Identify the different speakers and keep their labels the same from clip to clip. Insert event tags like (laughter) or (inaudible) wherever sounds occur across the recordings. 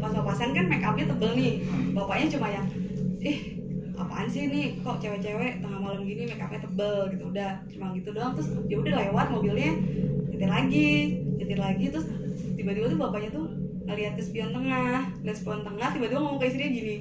Speaker 1: pas-pasan kan make upnya tebel nih
Speaker 2: Hmm.
Speaker 1: bapaknya cuma yang ih apaan sih nih kok cewek-cewek tengah malam gini make upnya tebel gitu udah cuma gitu doang terus ya udah lewat mobilnya nyetir lagi nyetir lagi terus tiba-tiba tuh bapaknya tuh ngeliat ke spion tengah ngeliat spion tengah tiba-tiba ngomong ke istrinya gini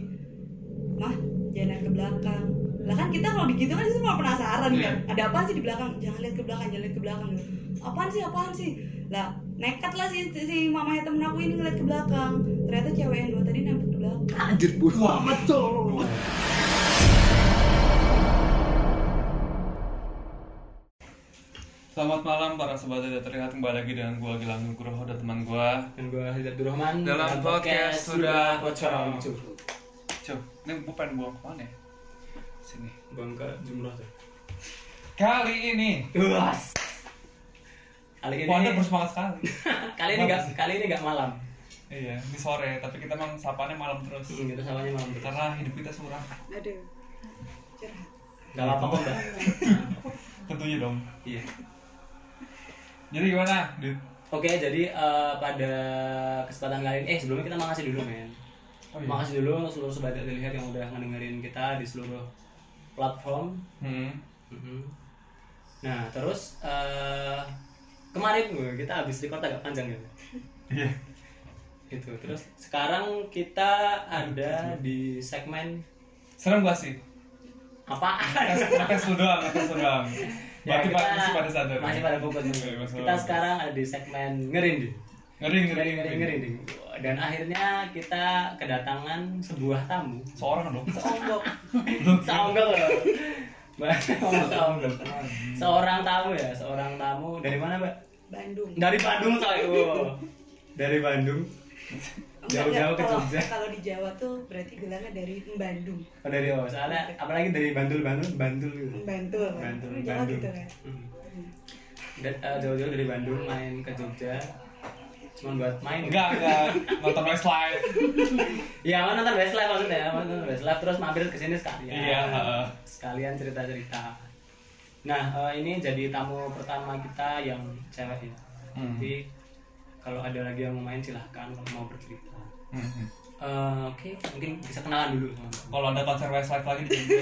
Speaker 1: mah jangan lihat ke belakang lah kan kita kalau begitu kan semua penasaran
Speaker 2: Iya.
Speaker 1: kan ada apa sih di belakang jangan lihat ke belakang jangan lihat ke belakang gitu. apaan sih apaan sih lah nekat lah si, si mamanya temen aku ini ngeliat ke belakang ternyata cewek yang dua tadi nempel ke belakang
Speaker 3: Anjir bodoh
Speaker 2: Wah.
Speaker 3: amat cowok.
Speaker 4: Selamat malam para sobat tidak terlihat kembali lagi dengan gua Gilang Nugroho dan teman gua.
Speaker 3: Dan gue Hidatul Rahman
Speaker 4: Dalam podcast sudah pocong.
Speaker 3: Cukup.
Speaker 4: Cuk, ini gua pengen buang kemana ya? Sini.
Speaker 3: Bangka jumlah tuh
Speaker 4: Kali ini,
Speaker 3: Luas Kali ini
Speaker 4: Wanda bersemangat sekali.
Speaker 3: (laughs) Kali ini gak, kali ini gak malam
Speaker 4: iya, ini sore, tapi kita emang sapaannya malam terus.
Speaker 3: Hmm, Kita samanya malam terus
Speaker 4: Karena hidup kita suram.
Speaker 1: aduh curhat
Speaker 3: Gak apa-apa kok mbak
Speaker 4: Tentunya dong.
Speaker 3: Iya
Speaker 4: Jadi gimana, Dit?
Speaker 3: Oke, jadi eh, pada kesempatan kali ini, eh sebelumnya kita makasih dulu men.
Speaker 4: Oh, iya.
Speaker 3: Makasih dulu seluruh sobat terlihat yang udah ngedengerin kita di seluruh platform.
Speaker 4: Hmm.
Speaker 3: Mhm. Nah, terus eh, kemarin gue kita habis record agak panjang ya.
Speaker 4: Iya.
Speaker 3: Gitu. Terus sekarang kita ada di segmen
Speaker 4: Serem gak sih?
Speaker 3: apaan?
Speaker 4: Tes, tes lu doang, tes lu doang.
Speaker 3: Ya,
Speaker 4: Berarti
Speaker 3: kita
Speaker 4: Pak, masih pada sadar.
Speaker 3: Masih pada fokus.
Speaker 4: Iya, masih
Speaker 3: kita
Speaker 4: pada-
Speaker 3: sekarang ada di segmen ngerinding.
Speaker 4: Ngeri, ngeri,
Speaker 3: Ngeri, ngeri, ngeri, ngeri. Dan akhirnya kita kedatangan sebuah tamu.
Speaker 4: Seorang dong.
Speaker 3: Seonggok. Seonggok loh. Mbak, ngomong seonggok. Seorang tamu ya, seorang tamu. Dari mana, Mbak?
Speaker 1: Bandung
Speaker 3: Dari Bandung saya. Wow. Dari Bandung. Jauh-jauh ke
Speaker 1: Kalau-
Speaker 3: Jogja.
Speaker 1: kalau di Jawa tuh berarti bilangnya dari Bandung
Speaker 3: Oh, dari oh, soalnya apalagi dari Bantul, Bandung, Bantul gitu.
Speaker 1: Bantul
Speaker 3: Bantul,
Speaker 1: Di Jawa
Speaker 3: Bandung.
Speaker 1: gitu kan
Speaker 3: Hmm. Dan, eh, jauh-jauh dari Bandung main ke Jogja. Cuman buat main. gitu.
Speaker 4: Enggak, enggak. Nonton Westlife.
Speaker 3: Ya, mana nonton Westlife maksudnya, mana nonton Westlife terus mampir ke sini sekalian.
Speaker 4: Iya, heeh.
Speaker 3: Sekalian cerita-cerita. Nah, eh, ini jadi tamu pertama kita yang cewek ya.
Speaker 4: Hmm.
Speaker 3: Jadi kalau ada lagi yang mau main silahkan kalau mau bercerita.
Speaker 4: Hmm.
Speaker 3: Eh, Oke, mungkin bisa kenalan dulu. sama Mbak.
Speaker 4: Kalau ada konser Westlife lagi di Jogja,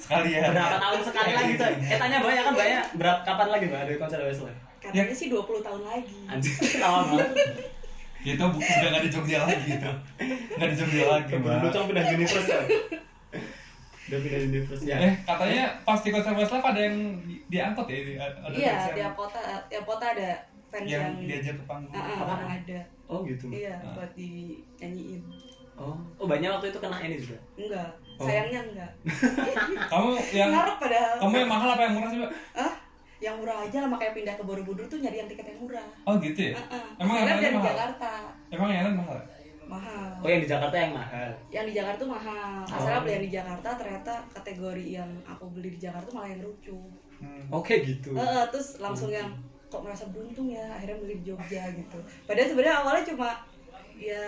Speaker 4: sekali ya.
Speaker 3: Berapa tahun sekali lagi coy? Eh tanya banyak kan banyak. Berapa kapan lagi mbak ada konser Westlife?
Speaker 1: katanya sih 20 tahun lagi
Speaker 3: (laughs) Anjir, ketawa banget.
Speaker 4: Gitu bu, udah nggak di Jogja lagi gitu. Nggak di Jogja lagi, Mbak.
Speaker 3: Dulu cong pindah universe coy. Udah pindah universe ya.
Speaker 4: Eh, katanya pas di konser Westlife ada yang di- diangkut ya? Di- Ada
Speaker 1: iya
Speaker 4: fans
Speaker 1: tiap
Speaker 4: yang,
Speaker 1: kota tiap kota ada fans
Speaker 4: yang
Speaker 1: yang,
Speaker 4: diajak ke panggung.
Speaker 1: Ah, ah,
Speaker 3: Apa?
Speaker 1: yang ada
Speaker 3: Oh gitu.
Speaker 1: iya
Speaker 4: Ah.
Speaker 1: buat dinyanyiin
Speaker 3: Oh, oh banyak waktu itu kena ini juga.
Speaker 1: enggak
Speaker 3: Oh.
Speaker 1: sayangnya enggak
Speaker 4: Kamu yang
Speaker 1: ngarep padahal
Speaker 4: kamu yang mahal apa yang murah sih, Mbak?
Speaker 1: ah yang murah aja lah makanya pindah ke Borobudur tuh nyari yang tiket yang murah
Speaker 4: Oh gitu ya?
Speaker 1: Heeh.
Speaker 4: Emang yang
Speaker 1: Soalnya
Speaker 4: lain
Speaker 1: dari
Speaker 4: mahal? iya?
Speaker 1: Jakarta
Speaker 4: Emang yang lain mahal?
Speaker 1: mahal
Speaker 3: Oh yang di Jakarta yang mahal.
Speaker 1: yang di Jakarta tuh mahal
Speaker 4: Oh.
Speaker 1: asalnya beli yang di Jakarta ternyata kategori yang aku beli di Jakarta tuh malah yang lucu
Speaker 4: Hmm.
Speaker 3: Oke gitu.
Speaker 1: Eh, eh, terus langsung yang kok merasa beruntung ya akhirnya beli di Jogja gitu padahal sebenarnya awalnya cuma ya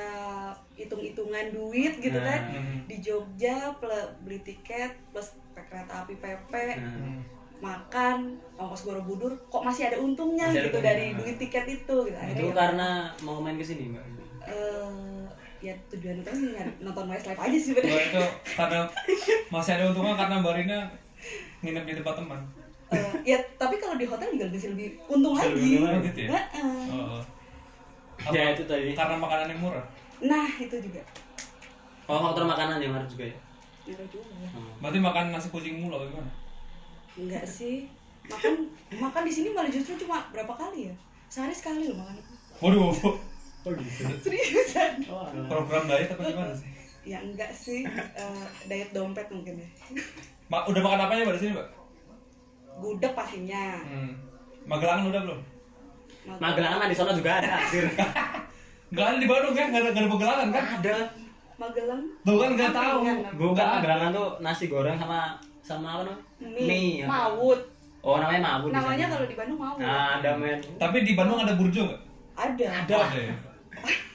Speaker 1: hitung-hitungan duit gitu kan
Speaker 4: Hmm.
Speaker 1: di Jogja ple- beli tiket plus pe- kereta api PP
Speaker 3: Nah,
Speaker 4: Hmm.
Speaker 1: makan ongkos Borobudur kok masih ada untungnya
Speaker 3: Masih ada
Speaker 1: gitu
Speaker 3: untungnya.
Speaker 1: dari duit tiket itu gitu akhirnya
Speaker 3: Nah, itu kan.
Speaker 1: ya-
Speaker 3: karena mau main ke sini mbak.
Speaker 1: eh, ya tujuan utama sih nyari- nonton Westlife aja sih
Speaker 3: (laughs)
Speaker 4: Gua
Speaker 1: bener
Speaker 4: itu karena masih ada untungnya karena Barina nginep di tempat teman.
Speaker 1: Eh, ya tapi kalau di hotel juga bisa lebih untung
Speaker 3: Bisa lebih
Speaker 1: lagi
Speaker 3: untung iya.
Speaker 4: Oh gitu ya?
Speaker 1: Heeh.
Speaker 4: Oh. oh.
Speaker 3: Ya itu tadi.
Speaker 4: Karena makanannya murah.
Speaker 1: nah itu juga
Speaker 3: Oh faktor makanan yang harus juga ya.
Speaker 1: itu juga ya.
Speaker 3: Hmm.
Speaker 4: Berarti makan nasi kucing mulu apa gimana?
Speaker 1: Enggak sih. Makan makan di sini malah justru cuma berapa kali ya? Sehari sekali loh makan.
Speaker 4: Waduh, (laughs)
Speaker 3: Oh gitu.
Speaker 1: Seriusan?
Speaker 3: Oh,
Speaker 4: program diet apa gimana sih?
Speaker 1: Ya enggak sih. Eh, diet dompet mungkin ya.
Speaker 4: Ma udah makan apanya mbak di sini mbak?
Speaker 1: Gudeg pastinya.
Speaker 4: Hmm. Magelangan udah belum?
Speaker 1: Makan-
Speaker 3: Magelangan mah di sana juga ada. anjir.
Speaker 4: Gak ada di Bandung kan? Gak ada, nggak ada Magelangan kan?
Speaker 3: ada.
Speaker 1: Magelang.
Speaker 4: Tuh kan gak tahu.
Speaker 3: Bukan
Speaker 4: Nggak ada.
Speaker 3: Magelangan tuh nasi goreng sama sama apa namanya?
Speaker 1: Mie.
Speaker 3: ya.
Speaker 1: Mawut.
Speaker 3: Oh namanya mabuk. di
Speaker 1: Namanya
Speaker 3: sana.
Speaker 1: kalau di Bandung Mawut.
Speaker 3: Nah ada men.
Speaker 4: Tapi di Bandung ada burjo nggak?
Speaker 1: Ada.
Speaker 3: Ada.
Speaker 4: Ada ya.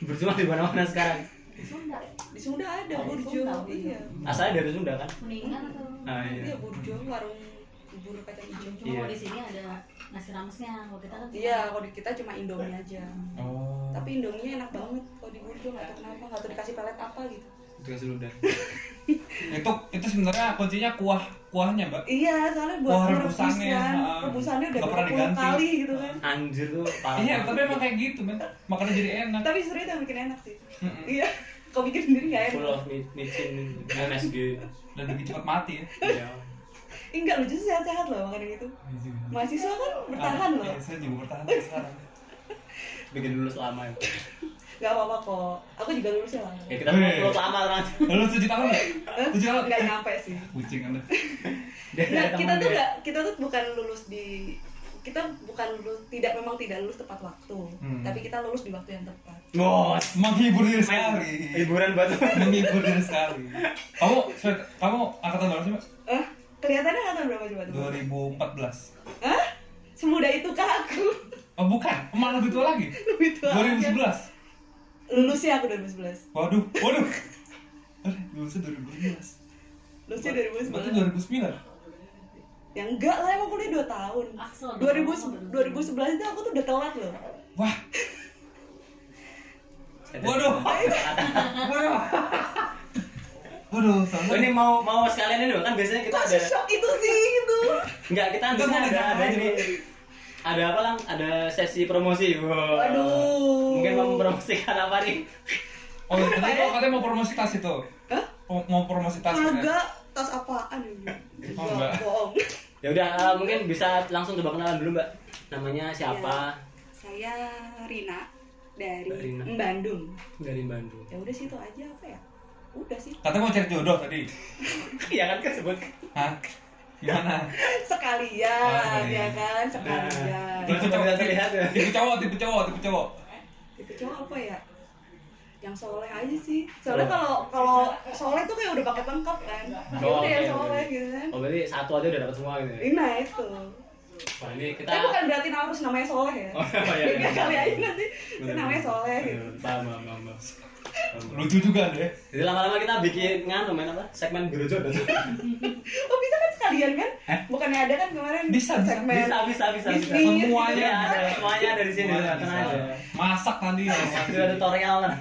Speaker 3: Berjuang di mana-mana sekarang.
Speaker 5: Di Sunda ya?
Speaker 1: Di Sunda ada
Speaker 5: Oh, di
Speaker 1: burjo.
Speaker 5: Sunda.
Speaker 1: Iya.
Speaker 3: Asalnya dari Sunda kan?
Speaker 5: Kuningan atau
Speaker 3: Nah,
Speaker 1: Iya
Speaker 3: iya.
Speaker 1: burjo warung bubur kacang hijau.
Speaker 5: cuma
Speaker 3: Iya.
Speaker 5: kalau di sini ada nasi ramesnya kalau kita kan
Speaker 1: Iya, kalau di kita cuma Indomie aja.
Speaker 4: Oh.
Speaker 1: Tapi Indominya enak banget kalau di burjo. gue nggak tahu kenapa nggak tahu dikasih pelet apa gitu
Speaker 4: Gas ludah. itu itu sebenarnya kuncinya kuah kuahnya mbak.
Speaker 1: iya soalnya buat
Speaker 4: Wah,
Speaker 1: gue rebusan
Speaker 4: rebusannya, ha.
Speaker 1: rebusannya udah
Speaker 4: Nggak pernah
Speaker 1: berpuluh
Speaker 4: diganti.
Speaker 1: kali gitu kan
Speaker 3: Anjir tuh parah.
Speaker 4: Iya tapi emang kayak gitu men. Makanya jadi enak.
Speaker 1: tapi seru itu yang bikin enak sih
Speaker 4: Ah. Mm-mm.
Speaker 1: iya kau bikin sendiri nggak
Speaker 3: full
Speaker 1: enak
Speaker 3: of mi- micin MSG.
Speaker 4: Dan lebih cepat mati ya.
Speaker 3: Iya.
Speaker 1: Ih, enggak lu justru sehat-sehat loh makanan gitu mahasiswa kan bertahan
Speaker 4: Ah,
Speaker 1: loh
Speaker 4: iya, Saya juga bertahan sampai sekarang.
Speaker 3: Bikin lulus lama ya.
Speaker 1: nggak apa-apa kok aku juga lulusnya lama
Speaker 3: Ya kita mau
Speaker 4: Weh.
Speaker 3: lulus lama kan.
Speaker 4: Lu tujuh tahun nggak?
Speaker 1: Eh,
Speaker 4: Tujuh tahun.
Speaker 1: nggak nyampe sih
Speaker 4: Kucing anda.
Speaker 1: Nggak, kita
Speaker 4: ya.
Speaker 1: tuh nggak kita tuh bukan lulus di kita bukan lulus tidak memang tidak lulus tepat waktu
Speaker 4: Hmm.
Speaker 1: tapi kita lulus di waktu yang tepat
Speaker 3: Bos.
Speaker 4: Menghibur diri sekali.
Speaker 3: Hiburan buat
Speaker 4: Menghibur diri sekali. Kamu Svet, kamu angkatan berapa sih mbak?
Speaker 1: eh kelihatannya angkatan berapa coba tuh
Speaker 4: 2014.
Speaker 1: Hah? semudah itu kah aku (laughs)
Speaker 4: Oh bukan, malah lebih tua lagi.
Speaker 1: lebih tua aja.
Speaker 4: 2011.
Speaker 1: lulusnya aku 2011
Speaker 4: Waduh, waduh. Eh, Lulusnya 2012.
Speaker 1: lulusnya
Speaker 4: Berarti
Speaker 1: 2011
Speaker 4: 2009.
Speaker 1: ya enggak lah emang kuliah 2 tahun
Speaker 5: Ah, sorry.
Speaker 1: 2000, 2011 itu aku tuh udah telat loh
Speaker 4: Wah, Waduh. waduh. Waduh,
Speaker 3: Oh,
Speaker 4: sampai
Speaker 3: ini mau mau sekalian ini loh kan biasanya kita
Speaker 1: kok
Speaker 3: ada
Speaker 1: shock itu sih itu
Speaker 3: enggak kita
Speaker 4: Kita mau
Speaker 3: biasanya ada
Speaker 4: ngajak
Speaker 3: ada
Speaker 4: aja,
Speaker 3: ini. Ada apa lang? Ada sesi promosi. Wow.
Speaker 1: Waduh.
Speaker 3: Mungkin mau mempromosikan apa nih?
Speaker 4: Oh, tadi kalau katanya mau promosi tas itu.
Speaker 1: Hah?
Speaker 4: Mau, mau promosi tas. kan?
Speaker 1: kagak tas apaan ini Gua
Speaker 4: Oh, enggak.
Speaker 1: bohong
Speaker 3: Ya udah eh, mungkin bisa langsung coba kenalan dulu, Mbak. Namanya siapa?
Speaker 1: Iya. saya Rina
Speaker 3: Mbak
Speaker 1: dari
Speaker 3: Rina.
Speaker 1: Bandung
Speaker 3: Dari Bandung.
Speaker 1: ya udah sih itu aja apa ya udah sih (laughs)
Speaker 4: Katanya mau cari jodoh tadi.
Speaker 3: Iya kan kesebut.
Speaker 4: Hah? Gimana?
Speaker 1: sekalian
Speaker 4: Oh, iya.
Speaker 1: ya kan
Speaker 3: Nah.
Speaker 1: sekalian
Speaker 3: Itu bisa terlihat ya.
Speaker 4: Tipe cowok, tipe cowok, tipe cowok.
Speaker 1: Tipe cowok apa ya? Yang soleh aja sih. Soalnya
Speaker 3: Oh.
Speaker 1: kalau kalau soleh tuh kayak udah paket lengkap kan. Ya
Speaker 3: Oh,
Speaker 1: udah yang
Speaker 3: oke,
Speaker 1: soleh
Speaker 3: oke.
Speaker 1: gitu kan.
Speaker 3: Oh, berarti satu aja udah dapat semua gitu. ya?
Speaker 1: Ini nah itu.
Speaker 3: Wah, ini kita
Speaker 1: Tapi bukan berarti nama harus namanya soleh ya.
Speaker 3: (laughs) Oh, iya, iya.
Speaker 1: Tiga kali aja nanti itu namanya soleh gitu.
Speaker 3: Paham, paham, paham, paham. Paham.
Speaker 4: Lucu juga deh.
Speaker 3: Jadi lama-lama kita bikin nganu main apa? Segmen Biro Jodoh.
Speaker 1: Oh bisa kan sekalian kan?
Speaker 3: Eh?
Speaker 1: Bukannya ada kan kemarin
Speaker 4: Bisa, bisa.
Speaker 1: segmen
Speaker 3: Bisa, bisa, bisa. bisa.
Speaker 1: Bisnis.
Speaker 4: Semuanya.
Speaker 3: Iya, ada, semuanya ada di sini.
Speaker 4: Semuanya
Speaker 3: Tenang
Speaker 4: bisa.
Speaker 3: aja.
Speaker 4: Masak nanti ya.
Speaker 3: Pasti ada tutorial lah.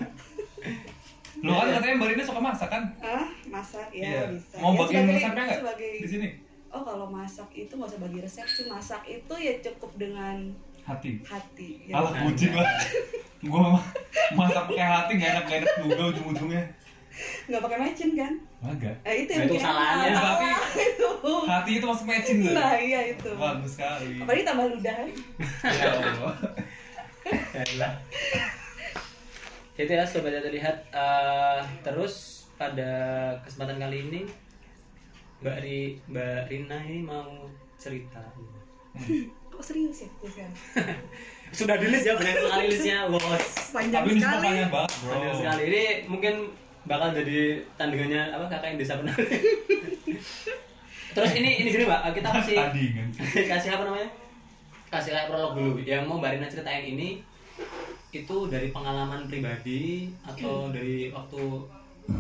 Speaker 4: Lo kan katanya Mbak Rina suka masak kan?
Speaker 1: Ah, masak ya
Speaker 4: Iya.
Speaker 1: bisa.
Speaker 4: Mau
Speaker 1: Ya,
Speaker 4: bagiin
Speaker 1: sebagai-
Speaker 4: resepnya nggak?
Speaker 1: Sebagai
Speaker 4: Di sini.
Speaker 1: Oh kalau masak itu nggak usah bagi resep sih masak itu ya cukup dengan
Speaker 4: Hati.
Speaker 1: hati. Ya.
Speaker 4: Alah kucing lah. Gua mah masak pakai hati gak enak gak enak juga ujung-ujungnya.
Speaker 1: Nggak pakai macin kan?
Speaker 4: Enggak.
Speaker 1: Eh, itu
Speaker 3: Nah,
Speaker 1: yang
Speaker 3: itu
Speaker 1: bikin
Speaker 3: kesalahannya,
Speaker 1: enak.
Speaker 4: tapi-
Speaker 1: Salah (laughs) itu.
Speaker 4: Hati itu masuk matching loh.
Speaker 1: Nah, iya itu.
Speaker 4: Bagus sekali.
Speaker 1: Apalagi tambah ludah.
Speaker 4: Ya Allah.
Speaker 3: Yalah. Jadi ya sobat yang terlihat eh, terus pada kesempatan kali ini Mbak Ri Mbak Rina ini mau cerita.
Speaker 1: Kok serius ya? Gue sekarang.
Speaker 3: Sudah dilis ya Oh. banyak sekali listnya bos.
Speaker 1: Panjang
Speaker 4: Tapi ini semua
Speaker 1: sekali.
Speaker 4: panjang banget bro.
Speaker 3: Banyak sekali. Ini mungkin bakal jadi tandingannya apa kakak yang desa (laughs) benar. terus ini ini gini Mbak kita kasih
Speaker 4: Tadi kan.
Speaker 1: (laughs)
Speaker 3: kasih apa namanya? Kasih kayak prolog dulu. Yang mau Mbak Rina ceritain ini itu dari pengalaman pribadi
Speaker 1: Hmm.
Speaker 3: atau dari waktu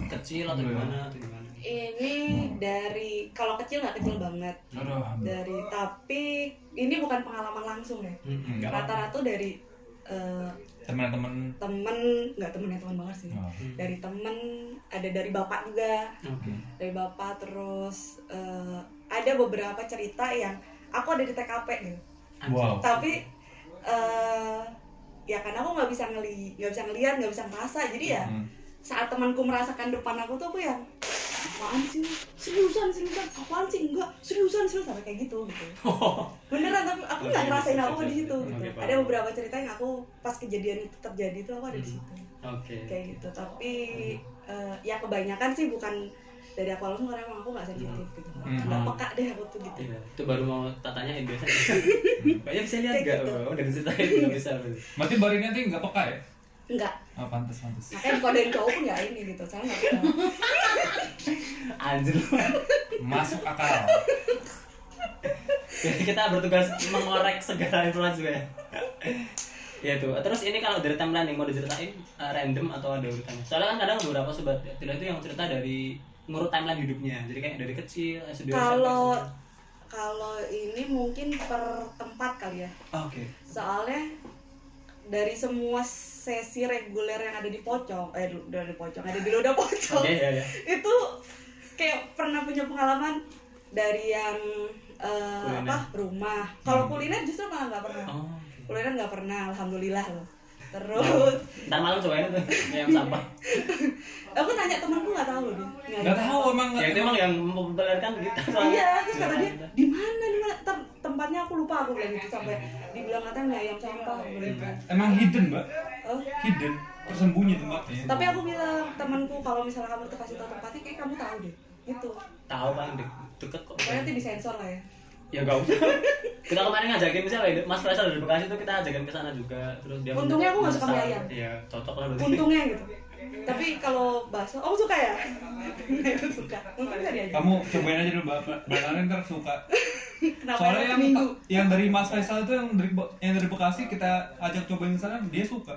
Speaker 3: kecil atau
Speaker 4: Iya.
Speaker 3: gimana atau gimana?
Speaker 1: Ini dari kalau kecil nggak kecil banget.
Speaker 4: Aduh.
Speaker 1: Dari tapi ini bukan pengalaman langsung ya.
Speaker 3: Mm-mm.
Speaker 4: Enggak.
Speaker 1: Rata-rata dari eh,
Speaker 4: Teman-teman.
Speaker 1: temen nggak temen ya teman banget sih.
Speaker 4: Oh.
Speaker 1: Dari temen ada dari bapak juga.
Speaker 3: Hmm. Oke.
Speaker 1: Dari bapak terus eh, ada beberapa cerita yang aku ada di TKP gitu.
Speaker 3: (laughs)
Speaker 4: Wow.
Speaker 3: Oh.
Speaker 1: tapi eh ya karena aku nggak bisa ngeli nggak bisa ngelihat nggak bisa ngerasa jadi ya
Speaker 4: Hmm.
Speaker 1: saat temanku merasakan depan aku tuh aku yang apaan sih lu? seriusan seriusan apaan sih enggak seriusan seriusan sampai kayak gitu gitu beneran tapi
Speaker 3: Oh,
Speaker 1: aku
Speaker 3: iya,
Speaker 1: nggak ngerasain aku di situ gitu
Speaker 3: Oke, paham.
Speaker 1: ada beberapa cerita yang aku pas kejadian itu terjadi tuh aku ada
Speaker 3: Hmm.
Speaker 1: di situ
Speaker 3: Oke.
Speaker 1: kayak gitu tapi eh, ya kebanyakan sih bukan dari aku langsung karena emang aku nggak sensitif gitu
Speaker 4: Hmm.
Speaker 1: nggak peka deh aku tuh gitu
Speaker 3: Iya, itu baru mau tatanya yang biasa.
Speaker 1: (laughs)
Speaker 3: Banyak bisa lihat
Speaker 1: Kayak
Speaker 3: enggak?
Speaker 1: gitu.
Speaker 3: Udah diceritain belum bisa.
Speaker 4: Berarti Mbak Rina tuh gak peka ya?
Speaker 1: enggak
Speaker 4: Oh, pantes, pantes.
Speaker 1: (laughs) makanya dikodein cowok pun nggak ini gitu saya nggak peka.
Speaker 3: Anjir. lu.
Speaker 4: Masuk akal.
Speaker 3: Jadi kita bertugas mengorek segala influence juga ya. ya tuh. Terus ini kalau dari timeline yang mau diceritain eh, random atau ada urutannya? Soalnya kan kadang beberapa sobat tidak itu yang cerita dari ngurut timeline hidupnya. Jadi kayak dari kecil, SD, SMP,
Speaker 1: Kalau-
Speaker 3: SMA.
Speaker 1: Kalau ini mungkin per tempat kali ya.
Speaker 3: Ah, Oh, oke.
Speaker 1: Soalnya dari semua s- sesi reguler yang ada di pocong eh di- di pocong ada di loda pocong
Speaker 3: Oke, ya, ya.
Speaker 1: (laughs) itu kayak pernah punya pengalaman dari yang eh,
Speaker 3: Kuliner.
Speaker 1: apa rumah kalau
Speaker 4: Hmm.
Speaker 1: kuliner justru malah nggak pernah
Speaker 3: Oh.
Speaker 1: kuliner kan nggak pernah alhamdulillah loh terus
Speaker 3: Ntar malam cobain tuh yang sampah.
Speaker 1: aku nanya temanku nggak tahu loh dia Nggak
Speaker 4: Gak
Speaker 1: ada.
Speaker 4: tahu emang
Speaker 3: Ya itu emang yang mempopulerkan kita soalnya.
Speaker 1: iya terus kata dia di mana di mana Ter- tempatnya aku lupa aku bilang gitu sampai dibilang katanya mie ayam sampah aku bilang gitu.
Speaker 4: Emang hidden mbak,
Speaker 1: Oh,
Speaker 4: hidden tersembunyi tempatnya.
Speaker 1: Eh, tapi aku bilang temanku kalau misalnya kamu kasih tahu tempatnya kayak kamu tahu deh gitu
Speaker 3: Tahu paling de- deket kok.
Speaker 1: pokoknya nanti disensor lah ya
Speaker 3: Ya gak usah. (laughs) Kita kemarin ngajakin misalnya Mas Faisal dari Bekasi tuh kita ajakin ke sana juga. Terus dia
Speaker 1: Untungnya aku nggak suka mie
Speaker 3: masak.
Speaker 1: ayam.
Speaker 3: Iya, cocok lah berarti.
Speaker 1: untungnya gitu tapi kalau bakso oh suka ya (laughs) itu suka mungkin bisa diajak
Speaker 4: Kamu cobain aja dulu mbak, bakalan ntar suka.
Speaker 1: kenapa
Speaker 4: Soalnya
Speaker 1: yang
Speaker 4: yang yang dari Mas Faisal itu yang dari Be- yang dari Bekasi kita ajak cobain ke sana dia suka.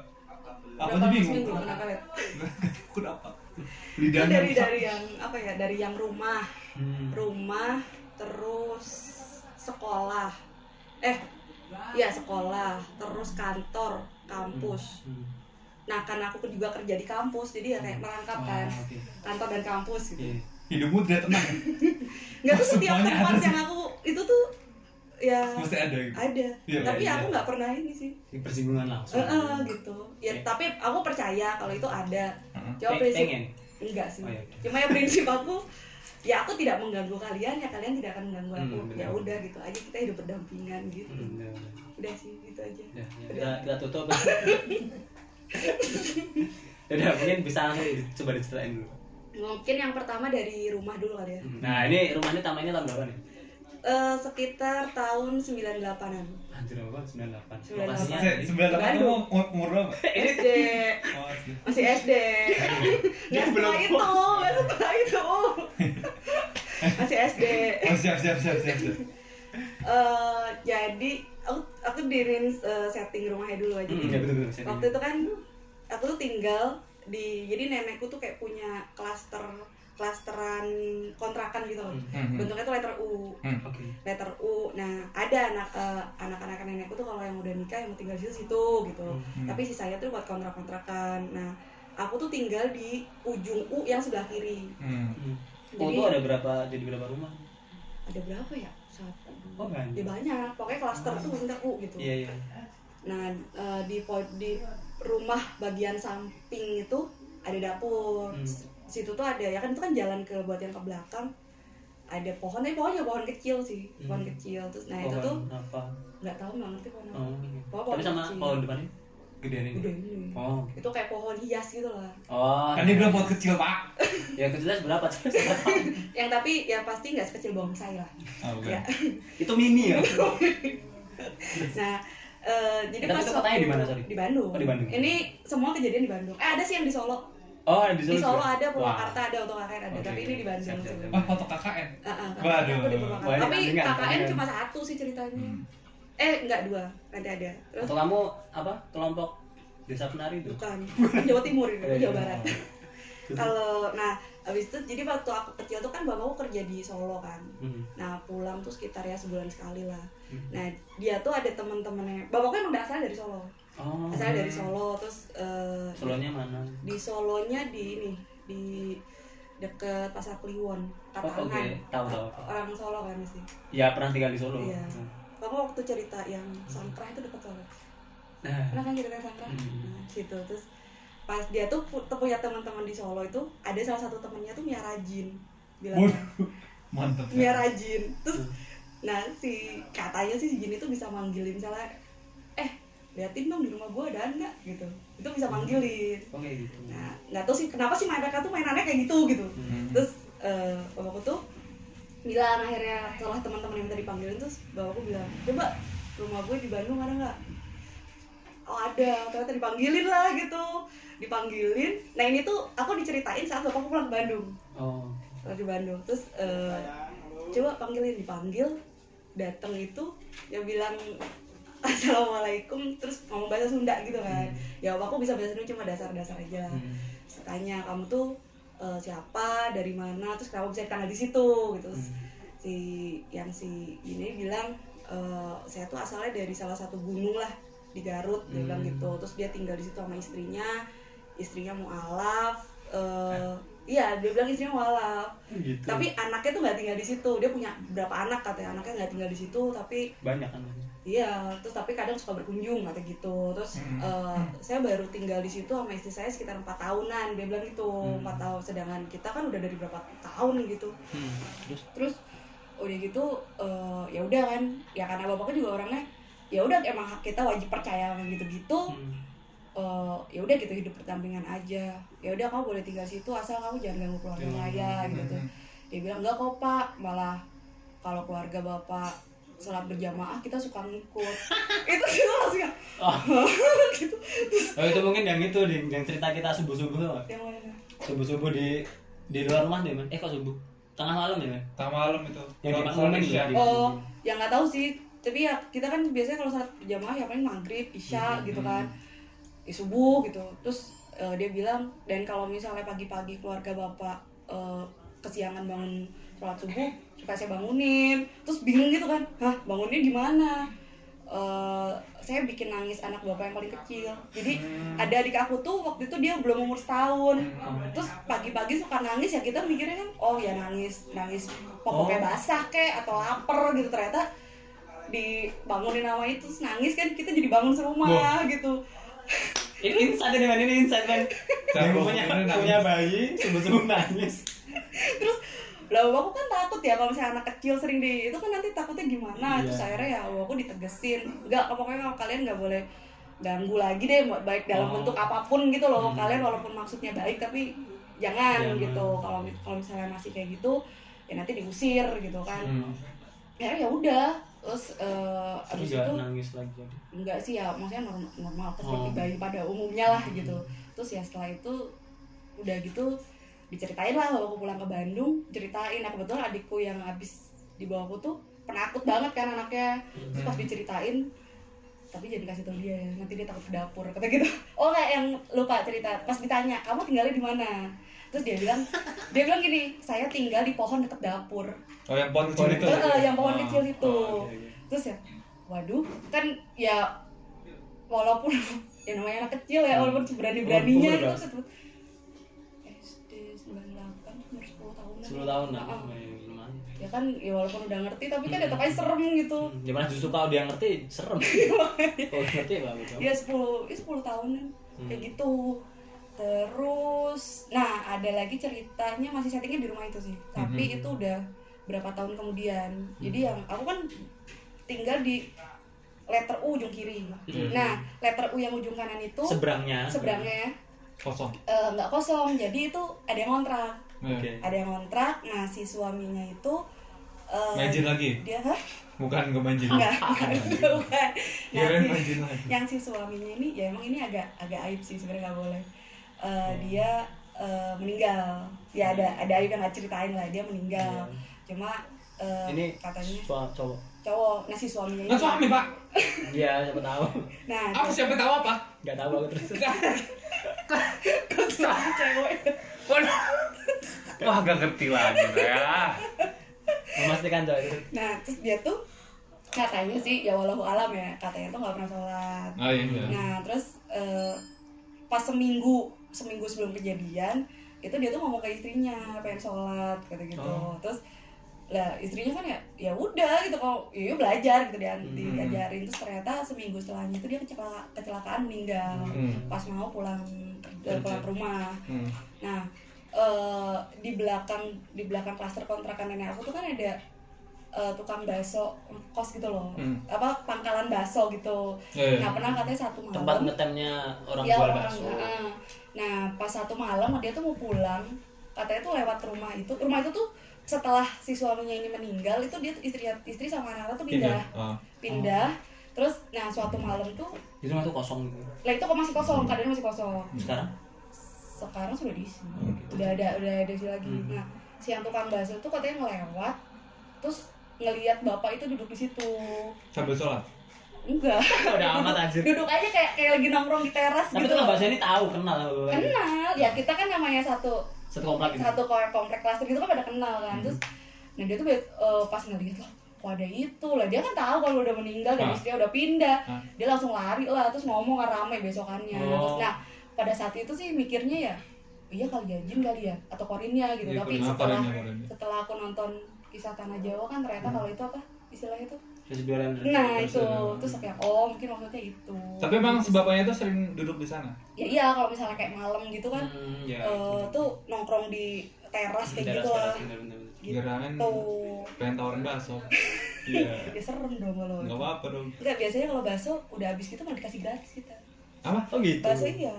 Speaker 4: Aku aja bingung.
Speaker 1: seminggu kenapa lihat
Speaker 4: (laughs) Kenapa?
Speaker 1: Itu
Speaker 4: Lidahnya
Speaker 1: dari
Speaker 4: rusak.
Speaker 1: dari yang apa ya dari yang rumah
Speaker 3: Iya, Hmm.
Speaker 1: rumah terus sekolah eh ya sekolah terus kantor kampus
Speaker 3: Hmm.
Speaker 1: nah karena aku juga kerja di kampus jadi ya kayak merangkap kan
Speaker 3: Wah, oke.
Speaker 1: kantor dan kampus gitu
Speaker 3: Iya.
Speaker 4: Hidupmu tidak tenang.
Speaker 1: nggak tuh setiap
Speaker 4: Semuanya
Speaker 1: tempat
Speaker 4: ada
Speaker 1: yang aku itu tuh ya
Speaker 4: Mesti ada. gitu.
Speaker 1: ada
Speaker 4: Iya,
Speaker 1: tapi
Speaker 4: iya.
Speaker 1: aku nggak pernah ini sih
Speaker 3: Ini Persinggungan langsung.
Speaker 1: Eh, eh, gitu ya
Speaker 3: Oke.
Speaker 1: tapi aku percaya kalau itu ada
Speaker 4: Heeh.
Speaker 1: coba
Speaker 3: Pe-
Speaker 1: prinsip
Speaker 3: pengen.
Speaker 1: enggak sih
Speaker 3: Oh, iya.
Speaker 1: cuma ya prinsip aku ya aku tidak mengganggu kalian ya kalian tidak akan mengganggu aku
Speaker 3: Hmm, benar.
Speaker 1: ya udah gitu aja kita hidup berdampingan gitu
Speaker 3: Hmm, ya, ya.
Speaker 1: udah sih gitu aja
Speaker 3: Ya, ya, kita, kita tutup. (laughs) Udah, mungkin bisa langsung di- coba diceritain dulu.
Speaker 1: mungkin yang pertama dari rumah dulu kali ya
Speaker 3: Nah, ini rumahnya tamannya tahun berapa nih?
Speaker 1: Eh, sekitar tahun 98an
Speaker 3: Anjir apa? 98.
Speaker 1: 98.
Speaker 3: Lokasinya
Speaker 4: Se- Sembilan delapan
Speaker 1: Iya. Bandung.
Speaker 4: itu umur umur berapa?
Speaker 1: SD
Speaker 4: Oh, asli.
Speaker 1: masih SD
Speaker 3: (laughs)
Speaker 1: nggak setelah itu nggak setelah
Speaker 3: (laughs)
Speaker 1: itu masih SD
Speaker 4: Oh, siap siap siap siap siap.
Speaker 1: Eh, jadi aku aku dirin eh, setting rumahnya dulu aja
Speaker 3: Hmm, ya betul betul. saya
Speaker 1: waktu itu kan aku tuh tinggal di jadi nenekku tuh kayak punya klaster klasteran kontrakan gitu loh.
Speaker 3: Hmm,
Speaker 4: Hmm, hmm.
Speaker 1: bentuknya tuh letter U
Speaker 4: Hmm.
Speaker 3: Oke.
Speaker 1: letter U nah ada anak eh, anak-anak nenekku tuh kalau yang udah nikah yang mau tinggal di situ situ gitu
Speaker 3: Hmm.
Speaker 4: Hmm.
Speaker 1: tapi sisanya tuh buat kontrak-kontrakan nah aku tuh tinggal di ujung U yang sebelah kiri
Speaker 4: Hmm.
Speaker 3: Hmm. Oh,
Speaker 1: jadi
Speaker 3: itu ada berapa jadi berapa rumah?
Speaker 1: ada berapa ya satu
Speaker 3: Oh, banyak. Hmm.
Speaker 1: ya banyak pokoknya klaster tuh bentuknya U gitu
Speaker 3: Iya, iya.
Speaker 1: Nah, eh, di po- di rumah bagian samping itu ada dapur.
Speaker 3: Hmm.
Speaker 1: S- Situ tuh ada ya kan itu kan jalan ke buat yang ke belakang. Ada pohon, tapi pohonnya pohon kecil sih, pohon
Speaker 3: Hmm.
Speaker 1: kecil. Terus nah itu
Speaker 3: Pohon
Speaker 1: tuh
Speaker 3: apa?
Speaker 1: nggak tahu nggak ngerti pohon apa.
Speaker 3: Oh, iya.
Speaker 1: Pohon
Speaker 3: Tapi sama
Speaker 1: kecil.
Speaker 3: pohon depannya gedean ini.
Speaker 1: Udah ini.
Speaker 3: Oh.
Speaker 1: Itu kayak pohon hias gitu lah.
Speaker 3: Oh.
Speaker 4: Kan dia bilang buat kecil pak.
Speaker 3: Ya kecilnya berapa? Berapa?
Speaker 1: Yang tapi ya pasti nggak sekecil bonsai lah.
Speaker 4: Oh, bukan.
Speaker 1: Ya.
Speaker 3: (laughs) itu mini ya.
Speaker 1: Nah, eh, jadi
Speaker 3: Iya. Tapi
Speaker 1: pas
Speaker 3: itu kotanya di
Speaker 1: waktu-
Speaker 3: mana, sorry?
Speaker 1: Di Bandung.
Speaker 3: Oh, di Bandung.
Speaker 1: Ini semua kejadian di Bandung. Eh ada sih yang di Solo.
Speaker 3: Oh, di
Speaker 1: Di
Speaker 3: Solo.
Speaker 1: Solo
Speaker 3: juga?
Speaker 1: ada, Purwakarta
Speaker 3: Wah.
Speaker 1: ada, Otokaken ada,
Speaker 3: Oke,
Speaker 1: tapi
Speaker 3: oke.
Speaker 1: ini di Bandung.
Speaker 3: Siap, siap, siap.
Speaker 4: Wah, Oh, foto KKN.
Speaker 1: Heeh,
Speaker 4: Waduh,
Speaker 1: Ah, aku di Purwakarta.
Speaker 3: banyak
Speaker 1: Tapi
Speaker 3: kandungan,
Speaker 1: KKN
Speaker 3: kandungan.
Speaker 1: cuma satu sih ceritanya.
Speaker 4: Hmm.
Speaker 1: Eh, enggak dua, nanti ada. Terus
Speaker 3: Atau kamu apa? Kelompok desa penari itu.
Speaker 1: bukan Jawa Timur ini, aku
Speaker 3: Eh,
Speaker 1: Jawa Barat.
Speaker 3: Terus?
Speaker 1: Kalau nah habis itu jadi waktu aku kecil tuh kan bapakku kerja di Solo kan.
Speaker 3: Hmm.
Speaker 1: Nah, pulang tuh sekitar ya sebulan sekali lah.
Speaker 3: Hmm.
Speaker 1: Nah, dia tuh ada teman-temannya. Bapakku kan emang dasar dari Solo.
Speaker 3: Oh.
Speaker 1: Asal dari Solo terus eh,
Speaker 3: Solonya mana?
Speaker 1: di Solonya di ini di deket Pasar Kliwon,
Speaker 3: Oh,
Speaker 1: Katangan.
Speaker 3: oke, tahu tahu.
Speaker 1: Orang Solo kan sih.
Speaker 3: Ya pernah tinggal di Solo. Hmm.
Speaker 1: Iya. Kamu waktu cerita yang sangkrah itu deket Solo.
Speaker 3: Nah,
Speaker 1: pernah kan cerita sangka
Speaker 3: Hmm.
Speaker 1: nah, gitu terus pas dia tuh pu- tuh punya teman-teman di Solo itu ada salah satu temennya tuh Mia Rajin bilangnya
Speaker 4: Waduh, mantep.
Speaker 1: Mia Rajin terus
Speaker 3: Hmm.
Speaker 1: nah si katanya sih si Gini tuh bisa manggilin misalnya eh liatin dong di rumah gua ada nggak gitu itu bisa
Speaker 3: Hmm.
Speaker 1: manggilin
Speaker 3: oke gitu.
Speaker 1: nah nggak tahu sih kenapa sih mereka tuh mainannya kayak gitu gitu
Speaker 3: Hmm.
Speaker 1: terus eh bapakku tuh bilang akhirnya setelah teman-teman yang tadi panggilin terus bapakku bilang coba rumah gue di Bandung ada nggak oh ada ternyata dipanggilin lah gitu dipanggilin nah ini tuh aku diceritain saat bapakku pulang ke Bandung
Speaker 3: Oh.
Speaker 1: pulang di Bandung terus eh, coba panggilin dipanggil datang itu yang bilang assalamualaikum terus ngomong bahasa Sunda gitu kan ya aku bisa bahasa Sunda cuma dasar-dasar aja
Speaker 3: Hmm.
Speaker 1: Terus tanya kamu tuh eh, siapa dari mana terus kenapa bisa ditanggal di situ gitu
Speaker 3: Hmm.
Speaker 1: Terus si yang si ini bilang eh, saya tuh asalnya dari salah satu gunung lah di Garut dia bilang
Speaker 3: Hmm.
Speaker 1: gitu terus dia tinggal di situ sama istrinya istrinya mualaf eh iya dia bilang istrinya mualaf
Speaker 3: gitu
Speaker 1: tapi anaknya tuh nggak tinggal di situ dia punya berapa anak katanya anaknya nggak tinggal di situ tapi
Speaker 3: banyak kan banyak.
Speaker 1: Iya, terus tapi kadang suka berkunjung kata gitu. Terus
Speaker 4: Hmm.
Speaker 1: eh, saya baru tinggal di situ sama istri saya sekitar empat tahunan. Dia bilang gitu
Speaker 3: Hmm.
Speaker 1: empat tahun. Sedangkan kita kan udah dari berapa tahun gitu.
Speaker 3: Hmm, terus
Speaker 1: Terus udah gitu eh, ya udah kan. Ya karena bapaknya juga orangnya ya udah emang hak kita wajib percaya sama gitu-gitu.
Speaker 3: hmm.
Speaker 1: Eh, ya udah gitu hidup berdampingan aja. Ya udah kamu boleh tinggal situ asal kamu jangan ganggu keluarga
Speaker 3: Jangan
Speaker 1: saya
Speaker 3: ganggu.
Speaker 1: gitu
Speaker 4: Hmm.
Speaker 1: dia bilang enggak kok pak malah kalau keluarga bapak sholat berjamaah kita suka ngikut itu sih langsung kayak,
Speaker 3: Oh.
Speaker 1: (laughs) gitu
Speaker 3: oh itu mungkin yang itu Din, yang cerita kita subuh subuh
Speaker 1: yang mana
Speaker 3: subuh subuh di di luar rumah deh man eh kok subuh tengah malam ya man
Speaker 4: Tengah malam itu.
Speaker 3: Yang
Speaker 4: Sholat
Speaker 3: dimakmumin
Speaker 4: Isya.
Speaker 3: ya?
Speaker 1: oh yang nggak tahu sih tapi ya kita kan biasanya kalau sholat berjamaah ya paling maghrib isya
Speaker 3: Hmm,
Speaker 1: gitu kan di subuh gitu terus eh, dia bilang dan kalau misalnya pagi-pagi keluarga bapak eh, kesiangan bangun sholat subuh suka saya bangunin terus bingung gitu kan hah bangunnya gimana Eh, saya bikin nangis anak bapak yang paling kecil jadi
Speaker 4: Hmm.
Speaker 1: ada adik aku tuh waktu itu dia belum umur setahun
Speaker 4: Hmm.
Speaker 1: terus pagi-pagi suka nangis ya kita mikirnya kan oh ya nangis nangis pokoknya
Speaker 3: Oh.
Speaker 1: basah kek atau lapar gitu ternyata dibangunin sama itu terus nangis kan kita jadi bangun serumah gitu
Speaker 3: ini insight ini man ini insight man yang
Speaker 4: Cakep,
Speaker 3: punya
Speaker 4: ini nangis.
Speaker 3: punya bayi subuh subuh nangis
Speaker 1: lah aku kan takut ya kalau misalnya anak kecil sering di itu kan nanti takutnya gimana
Speaker 3: Iya.
Speaker 1: terus akhirnya ya aku ditegesin nggak pokoknya kalau kalian nggak boleh ganggu lagi deh baik dalam
Speaker 3: Oh.
Speaker 1: bentuk apapun gitu loh
Speaker 3: Hmm. Iya,
Speaker 1: kalian walaupun maksudnya baik tapi jangan,
Speaker 3: Jangan.
Speaker 1: gitu kalau kalau misalnya masih kayak gitu ya nanti diusir gitu kan
Speaker 3: hmm.
Speaker 1: akhirnya ya udah terus eh,
Speaker 3: terus
Speaker 1: abis
Speaker 3: gak
Speaker 1: itu
Speaker 3: nangis lagi jadi
Speaker 1: enggak sih ya maksudnya norm- normal seperti
Speaker 3: Oh.
Speaker 1: bayi pada umumnya lah gitu terus ya setelah itu udah gitu diceritain lah kalau aku pulang ke Bandung ceritain nah kebetulan adikku yang habis di bawahku tuh penakut banget kan anaknya terus
Speaker 4: Hmm.
Speaker 1: pas diceritain tapi jangan dikasih tau dia ya nanti dia takut ke dapur kata gitu (laughs) oh nggak yang lupa cerita pas ditanya kamu tinggalnya di mana terus dia bilang dia bilang gini saya tinggal di pohon deket dapur
Speaker 4: Oh yang pohon kecil
Speaker 3: Pohon
Speaker 4: itu.
Speaker 3: kecil.
Speaker 1: Eh, eh, yang pohon
Speaker 4: Ah,
Speaker 1: kecil itu
Speaker 4: oh, iya, iya.
Speaker 1: terus ya waduh kan ya walaupun (laughs) ya namanya anak kecil ya walaupun berani beraninya
Speaker 3: Hmm.
Speaker 1: itu
Speaker 3: Walaupun udah-
Speaker 1: tetep- SD 98 umur 10 tahunan
Speaker 3: sepuluh tahun lah
Speaker 1: Ah, ah.
Speaker 3: lumayan
Speaker 1: ya kan ya walaupun udah ngerti tapi kan
Speaker 3: Hmm.
Speaker 1: tetap aja serem gitu
Speaker 3: Hmm, ya malah justru kalau dia ngerti (laughs) serem kalau dia ngerti baru tahu.
Speaker 1: ya 10 ya 10 tahunan
Speaker 3: Hmm.
Speaker 1: kayak gitu terus nah ada lagi ceritanya masih settingnya di rumah itu sih tapi
Speaker 3: Hmm.
Speaker 4: Mhm.
Speaker 1: itu udah berapa tahun kemudian jadi yang aku kan tinggal di letter U ujung kiri
Speaker 3: Hmm.
Speaker 1: nah letter U yang ujung kanan itu
Speaker 3: seberangnya
Speaker 1: seberangnya
Speaker 4: Kosong.
Speaker 1: eh, nggak kosong jadi itu ada yang kontrak
Speaker 4: Iya.
Speaker 3: oke
Speaker 1: ada yang kontrak nah si suaminya itu eh,
Speaker 4: Manjin lagi.
Speaker 1: dia hah?
Speaker 4: Bukan gue manjin. (laughs)
Speaker 1: nggak nggak, bukan nah,
Speaker 4: Kirain
Speaker 1: si-
Speaker 4: manjin lagi.
Speaker 1: yang si suaminya ini ya emang ini agak agak aib sih sebenarnya nggak boleh Eh,
Speaker 4: Hmm.
Speaker 1: dia eh, meninggal ya ada ada aib yang nggak ceritain lah dia meninggal
Speaker 4: Iya.
Speaker 1: cuma eh,
Speaker 3: ini
Speaker 1: katanya
Speaker 3: cowok cowok
Speaker 1: cowok nah si suaminya
Speaker 4: Kan
Speaker 1: ini
Speaker 4: suami pak.
Speaker 3: iya siapa tahu
Speaker 1: nah
Speaker 4: Aku siapa tahu apa?
Speaker 3: nggak tahu aku terus
Speaker 1: si cewek
Speaker 4: Waduh. Wah gak ngerti lagi ya.
Speaker 3: memastikan cowok itu
Speaker 1: nah terus dia tuh katanya sih ya walau alam ya katanya tuh nggak pernah sholat
Speaker 4: Oh iya. iya.
Speaker 1: Nah, terus eh, pas seminggu seminggu sebelum kejadian itu dia tuh ngomong ke istrinya pengen sholat kata gitu.
Speaker 4: Oh.
Speaker 1: Terus lah istrinya kan ya ya udah gitu kalau ya belajar gitu dia
Speaker 3: Hmm.
Speaker 1: diajarin terus ternyata seminggu setelahnya itu dia kecelaka- kecelakaan meninggal
Speaker 4: Hmm.
Speaker 1: pas mau pulang
Speaker 3: Kerja.
Speaker 1: pulang ke rumah.
Speaker 4: Hmm.
Speaker 1: Nah, eh, di belakang di belakang klaster kontrakan nenek aku tuh kan ada eh, tukang bakso kos gitu loh.
Speaker 4: Hmm.
Speaker 1: Apa pangkalan bakso gitu.
Speaker 4: Iya, iya.
Speaker 1: Nah, pernah katanya satu malam.
Speaker 3: tempat ngetemnya Iya, orang
Speaker 1: ya,
Speaker 3: jual
Speaker 1: orang,
Speaker 3: bakso
Speaker 1: heeh. Nah, pas satu malam dia tuh mau pulang, katanya tuh lewat rumah itu. Rumah itu tuh setelah si suaminya ini meninggal itu dia istri istri sama anak tuh
Speaker 4: Pindah.
Speaker 1: pindah,
Speaker 4: Ah.
Speaker 1: pindah.
Speaker 3: Oh.
Speaker 1: Terus nah suatu malam tuh
Speaker 3: di rumah tuh kosong gitu
Speaker 4: Hmm.
Speaker 1: lah itu kok masih kosong, keadaannya masih kosong.
Speaker 3: sekarang
Speaker 1: Sekarang sudah diisi.
Speaker 4: Hmm.
Speaker 1: Udah ada udah ada isi lagi.
Speaker 3: Hmm.
Speaker 1: Nah, si yang tukang bakso tuh katanya ngelewat terus ngelihat bapak itu duduk di situ.
Speaker 4: Sambil sholat.
Speaker 1: Enggak.
Speaker 3: udah amat anjir
Speaker 1: Duduk aja kayak kayak lagi nongkrong di teras
Speaker 3: tapi
Speaker 1: gitu.
Speaker 3: tuh bahasa ini tahu kenal
Speaker 1: kenal ya kita kan namanya satu
Speaker 3: satu komplek gitu
Speaker 4: Hmm.
Speaker 1: satu komplek komplek klaster gitu kan pada kenal kan terus nah dia tuh be- eh, pas ngeliat loh Wah ada itu lah, dia kan tahu kalau udah meninggal dan
Speaker 4: Ah.
Speaker 1: istrinya udah pindah
Speaker 4: Ah.
Speaker 1: Dia langsung lari lah, terus ngomong kan rame besokannya
Speaker 3: Oh.
Speaker 1: Terus, Nah pada saat itu sih mikirnya ya, iya kali ya jin kali ya, atau korinnya gitu
Speaker 4: Iya,
Speaker 1: Tapi
Speaker 4: korinnya,
Speaker 1: setelah,
Speaker 4: korinnya, korinnya.
Speaker 1: setelah aku nonton kisah Tanah Jawa kan ternyata kalau itu apa istilahnya itu
Speaker 3: terus jualan
Speaker 1: Nah
Speaker 3: gitu.
Speaker 1: itu, terus
Speaker 4: Terus,
Speaker 1: kayak oh mungkin maksudnya itu
Speaker 4: Tapi emang sebabnya itu sering duduk di sana.
Speaker 1: Ya iya kalau misalnya kayak malam gitu kan
Speaker 3: Hmm, ya.
Speaker 1: eh, Tuh nongkrong di teras kayak
Speaker 3: Teras,
Speaker 1: gitu lah
Speaker 3: teras, bener, bener, bener.
Speaker 1: Gitu.
Speaker 4: Gerakan pengen tawarin
Speaker 1: (laughs)
Speaker 4: bakso.
Speaker 1: Ya
Speaker 4: Iya.
Speaker 1: serem dong kalau
Speaker 4: Enggak apa-apa dong.
Speaker 1: Enggak, biasanya kalau bakso udah habis gitu malah dikasih gratis kita.
Speaker 4: Apa?
Speaker 3: Oh gitu.
Speaker 1: Bakso iya.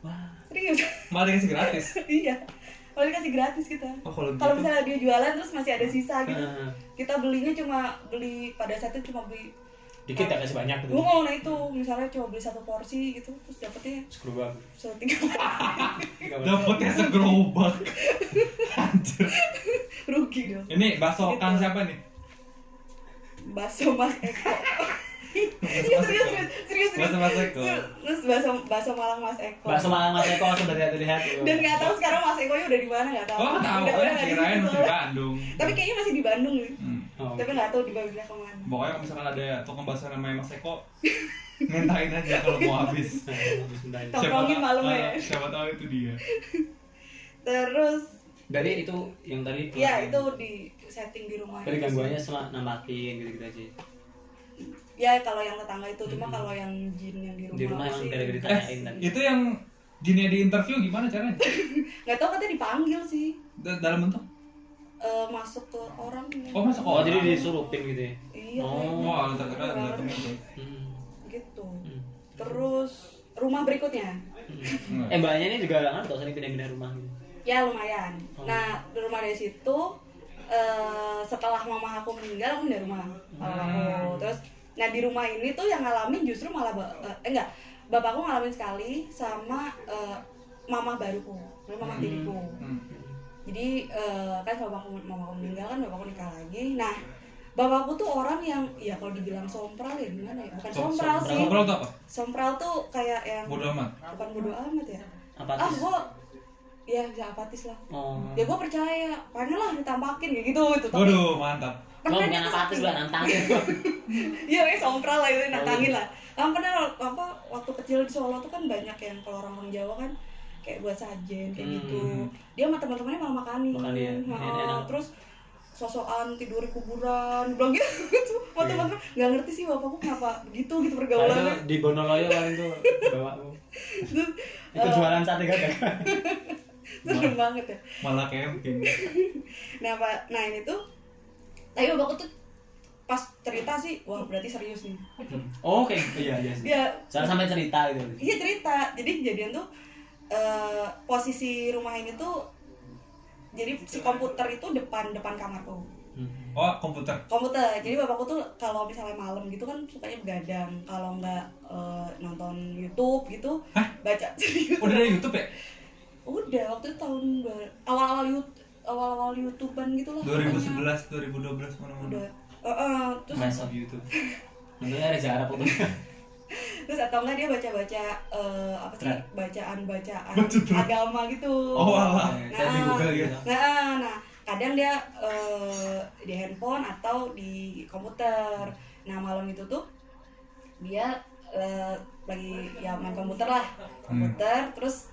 Speaker 3: Wah.
Speaker 1: Serius. (laughs)
Speaker 4: Malah dikasih gratis.
Speaker 1: iya. Malah dikasih gratis kita.
Speaker 4: Oh, kalau gitu.
Speaker 1: Kalau misalnya dia jualan terus masih ada sisa gitu,
Speaker 3: Ah,
Speaker 1: kita belinya cuma beli pada saat itu cuma beli
Speaker 3: dikit tak kasih banyak gitu.
Speaker 1: Gue mau nah itu, misalnya cuma beli satu porsi gitu, terus dapetnya
Speaker 3: Screwball.
Speaker 1: setiga
Speaker 4: Dapatnya segerobak. Anjir.
Speaker 1: (laughs) rugi dong.
Speaker 4: Ini bakso kang siapa nih?
Speaker 1: Bakso Mas Eko. Iya serius, serius, serius, serius.
Speaker 4: Bakso Mas Eko.
Speaker 1: Terus bakso bakso Malang Mas Eko.
Speaker 3: Bakso malang mas Eko langsung dari hati dari hati.
Speaker 1: (laughs) Dan nggak tahu sekarang Mas Eko nya udah di mana nggak tahu.
Speaker 4: Oh, tahu.
Speaker 1: Udah- udah nggak di
Speaker 4: Kirain
Speaker 1: situ
Speaker 4: masih di
Speaker 1: soalnya.
Speaker 4: Bandung.
Speaker 1: Tapi kayaknya masih di Bandung nih.
Speaker 4: Hmm.
Speaker 3: Oh.
Speaker 1: Tapi nggak tahu di Bandungnya kemana.
Speaker 4: Pokoknya kalau misalkan ada tukang bakso namanya Mas Eko, mintain aja kalau mau habis.
Speaker 3: Nah, bagus, bentar.
Speaker 1: Tahu. Tongkrongin malam ya.
Speaker 4: eh, Siapa tahu itu dia.
Speaker 1: Terus
Speaker 3: Dari itu yang tadi.
Speaker 1: ya
Speaker 4: Iya.
Speaker 3: keluar.
Speaker 1: itu di setting di rumah.
Speaker 3: Dari gangguannya cuma nampakin gitu-gitu aja.
Speaker 1: Iya. Ya kalau yang tetangga itu cuma
Speaker 3: Hmm.
Speaker 1: kalau yang jin yang di rumah.
Speaker 3: Di rumah emang
Speaker 1: sih.
Speaker 3: gara-gara
Speaker 4: Eh,
Speaker 3: ditanyain tadi.
Speaker 4: itu yang jinnya di interview gimana caranya?
Speaker 1: Nggak tahu katanya dipanggil sih.
Speaker 4: Da- dalam bentuk?
Speaker 1: Eh, masuk ke orang.
Speaker 4: Oh, masuk ke
Speaker 3: Oh,
Speaker 4: orang.
Speaker 3: jadi disurupin gitu ya.
Speaker 1: Iya.
Speaker 3: Oh.
Speaker 1: kayaknya.
Speaker 4: Wah, lu terkena ada temen tuh.
Speaker 3: Hmm.
Speaker 1: Gitu.
Speaker 3: Hmm.
Speaker 1: Terus rumah berikutnya.
Speaker 3: Hmm. Eh mbaknya ini juga nggak tahu sering pindah-pindah rumah gitu.
Speaker 1: Ya lumayan.
Speaker 4: Hmm.
Speaker 3: Oh.
Speaker 1: Nah di rumah dari situ eh, setelah mama aku meninggal aku pindah rumah. Kalau aku
Speaker 4: Hmm.
Speaker 1: terus nah di rumah ini tuh yang ngalamin justru malah ba- eh, enggak bapakku ngalamin sekali sama eh, mama baruku, sama mama
Speaker 4: Hmm.
Speaker 1: tiriku.
Speaker 4: Hmm.
Speaker 1: Jadi eh, kan kalau bapakku mamaku meninggal kan bapakku nikah lagi. Nah bapakku tuh orang yang ya kalau dibilang sompral ya gimana ya bukan
Speaker 4: Som-
Speaker 1: sompral sih.
Speaker 4: Sombral itu apa?
Speaker 1: Sompral tuh kayak yang
Speaker 4: Bodoh amat.
Speaker 1: bukan bodo amat ya. Ah
Speaker 3: Apatis.
Speaker 1: gua ya bisa apatis lah
Speaker 3: Oh.
Speaker 1: ya gue percaya karena lah ditampakin kayak gitu itu tapi
Speaker 4: Waduh, mantap.
Speaker 3: Lo bukan Oh, apatis lo nantangin.
Speaker 1: (laughs) iya kayak sompral lah itu nantangin lah kan pernah apa waktu kecil di Solo tuh kan banyak yang kalau orang orang Jawa kan kayak buat sajen kayak
Speaker 3: Hmm.
Speaker 1: gitu dia sama teman-temannya malah makanin
Speaker 3: Makan ya,
Speaker 1: Nah,
Speaker 3: enak-enak.
Speaker 1: terus sosokan tidur di kuburan bilang gitu sama
Speaker 3: Iya.
Speaker 1: teman-teman nggak ngerti sih bapakku kenapa begitu gitu
Speaker 3: Kalau
Speaker 1: pergaulannya
Speaker 3: di Bonoloyo paling tuh bawa
Speaker 1: terus eh,
Speaker 3: itu jualan sate kan? gagal.
Speaker 1: serem banget ya
Speaker 4: Malah camping.
Speaker 1: Nah, Pak, nah ini tuh tapi bapakku tuh pas cerita sih, wah berarti serius nih.
Speaker 3: Oh, Oke, iya iya. sih.
Speaker 1: Dia
Speaker 3: Soalnya sampai cerita gitu.
Speaker 1: dia cerita. Jadi kejadian tuh eh, posisi rumah ini tuh jadi si komputer itu depan depan kamarku.
Speaker 3: Hmm.
Speaker 4: Oh, komputer.
Speaker 1: Komputer. Jadi bapakku tuh kalau misalnya malam gitu kan sukanya begadang. Kalau nggak eh, nonton YouTube gitu,
Speaker 4: Hah?
Speaker 1: baca serius.
Speaker 4: Udah dari YouTube ya?
Speaker 1: (laughs) Udah waktu itu tahun ber- awal-awal YouTube awal-awal YouTubean gitu lah.
Speaker 4: 2011, 2012
Speaker 1: pokoknya.
Speaker 4: mana-mana.
Speaker 1: Udah. Eh, eh, terus
Speaker 3: Mas of YouTube. Tentunya Reza Arab itu.
Speaker 1: terus atau enggak dia baca-baca eh, apa sih
Speaker 3: Thread.
Speaker 1: bacaan-bacaan
Speaker 4: Baca thread.
Speaker 1: agama gitu
Speaker 4: Oh, alah.
Speaker 3: Saya di Google gitu.
Speaker 1: nah nah kadang dia eh, di handphone atau di komputer nah malam itu tuh dia eh, lagi ya main komputer lah
Speaker 3: Hmm.
Speaker 1: komputer terus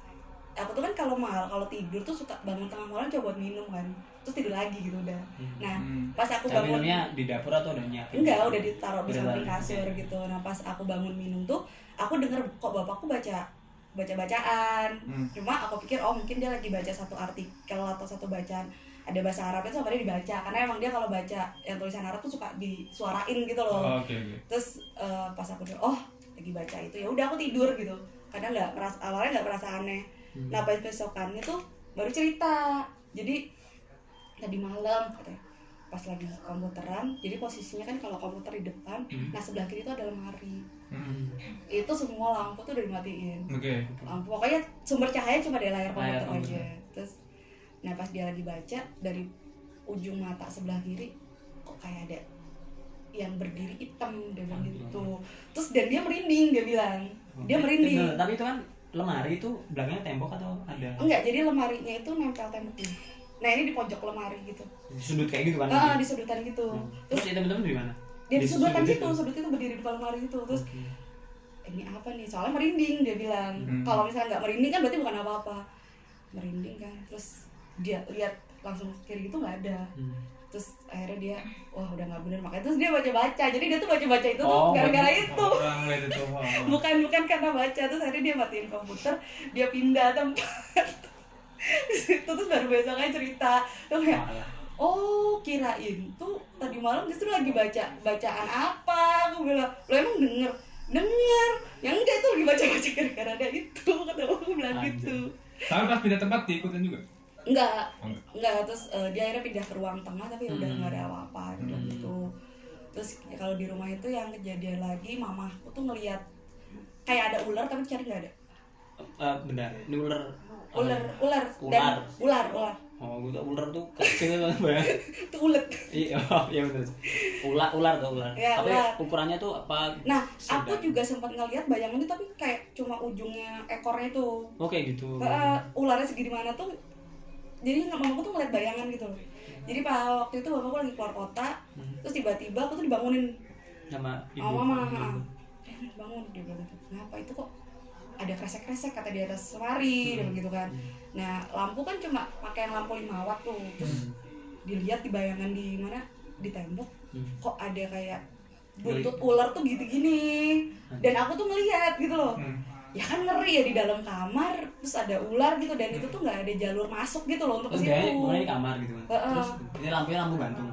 Speaker 1: aku tuh kan kalau mahal kalau tidur tuh suka bangun tengah malam coba buat minum kan terus tidur lagi gitu udah nah
Speaker 4: Hmm.
Speaker 1: pas aku
Speaker 3: Saya
Speaker 1: bangun
Speaker 3: minumnya di dapur atau udah nyiapin?
Speaker 1: Enggak, udah ditaruh di
Speaker 3: Udah
Speaker 1: samping
Speaker 3: taruh.
Speaker 1: kasur gitu. Nah, pas aku bangun minum tuh, aku denger kok bapakku baca baca-bacaan.
Speaker 4: Hmm.
Speaker 1: Cuma aku pikir oh mungkin dia lagi baca satu artikel atau satu bacaan ada bahasa Arabnya sama dia dibaca karena emang dia kalau baca yang tulisan Arab tuh suka disuarain gitu loh.
Speaker 4: Oh, Oke, oke.
Speaker 1: Terus eh, pas aku denger, oh lagi baca itu ya udah aku tidur gitu. Karena nggak merasa awalnya nggak merasa aneh.
Speaker 3: Hmm.
Speaker 1: Nah pas besokannya tuh baru cerita. Jadi tadi malam katanya pas lagi komputeran, jadi posisinya kan kalau komputer di depan,
Speaker 3: Hmm.
Speaker 1: nah sebelah kiri itu ada lemari.
Speaker 4: Hmm.
Speaker 1: Itu semua lampu tuh udah dimatiin.
Speaker 4: Oke.
Speaker 1: Lampu pokoknya sumber cahaya cuma dari layar komputer
Speaker 3: Layar komputer.
Speaker 1: aja. Terus nah pas dia lagi baca dari ujung mata sebelah kiri kok kayak ada yang berdiri hitam dia bilang gitu. Terus dan dia merinding dia bilang. Dia merinding.
Speaker 3: Bener,
Speaker 1: Oh.
Speaker 3: Tapi itu kan lemari itu belakangnya tembok atau ada?
Speaker 1: Enggak, jadi lemarinya itu nempel tembok nah ini di pojok lemari gitu
Speaker 3: di sudut kayak gitu kan
Speaker 1: ah di sudutan gitu
Speaker 3: terus
Speaker 1: terus
Speaker 3: ya temen-temen di mana
Speaker 1: dia di sudutan
Speaker 3: situ.
Speaker 1: situ sudut itu berdiri di depan lemari gitu terus "Eh, ini apa nih soalnya merinding dia bilang
Speaker 4: Hmm.
Speaker 1: kalau misalnya nggak merinding kan berarti bukan apa-apa merinding kan terus dia lihat langsung ke kiri itu nggak ada
Speaker 3: Hmm.
Speaker 1: terus akhirnya dia wah udah nggak bener makanya terus dia baca baca jadi dia tuh baca baca itu tuh
Speaker 3: Oh,
Speaker 1: gara-gara
Speaker 3: berarti-
Speaker 1: itu (laughs)
Speaker 4: orang lihat itu oh, oh.
Speaker 1: bukan bukan karena baca terus akhirnya dia matiin komputer dia pindah tempat (laughs) Di situ terus baru besoknya cerita tuh kayak
Speaker 3: Malah.
Speaker 1: oh kirain tuh tadi malam justru lagi baca bacaan apa aku bilang lo emang denger denger yang enggak itu lagi baca baca gara-gara ada itu (laughs) kata aku bilang
Speaker 3: Anjir.
Speaker 1: gitu
Speaker 4: Tapi pas pindah tempat diikutin juga.
Speaker 1: enggak
Speaker 4: Oh, enggak.
Speaker 1: enggak terus eh, dia akhirnya pindah ke ruang tengah tapi udah
Speaker 3: Hmm.
Speaker 1: nggak ada apa-apa dia bilang
Speaker 4: Hmm.
Speaker 1: gitu terus ya, kalau di rumah itu yang kejadian lagi mamahku tuh ngelihat kayak ada ular tapi cari nggak ada
Speaker 3: Eh, bentar ini ular Oh,
Speaker 1: ular ular dan ular ular
Speaker 3: oh gue tuh ular tuh kecil banget
Speaker 1: itu ulet
Speaker 3: iya (laughs) oh, iya betul ular ular tuh ular
Speaker 1: Iya,
Speaker 3: tapi
Speaker 1: ular.
Speaker 3: ukurannya tuh apa
Speaker 1: nah
Speaker 3: Sedang.
Speaker 1: aku juga sempat ngelihat bayangan itu tapi kayak cuma ujungnya ekornya tuh
Speaker 3: oke gitu
Speaker 1: Eh, ularnya segini mana tuh jadi mamaku tuh ngeliat bayangan gitu loh jadi pak waktu itu bapakku lagi keluar kota
Speaker 3: Hmm.
Speaker 1: terus tiba-tiba aku tuh dibangunin
Speaker 3: sama ibu Gitu.
Speaker 1: sama mama "Ah, eh, bangun dia bilang gitu kenapa itu kok ada kresek-kresek kata di atas
Speaker 3: Hmm.
Speaker 1: lemari dia bilang gitu kan
Speaker 3: Hmm.
Speaker 1: nah lampu kan cuma pakai yang lampu lima watt tuh terus dilihat di bayangan di mana di tembok
Speaker 3: Hmm.
Speaker 1: kok ada kayak buntut ular tuh gitu-gini
Speaker 3: Hmm.
Speaker 1: dan aku tuh ngeliat gitu loh
Speaker 4: Hmm.
Speaker 1: ya kan ngeri ya di dalam kamar terus ada ular gitu dan itu tuh nggak ada jalur masuk gitu loh untuk
Speaker 3: terus
Speaker 1: ke
Speaker 3: dia
Speaker 1: situ
Speaker 3: mulai di kamar gitu kan
Speaker 1: Heeh.
Speaker 3: terus ini lampunya lampu gantung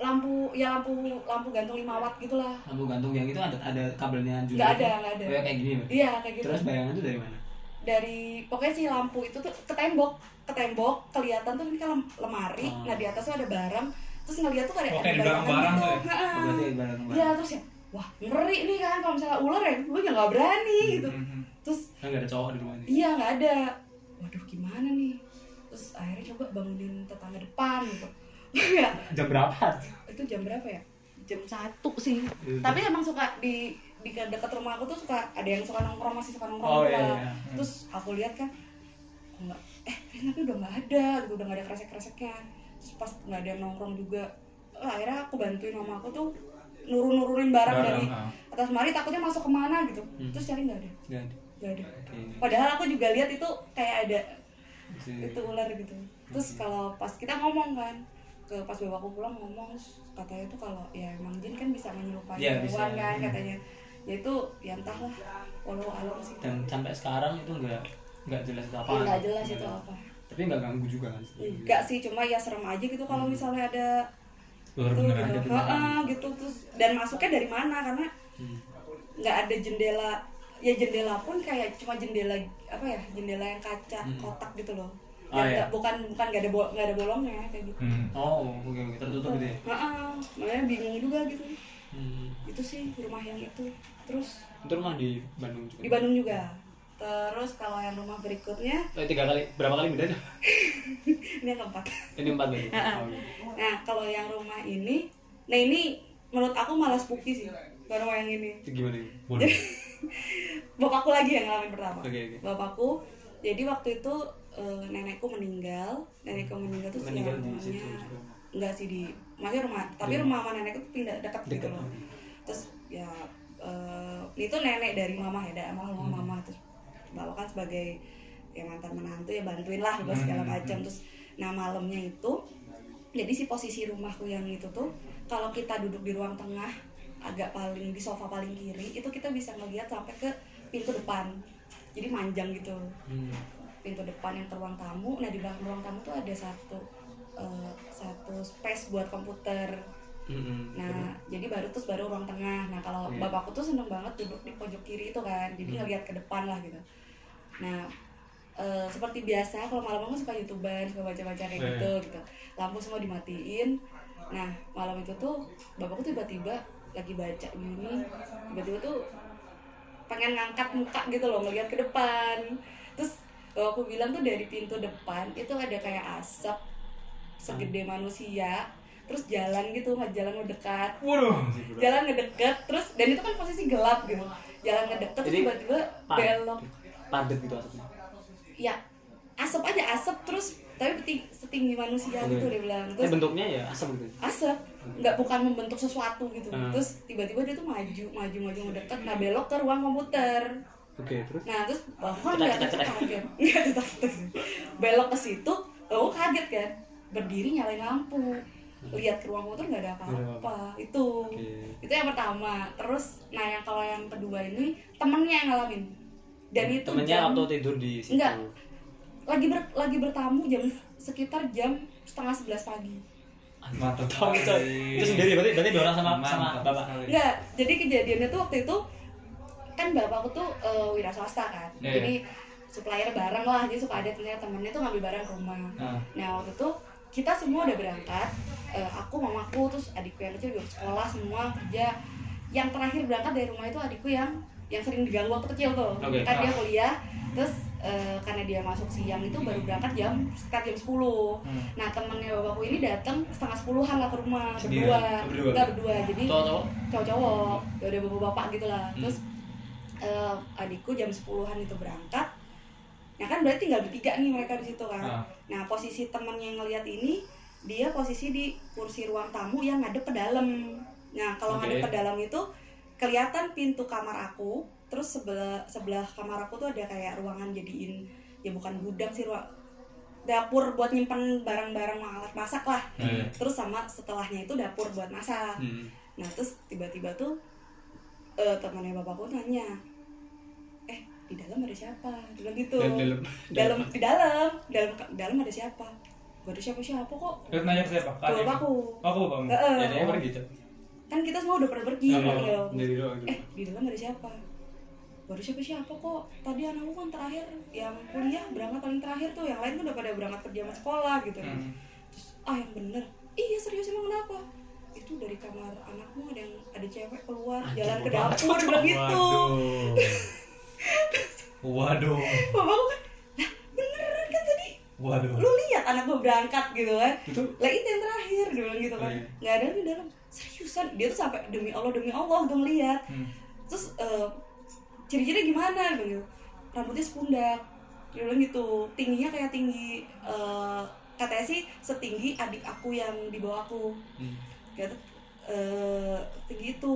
Speaker 1: lampu ya lampu lampu gantung 5 watt gitulah
Speaker 3: lampu gantung yang itu ada ada kabelnya juga
Speaker 1: nggak ada
Speaker 3: gitu.
Speaker 1: nggak ada
Speaker 3: Kayak- kayak gini berarti.
Speaker 1: iya kayak gitu
Speaker 3: terus bayangan tuh dari mana
Speaker 1: dari pokoknya si lampu itu tuh ke tembok ke tembok kelihatan tuh ini kan lem- lemari
Speaker 3: Oh.
Speaker 1: nah di atas tuh ada barang terus ngeliat tuh kayak
Speaker 4: Oke,
Speaker 1: ada
Speaker 4: di belakang barang
Speaker 1: gitu.
Speaker 4: tuh ya?
Speaker 1: Heeh.
Speaker 3: Oh, berarti barang
Speaker 1: iya terus ya wah ngeri nih kan kalau misalnya ular ya gue ya nggak berani gitu
Speaker 4: Hmm.
Speaker 1: terus
Speaker 3: kan nggak ada cowok di rumah ini
Speaker 1: iya nggak ada waduh gimana nih terus akhirnya coba bangunin tetangga depan gitu (laughs) ya
Speaker 3: jam berapa
Speaker 1: itu jam berapa ya jam satu sih tapi emang suka di di dekat rumah aku tuh suka ada yang suka nongkrong masih suka nongkrong
Speaker 3: oh
Speaker 1: gitu
Speaker 3: iya
Speaker 1: lah.
Speaker 3: iya
Speaker 1: terus aku lihat kan kok nggak eh tapi udah nggak ada gitu udah nggak ada kresek kreseknya terus pas nggak ada yang nongkrong juga eh, akhirnya aku bantuin mama aku tuh nurun nurunin barang dari
Speaker 4: ah.
Speaker 1: atas mari takutnya masuk kemana gitu
Speaker 3: Hmm.
Speaker 1: terus cari nggak ada
Speaker 3: Nggak ada.
Speaker 1: nggak ada
Speaker 3: Oke.
Speaker 1: padahal aku juga lihat itu kayak ada
Speaker 3: Terus-
Speaker 1: itu ular gitu terus
Speaker 3: Oke.
Speaker 1: kalau pas kita ngomong kan ke pas bapakku pulang ngomong terus katanya tuh kalau ya emang jin kan bisa menyerupai
Speaker 3: Iya, bisa.
Speaker 1: hewan kan
Speaker 3: Hmm.
Speaker 1: katanya ya itu ya entahlah walau alam sih
Speaker 3: dan sampai sekarang itu nggak nggak jelas itu apa Iya.
Speaker 1: Ya, nggak jelas itu apa
Speaker 3: tapi nggak ganggu juga kan
Speaker 1: enggak sih cuma ya serem aja gitu kalau
Speaker 3: Hmm.
Speaker 1: misalnya ada
Speaker 4: Ular
Speaker 1: tuh
Speaker 4: beneran.
Speaker 1: gitu. Heeh, gitu terus dan masuknya dari mana karena
Speaker 3: Hmm.
Speaker 1: nggak ada jendela ya jendela pun kayak cuma jendela apa ya jendela yang kaca
Speaker 3: Hmm.
Speaker 1: kotak gitu loh
Speaker 3: Oh,
Speaker 1: Yang
Speaker 3: iya.
Speaker 1: nggak- bukan bukan nggak ada bol- nggak ada bolongnya kayak gitu
Speaker 4: Hmm.
Speaker 3: oh oke oke tertutup gitu ya
Speaker 1: Heeh, Ah, makanya bingung juga gitu
Speaker 3: hmm.
Speaker 1: itu sih rumah yang itu terus
Speaker 3: itu rumah di Bandung juga
Speaker 1: di Bandung juga terus kalau yang rumah berikutnya
Speaker 3: Eh, tiga kali berapa kali beda tuh? (laughs)
Speaker 1: ini yang keempat
Speaker 3: ini empat kali oh, iya.
Speaker 1: nah kalau yang rumah ini nah ini menurut aku malah spooky sih kalau rumah yang ini
Speaker 3: itu gimana ini?
Speaker 4: Boleh.
Speaker 1: bapakku lagi yang ngalamin pertama
Speaker 3: oke oke
Speaker 1: bapakku jadi waktu itu eh, nenekku meninggal nenekku meninggal terus
Speaker 3: meninggal kan di
Speaker 1: rumahnya-
Speaker 3: situ juga.
Speaker 1: enggak sih di masih rumah tapi
Speaker 3: Di-
Speaker 1: rumah sama nenekku tuh pindah dekat gitu
Speaker 3: dekat oh.
Speaker 1: loh terus ya eh, itu nenek dari mama ya dari mama
Speaker 3: Hmm.
Speaker 1: mama terus bawa kan sebagai ya mantan menantu ya bantuin lah gua segala
Speaker 4: Hmm.
Speaker 1: macam terus nah malamnya itu jadi si posisi rumahku yang itu tuh kalau kita duduk di ruang tengah agak paling di sofa paling kiri itu kita bisa ngelihat sampai ke pintu depan jadi manjang gitu
Speaker 3: Hmm.
Speaker 1: pintu depan yang ke ruang tamu nah di belakang ruang tamu tuh ada satu eh, satu space buat komputer
Speaker 3: Hmm, hmm.
Speaker 1: Nah, jadi baru terus baru ruang tengah. Nah, kalau
Speaker 3: Iya.
Speaker 1: bapakku tuh seneng banget duduk di pojok kiri itu kan, jadi
Speaker 3: Hmm.
Speaker 1: ngeliat ke depan lah gitu. Nah, eh, seperti biasa kalau malam aku suka youtuber, suka baca-baca kayak
Speaker 4: Iya.
Speaker 1: gitu gitu. Lampu semua dimatiin. Nah, malam itu tuh bapakku tuh tiba-tiba lagi baca gini, tiba-tiba tuh pengen ngangkat muka gitu loh, ngeliat ke depan. Terus bapakku bilang tuh dari pintu depan itu ada kayak asap segede manusia terus jalan gitu jalan ngedekat
Speaker 4: Waduh.
Speaker 3: Anjir, bro.
Speaker 1: jalan ngedeket terus dan itu kan posisi gelap gitu jalan ngedeket terus
Speaker 3: Jadi,
Speaker 1: tiba-tiba
Speaker 3: padet.
Speaker 1: belok
Speaker 3: padet gitu asapnya
Speaker 1: ya asap aja asap terus tapi peti- setinggi manusia gitu dia bilang
Speaker 3: Tapi
Speaker 1: terus
Speaker 3: bentuknya ya asam gitu.
Speaker 1: asap nggak bukan membentuk sesuatu gitu
Speaker 3: Hmm.
Speaker 1: terus tiba-tiba dia tuh maju maju maju mendekat nah belok ke ruang komputer
Speaker 3: Oke, terus
Speaker 1: nah terus bahkan
Speaker 3: Cetak,
Speaker 1: nggak
Speaker 3: cetak, cetak.
Speaker 1: kaget (laughs) nggak cetak, cetak sih. belok ke situ oh kaget kan berdiri nyalain lampu lihat ke ruang komputer Hmm. nggak ada apa-apa itu
Speaker 3: oke.
Speaker 1: itu yang pertama terus nah yang kalau yang kedua ini temennya yang ngalamin dan itu
Speaker 3: temennya
Speaker 1: jam-
Speaker 3: waktu tidur di situ.
Speaker 1: Enggak. lagi ber- lagi bertamu jam sekitar jam setengah sebelas pagi
Speaker 4: Mantap.
Speaker 3: Tahu gitu.
Speaker 4: sekali.
Speaker 3: Itu sendiri berarti berarti dua orang sama sama
Speaker 4: Mantap Iya.
Speaker 3: bapak.
Speaker 4: sekali.
Speaker 1: Enggak, jadi kejadiannya tuh waktu itu kan bapakku tuh eh, wira swasta kan.
Speaker 4: Iya.
Speaker 1: Jadi supplier barang lah, jadi suka ada ternyata temennya tuh ngambil barang ke rumah.
Speaker 4: Nah,
Speaker 1: Nah, waktu itu kita semua udah berangkat, Eh, aku, mamaku, terus adikku yang kecil juga sekolah semua kerja. Yang terakhir berangkat dari rumah itu adikku yang yang sering diganggu waktu kecil tuh.
Speaker 3: Oke,
Speaker 1: kan dia
Speaker 4: ah.
Speaker 1: kuliah, terus eh, karena dia masuk siang itu baru berangkat jam sekitar jam 10.
Speaker 4: hmm.
Speaker 1: Nah, temennya bapakku ini datang setengah 10-an lah ke rumah
Speaker 4: Sendiri,
Speaker 1: berdua.
Speaker 3: Oh, berdua.
Speaker 1: Enggak berdua. Jadi
Speaker 3: Cowok-cowok.
Speaker 1: cowok-cowok
Speaker 4: Hmm.
Speaker 1: ya udah bapak-bapak gitu lah terus eh, adikku jam 10-an itu berangkat ya kan berarti tinggal bertiga nih mereka di situ kan
Speaker 4: Ah.
Speaker 1: nah posisi temen yang ngelihat ini dia posisi di kursi ruang tamu yang ngadep ke dalam nah kalau
Speaker 4: Oke.
Speaker 1: ngadep ke dalam itu kelihatan pintu kamar aku terus sebelah sebelah kamar aku tuh ada kayak ruangan jadiin ya bukan gudang sih ruang dapur buat nyimpen barang-barang alat masak lah
Speaker 4: Iya.
Speaker 1: terus sama setelahnya itu dapur buat masak
Speaker 3: Hmm.
Speaker 1: Nah terus tiba-tiba tuh eh, temannya bapakku nanya, eh di dalam ada siapa? Dia bilang gitu.
Speaker 3: Dalam dalam.
Speaker 1: Dalam di dalam dalam dalam ada siapa? Gak ada siapa-siapa kok.
Speaker 4: Terus nanya ke siapa? Ke
Speaker 1: Ke
Speaker 4: adik.
Speaker 1: bapakku.
Speaker 4: Aku bapak.
Speaker 1: Heeh.
Speaker 3: Ya, dia pergi gitu.
Speaker 1: kan kita semua udah pada pergi.
Speaker 4: Iya.
Speaker 1: beliau.
Speaker 3: Jadi doang gitu.
Speaker 1: Eh di dalam ada siapa? Baru siapa siapa kok? Tadi anakku kan terakhir yang kuliah berangkat paling terakhir tuh, yang lain tuh udah pada berangkat kerja sama sekolah gitu.
Speaker 4: Hmm.
Speaker 1: Terus ah yang bener. Iya serius emang kenapa? Itu dari kamar anakmu ada yang ada cewek keluar
Speaker 3: Anjing,
Speaker 1: jalan ke
Speaker 3: bapak.
Speaker 1: dapur bilang gitu.
Speaker 4: Waduh. Waduh.
Speaker 1: Bapakku kan, lah beneran kan tadi
Speaker 4: Waduh.
Speaker 1: lu lihat anak gue berangkat gitu kan.
Speaker 3: Itu
Speaker 1: Lah itu yang terakhir dia bilang gitu kan.
Speaker 3: Iya.
Speaker 1: Nggak ada di dalam. Seriusan dia tuh sampai demi Allah demi Allah gue ngeliat.
Speaker 4: Hmm.
Speaker 1: Terus eh, ciri-cirinya gimana dia bilang gitu. Rambutnya sepundak. Dia bilang gitu. Tingginya kayak tinggi eh, katanya sih setinggi adik aku yang di bawah aku.
Speaker 4: Hmm.
Speaker 1: Kayak tuh, eh, tinggi itu.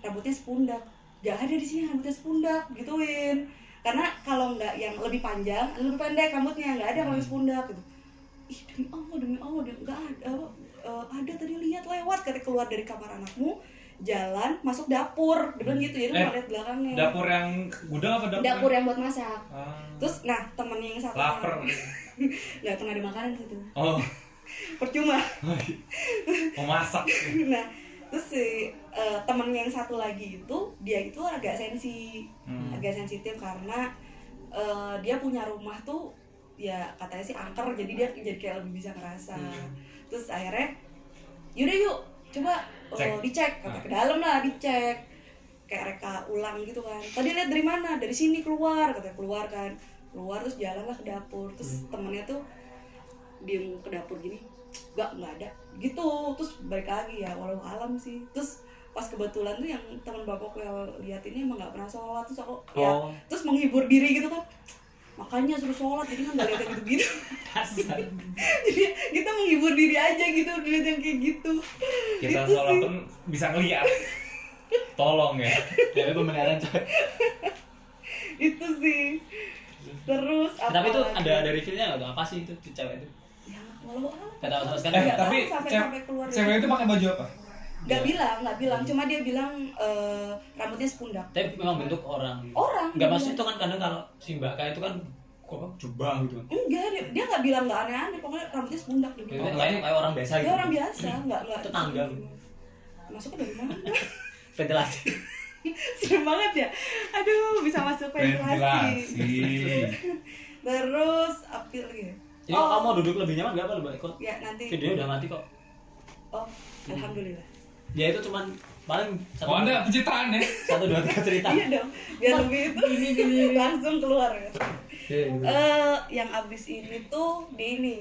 Speaker 1: Rambutnya sepundak. Gak ada di sini rambutnya sepundak gituin. Karena kalau nggak yang lebih panjang, lebih pendek rambutnya nggak ada kalau yang sepundak gitu ih demi Allah demi Allah demi nggak ada eh, ada tadi lihat lewat kata keluar dari kamar anakmu jalan masuk dapur dia bilang gitu jadi
Speaker 4: Eh,
Speaker 1: nggak lihat belakangnya
Speaker 4: Dapur yang gudang apa dapur?
Speaker 1: dapur yang buat masak
Speaker 4: Ah.
Speaker 1: terus nah temennya yang satu
Speaker 4: Laper.
Speaker 1: nggak pernah ada makanan gitu
Speaker 4: Oh,
Speaker 1: percuma (laughs)
Speaker 4: mau masak.
Speaker 1: nah terus si eh, temennya yang satu lagi itu dia itu agak sensi
Speaker 4: Hmm.
Speaker 1: agak sensitif karena eh, dia punya rumah tuh ya katanya sih angker jadi dia jadi kayak lebih bisa ngerasa
Speaker 3: Hmm.
Speaker 1: terus akhirnya yaudah yuk coba eh,
Speaker 4: Cek. Ah.
Speaker 1: dicek kata ke dalam lah dicek kayak reka ulang gitu kan tadi lihat dari mana dari sini keluar katanya keluar kan keluar terus jalanlah ke dapur terus
Speaker 4: Hmm.
Speaker 1: temennya tuh diem ke dapur gini gak nggak ada gitu terus balik lagi ya walau alam sih terus pas kebetulan tuh yang teman bapakku yang lihat ini emang nggak pernah sholat terus aku ya
Speaker 3: oh,
Speaker 1: terus menghibur diri gitu kan makanya suruh sholat jadi kan gak lihat gitu gitu
Speaker 3: kasar.
Speaker 1: (laughs) jadi kita menghibur diri aja gitu dilihat yang kayak gitu
Speaker 4: Kita
Speaker 1: Itu
Speaker 4: sholat
Speaker 1: sih.
Speaker 4: pun bisa ngeliat. Tolong ya.
Speaker 3: Dari pembenaran coy.
Speaker 1: itu sih terus apa
Speaker 3: Tapi itu
Speaker 1: lagi?
Speaker 3: ada ada reviewnya nggak tuh? Apa sih itu si cewek itu?
Speaker 1: ya walau alam
Speaker 3: Gak tahu sama sekali.
Speaker 4: Eh,
Speaker 1: Nggak tahu
Speaker 4: tapi
Speaker 1: Iya, sampai-
Speaker 4: cew-
Speaker 1: sampai keluar. ya.
Speaker 4: cewek itu pakai baju apa?
Speaker 1: nggak bilang nggak bilang cuma dia bilang eh, rambutnya sepundak
Speaker 3: Tapi memang bentuk orang.
Speaker 1: orang
Speaker 3: Nggak
Speaker 1: dia
Speaker 3: maksud itu kan kadang kalau si Mbak K itu kan kok apa, jubah gitu kan.
Speaker 1: enggak dia, dia nggak bilang nggak aneh-aneh pokoknya rambutnya sepundak dia
Speaker 3: Itu
Speaker 1: bilang
Speaker 3: kayak kayak orang biasa gitu.
Speaker 1: dia orang biasa nggak nggak gitu.
Speaker 3: Tetangga.
Speaker 1: masuknya dari mana (laughs)
Speaker 3: Ventilasi.
Speaker 1: serem banget ya aduh bisa masuk ventilasi terus apa lagi ya?
Speaker 3: Jadi
Speaker 1: Oh.
Speaker 3: kamu mau duduk lebih nyaman nggak apa Mbak? Kok
Speaker 1: ya nanti
Speaker 3: video udah mati kok.
Speaker 1: oh alhamdulillah
Speaker 3: Ya itu cuman paling satu,
Speaker 4: Oh, anda pencitraan ya?
Speaker 3: satu dua tiga cerita.
Speaker 1: iya dong biar lebih itu (laughs) langsung keluar ya
Speaker 3: Iya, gitu.
Speaker 1: Eh, yang abis ini tuh di ini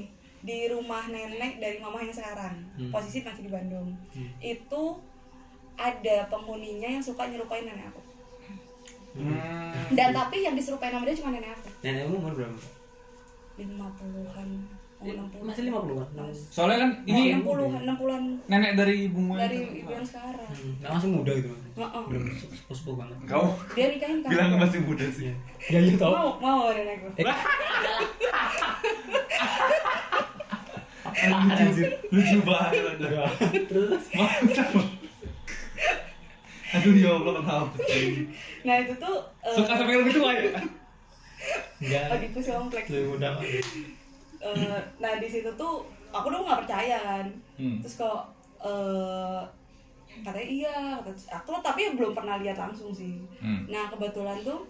Speaker 1: di rumah nenek dari mama yang sekarang
Speaker 3: Hmm.
Speaker 1: posisi masih di Bandung
Speaker 3: Hmm.
Speaker 1: itu ada penghuninya yang suka nyerupain nenek aku
Speaker 3: Hmm.
Speaker 4: Hmm.
Speaker 1: dan tapi yang diserupain sama dia cuma nenek aku
Speaker 3: Nenekmu umur berapa?
Speaker 1: lima puluhan enam puluh
Speaker 3: Eh, Masih Iya. 50-an?
Speaker 4: Soalnya kan ini
Speaker 1: enam puluhan enam puluhan
Speaker 4: nenek dari ibumu
Speaker 1: Nah, iya. dari
Speaker 4: itu.
Speaker 1: ibu yang sekarang
Speaker 3: Hmm, nah, masih muda gitu kan
Speaker 1: Heeh.
Speaker 3: belum sepuh banget
Speaker 4: Kau
Speaker 1: dia nikahin kan
Speaker 4: bilang masih muda sih.
Speaker 3: ya iya tau Eh,
Speaker 1: mau mau ada aku
Speaker 4: Anjir, lucu banget. Anda.
Speaker 3: terus
Speaker 4: Mantap. Aduh ya Allah kenapa sih?
Speaker 1: nah itu tuh eh,
Speaker 4: Suka sampai lebih tua ya?
Speaker 3: enggak
Speaker 1: adikku si komplek
Speaker 3: lebih muda Pak.
Speaker 1: Eh, nah di situ tuh aku dulu nggak percaya kan
Speaker 4: Hmm.
Speaker 1: terus kok eh katanya iya Terus aku tapi belum pernah lihat langsung sih
Speaker 4: Hmm.
Speaker 1: nah kebetulan tuh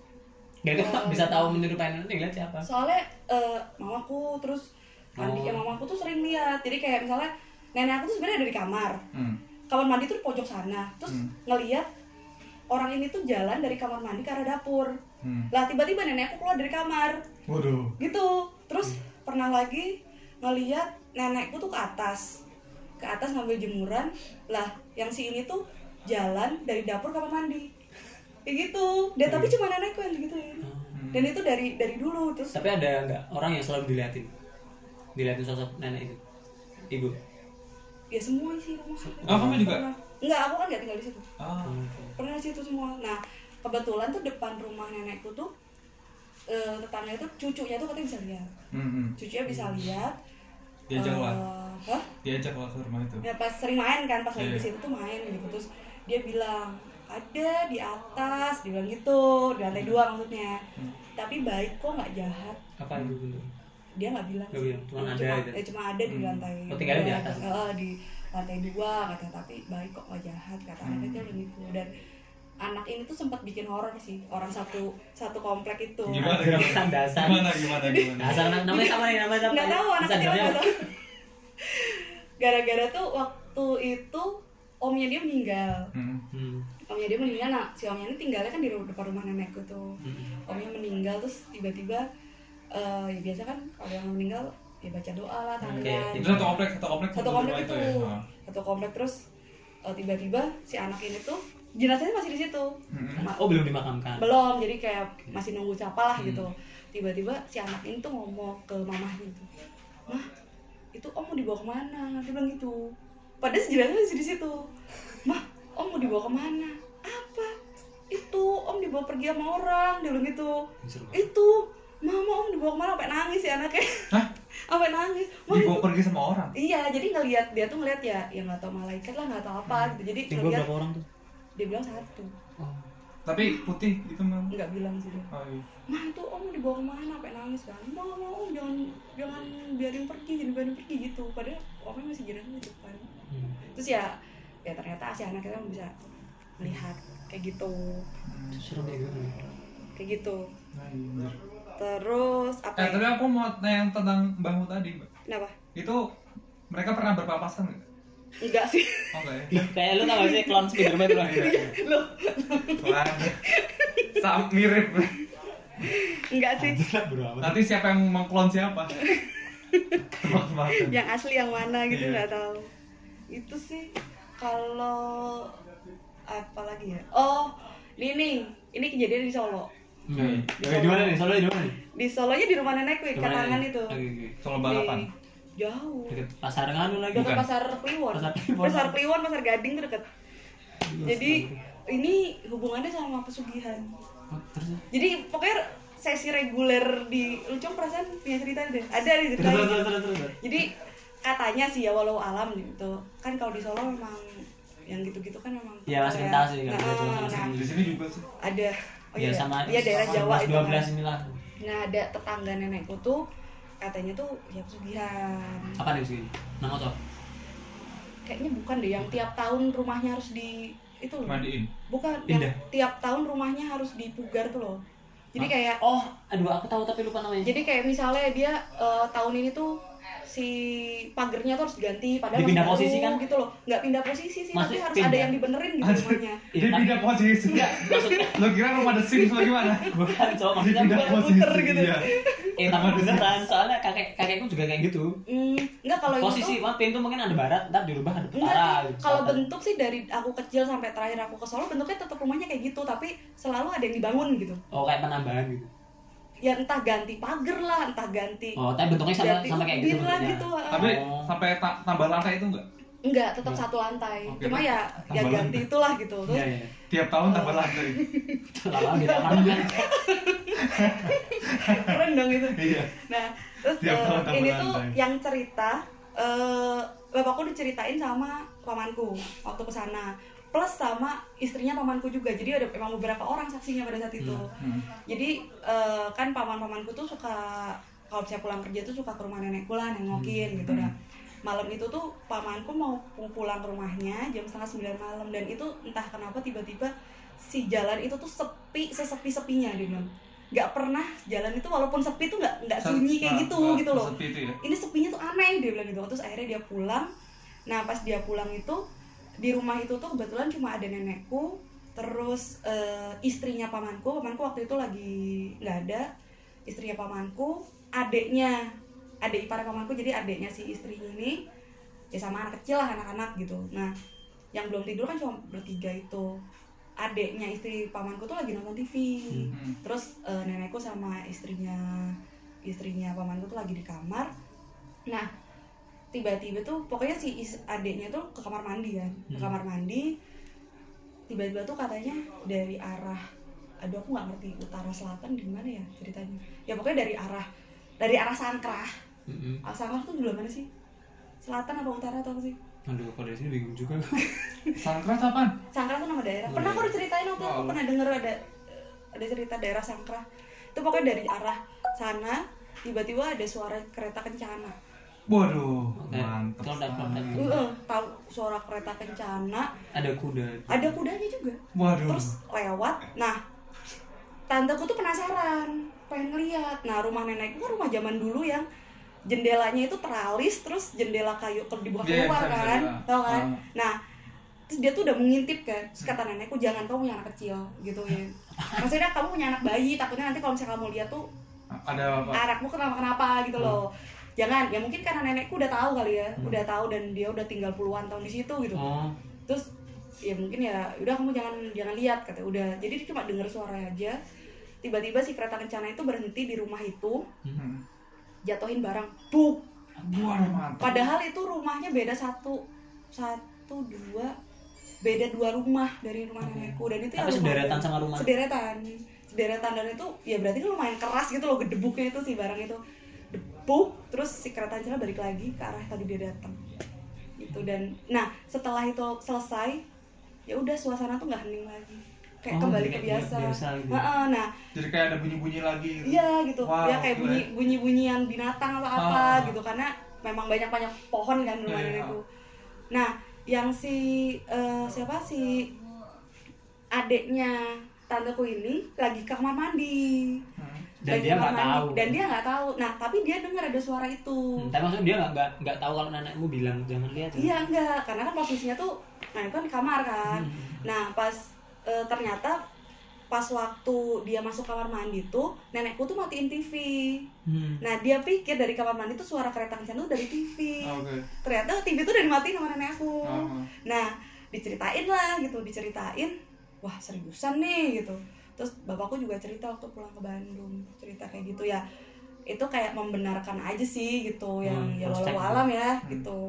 Speaker 3: Nggak, itu tetap bisa tahu (laughs) menyerupai nanti ngeliat siapa
Speaker 1: soalnya eh mamaku terus mandi
Speaker 3: Oh.
Speaker 1: ya mamaku tuh sering lihat jadi kayak misalnya nenek aku tuh sebenarnya ada di kamar
Speaker 4: Hmm.
Speaker 1: kamar mandi tuh di pojok sana terus
Speaker 4: Hmm.
Speaker 1: ngelihat orang ini tuh jalan dari kamar mandi ke arah dapur
Speaker 4: Hmm.
Speaker 1: lah tiba-tiba nenek aku keluar dari kamar
Speaker 4: Waduh.
Speaker 1: gitu terus pernah lagi ngeliat nenekku tuh ke atas ke atas ngambil jemuran lah yang si ini tuh jalan dari dapur ke kamar mandi kayak gitu dan tapi cuma nenekku yang gitu
Speaker 4: Hmm.
Speaker 1: dan itu dari dari dulu terus
Speaker 3: tapi ada nggak orang yang selalu diliatin diliatin sosok nenek itu ibu
Speaker 1: ya semua sih rumah
Speaker 4: Oh, kamu juga?
Speaker 1: Pernah. enggak aku kan nggak tinggal di situ
Speaker 4: Ah.
Speaker 1: pernah di situ semua nah kebetulan tuh depan rumah nenekku tuh eh, tetangga itu cucunya tuh katanya bisa lihat
Speaker 4: Hmm.
Speaker 1: cucunya bisa lihat
Speaker 4: Diajak
Speaker 1: Eh,
Speaker 4: lah,
Speaker 1: hah?
Speaker 4: diajak lah ke rumah itu.
Speaker 1: ya pas sering main kan pas lagi
Speaker 4: Iya.
Speaker 1: di situ tuh main gitu terus dia bilang ada di atas dia bilang gitu di lantai dua maksudnya
Speaker 4: Hmm.
Speaker 1: tapi baik kok nggak jahat
Speaker 3: apa ibu bentuk
Speaker 1: dia nggak bilang
Speaker 3: Nggak
Speaker 1: sih.
Speaker 3: bilang, cuma ada gitu.
Speaker 1: eh, cuma ada di
Speaker 4: Hmm.
Speaker 1: lantai
Speaker 3: Oh, tinggalnya di
Speaker 1: dua,
Speaker 3: atas.
Speaker 1: eh, di lantai dua kata tapi baik kok nggak jahat kata
Speaker 4: Hmm.
Speaker 1: anaknya tuh gitu dan anak ini tuh sempat bikin horor sih orang satu satu komplek itu
Speaker 4: Gimana gimana?
Speaker 3: dasar
Speaker 4: Gimana gimana gimana?
Speaker 3: dasar anak- Nah, namanya siapa nih namanya siapa
Speaker 1: nggak tahu anak
Speaker 3: Dasar
Speaker 1: kecil
Speaker 3: siapa?
Speaker 1: nggak tahu (laughs) gara-gara tuh waktu itu omnya dia meninggal
Speaker 4: Hmm.
Speaker 3: Hmm.
Speaker 1: omnya dia meninggal nah si omnya ini tinggalnya kan di ru- depan rumah nenekku tuh
Speaker 3: Hmm.
Speaker 1: omnya meninggal terus tiba-tiba eh ya biasa kan kalau yang meninggal ya baca doa lah tahlilan
Speaker 4: Itu satu komplek, satu komplek,
Speaker 1: satu komplek
Speaker 4: rumah
Speaker 1: itu
Speaker 4: Ah.
Speaker 1: satu komplek terus eh, tiba-tiba si anak ini tuh jenazahnya masih di situ
Speaker 4: Hmm.
Speaker 1: Ma-
Speaker 3: oh belum dimakamkan
Speaker 1: belum jadi kayak masih nunggu siapa lah gitu tiba-tiba si anak ini tuh ngomong ke mamahnya gitu mah itu om mau dibawa kemana dia bilang gitu padahal si jenazahnya masih di situ mah om mau dibawa kemana apa itu om dibawa pergi sama orang dia bilang gitu
Speaker 3: Seru banget.
Speaker 1: itu mama om dibawa kemana sampai nangis ya anaknya
Speaker 4: Hah?
Speaker 1: (laughs) sampai nangis Mah,
Speaker 4: Dibawa
Speaker 1: itu-
Speaker 4: pergi sama orang.
Speaker 1: Iya, jadi ngelihat dia tuh ngelihat ya, ya nggak tau malaikat lah nggak tau apa gitu. Jadi
Speaker 3: Timbul
Speaker 1: ngelihat
Speaker 3: Eh, berapa orang tuh? Oh,
Speaker 1: dia bilang satu,
Speaker 4: Tapi putih gitu memang.
Speaker 1: nggak bilang sih dia.
Speaker 4: Oh, iya.
Speaker 1: Nah itu om dibawa kemana? Sampai nangis kan? Mau mau om jangan jangan biarin pergi, jangan biarin pergi gitu. Padahal omnya masih jalan di depan.
Speaker 3: Hmm.
Speaker 1: Terus ya ya ternyata si anak kita bisa melihat kayak gitu,
Speaker 4: Hmm.
Speaker 3: Itu serem ya gimana?
Speaker 1: kayak gitu.
Speaker 4: Nah, iya.
Speaker 1: Terus apa?
Speaker 4: Eh,
Speaker 1: ya?
Speaker 4: tapi aku mau nanya yang tentang mbahmu tadi, Mbak.
Speaker 1: Kenapa?
Speaker 4: Itu mereka pernah berpapasan nggak?
Speaker 1: Enggak sih. (laughs)
Speaker 4: Oh, enggak ya?
Speaker 3: Loh, kayak lu tau gak sih klon Spiderman (laughs) tuh lah
Speaker 1: Loh,
Speaker 4: Wah, sam mirip.
Speaker 1: enggak sih. Iya.
Speaker 3: berapa?
Speaker 4: Nanti siapa yang mengklon siapa? Tebak-tebakan.
Speaker 1: yang asli yang mana gitu
Speaker 4: Iya.
Speaker 1: nggak tahu itu sih kalau apalagi ya oh ini nih ini kejadian di Solo
Speaker 3: Hmm. Ya, di mana nih? Solo di mana nih?
Speaker 1: di Solonya di rumah nenekku
Speaker 3: Di
Speaker 1: di
Speaker 3: mana
Speaker 1: Karangan
Speaker 3: nih?
Speaker 1: itu
Speaker 3: Oke, oke.
Speaker 4: Soal
Speaker 1: Di-
Speaker 4: balapan.
Speaker 1: jauh
Speaker 3: Deket pasar nganu lagi.
Speaker 1: dekat
Speaker 4: Bukan.
Speaker 1: pasar Kliwon
Speaker 3: Pasar Kliwon. Iya,
Speaker 1: pasar Kliwon pasar Gading tuh deket jadi ini hubungannya sama pesugihan
Speaker 3: Oh, terus ya?
Speaker 1: jadi pokoknya sesi reguler di lu cuma perasaan punya cerita deh ada di
Speaker 3: terus
Speaker 1: cerita
Speaker 3: terus terus terus.
Speaker 1: jadi katanya sih ya walau alam gitu kan kalau di Solo memang yang gitu-gitu kan memang
Speaker 3: Ya, Mas Minta sih,
Speaker 1: nah,
Speaker 3: kan, gitu,
Speaker 1: nah,
Speaker 3: sama-sama.
Speaker 4: Di sini juga sih.
Speaker 1: ada oh
Speaker 3: ya
Speaker 1: iya,
Speaker 3: sama
Speaker 1: iya daerah Jawa itu
Speaker 3: dua
Speaker 1: kan.
Speaker 3: belas inilah
Speaker 1: nah ada tetangga nenekku tuh katanya tuh ya pesugihan
Speaker 3: apa nih sih nama tuh
Speaker 1: kayaknya bukan deh yang tiap tahun rumahnya harus di itu loh
Speaker 4: Mandiin.
Speaker 1: bukan
Speaker 3: Pindah.
Speaker 1: yang tiap tahun rumahnya harus dipugar tuh loh jadi
Speaker 4: Hah?
Speaker 1: kayak
Speaker 3: oh aduh aku tahu tapi lupa namanya
Speaker 1: jadi kayak misalnya dia eh, tahun ini tuh si pagernya tuh harus diganti padahal
Speaker 3: Dipindah
Speaker 1: masih
Speaker 3: posisi
Speaker 1: baru
Speaker 3: kan?
Speaker 1: gitu loh nggak pindah posisi sih tapi
Speaker 3: Maksudnya
Speaker 1: harus ada
Speaker 3: pindah.
Speaker 1: yang dibenerin gitu
Speaker 4: Anjir.
Speaker 1: rumahnya
Speaker 3: Iya,
Speaker 4: Dia
Speaker 3: tapi-
Speaker 4: pindah posisi.
Speaker 3: enggak maksudnya
Speaker 4: Lo kira rumah The Sims lo gimana?
Speaker 3: bukan cowok
Speaker 4: Dia
Speaker 3: maksudnya
Speaker 4: pindah
Speaker 3: bukan
Speaker 4: posisi.
Speaker 1: puter gitu.
Speaker 4: Iya.
Speaker 3: eh tapi beneran soalnya kakek kakekku juga kayak gitu
Speaker 1: Hmm, enggak kalau itu
Speaker 3: posisi wah pintu mungkin ada barat ntar dirubah ada
Speaker 1: Enggak
Speaker 3: utara
Speaker 1: sih,
Speaker 3: gitu,
Speaker 1: kalau
Speaker 3: selatan.
Speaker 1: bentuk sih dari aku kecil sampai terakhir aku ke Solo bentuknya tetap rumahnya kayak gitu tapi selalu ada yang dibangun gitu.
Speaker 3: oh kayak penambahan gitu
Speaker 1: ya entah ganti pagar lah entah ganti
Speaker 3: Oh, tapi bentuknya sama
Speaker 1: ganti
Speaker 3: sama kayak gitu
Speaker 1: ubin lah
Speaker 3: bentuknya.
Speaker 1: gitu ah.
Speaker 4: Tapi
Speaker 3: Oh.
Speaker 4: sampai ta- tambah lantai itu enggak?
Speaker 1: enggak tetap
Speaker 3: Iya.
Speaker 1: satu lantai
Speaker 4: Oke.
Speaker 1: cuma ya ya
Speaker 4: Tambah
Speaker 1: ganti itulah gitu terus
Speaker 3: Iya, iya.
Speaker 4: Tiap tahun tambah lantai.
Speaker 3: Lama-lama beda kamar kan.
Speaker 1: keren dong itu
Speaker 4: Iya.
Speaker 1: nah terus
Speaker 4: Tiap
Speaker 1: eh,
Speaker 4: tahun tambah
Speaker 1: ini tuh
Speaker 4: lantai.
Speaker 1: yang cerita eh bapakku diceritain sama pamanku waktu kesana plus sama istrinya pamanku juga jadi ada emang beberapa orang saksinya pada saat itu
Speaker 4: Hmm.
Speaker 1: jadi eh, kan paman-pamanku tuh suka kalau saya pulang kerja tuh suka ke rumah nenekku lah nengokin gitu dah malam itu tuh pamanku mau pung- pulang ke rumahnya jam setengah sembilan malam dan itu entah kenapa tiba-tiba si jalan itu tuh sepi sesepi sepinya dia bilang nggak pernah jalan itu walaupun sepi tuh nggak nggak sunyi kayak
Speaker 4: Nah,
Speaker 1: gitu
Speaker 4: nah,
Speaker 1: gitu loh
Speaker 4: Seperti itu ya.
Speaker 1: ini sepinya tuh aneh dia bilang gitu terus akhirnya dia pulang nah pas dia pulang itu di rumah itu tuh kebetulan cuma ada nenekku terus eh, istrinya pamanku pamanku waktu itu lagi nggak ada istrinya pamanku adeknya adik ipar pamanku jadi adeknya si istrinya ini ya sama anak kecil lah anak-anak gitu nah yang belum tidur kan cuma bertiga itu adeknya istri pamanku tuh lagi nonton TV
Speaker 4: Hmm.
Speaker 1: terus eh, nenekku sama istrinya istrinya pamanku tuh lagi di kamar nah tiba-tiba tuh pokoknya si is- adiknya tuh ke kamar mandi kan ke
Speaker 3: Hmm.
Speaker 1: kamar mandi tiba-tiba tuh katanya dari arah aduh aku nggak ngerti utara selatan di mana ya ceritanya ya pokoknya dari arah dari arah sangkrah
Speaker 3: Mm-mm.
Speaker 1: Ah, sangkrah tuh di mana sih selatan apa utara atau apa sih
Speaker 3: Aduh, kok dari sini bingung juga. (laughs)
Speaker 4: Sangkra tuh apaan?
Speaker 1: Sangkrah tuh nama daerah.
Speaker 3: Oh,
Speaker 1: Pernah aku
Speaker 3: iya.
Speaker 1: diceritain waktu itu, aku
Speaker 4: Oh.
Speaker 1: pernah denger ada ada cerita daerah Sangkrah. Itu pokoknya dari arah sana tiba-tiba ada suara kereta kencana.
Speaker 4: Waduh,
Speaker 3: Oke.
Speaker 4: mantep.
Speaker 3: Kalau udah
Speaker 4: sekali.
Speaker 3: praktek.
Speaker 1: Heeh, tahu suara kereta kencana,
Speaker 3: Ada kuda.
Speaker 1: ada kudanya juga.
Speaker 4: Waduh.
Speaker 1: Terus lewat. Nah, tanteku tuh penasaran, pengen lihat. Nah, rumah nenekku kan rumah zaman dulu yang jendelanya itu teralis terus jendela kayu kalau dibuka
Speaker 4: Iya,
Speaker 1: keluar
Speaker 4: bisa, bisa,
Speaker 1: kan,
Speaker 4: bisa.
Speaker 1: tau kan?
Speaker 4: Ah.
Speaker 1: Nah, terus dia tuh udah mengintip kan. Terus kata nenekku jangan kamu punya anak kecil gitu ya. Maksudnya kamu punya anak bayi, takutnya nanti kalau misalnya kamu lihat tuh
Speaker 4: Ada apa?
Speaker 1: anakmu kenapa kenapa gitu loh. Jangan, ya mungkin karena nenekku udah tahu kali ya, udah tahu dan dia udah tinggal puluhan tahun di situ gitu.
Speaker 3: Oh,
Speaker 1: Terus ya mungkin ya udah kamu jangan jangan lihat kata udah. Jadi dia cuma denger suara aja. Tiba-tiba si kereta kencana itu berhenti di rumah itu,
Speaker 4: Hmm.
Speaker 1: jatuhin barang. Buk.
Speaker 4: Waduh, mantep.
Speaker 1: Padahal itu rumahnya beda satu satu dua beda dua rumah dari rumah
Speaker 3: Oke.
Speaker 1: nenekku dan itu ya
Speaker 3: tapi
Speaker 1: rumah-
Speaker 3: sederetan sama rumah.
Speaker 1: sederetan sederetan dan itu ya berarti itu lumayan keras gitu loh gedebuknya itu si barang itu debuk terus si kereta ancana balik lagi ke arah tadi dia datang gitu dan nah setelah itu selesai ya udah suasana tuh nggak hening lagi kayak
Speaker 3: Oh,
Speaker 1: kembali
Speaker 3: jadi
Speaker 1: ke
Speaker 3: kayak
Speaker 1: biasa,
Speaker 3: biasa gitu.
Speaker 1: Heeh, nah
Speaker 4: Jadi kayak ada bunyi-bunyi lagi gitu.
Speaker 1: Iya gitu,
Speaker 4: Wow,
Speaker 1: ya kayak
Speaker 4: gila
Speaker 1: bunyi
Speaker 4: ya.
Speaker 1: bunyi bunyian binatang apa apa
Speaker 4: Ah.
Speaker 1: gitu karena memang banyak banyak pohon kan rumah
Speaker 4: Iya, iya.
Speaker 1: nenekku. Nah, yang si eh, siapa si adeknya tanteku ini lagi ke kamar mandi.
Speaker 4: Hmm.
Speaker 1: Lagi
Speaker 3: Dan dia
Speaker 1: kamar
Speaker 3: nggak
Speaker 1: mandi.
Speaker 3: tahu.
Speaker 1: Dan dia nggak tahu. Nah, tapi dia dengar ada suara itu.
Speaker 3: Hmm, tapi maksudnya dia nggak nggak nggak tahu kalau anakmu bilang jangan lihat. ya?
Speaker 1: Iya enggak, karena kan posisinya tuh nah itu kan di kamar kan.
Speaker 3: Hmm.
Speaker 1: Nah, pas eh, ternyata pas waktu dia masuk kamar mandi tuh nenekku tuh matiin TV.
Speaker 3: Hmm.
Speaker 1: Nah dia pikir dari kamar mandi tuh suara kereta kencana tuh dari TV.
Speaker 4: Oke.
Speaker 1: Ternyata TV tuh udah dimatiin sama nenek aku.
Speaker 4: Ah, ah.
Speaker 1: Nah diceritain lah gitu, diceritain. Wah seriusan nih gitu. Terus bapakku juga cerita waktu pulang ke Bandung cerita kayak gitu ya. Itu kayak membenarkan aja sih gitu yang
Speaker 3: Hmm,
Speaker 1: ya
Speaker 3: cross check.
Speaker 1: walau alam ya
Speaker 4: Hmm.
Speaker 1: gitu.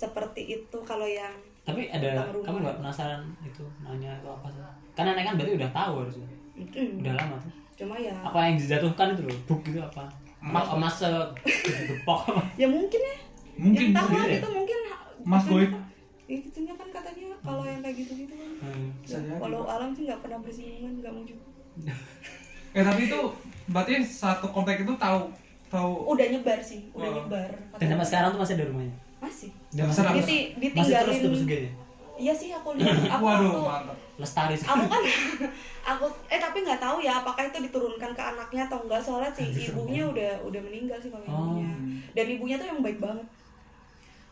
Speaker 1: Seperti itu kalau yang
Speaker 3: Tapi ada
Speaker 1: Tentang rumah.
Speaker 3: kamu nggak penasaran itu nanya itu apa sih? Karena nenek kan berarti udah tahu harusnya.
Speaker 1: Hmm. Mm-mm.
Speaker 3: Udah lama tuh.
Speaker 1: cuma ya
Speaker 4: Ah.
Speaker 3: Apa yang dijatuhkan itu loh? Buk gitu apa? Emas emas segepok apa?
Speaker 1: ya mungkin ya
Speaker 4: Mungkin
Speaker 1: yang tahu
Speaker 4: bisa
Speaker 1: lah
Speaker 4: jadi.
Speaker 1: gitu mungkin
Speaker 4: Mas Boy.
Speaker 1: ya gitunya kan katanya kalau yang kayak gitu gitu kan
Speaker 3: Hmm.
Speaker 4: Bisa jadi.
Speaker 1: Walau alam sih nggak pernah bersinggungan, nggak mungkin.
Speaker 4: Eh tapi itu berarti satu komplek itu tahu tahu
Speaker 1: Udah nyebar sih,
Speaker 3: Oh.
Speaker 1: udah
Speaker 4: Wow.
Speaker 1: nyebar.
Speaker 3: Dan sampai sekarang tuh masih ada rumahnya.
Speaker 1: Masih.
Speaker 3: Dan
Speaker 4: Terus
Speaker 3: masih
Speaker 4: terang.
Speaker 3: terus,
Speaker 1: Diti-
Speaker 3: masih terus
Speaker 1: ditinggalin.
Speaker 3: terus gini.
Speaker 1: Iya sih aku lihat.
Speaker 3: (laughs)
Speaker 1: Aku,
Speaker 4: Waduh,
Speaker 1: aku,
Speaker 4: mantap.
Speaker 3: Lestari sih.
Speaker 1: aku kan (laughs) aku eh tapi nggak tahu ya apakah itu diturunkan ke anaknya atau enggak soalnya si
Speaker 3: Anjir,
Speaker 1: ibunya udah udah meninggal sih kalau yang
Speaker 3: Oh.
Speaker 1: ibunya.
Speaker 4: Hmm.
Speaker 1: Dan ibunya tuh yang baik banget.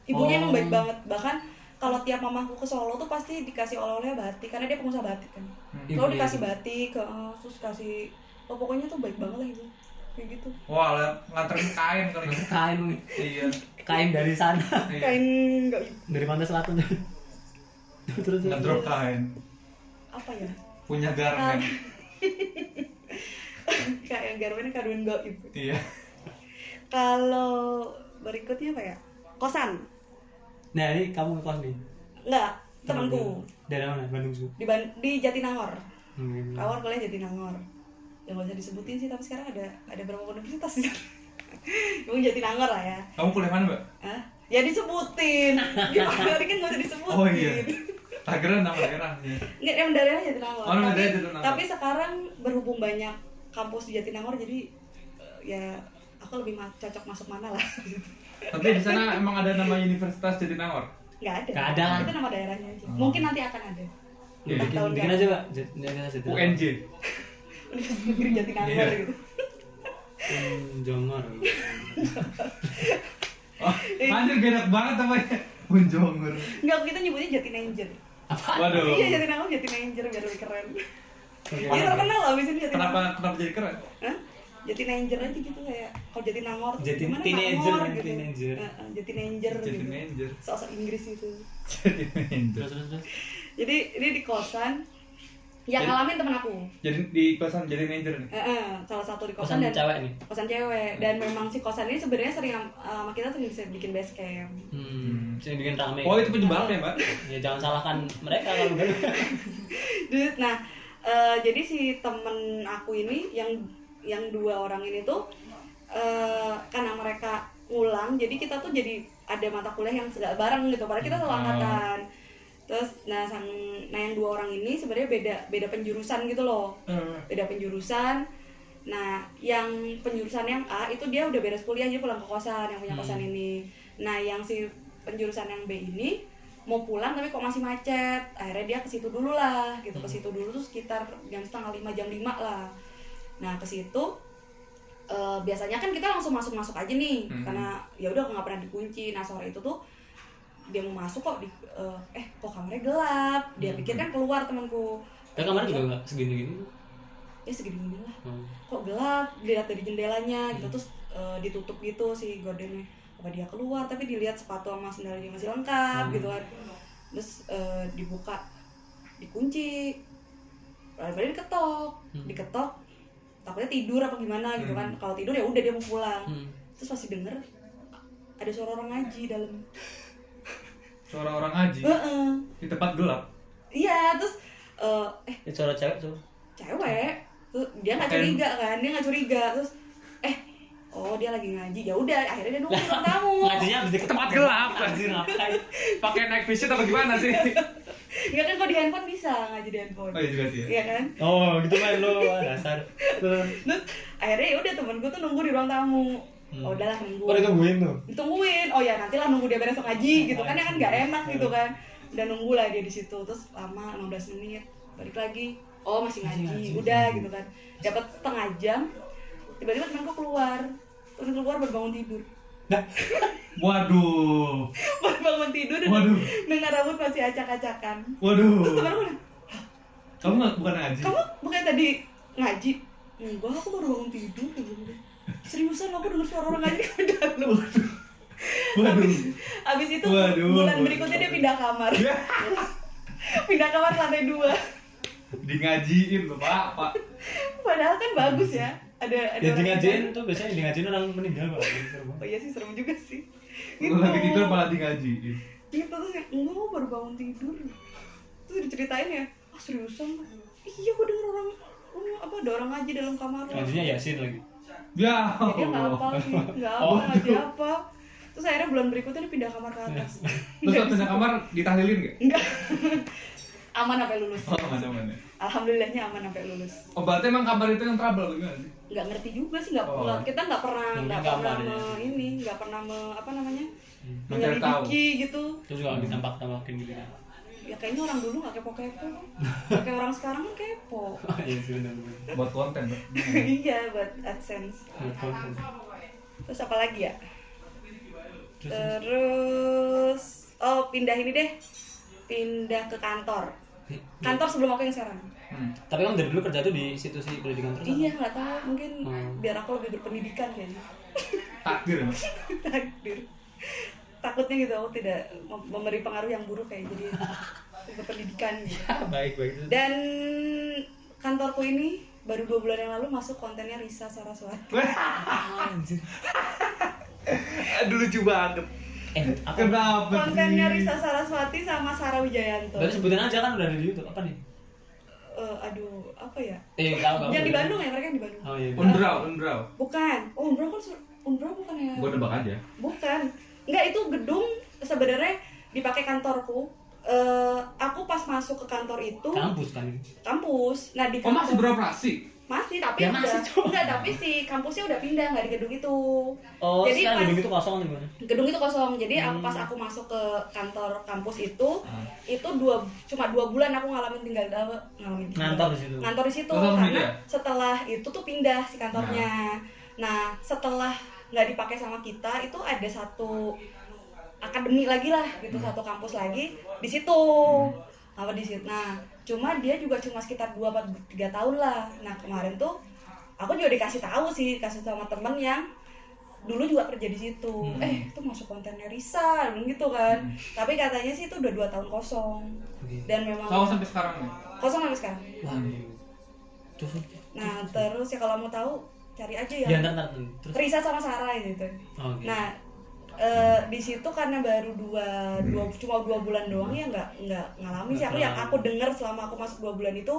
Speaker 1: Ibunya emang
Speaker 3: Oh.
Speaker 1: baik banget. Bahkan kalau tiap mamaku ke Solo tuh pasti dikasih oleh-oleh batik karena dia pengusaha batik kan.
Speaker 4: Hmm.
Speaker 3: Ibu
Speaker 1: Kalau
Speaker 3: ya,
Speaker 1: dikasih
Speaker 3: ibu.
Speaker 1: batik, ke, terus kasih oh, pokoknya tuh baik banget lah ibu. Kayak gitu.
Speaker 4: Wah, lihat nganterin kain kali. ya.
Speaker 3: Kain
Speaker 1: (laughs)
Speaker 4: Iya.
Speaker 3: kain dari sana
Speaker 4: Iya.
Speaker 1: Kain nggak gitu.
Speaker 3: dari pantai selatan terus
Speaker 4: Ngedrop kain.
Speaker 1: apa ya?
Speaker 4: Punya garmen.
Speaker 1: (laughs) kayak yang gitu. garwennya kaduin gaib
Speaker 4: Iya.
Speaker 1: kalau berikutnya apa ya kosan
Speaker 3: Nah ini kamu ngekos nih
Speaker 1: enggak temanku
Speaker 3: Dari mana? Bandung Zoo
Speaker 1: di, Ban- di Jatinangor
Speaker 3: hmm.
Speaker 1: Kawar kuliah Jatinangor yang gak usah disebutin sih tapi sekarang ada ada berapa universitas (laughs) di sana Emang Jatinangor lah ya
Speaker 4: Kamu kuliah mana, Mbak?
Speaker 1: Hah? ya (laughs) disebutin gimana tadi kan gak usah disebutin
Speaker 4: Oh, iya. Tangerang nama daerah. Iya.
Speaker 1: Nggak, emang daerahnya Jatinangor.
Speaker 4: Oh, nama
Speaker 1: tapi,
Speaker 4: daerah Jatinangor.
Speaker 1: tapi sekarang berhubung banyak kampus di Jatinangor jadi eh, ya aku lebih ma- cocok masuk mana lah. (laughs)
Speaker 4: Tapi di sana emang ada nama Universitas Jatinangor.
Speaker 1: Nggak ada.
Speaker 3: Nggak ada.
Speaker 1: Itu nama daerahnya aja.
Speaker 4: Oh.
Speaker 1: Mungkin nanti akan ada.
Speaker 4: Iya,
Speaker 1: Entah
Speaker 3: Ya,
Speaker 1: tahun
Speaker 3: bikin,
Speaker 1: kan?
Speaker 3: bikin
Speaker 1: berapa.
Speaker 3: aja pak Jat- Jatinangor Jat-
Speaker 4: UNJ.
Speaker 1: Universitas Negeri Jatinangor
Speaker 4: Iya.
Speaker 1: gitu.
Speaker 3: Hmm, Jongor
Speaker 4: Oh,
Speaker 1: Iya.
Speaker 4: anjir gerak banget namanya. Unjongor.
Speaker 1: Nggak, kita nyebutnya Jatinanger.
Speaker 4: Waduh.
Speaker 1: Iya, Jatinangor Jatinanger biar lebih keren.
Speaker 3: Oke.
Speaker 1: Ini terkenal loh abis ini Jatinangor.
Speaker 4: Kenapa kenapa jadi keren?
Speaker 1: Hah? Jatinanger aja gitu kayak kalau Jatinangor tuh
Speaker 3: Jatin-
Speaker 1: gimana
Speaker 3: teenager,
Speaker 1: Nangor
Speaker 3: kan,
Speaker 1: gitu.
Speaker 3: teenager.
Speaker 1: Eh, eh, Jatinanger gitu.
Speaker 4: (laughs) Jatinanger.
Speaker 1: Sosok Inggris itu.
Speaker 4: Jatinanger.
Speaker 3: Terus terus terus
Speaker 1: Jadi ini di kosan yang
Speaker 4: Jadi-
Speaker 1: ngalamin temen aku.
Speaker 4: Jadi di kosan Jatinanger nih.
Speaker 1: Eh, eh, salah satu di kosan,
Speaker 3: Kosan
Speaker 1: dan
Speaker 3: cewek nih
Speaker 1: kosan cewek dan memang si kosan ini sebenarnya sering am- eh, sama kita sering bisa bikin base camp. (laughs)
Speaker 3: Hmm, sini bikin rame
Speaker 4: Oh, itu penyebabnya, Mbak.
Speaker 3: Ya jangan salahkan mereka kalau (laughs) udah
Speaker 1: Dut, Nah, eh, jadi si temen aku ini yang yang dua orang ini tuh eh, karena mereka ngulang, jadi kita tuh jadi ada mata kuliah yang segala bareng gitu. Padahal kita satu
Speaker 3: Hmm.
Speaker 4: Ah.
Speaker 1: angkatan. Terus nah sang nah yang dua orang ini sebenarnya beda beda penjurusan gitu loh. beda penjurusan nah yang penjurusan yang A itu dia udah beres kuliah jadi pulang ke kosan yang punya kosan ini nah yang si penjurusan yang B ini mau pulang tapi kok masih macet akhirnya dia ke situ dulu lah gitu ke situ dulu tuh sekitar jam setengah lima jam lima lah nah ke situ eh, biasanya kan kita langsung masuk masuk aja nih
Speaker 4: Hmm.
Speaker 1: karena ya udah nggak pernah dikunci nah sore itu tuh dia mau masuk kok di, eh, eh kok kamarnya gelap dia
Speaker 3: Hmm.
Speaker 1: pikir kan keluar temanku
Speaker 3: Kan kemarin juga nggak segini-gini
Speaker 1: ya segini lah
Speaker 3: Hmm.
Speaker 1: kok gelap dilihat dari jendelanya gitu
Speaker 3: Hmm.
Speaker 1: terus eh, ditutup gitu si gordennya apa dia keluar tapi dilihat sepatu sama sandalnya masih lengkap
Speaker 3: Hmm.
Speaker 1: gitu kan terus eh, dibuka dikunci lalu diketok
Speaker 3: Hmm.
Speaker 1: diketok takutnya tidur apa gimana gitu kan
Speaker 4: Hmm.
Speaker 1: kalau tidur ya udah dia mau pulang
Speaker 3: Hmm.
Speaker 1: terus masih denger ada suara orang ngaji dalam
Speaker 4: Suara orang ngaji
Speaker 3: Iya.
Speaker 1: Heeh.
Speaker 4: di tempat gelap.
Speaker 1: iya terus eh, eh
Speaker 3: Itu Ya, suara cewek tuh
Speaker 1: cewek terus dia nggak
Speaker 4: Em.
Speaker 1: curiga kan dia nggak curiga terus eh oh dia lagi ngaji ya udah akhirnya dia nunggu di ruang tamu
Speaker 3: Ngajinya habis di
Speaker 4: Tempat gelap.
Speaker 3: Anjir ngapain
Speaker 4: Pakai night vision atau gimana sih?
Speaker 1: nggak kan kalau di handphone bisa ngaji di handphone
Speaker 4: Oh iya juga sih. ya.
Speaker 1: Iya kan?
Speaker 3: Oh gitu kan lo dasar
Speaker 1: Terus akhirnya ya udah temen gue tuh nunggu di ruang tamu.
Speaker 3: Hmm.
Speaker 1: Oh udahlah nunggu.
Speaker 3: Udah tungguin tuh
Speaker 1: Ditungguin. Oh ya nantilah nunggu dia beres
Speaker 3: Nah,
Speaker 1: ngaji gitu kan ya kan nggak enak gitu kan. Udah nunggu lah dia di situ terus lama 15 menit balik lagi. Oh masih
Speaker 3: Masih
Speaker 1: ngaji.
Speaker 3: ngaji.
Speaker 1: Udah gitu kan. Dapat setengah jam. Tiba-tiba temen gue keluar. Terus keluar baru bangun tidur.
Speaker 4: Waduh.
Speaker 1: Baru bangun tidur dan
Speaker 4: Waduh.
Speaker 1: dengan rambut masih acak-acakan.
Speaker 4: Waduh.
Speaker 1: Terus temen gue bilang,
Speaker 4: Kamu nggak bukan ngaji.
Speaker 1: kamu bukan tadi ngaji enggak aku baru bangun tidur dia bilang gitu. seriusan aku dengar suara orang ngaji di dalam
Speaker 4: Waduh.
Speaker 1: habis, habis itu
Speaker 4: Waduh.
Speaker 1: bulan berikutnya dia pindah kamar (laughs) pindah kamar ke lantai dua
Speaker 4: Di ngajiin loh, Pak. Pak.
Speaker 1: padahal kan bagus ya ada ada
Speaker 3: Ya di
Speaker 1: orang-
Speaker 3: ngajiin tuh biasanya di ngajiin orang meninggal pak
Speaker 1: oh iya sih serem juga sih
Speaker 4: Lu Oh, lagi tidur malah di ngajiin.
Speaker 1: gitu terus kayak, enggak aku baru bangun tidur terus diceritain ya ah seriusan iya aku dengar orang oh, apa ada orang ngaji dalam kamar
Speaker 3: Ngajinya Yasin lagi
Speaker 4: Ya.
Speaker 1: Ya, dia nggak apa
Speaker 4: Allah.
Speaker 1: sih nggak apa
Speaker 3: Oh.
Speaker 1: ngaji apa terus akhirnya bulan berikutnya dia pindah kamar ke
Speaker 4: (laughs)
Speaker 1: atas
Speaker 4: Terus waktu pindah kamar ditahlilin nggak?
Speaker 1: enggak aman sampai lulus
Speaker 4: Oh, mana-mana.
Speaker 1: alhamdulillahnya aman sampai lulus
Speaker 4: Oh, berarti emang kamar itu yang trouble atau gimana sih?
Speaker 1: nggak ngerti juga sih nggak
Speaker 4: Oh.
Speaker 1: nggak- kita nggak pernah
Speaker 3: Mungkin
Speaker 1: nggak pernah
Speaker 4: ya.
Speaker 3: kamarnya.
Speaker 1: me- ini nggak pernah me- apa namanya
Speaker 4: Hmm. Mencari tahu.
Speaker 1: menyelidiki gitu
Speaker 3: Terus juga habis tampak-tampakin (laughs) gitu kan
Speaker 1: ya kayaknya orang dulu nggak kepo
Speaker 4: (laughs)
Speaker 1: kepo kayak orang sekarang kan kepo
Speaker 3: Oh, Iya sih bener-bener
Speaker 4: Buat konten, Pak.
Speaker 1: (laughs) iya buat adsense terus apa lagi ya
Speaker 3: Terus, terus.
Speaker 1: terus oh pindah ini deh pindah ke kantor kantor sebelum aku yang sekarang
Speaker 4: Hmm.
Speaker 3: Tapi kamu dari dulu kerja tuh di institusi pendidikan terus
Speaker 1: Iya nggak tahu mungkin
Speaker 3: Hmm.
Speaker 1: biar aku lebih berpendidikan kayaknya (laughs)
Speaker 4: Takdir, ya, Pak.
Speaker 1: takdir takutnya gitu aku tidak mem- memberi pengaruh yang buruk kayak jadi berpendidikan gitu.
Speaker 3: Ah, Baik baik.
Speaker 1: dan kantorku ini baru dua bulan yang lalu masuk kontennya Risa Saraswati
Speaker 3: Anjir.
Speaker 4: Aduh lucu banget.
Speaker 3: Eh, aku
Speaker 4: Kenapa? sih?
Speaker 1: kontennya Risa Saraswati sama Sarah Wijayanto
Speaker 3: berarti sebutin aja kan udah ada di YouTube apa nih?
Speaker 1: Eh, aduh apa ya
Speaker 3: Eh, kalau
Speaker 1: yang di Bandung ya mereka yang di Bandung
Speaker 3: Oh iya. bener.
Speaker 4: Undraw, undraw.
Speaker 1: bukan oh Umbro kan Sur- Umbro bukan ya
Speaker 4: Gua nebak aja.
Speaker 1: bukan nggak itu gedung sebenarnya dipakai kantorku Eh, aku pas masuk ke kantor itu
Speaker 3: Kampus kan ini.
Speaker 1: kampus nah di
Speaker 4: Oh
Speaker 1: kantor-
Speaker 4: masih beroperasi?
Speaker 1: masih tapi
Speaker 3: Ya,
Speaker 1: udah
Speaker 3: masih, coba.
Speaker 1: enggak tapi si kampusnya udah pindah nggak di gedung itu
Speaker 3: Oh,
Speaker 1: Jadi
Speaker 3: sekarang
Speaker 1: pas-
Speaker 3: gedung itu kosong nih gimana?
Speaker 1: gedung itu kosong jadi aku-
Speaker 3: Hmm.
Speaker 1: pas aku masuk ke kantor kampus itu
Speaker 4: Ah.
Speaker 1: itu dua cuma dua bulan aku ngalamin tinggal eh, ngalamin tinggal-
Speaker 3: Ngantor di situ.
Speaker 1: ngantor di situ
Speaker 4: Ngantor
Speaker 1: karena
Speaker 4: pindah?
Speaker 1: setelah itu tuh pindah si kantornya nah setelah nggak dipakai sama kita itu ada satu akademi lagi lah gitu satu kampus lagi di situ apa di situ nah cuma dia juga cuma sekitar dua empat tiga tahun lah nah kemarin tuh aku juga dikasih tahu sih dikasih tahu sama temen yang dulu juga kerja di situ
Speaker 4: Hmm.
Speaker 1: eh itu masuk kontennya Risa bilang gitu kan tapi katanya sih itu udah dua tahun kosong dan memang
Speaker 4: Tahu sampai sekarang ya. nih.
Speaker 1: kosong sampai sekarang
Speaker 3: Wah. iya. Terus
Speaker 1: Nah terus ya kalau mau tahu cari aja ya.
Speaker 3: ya ntar ntar terus.
Speaker 1: Risa sama Sarah gitu.
Speaker 3: Oh, oke.
Speaker 1: Nah eh, di situ karena baru dua, dua cuma dua bulan doang ya nggak nggak ngalamin sih aku yang
Speaker 3: Nah.
Speaker 1: aku dengar selama aku masuk dua bulan itu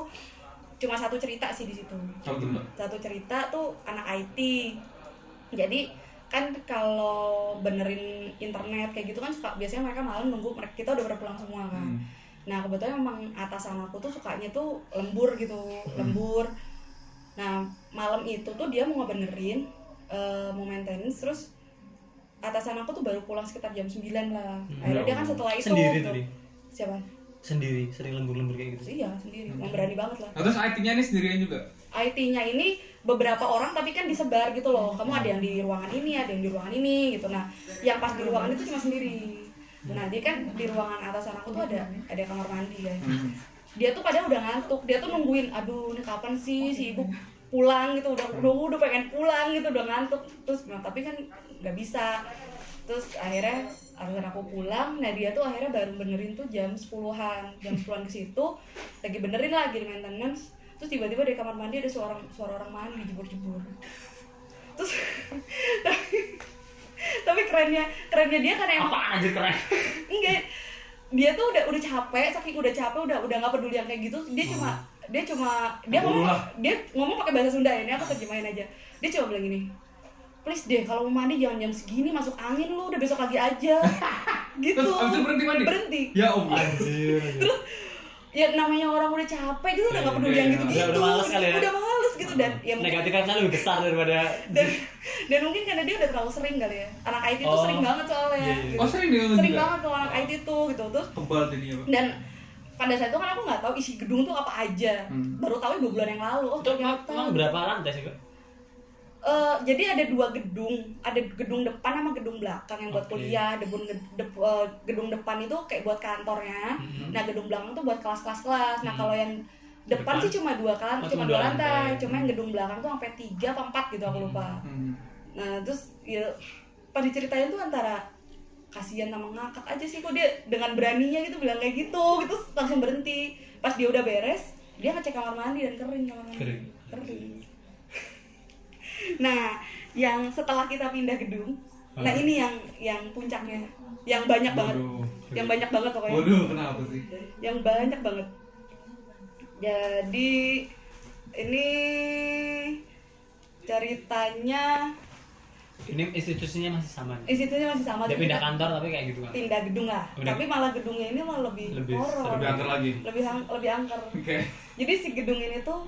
Speaker 1: cuma satu cerita sih di situ
Speaker 4: Coba dulu.
Speaker 1: satu cerita tuh anak IT jadi kan kalau benerin internet kayak gitu kan suka biasanya mereka malam nunggu mereka kita udah pada pulang semua kan
Speaker 4: Hmm.
Speaker 1: Nah kebetulan emang atasan aku tuh sukanya tuh lembur gitu, lembur. Nah malam itu tuh dia mau ngebenerin, eh mau maintenance, terus atasan aku tuh baru pulang sekitar jam 9 lah. Akhirnya dia kan setelah itu
Speaker 3: sendiri
Speaker 1: tuh-
Speaker 3: tadi.
Speaker 1: siapa?
Speaker 3: Sendiri, sering lembur-lembur kayak
Speaker 1: Terus
Speaker 3: gitu.
Speaker 1: iya sendiri, emang berani banget lah.
Speaker 4: Nah, terus IT-nya ini sendirian juga?
Speaker 1: IT-nya ini beberapa orang tapi kan disebar gitu loh. Kamu ada yang di ruangan ini, ada yang di ruangan ini gitu. Nah, yang pas di ruangan itu cuma sendiri. Nah, dia kan di ruangan atasan aku tuh ada ada kamar mandi
Speaker 4: Hmm.
Speaker 1: ya. dia tuh padahal udah ngantuk dia tuh nungguin aduh ini kapan sih si ibu pulang gitu udah udah udah pengen pulang gitu udah ngantuk terus nah, tapi kan nggak bisa terus akhirnya akhirnya aku pulang nah dia tuh akhirnya baru benerin tuh jam 10-an jam 10-an ke situ lagi benerin lagi di maintenance terus tiba-tiba dari kamar mandi ada suara suara orang mandi jebur-jebur terus (laughs) tapi, tapi kerennya kerennya dia karena emang
Speaker 3: Apaan anjir keren?
Speaker 1: enggak dia tuh udah udah capek saking udah capek udah udah nggak peduli yang kayak gitu dia cuma dia cuma dia
Speaker 4: Nggak
Speaker 1: ngomong
Speaker 4: perlu Hmm. lah.
Speaker 1: dia ngomong pakai bahasa Sunda ya ini aku terjemahin aja dia cuma bilang gini please deh kalau mau mandi jangan jam segini masuk angin lu udah besok lagi aja gitu
Speaker 4: (laughs) Terus abis itu berhenti mandi?
Speaker 1: berhenti
Speaker 4: Ya Allah.
Speaker 3: Anjir. Terus
Speaker 1: ya namanya orang udah capek gitu udah nggak
Speaker 4: Iya,
Speaker 1: peduli
Speaker 4: iya,
Speaker 1: yang
Speaker 4: iya.
Speaker 1: gitu gitu
Speaker 3: Udah- udah males kali ya.
Speaker 1: udah males gitu dan ya mungkin-
Speaker 3: negatif kan lebih besar daripada
Speaker 1: dan dan mungkin karena dia udah terlalu sering kali ya anak IT tuh
Speaker 3: Oh.
Speaker 1: sering banget soalnya
Speaker 3: Iya, iya.
Speaker 1: gitu.
Speaker 4: Oh sering dia
Speaker 1: sering
Speaker 4: juga?
Speaker 1: banget kalau anak IT tuh gitu terus
Speaker 4: Kebal jadi apa?
Speaker 1: dan pada saat itu kan aku nggak tahu isi gedung tuh apa aja
Speaker 4: Hmm.
Speaker 1: baru tahu dua bulan yang lalu oh
Speaker 3: itu emang
Speaker 1: ternyata
Speaker 3: emang berapa lantai sih kok?
Speaker 1: Eh, jadi ada dua gedung ada gedung depan sama gedung belakang yang buat
Speaker 3: Oke.
Speaker 1: kuliah gedung de- eh, gedung depan itu kayak buat kantornya
Speaker 3: Mhm.
Speaker 1: nah gedung belakang tuh buat kelas-kelas kelas nah
Speaker 3: Hmm.
Speaker 1: kalau yang depan,
Speaker 3: Depan?
Speaker 1: sih cuma dua kan
Speaker 3: Oh,
Speaker 1: cuma
Speaker 3: cuma
Speaker 1: dua
Speaker 3: dua
Speaker 1: lantai,
Speaker 3: lantai.
Speaker 1: cuma yang gedung belakang tuh sampai tiga atau empat gitu aku
Speaker 3: Hmm.
Speaker 1: lupa
Speaker 4: Hmm.
Speaker 1: nah terus ya pas diceritain tuh antara kasihan sama ngakak aja sih kok dia dengan beraninya gitu bilang kayak gitu gitu langsung berhenti pas dia udah beres dia ngecek kamar mandi dan kering kamar mandi
Speaker 3: Kering.
Speaker 1: Kering. (laughs) nah yang setelah kita pindah gedung nah
Speaker 3: Hmm.
Speaker 1: ini yang yang puncaknya yang banyak banget
Speaker 4: Waduh.
Speaker 1: yang banyak banget pokoknya
Speaker 4: Waduh, kenapa sih?
Speaker 1: yang banyak banget jadi ini ceritanya
Speaker 3: Ini institusinya masih sama. nih.
Speaker 1: institusinya masih sama
Speaker 3: Dia
Speaker 1: tapi
Speaker 3: pindah
Speaker 1: kita
Speaker 3: kantor tapi kayak gitu kan.
Speaker 1: pindah gedung lah
Speaker 3: Pindah.
Speaker 1: tapi malah gedungnya ini malah lebih,
Speaker 3: Lebih
Speaker 1: horor
Speaker 4: Lebih angker lagi.
Speaker 1: lebih hang- lebih angker
Speaker 4: Oke.
Speaker 1: jadi si gedung ini tuh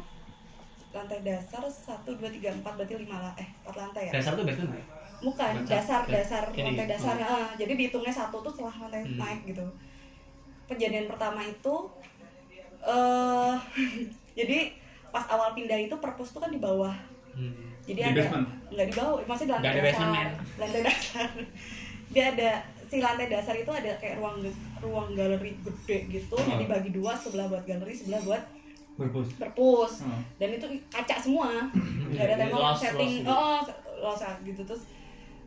Speaker 1: lantai dasar satu dua tiga empat berarti lima lah eh empat lantai ya
Speaker 3: Dasar tuh basement ya?
Speaker 1: bukan
Speaker 3: Baca.
Speaker 1: dasar
Speaker 3: Ya,
Speaker 1: dasar
Speaker 3: ini.
Speaker 1: lantai dasar
Speaker 3: Hmm.
Speaker 1: eh, jadi dihitungnya satu tuh setelah lantai
Speaker 3: Hmm.
Speaker 1: naik gitu kejadian pertama itu eh (laughs) jadi pas awal pindah itu perpus tuh kan di bawah
Speaker 3: Hmm.
Speaker 1: jadi ada
Speaker 4: Di basement?
Speaker 1: nggak di bawah maksudnya di lantai
Speaker 3: Nggak ada
Speaker 1: dasar
Speaker 3: basement, men.
Speaker 1: (laughs) lantai dasar dia ada si lantai dasar itu ada kayak ruang ruang galeri gede gitu yang
Speaker 4: Hmm.
Speaker 1: dibagi dua sebelah buat galeri sebelah buat
Speaker 4: Berbos.
Speaker 1: perpus
Speaker 4: Hmm.
Speaker 1: dan itu kaca semua nggak ada
Speaker 3: Hmm. Jadi
Speaker 1: tembok
Speaker 3: lost,
Speaker 1: setting
Speaker 3: lost gitu.
Speaker 1: oh, oh lost art gitu terus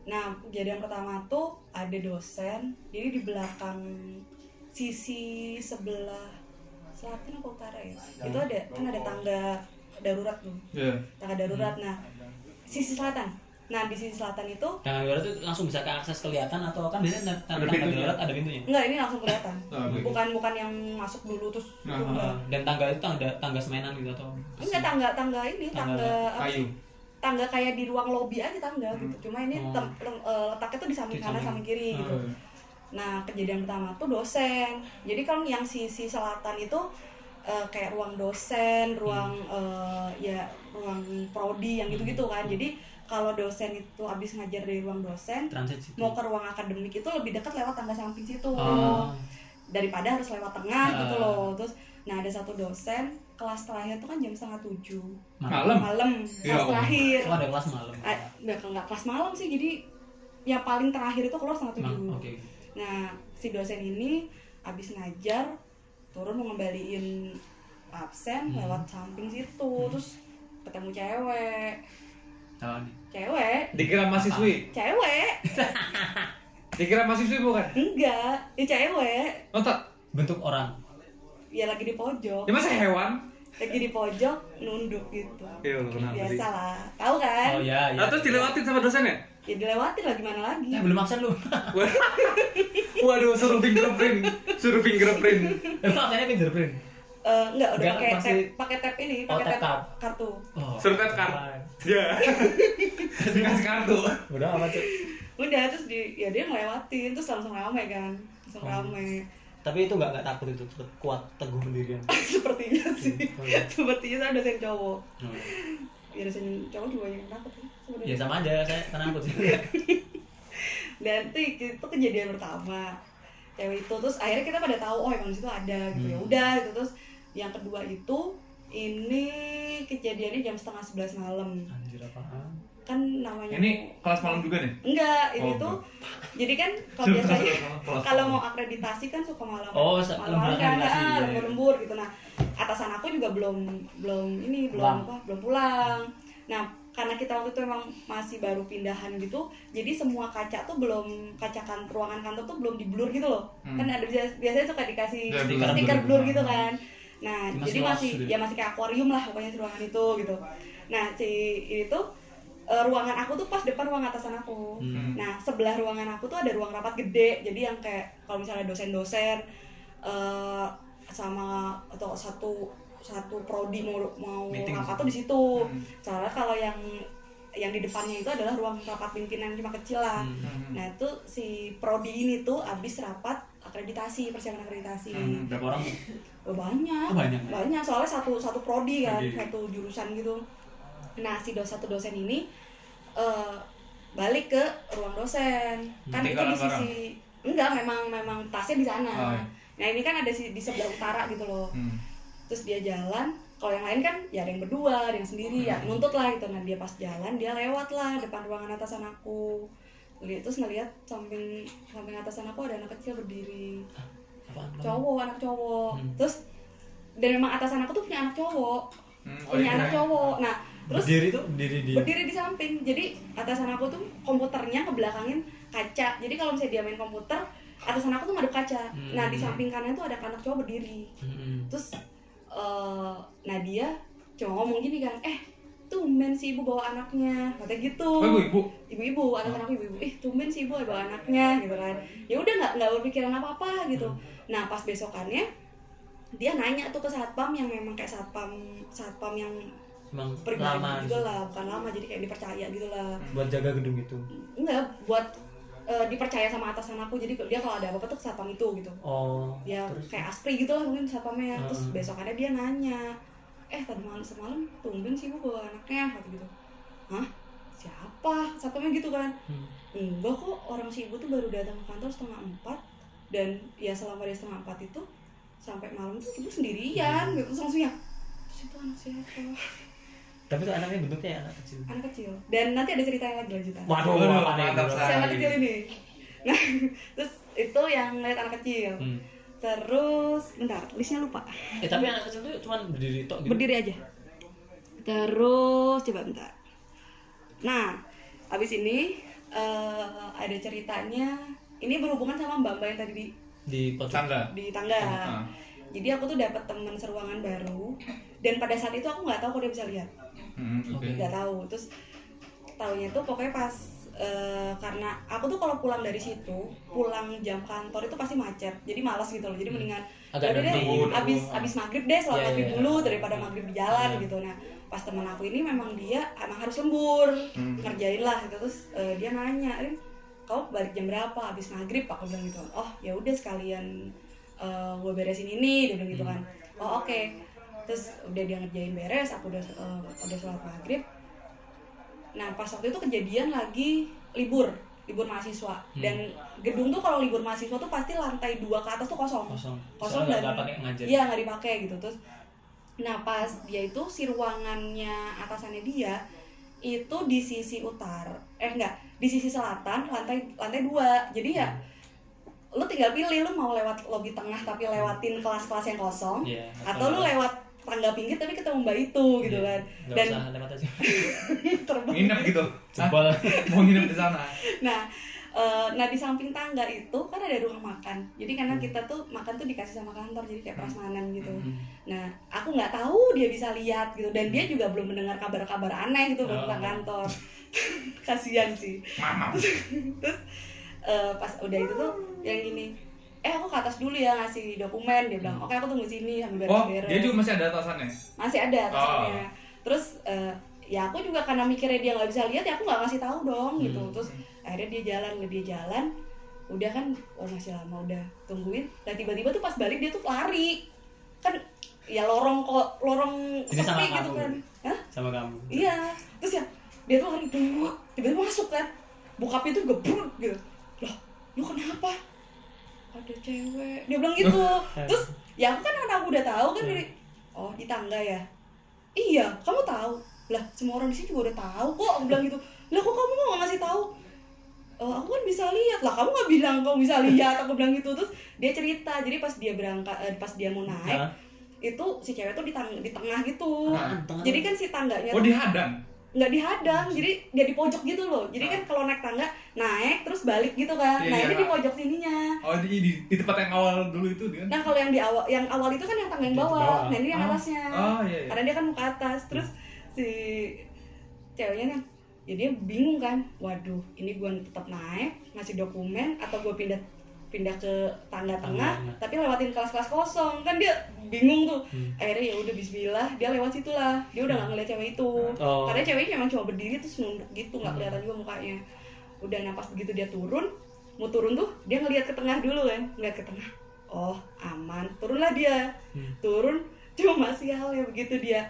Speaker 1: nah kejadian pertama tuh ada dosen jadi di belakang sisi sebelah selatan apa utara ya itu ada kan ada tangga darurat tuh
Speaker 4: Iya.
Speaker 1: tangga darurat nah sisi selatan nah di sisi selatan itu
Speaker 3: Tangga darurat itu langsung bisa ke akses kelihatan atau kan biasanya tang-
Speaker 4: Ada
Speaker 3: tangga
Speaker 4: pintunya.
Speaker 3: darurat ada pintunya.
Speaker 1: enggak ini langsung kelihatan
Speaker 4: Ah, oke.
Speaker 1: bukan bukan yang masuk dulu terus
Speaker 4: Nah,
Speaker 1: itu enggak.
Speaker 4: ah,
Speaker 3: Dan tangga itu tangga tangga semenan gitu atau
Speaker 1: enggak tangga tangga ini
Speaker 3: Tangga
Speaker 1: tangga apa sih?
Speaker 4: Kayu. Hmm.
Speaker 1: tangga kayak di ruang lobby aja tangga gitu cuma ini
Speaker 3: Oh.
Speaker 1: tem- tem- eh, letaknya tuh di samping
Speaker 3: Di
Speaker 1: kanan
Speaker 3: samping.
Speaker 1: samping kiri gitu
Speaker 4: Ah,
Speaker 1: Nah, kejadian pertama tuh dosen. Jadi kalau yang sisi selatan itu eh, kayak ruang dosen, ruang
Speaker 4: Hmm.
Speaker 1: eh, ya ruang prodi yang gitu-gitu kan. Jadi kalau dosen itu habis ngajar dari ruang dosen
Speaker 3: transit situ.
Speaker 1: mau ke ruang akademik itu lebih dekat lewat tangga samping situ
Speaker 3: Ah,
Speaker 1: daripada harus lewat tengah gitu
Speaker 3: Ah.
Speaker 1: loh. Terus nah ada satu dosen kelas terakhir tuh kan jam setengah tujuh
Speaker 4: Malam.
Speaker 1: malam kelas
Speaker 4: Ya Allah.
Speaker 1: terakhir.
Speaker 3: Oh, ada kelas malam.
Speaker 1: Ah, nggak nggak kelas malam sih jadi yang paling terakhir itu keluar setengah
Speaker 3: Ma-
Speaker 1: tujuh.
Speaker 3: Oke.
Speaker 1: Nah, si dosen ini abis ngajar turun mau ngembaliin absen
Speaker 3: Hmm.
Speaker 1: lewat samping situ,
Speaker 3: Hmm.
Speaker 1: terus ketemu cewek,
Speaker 3: Tahu nih.
Speaker 1: cewek,
Speaker 4: Dikira mahasiswi.
Speaker 1: cewek,
Speaker 4: Dikira mahasiswi bukan?
Speaker 1: enggak, ya cewek,
Speaker 4: Oh tak.
Speaker 3: Bentuk orang.
Speaker 1: ya lagi di pojok,
Speaker 4: Ya masa hewan?
Speaker 1: lagi di pojok nunduk gitu,
Speaker 4: Iya, kenapa sih?
Speaker 1: biasa lah, tahu kan?
Speaker 3: Oh ya, ya.
Speaker 4: Nah, terus dilewatin sama dosennya?
Speaker 1: Ya dilewatin lah gimana lagi?
Speaker 3: Eh, belum absen
Speaker 1: (laughs)
Speaker 3: lu.
Speaker 4: (laughs) Waduh, suruh fingerprint, suruh fingerprint.
Speaker 3: Emang absennya fingerprint.
Speaker 1: Eh, enggak udah
Speaker 3: Enggak,
Speaker 1: pakai
Speaker 3: masih-
Speaker 1: tap, pakai tap ini,
Speaker 3: Oh,
Speaker 1: pakai
Speaker 3: tap
Speaker 1: tap
Speaker 3: tap.
Speaker 1: kartu.
Speaker 3: Oh.
Speaker 4: Suruh tap card. Ya. Dikasih kartu.
Speaker 3: Udah amat, Cuk.
Speaker 1: Udah terus di, ya dia ngelewatin, terus langsung rame kan, langsung
Speaker 3: Oh.
Speaker 1: rame. (laughs)
Speaker 3: Tapi itu nggak nggak takut itu tetap kuat teguh pendirian.
Speaker 1: sepertinya sih
Speaker 3: Oh, iya.
Speaker 1: sepertinya saya dosen cowok
Speaker 3: Oh.
Speaker 1: ya dosen cowok juga yang takut ya,
Speaker 3: Ya
Speaker 1: sebenarnya
Speaker 3: sama aja saya tenang
Speaker 1: (laughs)
Speaker 3: aku.
Speaker 1: dan itu, itu kejadian pertama cewek itu terus akhirnya kita pada tahu oh emang di situ ada gitu
Speaker 3: Hmm.
Speaker 1: ya udah gitu terus yang kedua itu ini kejadiannya jam setengah sebelas malam
Speaker 3: Anjir apaan?
Speaker 1: kan namanya
Speaker 4: Ini kelas malam juga nih.
Speaker 1: enggak ini
Speaker 4: Oh,
Speaker 1: tuh jadi
Speaker 3: (laughs)
Speaker 1: kan kalau
Speaker 4: Suruh
Speaker 1: biasanya
Speaker 4: kelas malam, kelas
Speaker 1: kalau
Speaker 4: malam.
Speaker 1: mau akreditasi kan suka malam
Speaker 3: Oh, se-
Speaker 1: malam kan
Speaker 3: lembar
Speaker 1: ah,
Speaker 3: akreditasi, iya, iya.
Speaker 1: lembur-lembur gitu nah atasan aku juga belum belum ini belum
Speaker 3: Pulang.
Speaker 1: apa belum pulang nah karena kita waktu itu emang masih baru pindahan gitu jadi semua kaca tuh belum kaca kan ruangan kantor tuh belum di blur gitu loh
Speaker 4: Hmm.
Speaker 1: kan ada biasa- biasanya suka dikasih
Speaker 4: Ya,
Speaker 1: stiker
Speaker 3: blur,
Speaker 1: stiker
Speaker 4: blur.
Speaker 1: blur gitu kan nah
Speaker 3: Masih
Speaker 1: jadi
Speaker 3: luas
Speaker 1: masih
Speaker 3: gitu
Speaker 1: ya masih kayak akuarium lah pokoknya si ruangan itu gitu nah si ini tuh eh, ruangan aku tuh pas depan ruang atasan aku
Speaker 3: Hmm.
Speaker 1: Nah, sebelah ruangan aku tuh ada ruang rapat gede. Jadi yang kayak kalau misalnya dosen-dosen eh sama atau satu satu prodi mau mau
Speaker 3: Meeting
Speaker 1: rapat
Speaker 3: gitu.
Speaker 1: tuh di situ.
Speaker 4: Hmm.
Speaker 1: Soalnya kalau yang yang di depannya itu adalah ruang rapat pimpinan cuma kecil lah.
Speaker 3: Hmm.
Speaker 1: Nah, itu si prodi ini tuh abis rapat akreditasi, persiapan akreditasi.
Speaker 4: Hmm.
Speaker 3: Berapa orang?
Speaker 1: Oh, banyak
Speaker 3: Oh, banyak.
Speaker 1: banyak soalnya satu satu prodi kan
Speaker 4: Prodi.
Speaker 1: satu jurusan gitu nah si dos satu dosen ini eh, balik ke ruang dosen kan itu
Speaker 4: Tinggal
Speaker 1: di sisi enggak memang memang tasnya di sana
Speaker 4: Oh, iya.
Speaker 1: nah ini kan ada si- di sebelah utara gitu loh
Speaker 4: Hmm.
Speaker 1: terus dia jalan kalau yang lain kan ya ada yang berdua ada yang sendiri ya nuntut lah gitu nah dia pas jalan dia lewat lah depan ruangan atasan aku Lihat- terus ngelihat samping samping atasan aku ada anak kecil berdiri
Speaker 3: Apaan?
Speaker 1: cowok anak cowok
Speaker 3: Hmm.
Speaker 1: terus dan memang atasan aku tuh punya anak cowok
Speaker 4: Hmm. Oh,
Speaker 1: punya
Speaker 4: iya.
Speaker 1: anak cowok nah terus
Speaker 3: berdiri tuh berdiri di
Speaker 1: berdiri di samping jadi atasan aku tuh komputernya kebelakangin kaca jadi kalau misalnya dia main komputer atasan aku tuh madep kaca
Speaker 3: Hmm.
Speaker 1: nah di samping kanan tuh ada anak cowok berdiri
Speaker 3: Hmm.
Speaker 1: terus eh nah dia cuma ngomong gini kan eh tumben si ibu bawa anaknya katanya gitu
Speaker 4: Oh, ibu, ibu.
Speaker 1: ibu-ibu atasan
Speaker 3: Hmm.
Speaker 1: aku ibu-ibu ih tumben si ibu ada bawa anaknya gitu kan ya udah nggak nggak berpikiran apa-apa gitu
Speaker 3: Hmm.
Speaker 1: nah pas besokannya dia nanya tuh ke satpam yang memang kayak satpam satpam yang
Speaker 3: Emang lama gitu.
Speaker 1: pribadi juga lah bukan lama jadi kayak dipercaya gitu lah
Speaker 3: buat jaga gedung itu.
Speaker 1: enggak buat eh, dipercaya sama atasan aku jadi dia kalau ada apa-apa tuh ke satpam itu gitu
Speaker 3: Oh.
Speaker 1: dia
Speaker 3: terus
Speaker 1: kayak aspri gitu lah mungkin satpamnya terus
Speaker 3: Hmm.
Speaker 1: besokannya dia nanya eh tadi malam semalam tumben sih bu bawa anaknya kata gitu hah siapa satpamnya gitu kan
Speaker 3: Hmm.
Speaker 1: enggak kok orang si ibu tuh baru datang ke kantor setengah empat dan ya selama dari setengah empat itu sampai malam tuh ibu sendirian gitu Terus langsung ya "Terus itu anak siapa
Speaker 3: Tapi tuh anaknya bentuknya anak kecil.
Speaker 1: anak kecil dan nanti ada ceritanya lagi lanjutan
Speaker 3: Waduh,
Speaker 4: Waduh,
Speaker 3: apa nih?
Speaker 4: mantap,
Speaker 1: si anak
Speaker 4: Hai.
Speaker 1: kecil ini nah (laughs) terus itu yang ngeliat anak kecil
Speaker 3: Hmm.
Speaker 1: terus bentar listnya lupa
Speaker 3: Eh tapi anak kecil tuh cuma berdiri tok gitu.
Speaker 1: berdiri aja terus coba bentar nah abis ini eh, ada ceritanya ini berhubungan sama mbak mbak yang tadi di
Speaker 3: di pojok.
Speaker 4: Tangga.
Speaker 1: di tangga
Speaker 4: Ah.
Speaker 1: jadi aku tuh dapat teman seruangan baru dan pada saat itu aku nggak tahu kalau dia bisa lihat
Speaker 4: Hmm, oke.
Speaker 3: Oke.
Speaker 1: nggak tahu terus tahunya tuh pokoknya pas eh, karena aku tuh kalau pulang dari situ pulang jam kantor itu pasti macet jadi malas gitu loh jadi mendingan
Speaker 3: agak
Speaker 1: Yaudah
Speaker 3: ngerti
Speaker 1: deh,
Speaker 4: nunggu,
Speaker 1: abis
Speaker 4: nunggu.
Speaker 1: abis maghrib deh sholat
Speaker 3: Iya,
Speaker 1: maghrib
Speaker 3: iya.
Speaker 1: dulu daripada maghrib di jalan
Speaker 3: Iya.
Speaker 1: gitu nah pas temen aku ini memang dia emang harus lembur
Speaker 4: Hmm.
Speaker 1: ngerjain lah gitu terus eh, dia nanya Rin kau balik jam berapa abis maghrib aku bilang gitu oh ya udah sekalian gue eh, beresin ini dia bilang gitu kan oh oke terus udah dia ngerjain beres aku udah eh, udah sholat maghrib nah pas waktu itu kejadian lagi libur libur mahasiswa
Speaker 3: Hmm.
Speaker 1: dan gedung tuh kalau libur mahasiswa tuh pasti lantai dua ke atas tuh kosong
Speaker 3: kosong
Speaker 1: Kosong
Speaker 3: Soalnya nggak
Speaker 1: dan-
Speaker 3: nggak pakai ngajar
Speaker 1: Iya nggak dipakai gitu terus. Nah pas dia itu si ruangannya atasannya dia itu di sisi utara eh enggak di sisi selatan lantai lantai dua jadi ya lu tinggal pilih lu mau lewat lobi tengah tapi lewatin kelas-kelas yang kosong
Speaker 3: Iya,
Speaker 1: atau lu lewat tangga pinggir tapi ketemu mbak itu gitu
Speaker 3: Iya.
Speaker 1: kan (laughs)
Speaker 3: nggak
Speaker 1: dan-
Speaker 3: usah lewat
Speaker 4: (laughs)
Speaker 3: aja
Speaker 1: terbang
Speaker 4: Nginep gitu. Hah?
Speaker 3: jebol
Speaker 4: Mau nginep di sana.
Speaker 1: nah eh, nah di samping tangga itu kan ada rumah makan jadi karena
Speaker 3: Hmm.
Speaker 1: kita tuh makan tuh dikasih sama kantor jadi kayak prasmanan gitu Nah, aku nggak tahu dia bisa lihat gitu dan dia juga belum mendengar kabar-kabar aneh gitu
Speaker 3: Oh.
Speaker 4: Ah.
Speaker 1: tentang kantor. (laughs) Kasihan sih.
Speaker 4: Mama.
Speaker 1: Terus eh, pas udah itu tuh yang gini, eh aku ke atas dulu ya ngasih dokumen dia bilang, oke aku tunggu sini sambil
Speaker 4: Oh,
Speaker 1: beres-beres.
Speaker 4: dia juga Ah. masih ada atasannya.
Speaker 1: Masih ada atasannya. Terus eh, ya aku juga karena mikirnya dia nggak bisa lihat ya aku nggak ngasih tahu dong gitu.
Speaker 3: Hmm.
Speaker 1: Terus akhirnya dia jalan dia jalan udah kan oh masih lama udah tungguin dan tiba-tiba tuh pas balik dia tuh lari kan ya lorong kok lorong
Speaker 3: Ini sama
Speaker 1: sepi gitu
Speaker 3: kamu.
Speaker 1: kan Hah?
Speaker 3: sama kamu
Speaker 1: iya terus ya dia tuh lari dulu tiba-tiba masuk kan buka pintu gebruk gitu loh lu kenapa ada cewek dia bilang
Speaker 4: (laughs)
Speaker 1: gitu terus ya aku kan karena aku udah tahu kan
Speaker 4: Iya.
Speaker 3: Hmm.
Speaker 1: dari oh di tangga ya iya kamu tahu lah semua orang di sini juga udah tahu kok aku bilang gitu lah kok kamu nggak ngasih tahu "Eh, aku kan bisa lihat lah kamu nggak bilang kamu bisa lihat aku bilang gitu terus dia cerita jadi pas dia berangkat eh, pas dia mau naik
Speaker 3: Hah?
Speaker 1: itu si cewek tuh di, tang- di tengah gitu
Speaker 4: Nah. Ah.
Speaker 3: Tengah-
Speaker 1: jadi kan si tangganya
Speaker 4: Oh,
Speaker 1: tuh
Speaker 4: dihadang.
Speaker 1: nggak dihadang jadi dia di pojok gitu loh jadi kan kalau naik tangga naik terus balik gitu kan
Speaker 4: Iya,
Speaker 1: nah
Speaker 4: iya.
Speaker 1: ini di pojok sininya
Speaker 4: Oh, di, di, di tempat yang awal dulu itu dia.
Speaker 1: nah kalau yang di awal yang awal itu kan yang tangga yang
Speaker 3: Yang di
Speaker 1: bawah
Speaker 3: bawah.
Speaker 1: nah ini yang
Speaker 4: Ah.
Speaker 1: atasnya
Speaker 4: Oh, iya iya.
Speaker 1: karena dia kan muka atas terus si ceweknya kan ya dia bingung kan waduh ini gue tetap naik ngasih dokumen atau gue pindah pindah ke tangga tengah
Speaker 3: tengah.
Speaker 1: tapi lewatin kelas-kelas kosong kan dia bingung tuh
Speaker 3: Hmm.
Speaker 1: akhirnya ya udah Bismillah dia lewat situ lah dia udah nggak ngeliat cewek itu
Speaker 3: oh
Speaker 1: karena ceweknya emang cuma berdiri terus nunduk gitu nggak
Speaker 3: Hmm.
Speaker 1: kelihatan juga mukanya udah napas begitu dia turun mau turun tuh dia ngelihat ke tengah dulu kan ngeliat ke tengah oh aman turunlah dia
Speaker 3: Hmm.
Speaker 1: turun (laughs) cuma sial ya begitu dia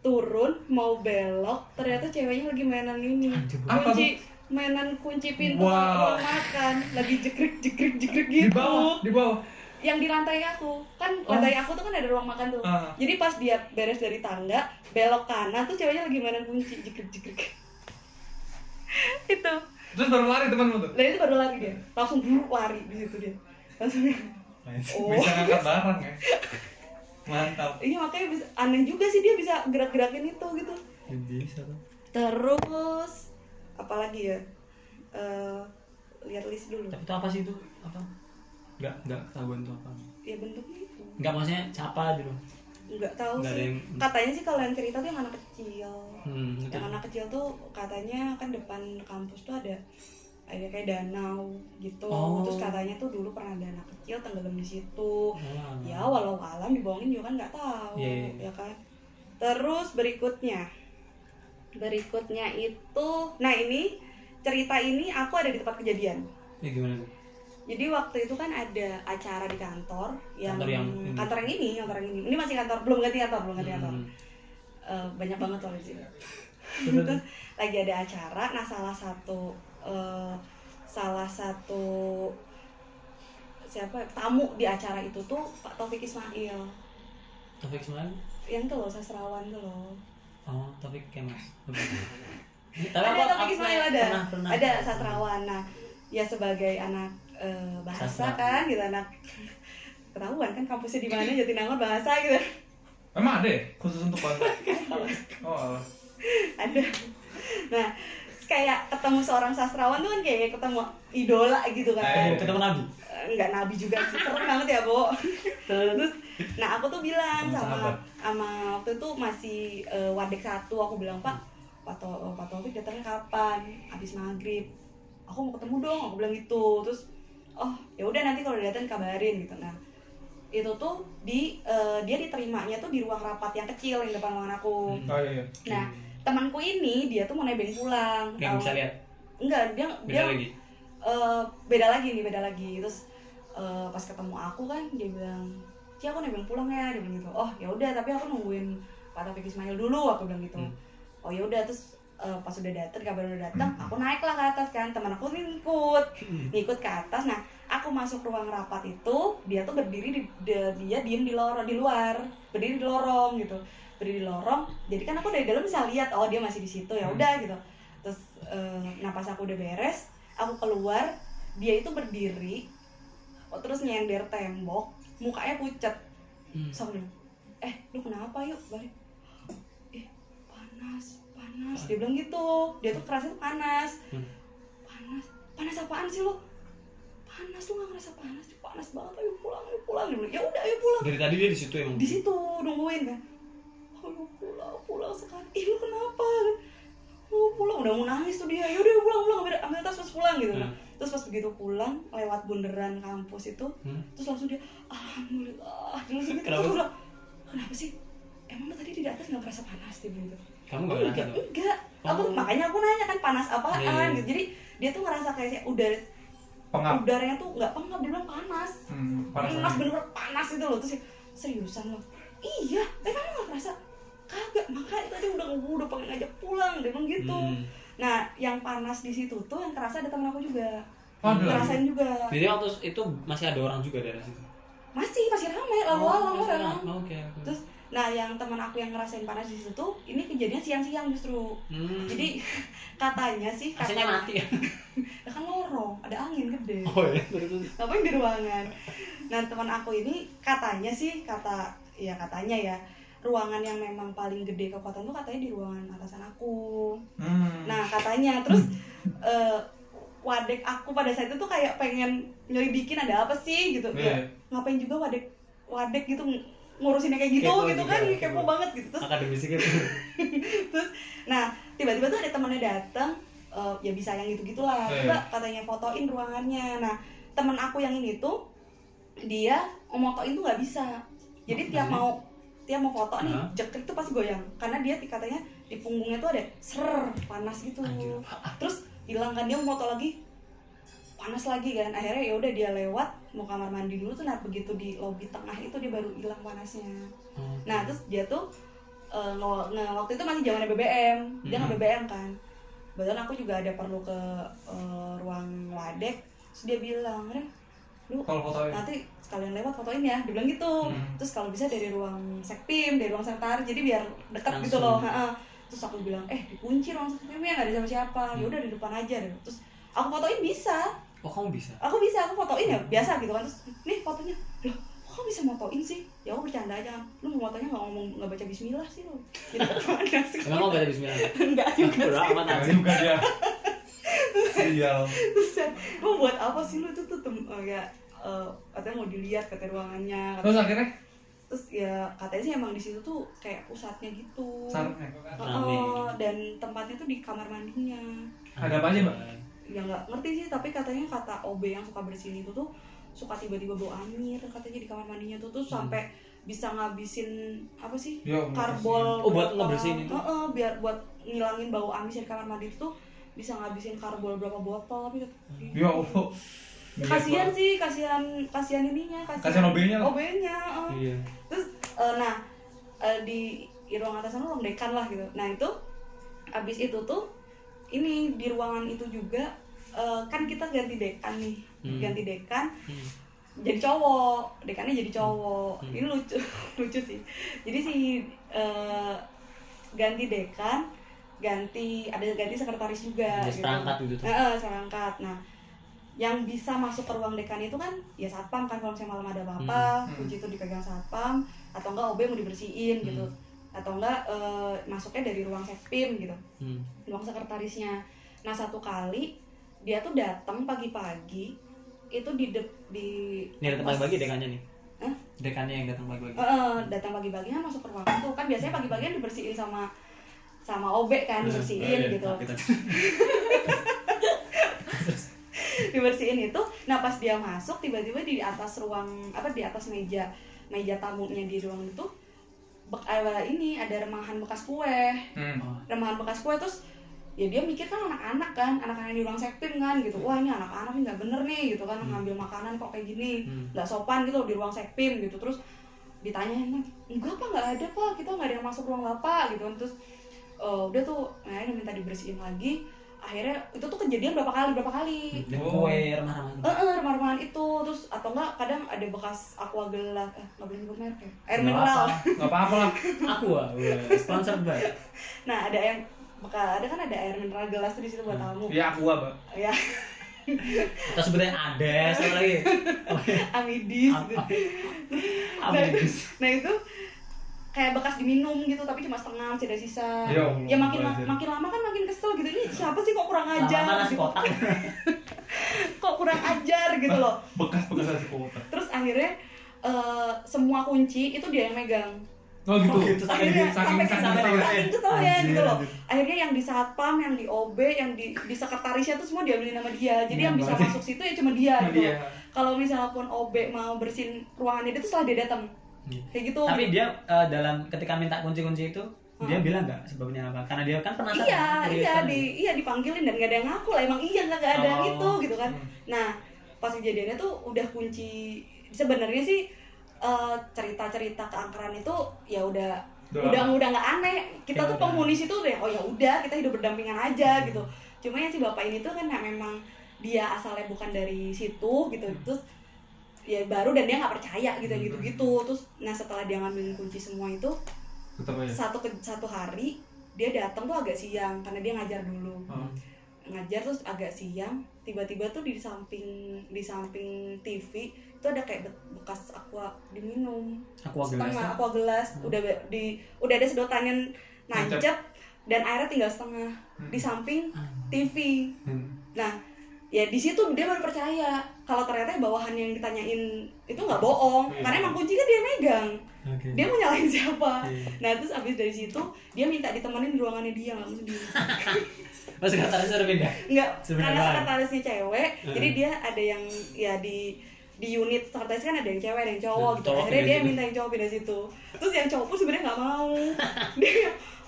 Speaker 1: turun mau belok ternyata ceweknya lagi mainan ini
Speaker 3: Anjir,
Speaker 4: Apa
Speaker 1: kunci mainan kunci pintu
Speaker 4: Wow.
Speaker 1: ruang makan lagi jegrek jegrek jegrek gitu
Speaker 4: Di bawah, di bawah.
Speaker 1: yang di lantai aku kan
Speaker 3: Oh.
Speaker 1: lantai aku tuh kan ada ruang makan tuh
Speaker 4: Ah.
Speaker 1: jadi pas dia beres dari tangga, belok kanan tuh ceweknya lagi mainan kunci jegrek-jegrek. itu.
Speaker 4: Terus baru lari temanmu tuh.
Speaker 1: Dan itu baru lari dia. Langsung buru lari di situ dia. Langsung Oh.
Speaker 4: Bisa ngangkat barang ya. Mantap.
Speaker 1: Iya makanya bisa, aneh juga sih dia bisa gerak-gerakin itu gitu.
Speaker 3: bisa tuh
Speaker 1: Terus apalagi ya? Eh lihat list dulu.
Speaker 3: tapi itu apa sih itu apa nggak nggak ketahuan tuh apa
Speaker 1: Ya bentuknya itu.
Speaker 3: nggak maksudnya siapa gitu
Speaker 1: Enggak tahu
Speaker 3: Nggak ada
Speaker 1: sih.
Speaker 3: yang-
Speaker 1: Katanya sih kalau yang cerita tuh yang anak kecil.
Speaker 3: hmm, itu.
Speaker 1: yang anak kecil tuh katanya kan depan kampus tuh ada ada kayak danau gitu
Speaker 3: Oh.
Speaker 1: terus katanya tuh dulu pernah ada anak kecil tenggelam di situ
Speaker 3: Oh,
Speaker 1: ya walau alam dibohongin juga kan nggak tahu
Speaker 3: Iya, iya, iya.
Speaker 1: ya kan terus berikutnya berikutnya itu nah ini cerita ini aku ada di tempat kejadian
Speaker 3: ya gimana tuh
Speaker 1: jadi waktu itu kan ada acara di kantor yang
Speaker 3: Kantor yang ini.
Speaker 1: kantor yang ini kantor yang ini ini masih kantor belum ganti kantor belum ganti kantor
Speaker 3: Hmm.
Speaker 1: Eh, banyak banget loh di sini
Speaker 3: Terus,
Speaker 1: Terus lagi ada acara, nah salah satu eh, salah satu siapa ya, tamu di acara itu tuh Pak Taufik Ismail
Speaker 3: Taufik Ismail
Speaker 1: yang tuh loh sastrawan tuh loh
Speaker 3: oh Taufik Kemas tapi
Speaker 1: ada Taufik Ismail ada
Speaker 3: pernah, pernah.
Speaker 1: ada sastrawan nah ya sebagai anak eh, bahasa
Speaker 3: Sastra.
Speaker 1: kan gitu anak ketahuan kan kampusnya di mana Jatinangor bahasa gitu (laughs)
Speaker 4: Emang ada ya khusus untuk bangsa? oh, alah.
Speaker 1: ada nah kayak ketemu seorang sastrawan tuh kan kayak ketemu idola gitu kan
Speaker 4: Eh.
Speaker 3: ketemu nabi
Speaker 1: nggak nabi juga
Speaker 3: (laughs)
Speaker 1: sih serem banget ya bo
Speaker 3: terus
Speaker 1: nah aku tuh bilang
Speaker 4: Sama
Speaker 1: sama
Speaker 4: sahabat.
Speaker 1: sama waktu itu masih eh, wadek satu aku bilang pak eh, pak To- Pak Taufik datangnya kapan habis maghrib aku mau ketemu dong aku bilang gitu terus oh ya udah nanti kalau udah datang kabarin gitu nah itu tuh di eh, dia diterimanya tuh di ruang rapat yang kecil yang depan ruangan aku
Speaker 3: Hmm,
Speaker 4: Oh iya. iya.
Speaker 1: nah temanku ini dia tuh mau nebeng pulang
Speaker 3: nggak bisa lihat
Speaker 1: enggak dia dia
Speaker 3: beda lagi
Speaker 1: eh, beda lagi nih beda lagi terus eh, pas ketemu aku kan dia bilang Ci aku nebeng pulang ya dia bilang gitu oh ya udah tapi aku nungguin Pak Taufik Ismail dulu aku bilang gitu
Speaker 3: Hmm.
Speaker 1: oh ya udah terus eh, pas udah dateng kabar udah dateng aku naik lah ke atas kan teman aku nih ngikut ngikut ke atas nah aku masuk ruang rapat itu dia tuh berdiri di, de- dia diem di lorong di luar berdiri di lorong gitu berdiri di lorong jadi kan aku dari dalam bisa lihat oh dia masih di situ ya udah gitu terus eh, nah pas aku udah beres aku keluar dia itu berdiri oh, terus nyender tembok mukanya pucat
Speaker 3: Hmm.
Speaker 1: Terus aku bilang, eh lu kenapa yuk balik eh panas panas dia bilang gitu dia tuh kerasa tuh panas
Speaker 3: Hmm.
Speaker 1: panas panas apaan sih lu panas lu gak ngerasa panas panas banget ayo pulang ayo pulang dia bilang ya udah ayo pulang
Speaker 3: dari tadi dia di situ emang
Speaker 1: di situ nungguin kan oh, lu pulang pulang sekarang ih lu kenapa mau pulang udah mau nangis tuh dia yaudah pulang pulang ambil, ambil tas pas pulang gitu
Speaker 3: Hmm.
Speaker 1: terus pas begitu pulang lewat bundaran kampus itu
Speaker 3: Hmm.
Speaker 1: terus langsung dia alhamdulillah dia langsung gitu
Speaker 3: Kenapa
Speaker 1: terus aku
Speaker 3: sih?
Speaker 1: bilang kenapa sih emang lu tadi di atas nggak merasa panas dia bilang gitu
Speaker 3: kamu
Speaker 1: Oh,
Speaker 3: nggak ngerasa
Speaker 1: enggak
Speaker 3: tuh
Speaker 1: enggak aku
Speaker 3: Oh.
Speaker 1: makanya aku nanya kan panas apaan
Speaker 3: Iya, iya.
Speaker 1: gitu jadi dia tuh ngerasa kayak udara
Speaker 4: Pengap.
Speaker 1: udaranya tuh nggak pengap dia bilang panas
Speaker 4: Hmm, panas.
Speaker 1: panas bener-bener panas itu loh terus ya, seriusan loh iya emang lu gak ngerasa kagak makanya tadi udah gua udah pengen ngajak pulang dia bilang gitu
Speaker 3: Hmm.
Speaker 1: nah yang panas di situ tuh yang kerasa ada teman aku juga
Speaker 3: Hmm.
Speaker 4: Waduh.
Speaker 1: ngerasain juga
Speaker 3: jadi waktu itu masih ada orang juga dari situ
Speaker 1: masih masih ramai lalu-lalang
Speaker 3: Oh,
Speaker 1: orang
Speaker 3: oh, oke oke.
Speaker 1: Terus- nah yang teman aku yang ngerasain panas di situ tuh ini kejadian siang-siang justru
Speaker 3: Hmm.
Speaker 1: jadi (laughs) katanya sih katanya
Speaker 3: AC-nya mati ya (laughs)
Speaker 1: Ya kan lorong ada angin gede
Speaker 3: oh iya terus
Speaker 1: ngapain di ruangan nah teman aku ini katanya sih kata ya katanya ya ruangan yang memang paling gede kekuatan tuh katanya di ruangan atasan aku
Speaker 4: Hmm.
Speaker 1: nah katanya terus eh, wadek aku pada saat itu tuh kayak pengen nyelidikin ada apa sih gitu
Speaker 4: Iya.
Speaker 1: ngapain juga wadek wadek gitu ng- ngurusinnya kayak gitu
Speaker 3: Kepo
Speaker 1: gitu
Speaker 3: juga,
Speaker 1: kan
Speaker 3: kepo.
Speaker 1: kepo banget gitu terus
Speaker 3: akademisnya gitu
Speaker 1: nah tiba-tiba tuh ada temannya datang eh, ya bisa yang gitu gitulah
Speaker 4: Iya.
Speaker 1: coba katanya fotoin ruangannya nah teman aku yang ini tuh dia motoin tuh nggak bisa jadi tiap
Speaker 3: Hmm.
Speaker 1: mau tiap mau foto nih
Speaker 3: Hah?
Speaker 1: jekrik tuh pasti goyang karena dia katanya di punggungnya tuh ada ser panas gitu
Speaker 3: Anjir.
Speaker 1: terus hilang kan dia mau foto lagi panas lagi kan akhirnya ya udah dia lewat mau kamar mandi dulu tuh nah begitu di lobi tengah itu dia baru hilang panasnya Nah terus dia tuh eh, nge- nge- waktu itu masih zamannya BBM, dia nge
Speaker 3: Mhm.
Speaker 1: BBM kan. Kebetulan aku juga ada perlu ke eh, ruang wadek, terus dia bilang, Ren, lu
Speaker 4: Kalau fotoin.
Speaker 1: nanti sekalian lewat fotoin ya, dia bilang gitu.
Speaker 3: Hmm.
Speaker 1: Terus kalau bisa dari ruang sekpim, dari ruang sekretariat, jadi biar dekat gitu loh.
Speaker 3: Langsung.
Speaker 1: Ha-ha. Terus aku bilang, eh dikunci ruang sekpimnya nggak ada siapa-siapa, ya
Speaker 3: Hmm.
Speaker 1: udah di depan aja deh. Terus aku fotoin bisa,
Speaker 3: oh kamu bisa
Speaker 1: aku bisa aku fotoin ya biasa gitu kan terus nih fotonya loh kok kamu bisa motoin sih ya aku bercanda aja kan lu mau motonya nggak ngomong nggak baca Bismillah sih lu gitu gimana sih
Speaker 3: emang kamu
Speaker 1: (laughs)
Speaker 3: baca Bismillah
Speaker 1: enggak juga
Speaker 3: Bodoh
Speaker 1: Iya, sih
Speaker 3: amat
Speaker 4: Nah,
Speaker 3: aja
Speaker 4: juga dia. Iya. Sial.
Speaker 1: (laughs) terus ya, mau buat apa sih lu tuh tuh tem- eh, ya eh, katanya mau dilihat kata ruangannya
Speaker 4: Terus akhirnya
Speaker 1: terus ya katanya sih emang di situ tuh kayak pusatnya gitu
Speaker 4: sarungnya.
Speaker 1: Eh,
Speaker 3: Rame.
Speaker 1: eh, dan tempatnya tuh di kamar mandinya
Speaker 4: Ada apa aja, Mbak?
Speaker 1: ya nggak ngerti sih tapi katanya kata OB yang suka bersihin itu tuh suka tiba-tiba bau anyir katanya di kamar mandinya tuh tuh sampai bisa ngabisin apa sih
Speaker 4: Dia ngomong
Speaker 1: karbol
Speaker 3: Oh, buat
Speaker 1: berapa-
Speaker 3: ngebersihin itu?
Speaker 1: Heeh, biar buat ngilangin bau amis dari kamar mandi itu tuh bisa ngabisin karbol berapa botol tapi gitu.
Speaker 4: kesini. Ya Allah.
Speaker 1: kasihan sih kasihan kasihan ininya
Speaker 4: Kasihan OB-nya lah.
Speaker 1: OB-nya heeh.
Speaker 3: iya
Speaker 1: terus eh, nah eh, di di ruang atasan ruang dekan lah gitu nah itu abis itu tuh ini di ruangan itu juga eh, kan kita ganti dekan nih
Speaker 3: Hmm.
Speaker 1: ganti dekan
Speaker 3: Hmm.
Speaker 1: jadi cowok dekannya jadi cowok
Speaker 3: Hmm.
Speaker 1: ini lucu (laughs) lucu sih jadi si eh, ganti dekan ganti ada ganti sekretaris juga
Speaker 3: Jadi seperangkat gitu tuh.
Speaker 1: Heeh, seperangkat nah yang bisa masuk ke ruang dekan itu kan ya satpam kan kalau misalnya malam ada apa-apa
Speaker 4: Hmm.
Speaker 1: kunci itu dipegang satpam atau enggak OB mau dibersihin gitu atau enggak eh, masuknya dari ruang sekpim gitu
Speaker 3: Hmm.
Speaker 1: ruang sekretarisnya nah satu kali dia tuh datang pagi-pagi itu di de- di
Speaker 3: Ini datang pagi-pagi dekannya nih.
Speaker 1: Hah?
Speaker 3: Dekannya yang datang pagi-pagi.
Speaker 1: Eh, eh, datang pagi-pagi kan masuk ke ruangan tuh kan biasanya pagi-pagi dibersihin sama sama obek kan dibersihin
Speaker 3: Oh, iya.
Speaker 1: gitu
Speaker 3: Nah, kita-
Speaker 1: dibersihin itu nah pas dia masuk tiba-tiba di atas ruang apa di atas meja meja tamunya di ruang itu bek, eh, ini ada remahan bekas kue
Speaker 4: Hmm.
Speaker 1: remahan bekas kue terus ya dia mikir kan anak-anak kan anak-anak yang di ruang sektim kan gitu wah ini anak-anak nih nggak bener nih gitu kan
Speaker 3: Hmm.
Speaker 1: ngambil makanan kok kayak gini
Speaker 3: Hmm.
Speaker 1: nggak sopan gitu di ruang sekpim gitu terus ditanyain kan enggak pak nggak ada pak kita nggak ada yang masuk ruang bapak gitu kan terus eh, udah tuh nah ini minta dibersihin lagi akhirnya itu tuh kejadian berapa kali berapa kali
Speaker 3: Dan kue remah-remah itu.
Speaker 1: eh eh, remah-remahan itu terus atau enggak kadang ada bekas aqua gelas eh nggak boleh nyebut merek ya air
Speaker 3: Nggak
Speaker 1: mineral
Speaker 3: apa.
Speaker 4: Gak apa-apa lah.
Speaker 3: Aku ah, wah, sponsor banget.
Speaker 1: nah ada yang bekas ada kan ada air mineral gelas tuh di situ buat
Speaker 3: Hmm.
Speaker 1: tamu
Speaker 4: Ya aku apa?
Speaker 1: ya
Speaker 3: Atau sebetulnya ada satu lagi.
Speaker 1: (laughs) amidis
Speaker 3: Ah,
Speaker 1: gitu.
Speaker 3: Apa?
Speaker 1: nah itu kayak bekas diminum gitu tapi cuma setengah masih ada sisa
Speaker 4: Ya Allah,
Speaker 1: ya makin
Speaker 4: Bazir.
Speaker 1: makin lama kan makin kesel gitu ini siapa sih kok kurang
Speaker 3: Lama-lama
Speaker 1: ajar
Speaker 3: nasi
Speaker 1: gitu.
Speaker 3: kotak.
Speaker 1: (laughs) kok kurang ajar gitu loh
Speaker 4: Bekas-bekas nasi kotak.
Speaker 1: terus akhirnya eh, semua kunci itu dia yang megang
Speaker 4: Oh gitu.
Speaker 3: Oh, gitu, saking-
Speaker 1: akhirnya
Speaker 4: saking-
Speaker 1: sampai saking
Speaker 4: saking keselnya.
Speaker 1: saking keselnya
Speaker 4: Anjir,
Speaker 1: gitu loh
Speaker 4: anjir.
Speaker 1: akhirnya yang di satpam yang di ob yang di di sekretarisnya itu semua diambilin sama dia jadi
Speaker 4: Iya,
Speaker 1: yang bisa
Speaker 4: berarti.
Speaker 1: masuk situ ya cuma dia
Speaker 4: Sama
Speaker 1: gitu
Speaker 4: dia.
Speaker 1: kalau misalnya pun ob mau bersihin ruangan itu setelah dia datang
Speaker 3: Iya.
Speaker 1: kayak gitu
Speaker 3: Tapi dia eh, dalam ketika minta kunci-kunci itu dia
Speaker 1: Hmm.
Speaker 3: bilang nggak sebabnya apa? Karena dia kan penasaran.
Speaker 1: iya
Speaker 3: Curious
Speaker 1: iya
Speaker 3: kan.
Speaker 1: di iya dipanggilin dan nggak ada yang ngaku lah emang iya nggak nggak ada
Speaker 3: Oh.
Speaker 1: gitu gitu kan nah pas kejadiannya tuh udah kunci sebenarnya sih eh, cerita-cerita keangkeran itu ya udah
Speaker 4: Udah
Speaker 1: udah udah nggak aneh kita
Speaker 3: Ya
Speaker 1: tuh
Speaker 3: udah.
Speaker 1: penghuni situ udah oh ya udah kita hidup berdampingan aja gitu cuma yang si bapak ini tuh kan nah, memang dia asalnya bukan dari situ gitu terus ya baru dan dia nggak percaya gitu gitu gitu terus nah setelah dia ngambilin kunci semua itu
Speaker 4: Tetap aja.
Speaker 1: satu ke, satu hari dia datang tuh agak siang karena dia ngajar dulu
Speaker 4: Oh.
Speaker 1: ngajar terus agak siang tiba-tiba tuh di samping di samping TV itu ada kayak be- bekas aqua diminum
Speaker 3: Aku agak
Speaker 1: setengah
Speaker 3: gelas.
Speaker 1: aqua gelas
Speaker 3: Hmm.
Speaker 1: udah be- di udah ada sedotannya nancep dan airnya tinggal setengah
Speaker 4: Hmm.
Speaker 1: di samping
Speaker 3: Ah.
Speaker 1: TV
Speaker 4: Hmm.
Speaker 1: ya di situ dia baru percaya kalau ternyata bawahan yang ditanyain itu nggak bohong
Speaker 4: Iya.
Speaker 1: karena emang kunci kan dia megang
Speaker 3: Oke.
Speaker 1: dia mau nyalahin siapa
Speaker 3: Iya.
Speaker 1: Nah terus abis dari situ dia minta ditemenin di ruangannya dia nggak mau sendiri.
Speaker 3: Mas sekretaris suruh pindah.
Speaker 1: Nggak,
Speaker 3: Sebenarnya
Speaker 1: karena
Speaker 3: lain.
Speaker 1: sekretarisnya cewek,
Speaker 3: Heeh.
Speaker 1: jadi dia ada yang ya di di unit sekretaris kan ada yang cewek ada yang cowok
Speaker 3: Nah,
Speaker 1: gitu.
Speaker 3: cowok
Speaker 1: Akhirnya
Speaker 3: pindah
Speaker 1: dia
Speaker 3: situ.
Speaker 1: minta yang cowok pindah situ. Terus yang cowok pun sebenarnya nggak
Speaker 3: (laughs)
Speaker 1: mau. dia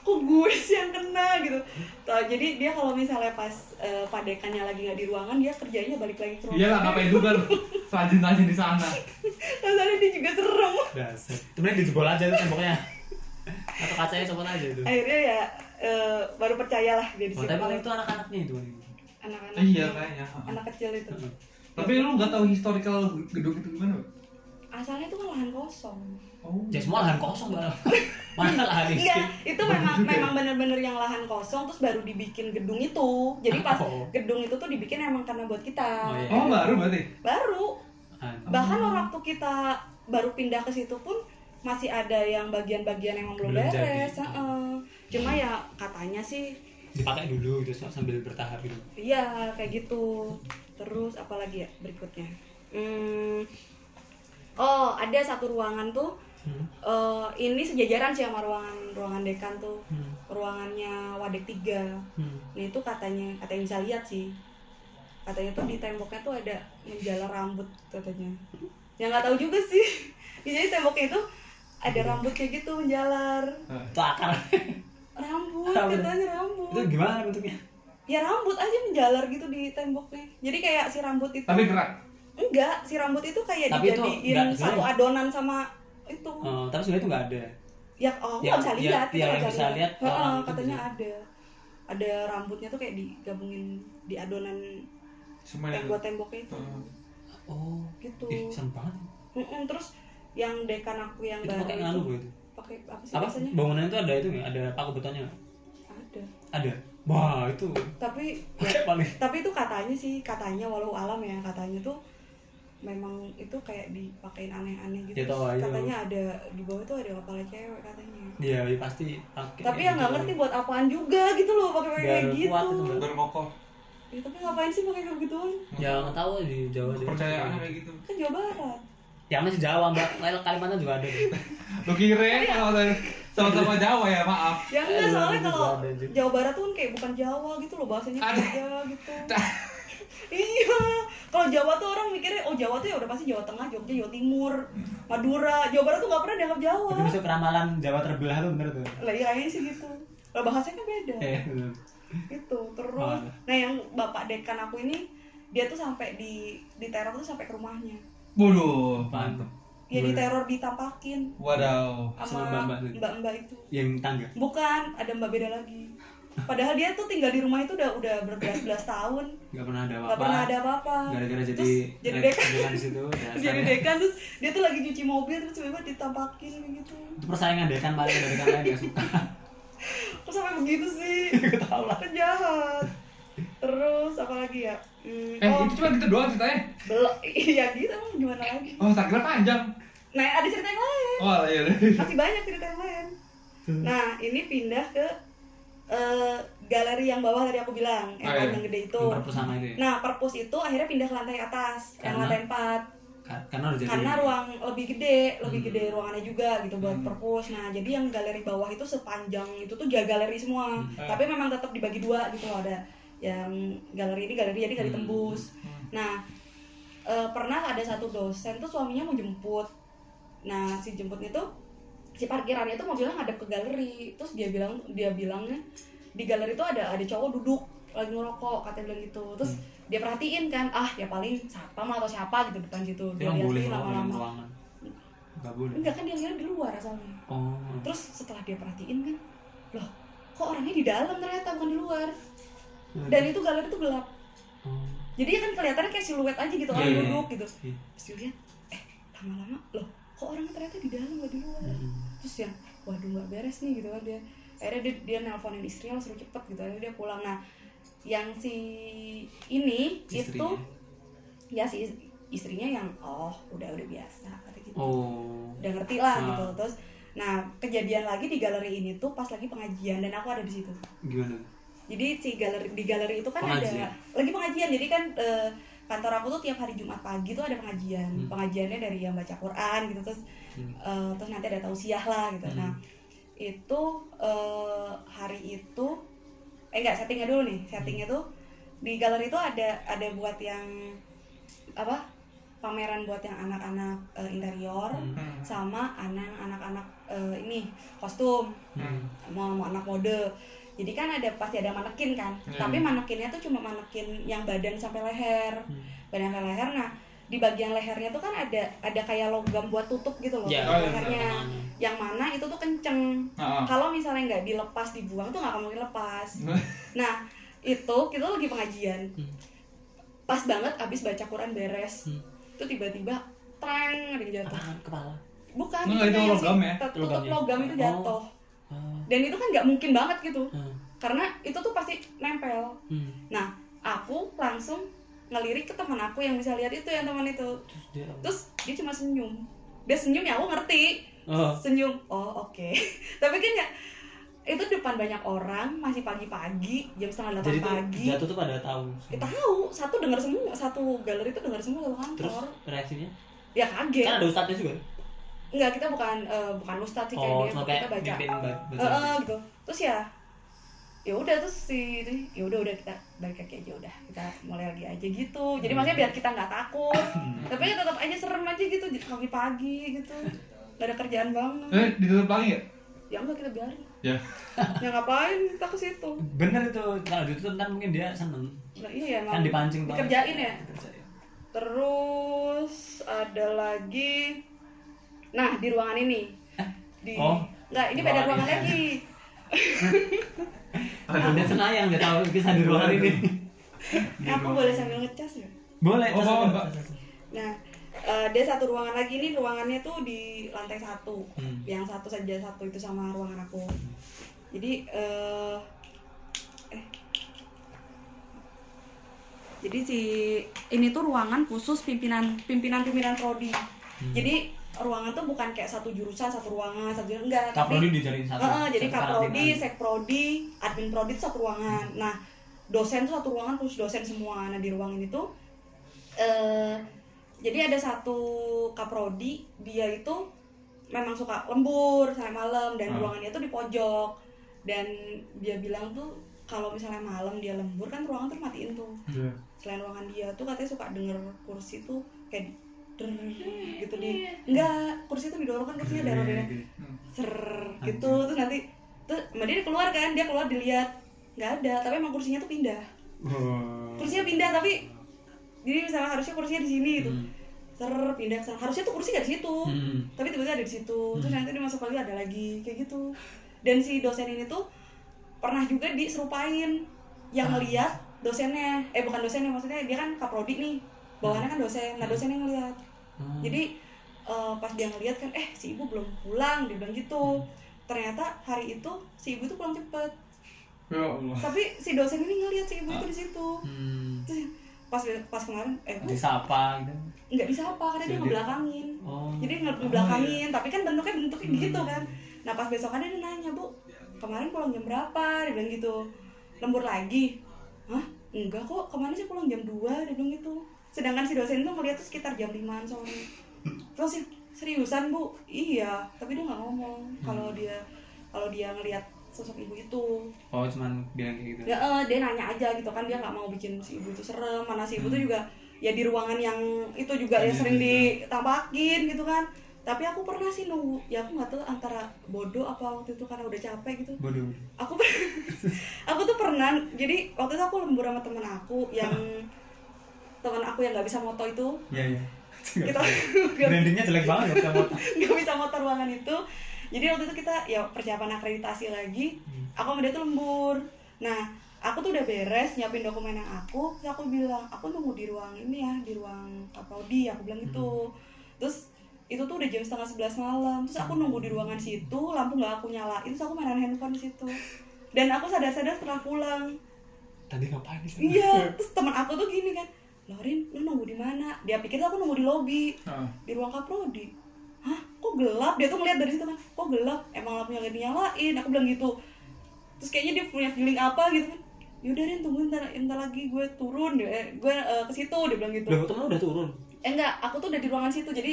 Speaker 1: kok gue sih yang kena gitu. Tuh, jadi dia kalau misalnya pas eh, padekannya lagi nggak di ruangan dia kerjanya balik lagi ke
Speaker 4: Iya
Speaker 1: ruangan.
Speaker 4: lah ngapain juga lu rajin-rajin di sana.
Speaker 1: (laughs) Terus akhirnya dia juga serem.
Speaker 3: Dasar. Sebenarnya dijebol aja itu temboknya. Atau kacanya copot aja itu.
Speaker 1: Akhirnya ya eh, baru percayalah dia di
Speaker 3: Oh,
Speaker 1: situ.
Speaker 3: tapi itu anak-anaknya itu.
Speaker 1: Anak-anak.
Speaker 4: Iya kayaknya.
Speaker 1: Anak kecil itu.
Speaker 4: Tapi lu nggak tahu historical gedung itu gimana? Pak?
Speaker 1: Asalnya itu kan lahan kosong.
Speaker 4: Oh.
Speaker 3: Ya semua lahan kosong,
Speaker 1: (laughs)
Speaker 3: Bang. Mana lahan isi?
Speaker 1: Enggak, Iya, itu
Speaker 3: (laughs)
Speaker 1: memang memang bener-bener yang lahan kosong terus baru dibikin gedung itu. Jadi pas
Speaker 3: Oh.
Speaker 1: gedung itu tuh dibikin emang karena buat kita.
Speaker 3: Oh, iya.
Speaker 4: Oh baru berarti.
Speaker 1: Baru
Speaker 3: Ah,
Speaker 1: bahkan waktu kita baru pindah ke situ pun masih ada yang bagian-bagian yang belum,
Speaker 3: Belum
Speaker 1: beres.
Speaker 3: jadi.
Speaker 1: heeh. Cuma ya katanya sih
Speaker 3: Dipakai dulu gitu sambil bertahap gitu.
Speaker 1: iya kayak gitu. Terus apalagi ya berikutnya? Hmm, Oh, ada satu ruangan tuh
Speaker 3: Hmm.
Speaker 1: eh, ini sejajaran sih sama ruangan ruangan dekan tuh.
Speaker 3: Hmm.
Speaker 1: Ruangannya Wadek 3.
Speaker 3: Hmm.
Speaker 1: Nah itu katanya, katanya bisa lihat sih. Katanya tuh di temboknya tuh ada menjala rambut katanya. Yang nggak tahu juga sih. (laughs) Ya, Jadi temboknya itu ada rambut kayak gitu menjalar.
Speaker 3: Itu akar.
Speaker 1: Rambut,
Speaker 3: Rambut.
Speaker 1: katanya
Speaker 3: itu
Speaker 1: rambut.
Speaker 3: gimana bentuknya?
Speaker 1: Ya rambut aja menjalar gitu di temboknya. Jadi kayak si rambut itu
Speaker 4: Tapi gerak.
Speaker 1: enggak, si rambut itu kayak
Speaker 3: Tapi itu nggak
Speaker 1: dijadiin satu
Speaker 3: sebenarnya-
Speaker 1: adonan sama itu.
Speaker 3: Oh, tapi sebenarnya itu nggak ada.
Speaker 1: Ya oh, aku
Speaker 3: Ya,
Speaker 1: nggak bisa
Speaker 3: ya,
Speaker 1: lihat,
Speaker 3: ya,
Speaker 1: kita nggak
Speaker 3: yang bisa lihat oh, gitu
Speaker 1: Heeh,
Speaker 3: orang itu
Speaker 1: katanya
Speaker 3: bisa.
Speaker 1: ada. Ada rambutnya tuh kayak digabungin di adonan
Speaker 4: Cuma
Speaker 1: yang
Speaker 4: itu.
Speaker 1: buat temboknya itu.
Speaker 3: Hmm.
Speaker 4: Heeh.
Speaker 3: Oh,
Speaker 1: gitu
Speaker 3: ih, serem banget.
Speaker 1: Mm-mm, terus yang dekan aku yang
Speaker 3: Itu
Speaker 1: baru
Speaker 3: pakai ngalu
Speaker 1: itu
Speaker 3: gitu.
Speaker 1: pakai apa sih
Speaker 3: Apa?
Speaker 1: biasanya
Speaker 3: Bangunan itu ada itu nggak? Ada paku betonnya nggak?
Speaker 1: ada
Speaker 3: Ada. Wah, itu
Speaker 1: tapi
Speaker 3: pakai paling
Speaker 1: tapi itu katanya sih katanya walau alam ya katanya tuh memang itu kayak dipakein aneh-aneh gitu
Speaker 3: Ya, tahu
Speaker 1: Terus
Speaker 3: aja.
Speaker 1: katanya ada di bawah tuh ada kepala cewek katanya
Speaker 3: Iya, ya pasti pakai. gitu.
Speaker 1: tapi ya nggak ngerti buat apaan juga gitu loh pakai pakai
Speaker 3: Biar
Speaker 1: kayak gitu
Speaker 3: kuat itu,
Speaker 4: baru kokoh
Speaker 1: ya, tapi ngapain sih pakai kayak begituan
Speaker 3: Ya nggak tahu di Jawa. juga.
Speaker 4: kepercayaannya kayak gitu
Speaker 1: kan Jawa Barat
Speaker 3: Ya masih Jawa, Mbak. Lain Kalimantan juga ada.
Speaker 4: lo kira kalau dari- sama-sama Jawa ya maaf
Speaker 1: ya enggak
Speaker 3: Aduh,
Speaker 1: soalnya kalau
Speaker 3: Jawa Barat juga.
Speaker 1: Jawa Barat tuh kan kayak bukan Jawa gitu loh bahasanya
Speaker 4: Ada.
Speaker 1: beda gitu iya kalau Jawa tuh orang mikirnya oh Jawa tuh ya udah pasti Jawa Tengah Jogja Jawa Timur Madura Jawa Barat tuh nggak pernah dianggap Jawa
Speaker 3: Itu masuk ramalan Jawa terbelah tuh bener tuh.
Speaker 1: lah iya kayaknya sih gitu lah bahasanya beda
Speaker 3: Eh, bener.
Speaker 1: gitu terus
Speaker 3: Oh.
Speaker 1: nah yang bapak dekan aku ini dia tuh sampai di di teror tuh sampai ke rumahnya
Speaker 4: bodoh
Speaker 3: Mantep.
Speaker 1: ya
Speaker 3: Boleh.
Speaker 1: di teror ditapakin
Speaker 4: wadaw
Speaker 1: sama
Speaker 3: Sama mbak-mbak gitu? itu.
Speaker 1: mbak-mbak itu
Speaker 3: Yang tangga.
Speaker 1: bukan ada mbak beda lagi padahal dia tuh tinggal di rumah itu udah udah berbelas-belas tahun
Speaker 3: Gak pernah ada apa-apa.
Speaker 1: nggak pernah ada apa-apa
Speaker 3: Gara-gara jadi
Speaker 1: Terus jadi
Speaker 3: re-
Speaker 1: dekan
Speaker 3: dekan di
Speaker 1: (laughs)
Speaker 3: situ. ya. dasarnya.
Speaker 4: ya.
Speaker 1: jadi dekan terus dia tuh lagi cuci mobil terus tiba-tiba ditampakin gitu
Speaker 3: Itu persaingan dekan paling dari dekan lain gak suka.
Speaker 1: kok sampai begitu
Speaker 4: (laughs)
Speaker 1: sih
Speaker 3: Tahu lah.
Speaker 1: kan jahat terus apa lagi ya Hmm,
Speaker 4: eh
Speaker 1: oh
Speaker 4: itu cuma gitu doang ceritanya
Speaker 1: belok iya gitu emang gimana lagi
Speaker 4: oh tak kira panjang
Speaker 1: nah ada cerita yang lain
Speaker 4: oh iya
Speaker 1: masih banyak cerita yang lain
Speaker 4: Hmm.
Speaker 1: nah ini pindah ke eh, galeri yang bawah tadi aku bilang yang
Speaker 4: Oh, iya.
Speaker 1: paling gede itu
Speaker 3: Perpus sama itu ya.
Speaker 1: nah perpus itu akhirnya pindah ke lantai atas yang
Speaker 3: Karena?
Speaker 1: lantai empat
Speaker 3: Ka- Karena udah jadi.
Speaker 1: karena ruang lebih gede lebih
Speaker 3: Hmm.
Speaker 1: gede ruangannya juga gitu buat
Speaker 4: Hmm.
Speaker 1: perpus nah jadi yang galeri bawah itu sepanjang itu tuh jaga galeri semua
Speaker 3: Hmm.
Speaker 1: tapi memang tetap dibagi dua gitu loh ada yang galeri ini galeri jadi galeri
Speaker 3: Hmm.
Speaker 1: tembus
Speaker 4: Hmm.
Speaker 1: nah eh, pernah ada satu dosen tuh suaminya mau jemput nah si jemputnya tuh si parkirannya tuh mobilnya ngadep ke galeri terus dia bilang dia bilangnya di galeri tuh ada ada cowok duduk lagi ngerokok katanya bilang gitu terus
Speaker 3: Hmm.
Speaker 1: dia perhatiin kan ah ya paling satpam atau siapa gitu depan situ
Speaker 3: Dia
Speaker 1: dia
Speaker 3: nggak boleh
Speaker 1: liatin
Speaker 3: kalau dalam
Speaker 1: lama-lama
Speaker 3: ruangan. Gak boleh.
Speaker 1: enggak kan dia ngeliat di luar asalnya
Speaker 3: Oh.
Speaker 1: terus setelah dia perhatiin kan loh kok orangnya di dalam ternyata bukan di luar dan itu galeri tuh gelap
Speaker 3: Oh.
Speaker 1: jadi kan kelihatannya kayak siluet aja gitu orang
Speaker 3: Iya, iya,
Speaker 1: duduk gitu
Speaker 3: Iya.
Speaker 1: terus dia lihat eh lama-lama loh kok orangnya ternyata di dalam gak di luar
Speaker 3: Mm-mm.
Speaker 1: terus yang waduh nggak beres nih gitu kan dia akhirnya dia, dia nelponin istrinya suruh cepet gitu akhirnya dia pulang nah yang si ini itu
Speaker 3: Istrinya.
Speaker 1: ya si is- istrinya yang oh udah udah biasa kata gitu
Speaker 3: Oh.
Speaker 1: udah ngerti lah
Speaker 3: Ah.
Speaker 1: gitu terus nah kejadian lagi di galeri ini tuh pas lagi pengajian dan aku ada di situ
Speaker 3: Gimana?
Speaker 1: jadi si galeri di galeri itu kan
Speaker 3: Pengajian.
Speaker 1: ada lagi pengajian jadi kan eh, kantor aku tuh tiap hari Jumat pagi tuh ada pengajian
Speaker 3: Hmm.
Speaker 1: pengajiannya dari yang baca Quran gitu terus
Speaker 3: Hmm.
Speaker 1: eh, terus nanti ada tausiah lah gitu
Speaker 3: Hmm.
Speaker 1: nah itu eh, hari itu eh enggak settingnya dulu nih settingnya
Speaker 3: Hmm.
Speaker 1: tuh di galeri itu ada ada buat yang apa pameran buat yang anak-anak eh, interior
Speaker 3: Hmm.
Speaker 1: sama anak- anak-anak eh, ini kostum
Speaker 3: Hmm.
Speaker 1: mau, mau anak mode jadi kan ada pasti ada manekin kan
Speaker 4: Hmm.
Speaker 1: tapi manekinnya tuh cuma manekin yang badan sampai leher
Speaker 3: Hmm.
Speaker 1: badan sampai leher nah di bagian lehernya tuh kan ada ada kayak logam buat tutup gitu loh
Speaker 3: Ya,
Speaker 1: bagian
Speaker 4: oh iya,
Speaker 1: lehernya yang mana itu tuh kenceng
Speaker 4: Ah, ah.
Speaker 1: kalau misalnya nggak dilepas dibuang tuh nggak akan mungkin
Speaker 4: (laughs)
Speaker 1: lepas nah itu kita lagi pengajian
Speaker 3: Hmm.
Speaker 1: pas banget abis baca Quran beres
Speaker 3: Hmm.
Speaker 1: itu tiba-tiba terang ada yang jatuh
Speaker 3: Apaan? Kepala.
Speaker 1: bukan
Speaker 4: Enggak, itu
Speaker 1: kayak si
Speaker 4: logam ya?
Speaker 1: tertutup
Speaker 3: Logamnya.
Speaker 1: logam itu
Speaker 3: Oh.
Speaker 1: jatuh
Speaker 3: Ah.
Speaker 1: dan itu kan nggak mungkin banget gitu
Speaker 3: Ah.
Speaker 1: karena itu tuh pasti nempel
Speaker 3: Hmm.
Speaker 1: aku langsung ngelirik ke teman aku yang bisa lihat itu yang teman itu
Speaker 3: Terus dia apa?
Speaker 1: terus dia cuma senyum dia senyum ya aku ngerti
Speaker 3: Oh.
Speaker 1: senyum oh oke (laughs) tapi kan ya itu depan banyak orang masih pagi-pagi jam setengah
Speaker 3: Jadi
Speaker 1: delapan
Speaker 3: tuh
Speaker 1: pagi
Speaker 3: jatuh tuh pada tahu.
Speaker 1: kita tahu satu dengar semua satu galeri itu dengar semua satu kantor
Speaker 3: Terus reaksinya?
Speaker 1: ya kaget
Speaker 3: Kan ada ustadznya juga.
Speaker 1: nggak kita bukan eh, bukan ustadz sih
Speaker 3: Oh,
Speaker 1: kayak dia
Speaker 3: cuma kayak
Speaker 1: kita baca
Speaker 3: mimpin ba-
Speaker 1: Eh,
Speaker 3: baca.
Speaker 1: eh, gitu terus ya ya udah terus si itu, ya udah udah kita balik lagi aja udah kita mulai lagi aja gitu
Speaker 3: Hmm.
Speaker 1: jadi maksudnya biar kita nggak takut tapi ya tetap aja serem aja gitu jadi pagi pagi gitu gak ada kerjaan banget
Speaker 3: Hmm?
Speaker 4: eh ditutup lagi ya
Speaker 1: ya enggak kita biarin
Speaker 4: Ya.
Speaker 1: ya ngapain kita ke situ
Speaker 3: Bener itu. Kalau ditutup ntar mungkin dia seneng.
Speaker 1: nah, iya emang
Speaker 3: Kan dipancing banget.
Speaker 1: dikerjain ya
Speaker 3: Dikerjain.
Speaker 1: terus ada lagi nah di ruangan ini di
Speaker 3: Oh.
Speaker 1: nggak ini beda
Speaker 3: Ruangan
Speaker 1: ruangan
Speaker 3: ini. (laughs)
Speaker 1: lagi
Speaker 3: Ada senayang nggak tahu kisah di ruangan ini.
Speaker 1: aku boleh sambil ngecas ya
Speaker 3: Boleh.
Speaker 4: Oh,
Speaker 3: Cas,
Speaker 4: bawa,
Speaker 3: Cas,
Speaker 4: Mbak.
Speaker 3: Cas, Cas.
Speaker 1: Nah, eh, dia satu ruangan lagi ini ruangannya tuh di lantai satu,
Speaker 3: Hmm.
Speaker 1: yang satu saja satu itu sama ruangan aku. Jadi eh eh Jadi si ini tuh ruangan khusus pimpinan pimpinan pimpinan prodi. Jadi ruangan tuh bukan kayak satu jurusan satu ruangan satu jurusan enggak tapi
Speaker 4: Kaprodi dijadiin satu.
Speaker 1: Heeh, jadi
Speaker 3: satu
Speaker 1: kaprodi,
Speaker 3: Nah, karantina. gitu.
Speaker 1: sekprodi, admin prodi itu satu ruangan. Nah, dosen tuh satu ruangan plus dosen semua. Nah, di ruangan itu eh jadi ada satu kaprodi, dia itu memang suka lembur sampai malam dan
Speaker 3: Hmm.
Speaker 1: ruangannya tuh di pojok. Dan dia bilang tuh kalau misalnya malam dia lembur kan ruangan tuh matiin tuh.
Speaker 4: Iya.
Speaker 1: Selain ruangan dia tuh katanya suka denger kursi tuh kayak di- der, gitu di enggak kursi tuh didorong kan kursinya ada rodanya
Speaker 4: Hmm.
Speaker 1: ser gitu terus nanti terus sama dia keluar kan dia keluar dilihat nggak ada tapi emang kursinya tuh pindah
Speaker 4: Oh.
Speaker 1: kursinya pindah tapi jadi misalnya harusnya kursinya di sini gitu
Speaker 3: Hmm.
Speaker 1: ser pindah ke sana harusnya tuh kursi nggak di situ
Speaker 3: Hmm.
Speaker 1: tapi tiba-tiba ada di situ terus nanti dia masuk lagi ada lagi kayak gitu dan si dosen ini tuh pernah juga diserupain yang
Speaker 3: Ah.
Speaker 1: ngeliat dosennya eh bukan dosennya maksudnya dia kan kaprodi nih bawahannya kan dosen nah dosennya ngeliat
Speaker 3: Hmm.
Speaker 1: jadi eh, pas dia ngeliat kan eh si ibu belum pulang dia bilang gitu ternyata hari itu si ibu itu pulang cepet
Speaker 4: Ya Allah.
Speaker 1: tapi si dosen ini ngeliat si ibu itu di situ
Speaker 3: Hmm.
Speaker 1: pas pas kemarin eh bu
Speaker 3: disapa gitu
Speaker 1: nggak bisa apa karena dia
Speaker 4: Jadi-
Speaker 1: ngebelakangin
Speaker 3: oh
Speaker 1: jadi nge- ngebelakangin tapi kan bentuknya bentuknya gitu kan nah pas besokannya dia nanya bu kemarin pulang jam berapa dia bilang gitu lembur lagi hah enggak kok kemarin sih pulang jam 2 dia bilang gitu sedangkan si dosen tuh melihat tuh sekitar jam 5an sore terus dia, seriusan bu iya tapi dia nggak ngomong kalau dia kalau dia ngelihat sosok ibu itu
Speaker 3: oh cuman bilang kayak gitu
Speaker 1: ya eh, dia nanya aja gitu kan dia nggak mau bikin si ibu itu serem mana si ibu itu juga ya di ruangan yang itu juga ya
Speaker 4: Iya,
Speaker 1: sering
Speaker 4: iya.
Speaker 1: ditampakin gitu kan tapi aku pernah sih nunggu ya aku nggak tahu antara bodoh apa waktu itu karena udah capek gitu
Speaker 3: bodoh
Speaker 1: aku per- (laughs) aku tuh pernah jadi waktu itu aku lembur sama temen aku yang temen aku yang nggak bisa moto itu
Speaker 4: Iya iya.
Speaker 1: kita (laughs)
Speaker 4: Brandingnya jelek banget ya sama.
Speaker 1: nggak bisa motor ruangan itu jadi waktu itu kita ya persiapan akreditasi lagi aku sama dia tuh lembur nah aku tuh udah beres nyiapin dokumen yang aku terus aku bilang aku nunggu di ruang ini ya di ruang kaprodi aku bilang gitu terus itu tuh udah jam setengah sebelas malam terus aku nunggu di ruangan situ lampu nggak aku nyalain terus aku mainan handphone di situ dan aku sadar-sadar setelah pulang
Speaker 3: tadi ngapain di sana?
Speaker 1: iya terus teman aku tuh gini kan Lorin lu nunggu di mana dia pikir tuh aku nunggu di lobby
Speaker 4: Heeh.
Speaker 1: di ruang kaprodi hah kok gelap dia tuh ngeliat dari situ kan kok gelap emang lampunya gak dinyalain aku bilang gitu terus kayaknya dia punya feeling apa gitu kan yaudah Rin tungguin ntar, ntar lagi gue turun eh, gue eh, ke situ dia bilang gitu
Speaker 3: Loh, temen lu udah turun
Speaker 1: eh enggak aku tuh udah di ruangan situ jadi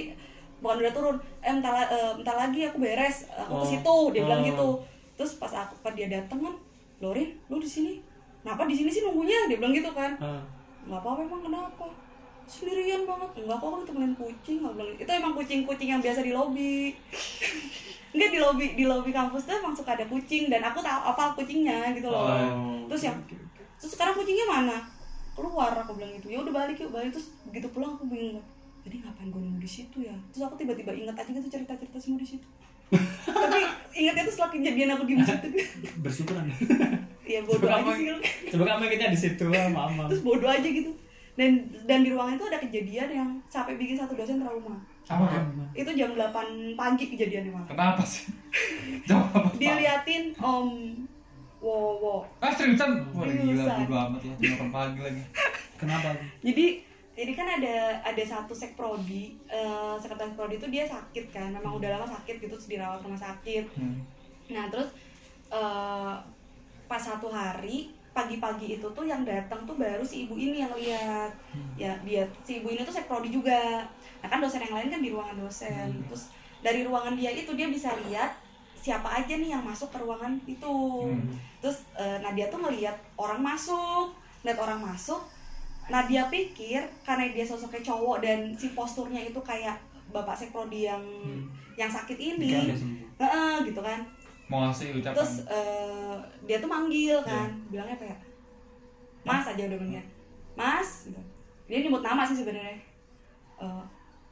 Speaker 1: bukan udah turun eh bentar, la- eh, bentar lagi aku beres eh, aku ke
Speaker 3: Oh.
Speaker 1: situ dia bilang
Speaker 3: Oh.
Speaker 1: gitu terus pas aku pas dia dateng kan Lorin lu di sini kenapa di sini sih nunggunya dia bilang gitu kan
Speaker 3: Ah.
Speaker 1: nggak apa-apa emang kenapa sendirian banget enggak kok kan temenin kucing nggak bilang itu emang kucing-kucing yang biasa di (laughs) lobi enggak di lobi di lobi kampus tuh emang suka ada kucing dan aku tahu apa kucingnya gitu
Speaker 4: Oh,
Speaker 1: loh
Speaker 4: iya.
Speaker 1: Terus yang- terus sekarang kucingnya mana keluar aku bilang gitu ya udah balik yuk balik terus begitu pulang aku bingung jadi ngapain gue nunggu di situ ya terus aku tiba-tiba inget aja gitu cerita-cerita semua di situ tapi ingetnya tuh setelah kejadian aku diem di situ
Speaker 3: (laughs) bersyukur anda
Speaker 1: ya bodoh aja sih lu.
Speaker 3: coba kamu kita di situ ah, mama
Speaker 1: terus bodoh aja gitu dan dan di ruangan itu ada kejadian yang sampai bikin satu dosen trauma
Speaker 4: Apa kan?
Speaker 1: itu jam 8 pagi kejadiannya malah
Speaker 4: Kenapa
Speaker 1: (laughs)
Speaker 4: sih? Jawab apa?
Speaker 1: diliatin om wow wow
Speaker 4: Ah seriusan? Wah gila,
Speaker 1: Seriusan.
Speaker 4: bodo amat lah, jam 8 pagi lagi
Speaker 3: kenapa
Speaker 1: jadi jadi kan ada ada satu sekprodi eh sekretaris prodi itu dia sakit kan memang udah lama sakit gitu terus dirawat rumah sakit
Speaker 4: Hmm.
Speaker 1: Nah terus eh pas satu hari pagi-pagi itu tuh yang datang tuh baru si ibu ini yang lihat ya dia si ibu ini tuh sekprodi juga nah kan dosen yang lain kan di ruangan dosen terus dari ruangan dia itu dia bisa lihat siapa aja nih yang masuk ke ruangan itu
Speaker 4: Hmm.
Speaker 1: terus eh, nah dia tuh ngelihat orang masuk ngeliat orang masuk nah dia pikir karena dia sosoknya cowok dan si posturnya itu kayak bapak sekprodi yang
Speaker 3: Hmm.
Speaker 1: yang sakit ini
Speaker 3: Dikira udah sembuh
Speaker 1: Heeh, gitu kan
Speaker 4: Mau ngasih ucapan
Speaker 1: terus eh, dia tuh manggil kan bilangnya apa ya mas aja udah bilangnya mas gitu. dia nyebut nama sih sebenarnya Eh,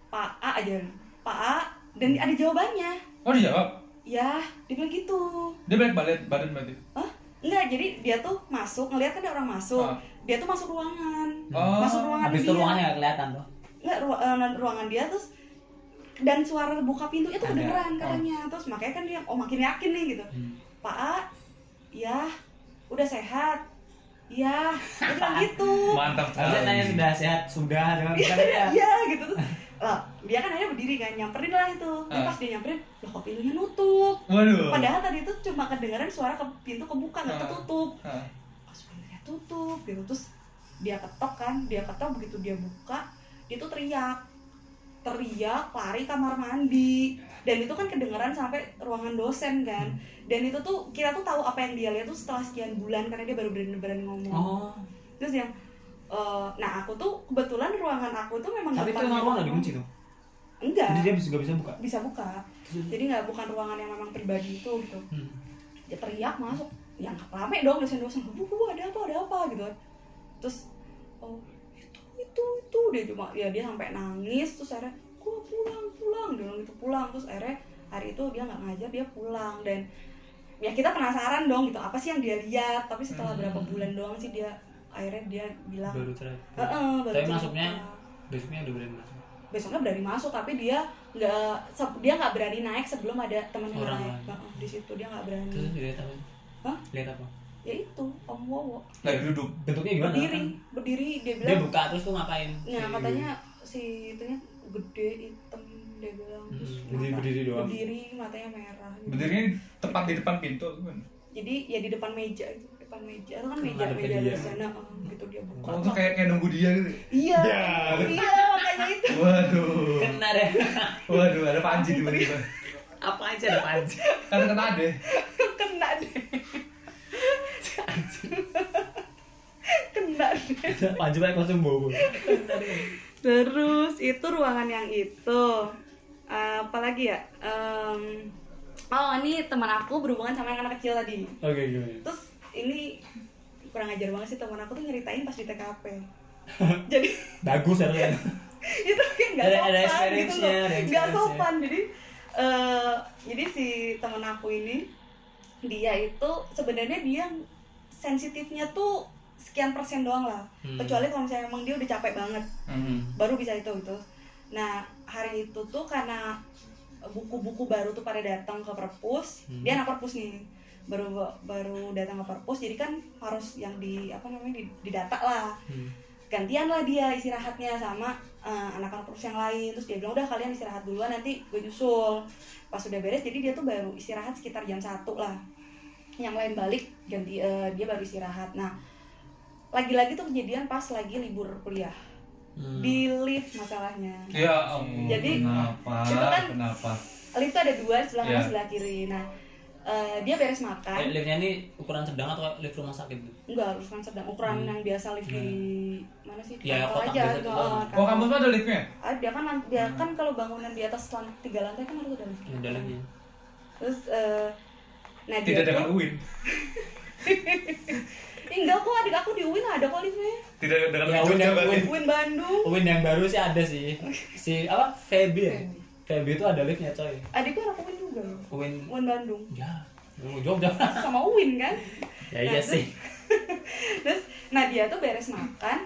Speaker 1: pak A aja pak A dan ada jawabannya
Speaker 4: Oh dijawab?
Speaker 1: ya dia bilang gitu
Speaker 4: Dia balik badan, badan berarti?
Speaker 1: Hah? Enggak, jadi dia tuh masuk, ngeliat kan ada orang masuk
Speaker 4: Ah.
Speaker 1: Dia tuh masuk ruangan
Speaker 4: Oh,
Speaker 1: Masuk ruangan
Speaker 3: Hmm. habis itu
Speaker 1: dia
Speaker 3: ruangannya nggak kelihatan tuh
Speaker 1: Enggak, ru- eh, ruangan dia terus Dan suara buka pintunya tuh
Speaker 4: Ada.
Speaker 1: kedengeran
Speaker 4: Ah.
Speaker 1: katanya Terus makanya kan dia, oh makin yakin nih gitu
Speaker 3: Hmm.
Speaker 1: Pak A, ya udah sehat. iya dia bilang gitu
Speaker 4: Mantap
Speaker 3: Harusnya tanya
Speaker 4: sekali.
Speaker 3: sudah sehat Eh, sudah
Speaker 1: iya
Speaker 3: jangan bilang
Speaker 1: iya,
Speaker 3: ya.
Speaker 1: iya gitu terus lah dia kan akhirnya berdiri kan nyamperin lah itu Terus
Speaker 4: Ah.
Speaker 1: pas dia nyamperin loh kok pintunya nutup
Speaker 4: Waduh.
Speaker 1: padahal tadi itu cuma kedengaran suara ke pintu kebuka nggak
Speaker 4: Ah.
Speaker 1: ketutup
Speaker 4: Hah.
Speaker 1: pas pintunya tutup gitu terus dia ketok kan dia ketok begitu dia buka dia tuh teriak teriak lari kamar mandi dan itu kan kedengeran sampai ruangan dosen kan
Speaker 3: Hmm.
Speaker 1: dan itu tuh kita tuh tahu apa yang dia lihat tuh setelah sekian bulan karena dia baru berani-berani ngomong
Speaker 3: Oh,
Speaker 1: terus yang eh, nah aku tuh kebetulan ruangan aku tuh memang
Speaker 3: tapi itu
Speaker 1: depan
Speaker 3: emang ruang
Speaker 1: ruangan-
Speaker 3: nggak dikunci tuh.
Speaker 1: enggak
Speaker 3: Jadi dia bisa nggak bisa buka.
Speaker 1: bisa buka jadi nggak bukan ruangan yang memang pribadi itu gitu
Speaker 3: Hmm.
Speaker 1: dia teriak masuk yang rame dong dosen-dosen bu bu, ada apa ada apa gitu kan terus oh itu itu itu dia cuma ya dia sampai nangis terus akhirnya gua pulang pulang dia bilang gitu pulang terus akhirnya hari itu dia nggak ngajar dia pulang dan ya kita penasaran dong gitu apa sih yang dia lihat tapi setelah
Speaker 3: Hmm.
Speaker 1: berapa bulan doang sih dia akhirnya dia bilang
Speaker 3: Baru terakhir.
Speaker 1: "Eh, eh, baru
Speaker 3: Tapi
Speaker 1: cerita."
Speaker 3: masuknya- Besoknya udah berani masuk.
Speaker 1: besoknya berani masuk tapi dia nggak se- dia nggak berani naik sebelum ada teman yang
Speaker 3: Orang
Speaker 1: naik
Speaker 3: lain.
Speaker 1: Heeh, di situ dia nggak berani
Speaker 3: Terus lihat apa?
Speaker 1: Hah?
Speaker 3: Lihat apa?
Speaker 1: ya itu om wowo
Speaker 4: Lagi duduk.
Speaker 3: Bentuknya gimana? Kan? Iya.
Speaker 1: berdiri berdiri dia
Speaker 3: Dia
Speaker 1: bilang
Speaker 3: buka terus tuh ngapain?
Speaker 1: nah katanya si itunya gede hitam dia bilang terus
Speaker 3: Hmm, berdiri- berdiri doang.
Speaker 1: berdiri matanya merah gitu.
Speaker 4: Berdirinya tepat di depan pintu kan. atau gimana?
Speaker 1: jadi ya di depan meja itu depan meja itu kan
Speaker 3: Hmm,
Speaker 1: meja
Speaker 3: hadapin
Speaker 1: meja
Speaker 3: dia.
Speaker 1: di sana heeh, gitu dia buka
Speaker 4: Oh, tuh kayak kayak nunggu dia gitu.
Speaker 1: iya
Speaker 4: Ya.
Speaker 1: iya makanya itu (laughs)
Speaker 4: Waduh.
Speaker 3: Kena deh. (laughs)
Speaker 4: Waduh, ada panji tiba-tiba.
Speaker 3: apa aja ada panci.
Speaker 4: Karena kena deh.
Speaker 1: kena deh (laughs) kena deh
Speaker 3: Panji banyak langsung bobo.
Speaker 1: Terus itu ruangan yang itu. Eh, apalagi ya? Em, oh, ini teman aku berhubungan sama yang anak kecil tadi.
Speaker 3: Oke gimana?
Speaker 1: Terus ini kurang ajar banget sih teman aku tuh nyeritain pas di
Speaker 3: (laughs)
Speaker 1: TKP. Jadi
Speaker 3: Bagus ya, harusnya.
Speaker 1: itu kayak nggak
Speaker 3: Ada- ada
Speaker 1: sopan gitu loh.
Speaker 3: experience-nya, ada
Speaker 1: Nggak
Speaker 3: experience-nya.
Speaker 1: sopan. Jadi eh, jadi si teman aku ini dia itu sebenarnya dia sensitifnya tuh sekian persen doang lah.
Speaker 3: Hmm.
Speaker 1: Kecuali kalau misalnya emang dia udah capek banget
Speaker 4: Hmm.
Speaker 1: baru bisa itu gitu. Nah hari itu tuh karena buku-buku baru tuh pada datang ke perpus,
Speaker 3: Hmm.
Speaker 1: dia anak perpus nih baru baru datang ke perpus, jadi kan harus yang di apa namanya di, didata lah,
Speaker 3: Hmm.
Speaker 1: gantian lah dia istirahatnya sama eh, anak-anak perpus yang lain, terus dia bilang udah kalian istirahat duluan nanti gue nyusul, pas udah beres jadi dia tuh baru istirahat sekitar jam satu lah, yang lain balik ganti eh, dia baru istirahat. Nah lagi-lagi tuh kejadian pas lagi libur kuliah
Speaker 3: Hmm.
Speaker 1: di lift masalahnya
Speaker 4: Ya ampun.
Speaker 1: Jadi,
Speaker 4: kenapa?
Speaker 1: itu kan-
Speaker 4: Kenapa?
Speaker 1: lift tuh ada dua sebelah kanan
Speaker 4: Iya.
Speaker 1: sebelah kiri nah eh, dia beres makan
Speaker 3: Liftnya ini ukuran sedang atau lift rumah sakit?
Speaker 1: enggak urusan sedang ukuran
Speaker 3: Hmm.
Speaker 1: yang biasa lift di mana sih di
Speaker 3: Ya,
Speaker 1: kantor
Speaker 3: kotak
Speaker 1: aja
Speaker 3: biasa
Speaker 1: gitu,
Speaker 3: itu kan.
Speaker 1: eh,
Speaker 4: Oh,
Speaker 1: kantor.
Speaker 4: kampus mah ada liftnya?
Speaker 1: Ah, dia kan lan- dia
Speaker 4: Hmm.
Speaker 1: kan kalau bangunan di atas lantai tiga lantai kan harus ada lift
Speaker 3: Ini dalamnya.
Speaker 1: terus eh, nah dia
Speaker 4: Tidak
Speaker 1: tuh-
Speaker 4: dengan UIN.
Speaker 1: Ih, enggak kok adik aku di UIN ada kok liftnya
Speaker 4: Tidak dengan
Speaker 3: Ya, UIN,
Speaker 4: Jogja
Speaker 3: yang
Speaker 4: berarti.
Speaker 3: UIN.
Speaker 1: UIN Bandung
Speaker 3: Win yang baru sih ada sih. Si apa? Feby. ya? Feby itu ada liftnya coy.
Speaker 1: adikku anak UIN juga loh
Speaker 3: Win
Speaker 1: UIN Bandung
Speaker 3: ya. Lu Jogja.
Speaker 1: sama UIN kan
Speaker 3: Ya iya sih.
Speaker 1: terus nah dia tuh beres makan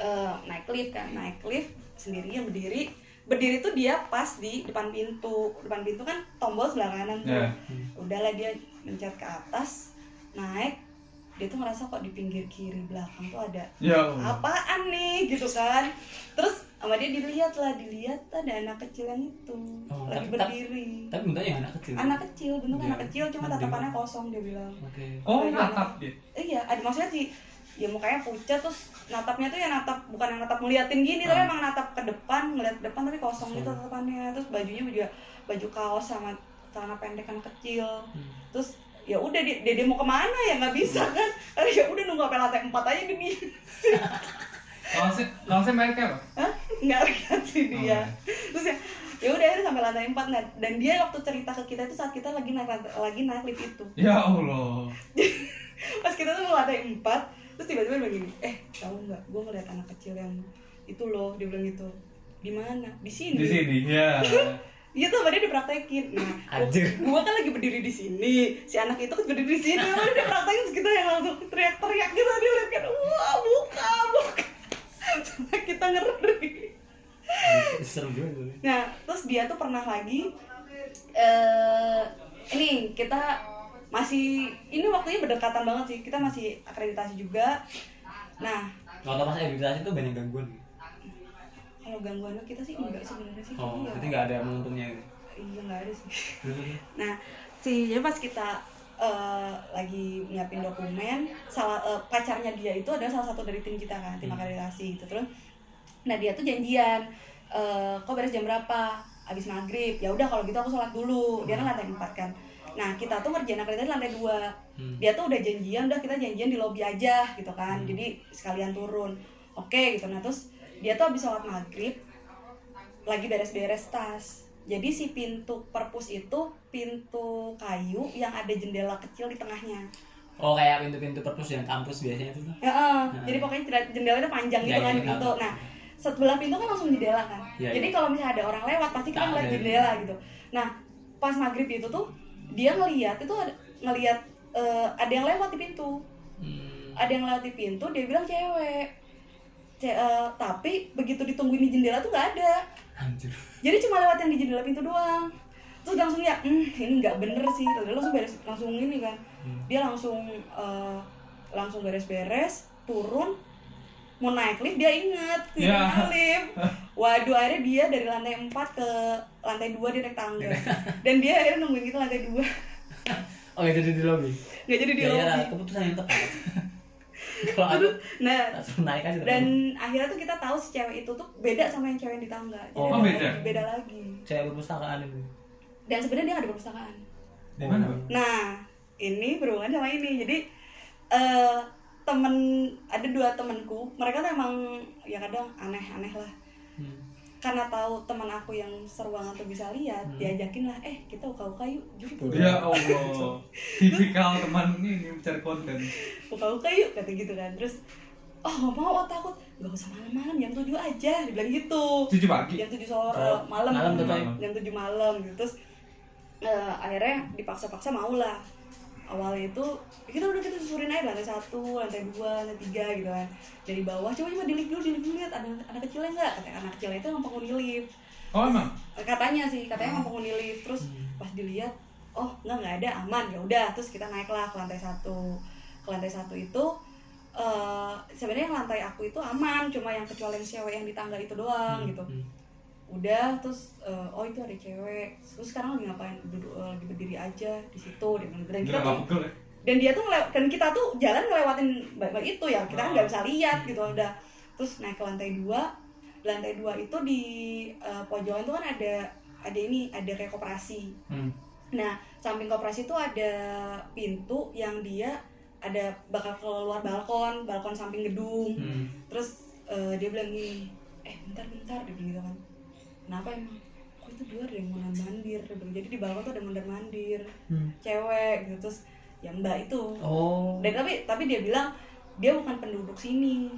Speaker 1: eh, naik lift kan naik lift sendirian berdiri berdiri tuh dia pas di depan pintu depan pintu kan tombol sebelah kanan tuh
Speaker 4: Ya.
Speaker 1: udahlah dia mencet ke atas naik dia tuh ngerasa kok di pinggir kiri belakang tuh ada
Speaker 4: Ya. Allah.
Speaker 1: apaan nih gitu kan terus sama dia dilihat lah dilihat ada anak kecil yang itu
Speaker 3: Oh,
Speaker 1: lagi
Speaker 3: tapi-
Speaker 1: berdiri
Speaker 3: Tapi bentuknya yang anak kecil.
Speaker 1: anak kecil bentuk
Speaker 3: Iya.
Speaker 1: anak kecil cuma
Speaker 3: Mending.
Speaker 1: tatapannya kosong dia bilang
Speaker 3: Oke.
Speaker 4: Oh, natap dia.
Speaker 1: iya ada maksudnya sih ya mukanya pucat terus natapnya tuh ya natap bukan yang natap ngeliatin gini tapi
Speaker 4: Ah.
Speaker 1: emang natap ke depan ngeliat ke depan tapi kosong gitu tatapannya terus bajunya juga baju kaos sama celana pendek anak kecil
Speaker 3: Hmm.
Speaker 1: terus ya udah dia, dia, dia mau kemana ya nggak bisa kan (laughs) Akhirnya ya udah nunggu sampai lantai empat aja dia diem.
Speaker 4: Langsung langsung mereknya apa?
Speaker 1: (laughs) Hah? nggak lihat sih dia
Speaker 4: Oh.
Speaker 1: terus ya ya udah akhirnya sampai lantai empat nah, dan dia waktu cerita ke kita itu saat kita lagi naik lantai- lagi naik lift itu
Speaker 4: Ya Allah.
Speaker 1: pas kita tuh mau lantai empat terus tiba-tiba dia bilang gini eh tahu nggak gue ngeliat anak kecil yang itu loh dia bilang gitu di mana di sini
Speaker 4: Di sini. Ya.
Speaker 1: iya tuh sama dia dipraktekin nah
Speaker 3: Anjir.
Speaker 1: gue kan lagi berdiri di sini si anak itu kan berdiri di sini lalu dia praktekin terus kita yang langsung teriak-teriak gitu dia lihat kan wah buka buka (laughs) Sampai kita ngeri
Speaker 3: Hmm. Serem juga tuh.
Speaker 1: nah terus dia tuh pernah lagi eh ini kita masih ini waktunya berdekatan banget sih kita masih akreditasi juga nah
Speaker 3: Kalau pas edukasi itu banyak gangguan. gitu.
Speaker 1: kalau gangguannya kita sih enggak sebenarnya sih
Speaker 3: Oh,
Speaker 1: Enggak.
Speaker 3: berarti nggak ada menguntungnya gitu.
Speaker 1: iya nggak ada sih Nah, si jadi pas kita eh, lagi nyiapin dokumen, salah eh, pacarnya dia itu adalah salah satu dari tim kita kan, tim
Speaker 3: Hmm.
Speaker 1: akreditasi gitu terus. Nah dia tuh janjian, eh, kok beres jam berapa? Abis maghrib, ya udah kalau gitu aku sholat dulu. Dia kan lantai empat kan. Nah kita tuh ngerjain akreditasi lantai dua.
Speaker 3: Hmm.
Speaker 1: Dia tuh udah janjian, udah kita janjian di lobby aja gitu kan.
Speaker 3: Hmm.
Speaker 1: Jadi sekalian turun. Oke gitu. Nah terus dia tuh abis sholat maghrib, lagi beres-beres tas. Jadi si pintu perpus itu pintu kayu yang ada jendela kecil di tengahnya.
Speaker 3: Oh kayak pintu-pintu perpus yang kampus biasanya itu tuh.
Speaker 1: Ya, eh, jadi pokoknya jendela- jendelanya panjang gitu
Speaker 3: Ya,
Speaker 1: kan
Speaker 3: ya,
Speaker 1: pintu.
Speaker 3: tahu.
Speaker 1: Nah, sebelah pintu kan langsung jendela kan.
Speaker 3: Ya,
Speaker 1: jadi
Speaker 3: ya.
Speaker 1: kalau misalnya ada orang lewat pasti kita
Speaker 3: Nah,
Speaker 1: ngeliat
Speaker 3: ada.
Speaker 1: jendela gitu. Nah, pas maghrib itu tuh dia ngeliat itu ada- ngeliat eh, ada yang lewat di pintu.
Speaker 3: Hmm.
Speaker 1: Ada yang lewat di pintu, dia bilang cewek. Ce- eh, tapi begitu ditungguin di jendela tuh nggak ada.
Speaker 3: Anjir.
Speaker 1: jadi cuma lewat yang di jendela pintu doang terus langsung ya hmm, ini nggak bener sih lalu langsung beres langsung ini kan
Speaker 3: Hmm.
Speaker 1: dia langsung eh, langsung beres-beres turun mau naik lift dia inget tidak
Speaker 4: Ya.
Speaker 1: naik lift
Speaker 3: (laughs)
Speaker 1: waduh akhirnya dia dari lantai 4 ke lantai 2 dia naik
Speaker 3: (laughs)
Speaker 1: tangga dan dia akhirnya nungguin kita lantai 2
Speaker 3: Oh ya jadi di lobby.
Speaker 1: (laughs) nggak jadi di
Speaker 3: Ya, ya,
Speaker 1: lobby
Speaker 3: keputusan yang
Speaker 1: (laughs)
Speaker 3: tepat. Kalau aku
Speaker 1: nah
Speaker 3: langsung naik aja. teman.
Speaker 1: dan akhirnya tuh kita tahu si cewek itu tuh beda sama yang cewek yang di tangga Jadi
Speaker 3: Oh,
Speaker 1: ada-
Speaker 4: beda.
Speaker 1: beda lagi
Speaker 3: saya perpustakaan itu.
Speaker 1: dan sebenarnya dia nggak ada perpustakaan
Speaker 4: Di mana, Bang?
Speaker 1: Nah, ini berhubungan sama ini. Jadi eh temen ada dua temenku, mereka tuh emang ya kadang aneh-aneh lah.
Speaker 3: Hmm.
Speaker 1: Karena tahu teman aku yang seruangan tuh bisa lihat,
Speaker 3: Hmm.
Speaker 1: diajakin lah, eh kita uka-uka yuk, jumpa.
Speaker 4: Ya Allah, tipikal teman ini mencari konten.
Speaker 1: Uka-uka yuk, kata gitu kan. Terus, oh nggak mau, oh takut. Gak usah malam-malam, jam 7 aja, dibilang gitu.
Speaker 4: Cuci pagi.
Speaker 1: Jam 7 sore,
Speaker 3: Oh,
Speaker 1: malam.
Speaker 3: malam tuh,
Speaker 4: Coy.
Speaker 1: jam 7 malam gitu terus eh, akhirnya dipaksa-paksa mau lah awalnya itu ya kita udah kita susurin aja lantai satu lantai dua lantai tiga gitu kan dari bawah coba coba dilihat dulu dilihat dulu lihat ada anak kecilnya nggak katanya anak kecilnya itu emang penghuni lift
Speaker 4: Oh emang?
Speaker 1: Eh, katanya sih katanya
Speaker 3: Ah.
Speaker 1: emang penghuni lift terus
Speaker 3: Hmm.
Speaker 1: pas dilihat oh nggak nggak ada aman ya udah terus kita naiklah ke lantai satu ke lantai satu itu eh sebenarnya yang lantai aku itu aman cuma yang kecuali yang cewek yang di tangga itu doang gitu
Speaker 3: Hmm.
Speaker 1: udah terus eh, oh itu ada cewek terus sekarang lagi ngapain duduk eh, lagi berdiri aja di situ dia bilang gitu. dan kita
Speaker 4: Gila
Speaker 1: tuh
Speaker 4: nggak pegel ya?
Speaker 1: dan dia tuh ngelew- dan kita tuh jalan ngelewatin balik itu ya kita kan nggak bisa lihat gitu udah terus naik ke lantai dua Di lantai dua itu di eh, pojokan tuh kan ada ada ini ada kayak koperasi
Speaker 4: Hmm.
Speaker 1: nah samping koperasi itu ada pintu yang dia ada bakal keluar balkon balkon samping gedung
Speaker 3: Hmm.
Speaker 1: terus eh, dia bilang gini eh bentar bentar dia bilang gitu kan kenapa emang kok itu dua ada yang mondar mandir dia bilang, jadi di bawah tuh ada mondar mandir
Speaker 3: Hmm.
Speaker 1: cewek gitu terus ya mbak itu
Speaker 3: Oh.
Speaker 1: dan tapi tapi dia bilang dia bukan penduduk sini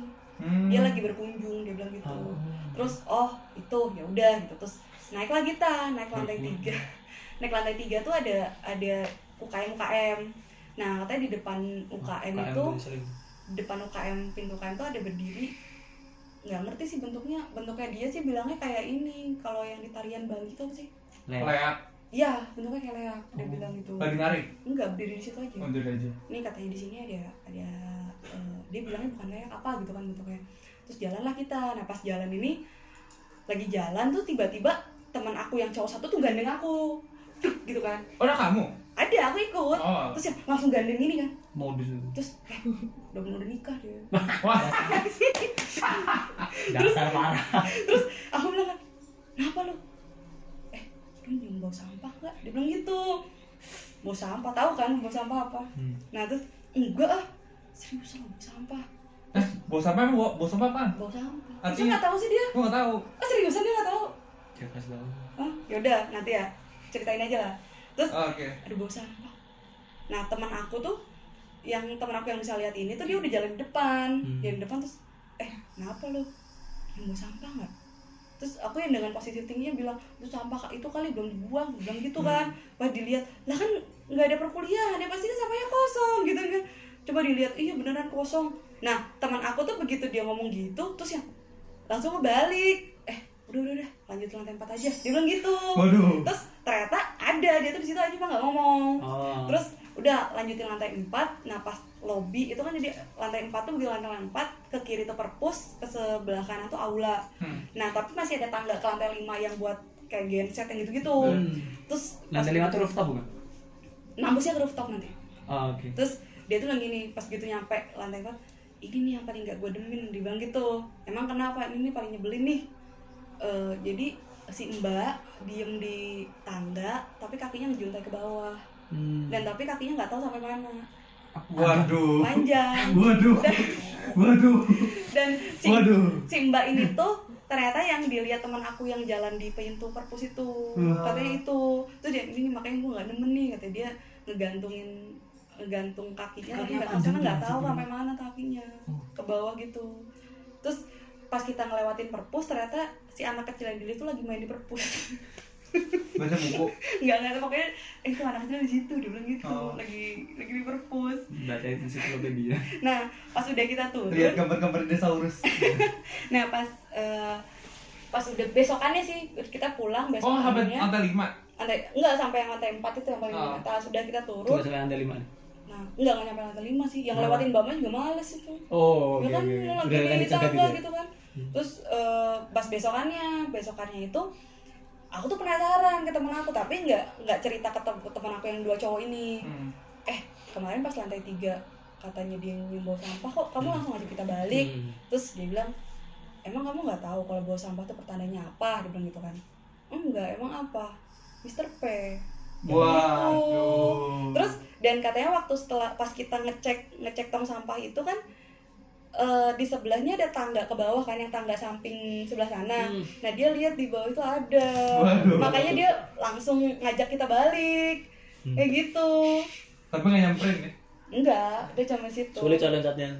Speaker 4: Hmm.
Speaker 1: dia lagi berkunjung dia bilang gitu
Speaker 3: Oh.
Speaker 1: terus oh itu ya udah gitu terus naik lagi kita naik lantai
Speaker 3: Hmm.
Speaker 1: tiga (laughs) naik lantai tiga tuh ada ada UKM UKM nah katanya di depan
Speaker 3: Ah,
Speaker 1: UKM itu
Speaker 3: tuh sering.
Speaker 1: depan UKM pintu UKM tuh ada berdiri nggak ngerti sih bentuknya bentuknya dia sih bilangnya kayak ini kalau yang di tarian Bali itu apa sih
Speaker 3: Lewat.
Speaker 4: Leak,
Speaker 1: iya bentuknya kayak leak dia
Speaker 3: Oh.
Speaker 1: bilang gitu
Speaker 4: lagi narik.
Speaker 1: enggak berdiri di situ aja
Speaker 4: Oh, udah aja.
Speaker 1: nih katanya di sini ada ada eh, dia bilangnya bukan leak apa gitu kan bentuknya terus jalanlah kita nah pas jalan ini lagi jalan tuh tiba-tiba teman aku yang cowok satu tuh gandeng aku Duk, gitu kan
Speaker 4: Oh, ada kamu?
Speaker 1: ada aku ikut
Speaker 4: Oh.
Speaker 1: terus ya langsung gandeng ini kan
Speaker 3: Modus itu.
Speaker 1: (laughs) terus eh, udah bener nikah dia
Speaker 4: Wah,
Speaker 3: Dasar parah.
Speaker 1: terus aku bilang kenapa lu eh lu nyium bau sampah nggak dia bilang gitu bau sampah tahu kan bau sampah apa
Speaker 3: Hmm.
Speaker 1: nah terus enggak ah serius lo bau sampah
Speaker 4: eh, bos apa emang? Bos- Bos apa apaan?
Speaker 1: bau sampah Masa
Speaker 4: Artinya-
Speaker 1: nggak tahu sih dia
Speaker 4: Gue nggak tahu.
Speaker 1: ah seriusan dia nggak tahu
Speaker 3: Dia kasih tahu.
Speaker 1: ah yaudah nanti ya ceritain aja lah terus
Speaker 4: Oh, Oke.
Speaker 1: aduh bau sampah nah teman aku tuh yang teman aku yang bisa lihat ini tuh dia udah jalan di depan
Speaker 3: Hmm.
Speaker 1: dia di depan terus eh kenapa lu yang bau sampah nggak terus aku yang dengan positif tingginya bilang itu sampah Kak, itu kali belum dibuang Dia bilang gitu kan pas dilihat lah kan nggak ada perkuliahan ya pasti kan sampahnya kosong gitu kan coba dilihat iya beneran kosong nah teman aku tuh begitu dia ngomong gitu terus yang langsung ngebalik eh udah udah udah lanjut ke lantai empat aja dia bilang gitu
Speaker 4: Waduh.
Speaker 1: terus ternyata ada dia tuh di situ aja mah nggak ngomong
Speaker 3: Oh.
Speaker 1: terus udah lanjutin lantai 4 nah pas lobby itu kan jadi lantai 4 tuh di lantai 4 ke kiri tuh perpus ke sebelah kanan tuh aula
Speaker 4: Hmm.
Speaker 1: nah tapi masih ada tangga ke lantai 5 yang buat kayak genset yang gitu-gitu terus pas-
Speaker 3: Hmm. Lantai lima tuh rooftop bukan?
Speaker 1: nambusnya ke rooftop nanti
Speaker 3: Oh, oke.
Speaker 1: terus dia tuh bilang gini pas gitu nyampe lantai 4 ini nih yang paling gak gue demin dibilang gitu emang kenapa ini nih paling nyebelin nih Eh, jadi si mbak diem di tangga tapi kakinya ngejuntai ke bawah
Speaker 3: Hmm.
Speaker 1: dan tapi kakinya nggak tahu sampai mana
Speaker 4: Waduh.
Speaker 1: panjang
Speaker 4: Waduh. Waduh.
Speaker 1: dan si,
Speaker 4: Waduh.
Speaker 1: si mbak ini tuh ternyata yang dilihat teman aku yang jalan di pintu perpus itu
Speaker 4: Wah.
Speaker 1: katanya itu terus dia ini makanya gue nggak demen nih katanya dia ngegantungin ngegantung kakinya tapi
Speaker 3: Kakinya
Speaker 1: nggak tahu sana
Speaker 3: panjang
Speaker 1: nggak
Speaker 3: tuh,
Speaker 1: tahu
Speaker 3: maksudnya.
Speaker 1: sampai mana kakinya
Speaker 3: Oh.
Speaker 1: ke bawah gitu terus pas kita ngelewatin perpus ternyata si anak kecil yang diri tuh lagi main di perpus (laughs)
Speaker 4: Baca buku.
Speaker 1: nggak nggak tahu, pokoknya eh, itu anak kecil di situ dia bilang gitu
Speaker 4: Oh.
Speaker 1: lagi lagi di perpus
Speaker 4: Baca ensiklopedia.
Speaker 1: nah pas udah kita turun
Speaker 4: Lihat gambar-gambar dinosaurus.
Speaker 1: Nah pas eh, pas udah besokannya sih kita pulang
Speaker 4: Oh, habat
Speaker 1: besokannya.
Speaker 4: lantai lima.
Speaker 1: lantai enggak sampai yang lantai 4 itu yang paling
Speaker 4: Oh.
Speaker 1: atas sudah kita
Speaker 3: Tuh
Speaker 1: turun.
Speaker 3: sampai lantai lima.
Speaker 1: Nah, enggak enggak nyampe lantai 5 sih. Yang
Speaker 4: Oh.
Speaker 1: lewatin Bama juga males itu.
Speaker 3: Oh,
Speaker 1: ya kan mau lagi
Speaker 3: Udah kan
Speaker 1: di
Speaker 3: dicegat
Speaker 1: tangga
Speaker 3: gitu. ya?
Speaker 1: gitu kan. Terus eh, pas besokannya, besokannya itu aku tuh penasaran ke temen aku tapi nggak nggak cerita ke, tem- ke temen aku yang dua cowok ini
Speaker 4: Hmm.
Speaker 1: kemarin pas lantai tiga katanya dia yang bawa sampah kok kamu langsung aja kita balik
Speaker 3: Hmm.
Speaker 1: terus dia bilang emang kamu nggak tahu kalau bawa sampah itu pertandanya apa dia bilang gitu kan enggak emang apa Mr. P
Speaker 4: Waduh.
Speaker 1: terus dan katanya waktu setelah pas kita ngecek ngecek tong sampah itu kan eh, di sebelahnya ada tangga ke bawah kan yang tangga samping sebelah sana
Speaker 3: Hmm.
Speaker 1: nah dia lihat di bawah itu ada
Speaker 4: Waduh.
Speaker 1: makanya dia langsung ngajak kita balik
Speaker 3: Hmm.
Speaker 1: kayak gitu
Speaker 4: Tapi nggak nyamperin ya.
Speaker 1: enggak dia cuma situ
Speaker 3: Sulit soal loncatnya.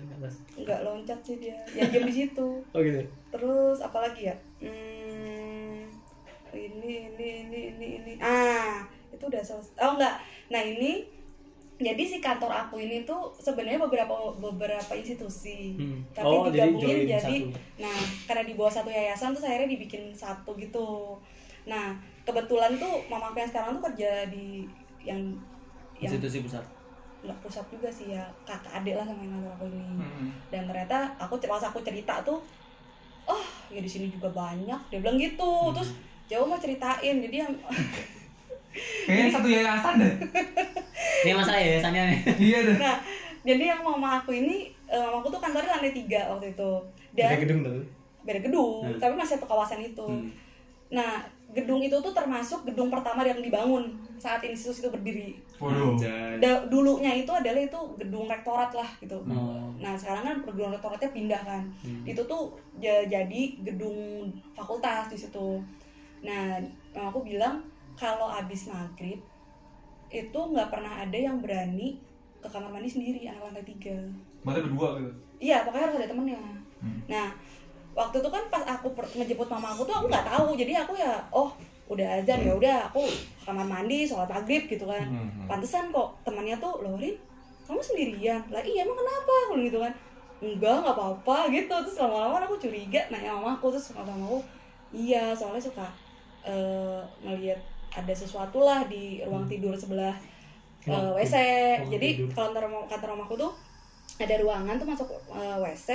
Speaker 1: enggak loncat sih dia ya diam di situ
Speaker 3: Oh gitu.
Speaker 1: terus apalagi ya hmm, ini ini ini ini ini ah itu udah selesai oh enggak nah ini jadi si kantor aku ini tuh sebenarnya beberapa beberapa institusi
Speaker 3: Hmm.
Speaker 1: Tapi digabungin jadi nah karena di bawah satu yayasan tuh akhirnya dibikin satu gitu nah kebetulan tuh mama aku yang sekarang tuh kerja di yang yang
Speaker 3: institusi pusat.
Speaker 1: nggak pusat juga sih ya kakak adik lah sama yang kantor aku ini
Speaker 4: Hmm.
Speaker 1: dan ternyata aku pas aku cerita tuh oh ya di sini juga banyak dia bilang
Speaker 3: Hmm.
Speaker 1: gitu terus jauh mau ceritain jadi yang (laughs)
Speaker 4: Kayaknya satu yayasan deh.
Speaker 3: Ini masalah yayasannya nih.
Speaker 4: iya deh.
Speaker 1: nah jadi yang mama aku ini eh, mama aku tuh kantornya lantai tiga waktu itu dan
Speaker 3: Beda
Speaker 1: beda gedung,
Speaker 3: gedung tuh. Hmm.
Speaker 1: tapi masih satu kawasan itu
Speaker 3: Hmm.
Speaker 1: nah gedung itu tuh termasuk gedung pertama yang dibangun saat institusi itu berdiri
Speaker 4: Waduh.
Speaker 3: Anjay.
Speaker 1: Da- dulunya itu adalah itu gedung rektorat lah gitu
Speaker 3: Oh.
Speaker 1: nah sekarang kan gedung rektoratnya pindah kan
Speaker 3: Hmm.
Speaker 1: itu tuh ja- jadi gedung fakultas di situ. Nah, mama aku bilang kalau abis maghrib itu nggak pernah ada yang berani ke kamar mandi sendiri anak lantai tiga.
Speaker 4: Berarti berdua gitu.
Speaker 1: Iya, pokoknya harus ada temennya.
Speaker 4: Hmm.
Speaker 1: Nah, waktu itu kan pas aku per- ngejemput mama aku tuh aku nggak tahu, jadi aku ya oh udah azan ya udah aku ke kamar mandi sholat maghrib gitu kan
Speaker 4: Hmm.
Speaker 1: pantesan kok temannya tuh loh Rin kamu sendirian lah iya emang kenapa aku bilang gitu kan enggak nggak apa-apa gitu terus lama-lama aku curiga nanya sama aku terus sama sama aku iya soalnya suka eh, ngelihat ada sesuatu lah di ruang tidur sebelah eh,
Speaker 3: Hmm. Ruang
Speaker 1: WC
Speaker 3: ruang
Speaker 1: jadi
Speaker 3: tidur.
Speaker 1: kalau kantor rumah- kantor rumahku tuh ada ruangan tuh masuk eh, WC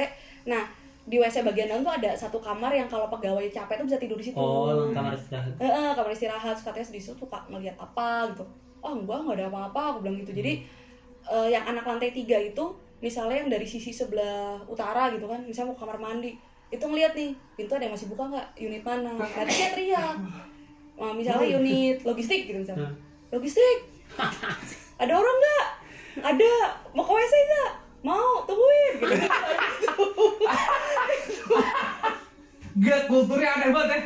Speaker 1: nah di WC bagian dalam tuh ada satu kamar yang kalau pegawai capek tuh bisa tidur di situ
Speaker 3: Oh, kamar istirahat.
Speaker 1: eh eh, kamar istirahat terus katanya di situ suka ngelihat apa gitu oh enggak enggak ada apa-apa aku bilang gitu jadi eh, yang anak lantai tiga itu misalnya yang dari sisi sebelah utara gitu kan misalnya mau ke kamar mandi itu ngeliat nih pintu ada yang masih buka nggak unit mana nanti dia teriak Nah, misalnya unit logistik gitu misalnya logistik ada orang nggak ada mau ke WC nggak mau tungguin gitu
Speaker 4: Gak kulturnya aneh banget ya.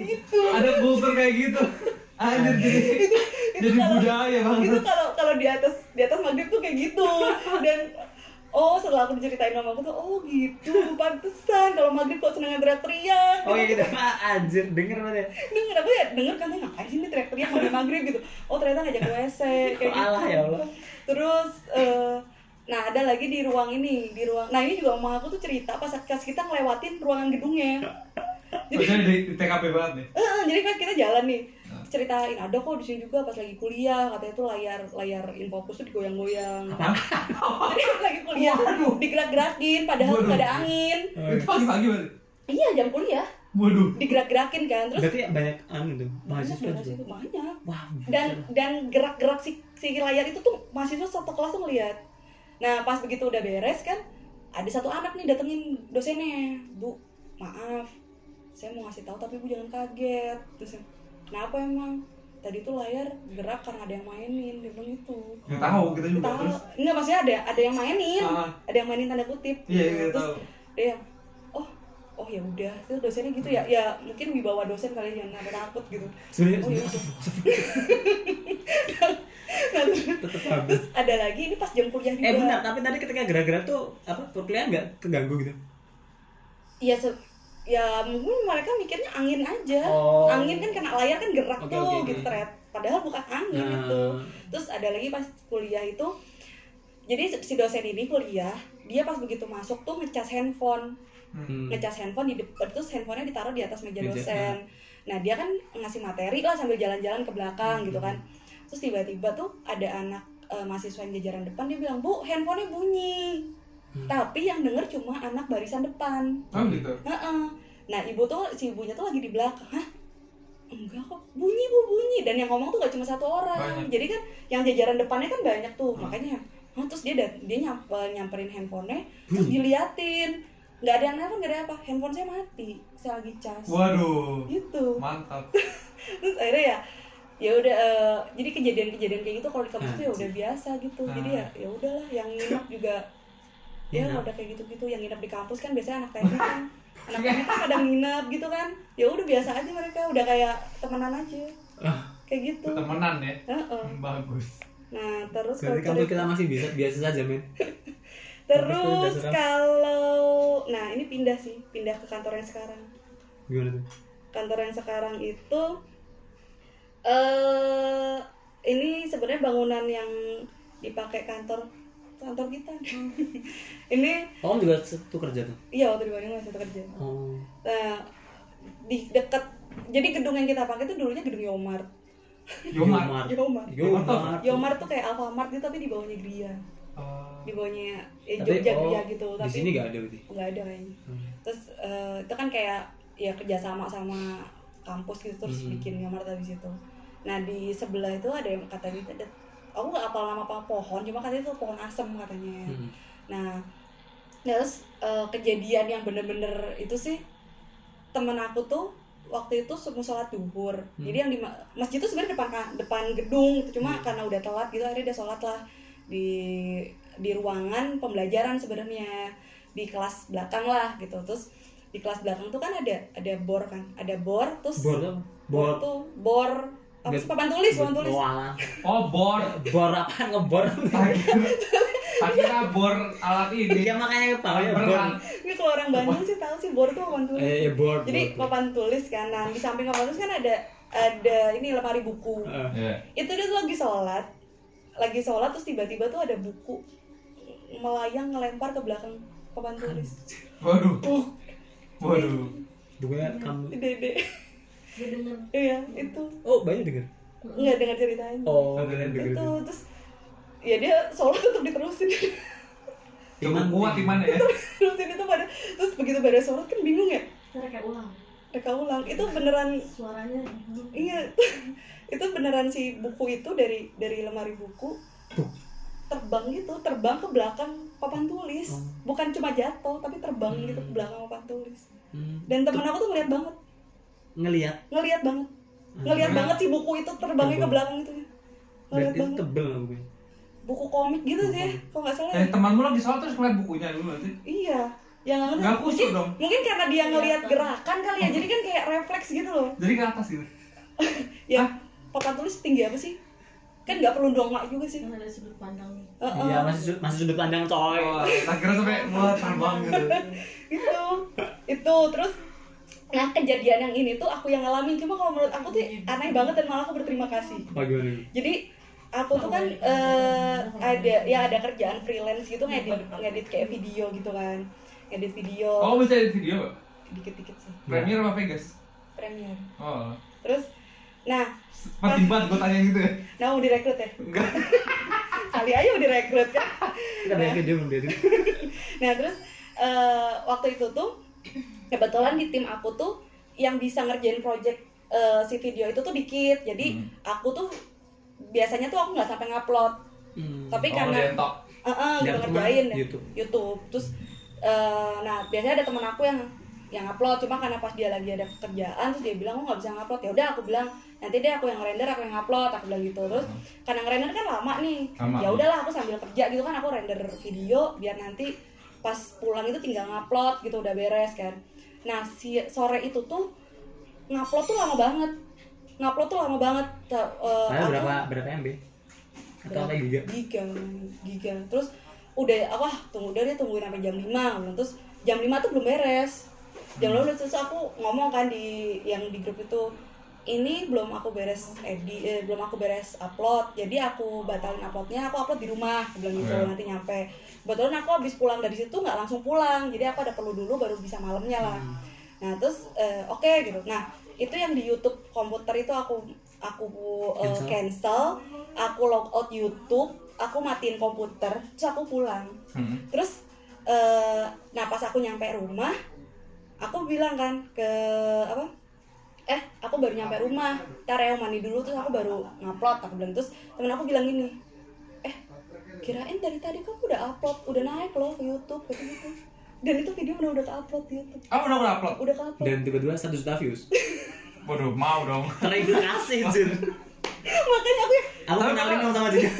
Speaker 1: gitu
Speaker 4: Ada kultur kayak gitu. Anjir jadi jadi budaya banget.
Speaker 1: itu kalau kalau di atas di atas maghrib tuh kayak gitu dan oh setelah aku diceritain sama aku tuh oh gitu pantesan kalau maghrib kok seneng teriak-teriak
Speaker 3: Oh iya gitu. Ah, anjir, denger banget ya.
Speaker 1: denger aku ya denger kan tuh ngapain sih ini teriak-teriak maghrib maghrib gitu oh ternyata ngajak ke wc kayak gitu
Speaker 3: Allah, ya Allah.
Speaker 1: terus eh, nah ada lagi di ruang ini di ruang nah ini juga mama aku tuh cerita pas pas kita ngelewatin ruangan gedungnya
Speaker 4: Jadi di, di TKP banget nih.
Speaker 1: Eh, eh, jadi kan kita jalan nih ceritain ada kok di sini juga pas lagi kuliah katanya tuh layar layar infokus tuh digoyang-goyang
Speaker 4: Apaan?
Speaker 1: jadi lagi (laughs) kuliah
Speaker 4: Waduh.
Speaker 1: digerak-gerakin padahal
Speaker 4: Waduh.
Speaker 1: nggak ada angin
Speaker 4: Itu pasti pagi berarti.
Speaker 1: iya jam kuliah
Speaker 4: Waduh.
Speaker 1: digerak-gerakin kan terus
Speaker 3: Berarti banyak anu tuh mahasiswa
Speaker 1: banyak
Speaker 3: juga.
Speaker 1: itu banyak
Speaker 3: Wah.
Speaker 1: dan dan gerak-gerak si, si layar itu tuh mahasiswa satu kelas tuh ngeliat nah pas begitu udah beres kan ada satu anak nih datengin dosennya bu maaf saya mau ngasih tahu tapi bu jangan kaget dosen kenapa emang tadi tuh layar gerak karena ada yang mainin dia bilang itu
Speaker 4: Nggak tahu kita juga
Speaker 1: tahu
Speaker 4: terus.
Speaker 1: enggak maksudnya ada ada yang mainin
Speaker 4: Ah,
Speaker 1: ada yang mainin tanda kutip
Speaker 4: iya iya
Speaker 1: terus
Speaker 4: tahu.
Speaker 1: dia yang oh oh ya udah itu dosennya gitu ya ya mungkin wibawa dosen kali ya, jangan sampai takut gitu (laughs)
Speaker 3: Sebenarnya
Speaker 1: oh ya udah. Nah, terus-
Speaker 3: tetap bagus.
Speaker 1: terus ada lagi ini pas jam kuliah juga
Speaker 3: Eh benar, tapi tadi ketika gerak-gerak tuh apa perkuliahan nggak keganggu gitu?
Speaker 1: ya se- ya mungkin mereka mikirnya angin aja
Speaker 3: Oh.
Speaker 1: angin kan kena layar kan gerak
Speaker 3: Oke,
Speaker 1: tuh
Speaker 3: oke, oke.
Speaker 1: gitu teret padahal bukan angin gitu
Speaker 3: Nah,
Speaker 1: terus ada lagi pas kuliah itu jadi si dosen ini kuliah dia pas begitu masuk tuh ngecas handphone
Speaker 3: hmm.
Speaker 1: ngecas handphone di depan terus handphonenya ditaruh di atas meja
Speaker 3: Meja,
Speaker 1: dosen nah dia kan ngasih materi lah sambil jalan-jalan ke belakang gitu kan
Speaker 3: Hmm.
Speaker 1: terus tiba-tiba tuh ada anak eh, mahasiswa yang jajaran depan dia bilang bu handphonenya bunyi
Speaker 3: Hmm.
Speaker 1: tapi yang denger cuma anak barisan depan
Speaker 4: Oh gitu.
Speaker 1: Heeh. nah ibu tuh si ibunya tuh lagi di belakang Hah? enggak kok bunyi bu bunyi dan yang ngomong tuh gak cuma satu orang
Speaker 4: Banyak.
Speaker 1: jadi kan yang jajaran depannya kan banyak tuh
Speaker 4: Hmm.
Speaker 1: makanya "Hah?" terus dia dat- dia nyampe, nyamperin handphonenya
Speaker 4: Hmm.
Speaker 1: terus
Speaker 3: Bunyi.
Speaker 1: diliatin nggak ada yang nelfon nggak ada apa handphone saya mati saya lagi cas
Speaker 4: Waduh.
Speaker 1: gitu
Speaker 4: Mantap.
Speaker 1: terus akhirnya ya ya udah eh, jadi kejadian-kejadian kayak gitu kalau di kampus tuh ya
Speaker 3: Anjir.
Speaker 1: udah biasa gitu jadi ya ya udahlah yang nginep
Speaker 3: (laughs)
Speaker 1: juga ya
Speaker 3: Nginep.
Speaker 1: udah kayak gitu-gitu yang nginep di kampus kan biasanya anak teknik
Speaker 3: (laughs)
Speaker 1: kan anak teknik kan kadang nginep gitu kan ya udah biasa aja mereka udah kayak temenan aja
Speaker 3: Ah.
Speaker 1: kayak gitu
Speaker 4: Temenan ya.
Speaker 1: Heeh.
Speaker 4: Bagus.
Speaker 1: nah terus
Speaker 3: Berarti
Speaker 1: kalau
Speaker 3: kamu kita masih bisa biasa saja men.
Speaker 1: terus
Speaker 3: Terus, terus,
Speaker 1: kalau nah ini pindah sih pindah ke kantor yang sekarang
Speaker 3: Gimana tuh?
Speaker 1: kantor yang sekarang itu eh ini sebenarnya bangunan yang dipakai kantor kantor kita (laughs) ini
Speaker 3: Oh, kamu juga satu kerja tuh.
Speaker 1: iya waktu di Bandung masih kerja
Speaker 3: Oh.
Speaker 1: nah di dekat jadi gedung yang kita pakai itu dulunya gedung Yomar
Speaker 3: Iya,
Speaker 4: Yomar.
Speaker 1: Yomar
Speaker 3: Yomar.
Speaker 1: Yomar tuh kayak Alfamart gitu tapi di bawahnya Gria
Speaker 4: Oh.
Speaker 1: di bawahnya eh,
Speaker 3: Tapi,
Speaker 1: Jogja
Speaker 3: oh,
Speaker 1: Gria gitu
Speaker 3: Di
Speaker 1: tapi
Speaker 3: sini nggak ada berarti.
Speaker 1: nggak ada kayaknya
Speaker 3: Hmm.
Speaker 1: terus eh, itu kan kayak ya kerjasama sama kampus gitu terus
Speaker 3: Hmm.
Speaker 1: bikin kamar tadi situ nah di sebelah itu ada yang katanya ada aku nggak hafal nama apa pohon cuma katanya itu pohon asem katanya
Speaker 3: Hmm.
Speaker 1: nah terus eh, kejadian yang bener-bener itu sih temen aku tuh waktu itu sebelum sholat duhur jadi yang di ma- masjid itu sebenarnya depan ka- depan gedung cuma karena udah telat gitu akhirnya dia sholat lah di di ruangan pembelajaran sebenarnya di kelas belakang lah gitu terus di kelas belakang tuh kan ada ada bor kan ada bor terus
Speaker 3: Bor apa? Bor.
Speaker 1: bor tuh bor apa sih papan tulis papan tulis
Speaker 3: Wah.
Speaker 4: Oh, bor.
Speaker 3: Bor apaan ngebor?
Speaker 4: Akhirnya bor alat ini.
Speaker 3: (laughs) Iya makanya tahu ya bor.
Speaker 4: Berat.
Speaker 1: ini kalau orang Bandung sih tahu sih bor tuh papan tulis
Speaker 3: Eh, ya, bor.
Speaker 1: jadi
Speaker 3: bor, bor.
Speaker 1: papan tulis kan nah di samping papan tulis kan ada ada ini lemari buku
Speaker 3: Eh,
Speaker 4: Iya.
Speaker 1: itu dia tuh lagi sholat lagi sholat terus tiba-tiba tuh ada buku melayang ngelempar ke belakang papan tulis
Speaker 4: Waduh.
Speaker 1: uh
Speaker 4: Waduh.
Speaker 3: bukunya kamu.
Speaker 1: dede
Speaker 5: Gue denger.
Speaker 1: iya itu
Speaker 3: Oh, banyak denger.
Speaker 1: nggak dengar ceritanya
Speaker 3: Oh,
Speaker 4: Ada yang
Speaker 3: kalian denger.
Speaker 1: itu terus ya dia sholat tetap diterusin (laughs)
Speaker 4: Cukup kuat iman ya.
Speaker 1: terusin itu pada terus begitu pada sholat kan bingung ya
Speaker 5: Ntar kayak ulang.
Speaker 1: mereka ulang itu beneran
Speaker 5: Suaranya. hmm.
Speaker 1: Iya, (laughs) itu beneran si buku itu dari dari lemari buku
Speaker 3: Tuh.
Speaker 1: terbang gitu, terbang ke belakang papan tulis,
Speaker 3: Oh.
Speaker 1: bukan cuma jatuh tapi terbang
Speaker 3: Hmm.
Speaker 1: gitu ke belakang papan tulis.
Speaker 3: Hmm.
Speaker 1: Dan temen aku tuh ngeliat banget,
Speaker 3: Ngelihat.
Speaker 1: ngeliat banget,
Speaker 3: Hmm.
Speaker 1: ngeliat banget si buku itu terbangnya ke
Speaker 3: Terbang.
Speaker 1: belakang itu, ngeliat
Speaker 3: Hmm. Berarti
Speaker 1: banget.
Speaker 3: tebel lah bukunya.
Speaker 1: Buku komik gitu
Speaker 3: Buku
Speaker 1: sih, kalau nggak salah.
Speaker 4: Eh, temanmu lagi sholat terus ngeliat bukunya dulu nanti.
Speaker 1: Iya, yang nggak ngerti.
Speaker 4: Nggak khusyuk dong.
Speaker 1: Mungkin karena dia ngeliat gerakan kali ya, jadi kan kayak refleks gitu loh.
Speaker 4: Jadi ke atas gitu.
Speaker 1: Ya, papan tulis tinggi apa sih? Kan nggak perlu dongak juga sih.
Speaker 5: Yang ada sudut pandang.
Speaker 1: Heeh.
Speaker 3: Iya, masih sudut- masih sudut pandang coy.
Speaker 4: Wah, akhirnya sampai wah terbang gitu.
Speaker 1: gitu itu terus nah kejadian yang ini tuh aku yang ngalamin cuma kalau menurut aku tuh aneh banget dan malah aku berterima kasih
Speaker 3: Apa gimana? nih?
Speaker 1: jadi aku tuh kan eh, ada ya ada kerjaan freelance gitu ngedit ngedit kayak video gitu kan ngedit video
Speaker 4: Oh, bisa edit video, Pak?
Speaker 1: dikit-dikit sih
Speaker 4: Premiere apa Vegas?
Speaker 1: Premiere
Speaker 4: Oh.
Speaker 1: terus nah
Speaker 4: Makin banget gue tanya gitu ya.
Speaker 1: nah mau direkrut ya
Speaker 4: Enggak.
Speaker 1: kali aja mau direkrut kan
Speaker 3: Kita naik ke dia mendadak.
Speaker 1: nah terus eh, waktu itu tuh kebetulan di tim aku tuh yang bisa ngerjain project eh, si video itu tuh dikit jadi
Speaker 4: Hmm.
Speaker 1: aku tuh biasanya tuh aku nggak sampai ngupload
Speaker 3: Hmm.
Speaker 1: tapi karena
Speaker 4: Oh, dia top.
Speaker 1: eh, eh, gitu ngerjain deh. YouTube. terus eh, nah biasanya ada teman aku yang yang upload cuma karena pas dia lagi ada kerjaan terus dia bilang aku nggak bisa ngupload ya udah aku bilang nanti deh aku yang render aku yang upload aku bilang gitu terus karena ngerender kan lama nih
Speaker 4: Lama.
Speaker 1: ya udahlah aku sambil kerja gitu kan aku render video biar nanti pas pulang itu tinggal ngupload gitu udah beres kan nah si sore itu tuh ngupload tuh lama banget ngupload tuh lama banget Ta- eh,
Speaker 3: Padahal
Speaker 1: aku-
Speaker 3: berapa berapa MB? Atau apa giga?
Speaker 1: giga giga terus udah aku ah, tunggu udah deh tungguin sampai jam 5 Nah, terus jam 5 tuh belum beres jam lalu terus aku ngomong kan di yang di grup itu ini belum aku beres edi eh, belum aku beres upload jadi aku batalin uploadnya aku upload di rumah aku bilang gitu
Speaker 4: Iya.
Speaker 1: nanti nyampe kebetulan aku habis pulang dari situ nggak langsung pulang jadi aku ada perlu dulu baru bisa malamnya lah nah terus eh, oke gitu nah itu yang di YouTube komputer itu aku aku eh, cancel
Speaker 3: Cancel.
Speaker 1: aku log out YouTube aku matiin komputer terus aku pulang
Speaker 4: Hmm.
Speaker 1: terus eh, nah pas aku nyampe rumah aku bilang kan ke apa eh aku baru nyampe rumah ntar ya mandi dulu terus aku baru ngupload aku bilang terus temen aku bilang gini eh kirain dari tadi kamu udah upload udah naik loh ke YouTube gitu gitu dan itu video udah udah upload di YouTube
Speaker 4: Ah udah udah upload.
Speaker 1: udah upload
Speaker 3: Dan tiba-tiba satu juta views.
Speaker 4: Waduh mau dong.
Speaker 3: Terindikasi Jun.
Speaker 1: makanya aku ya, yang
Speaker 3: Aku kenalin dong sama juga.
Speaker 4: (laughs)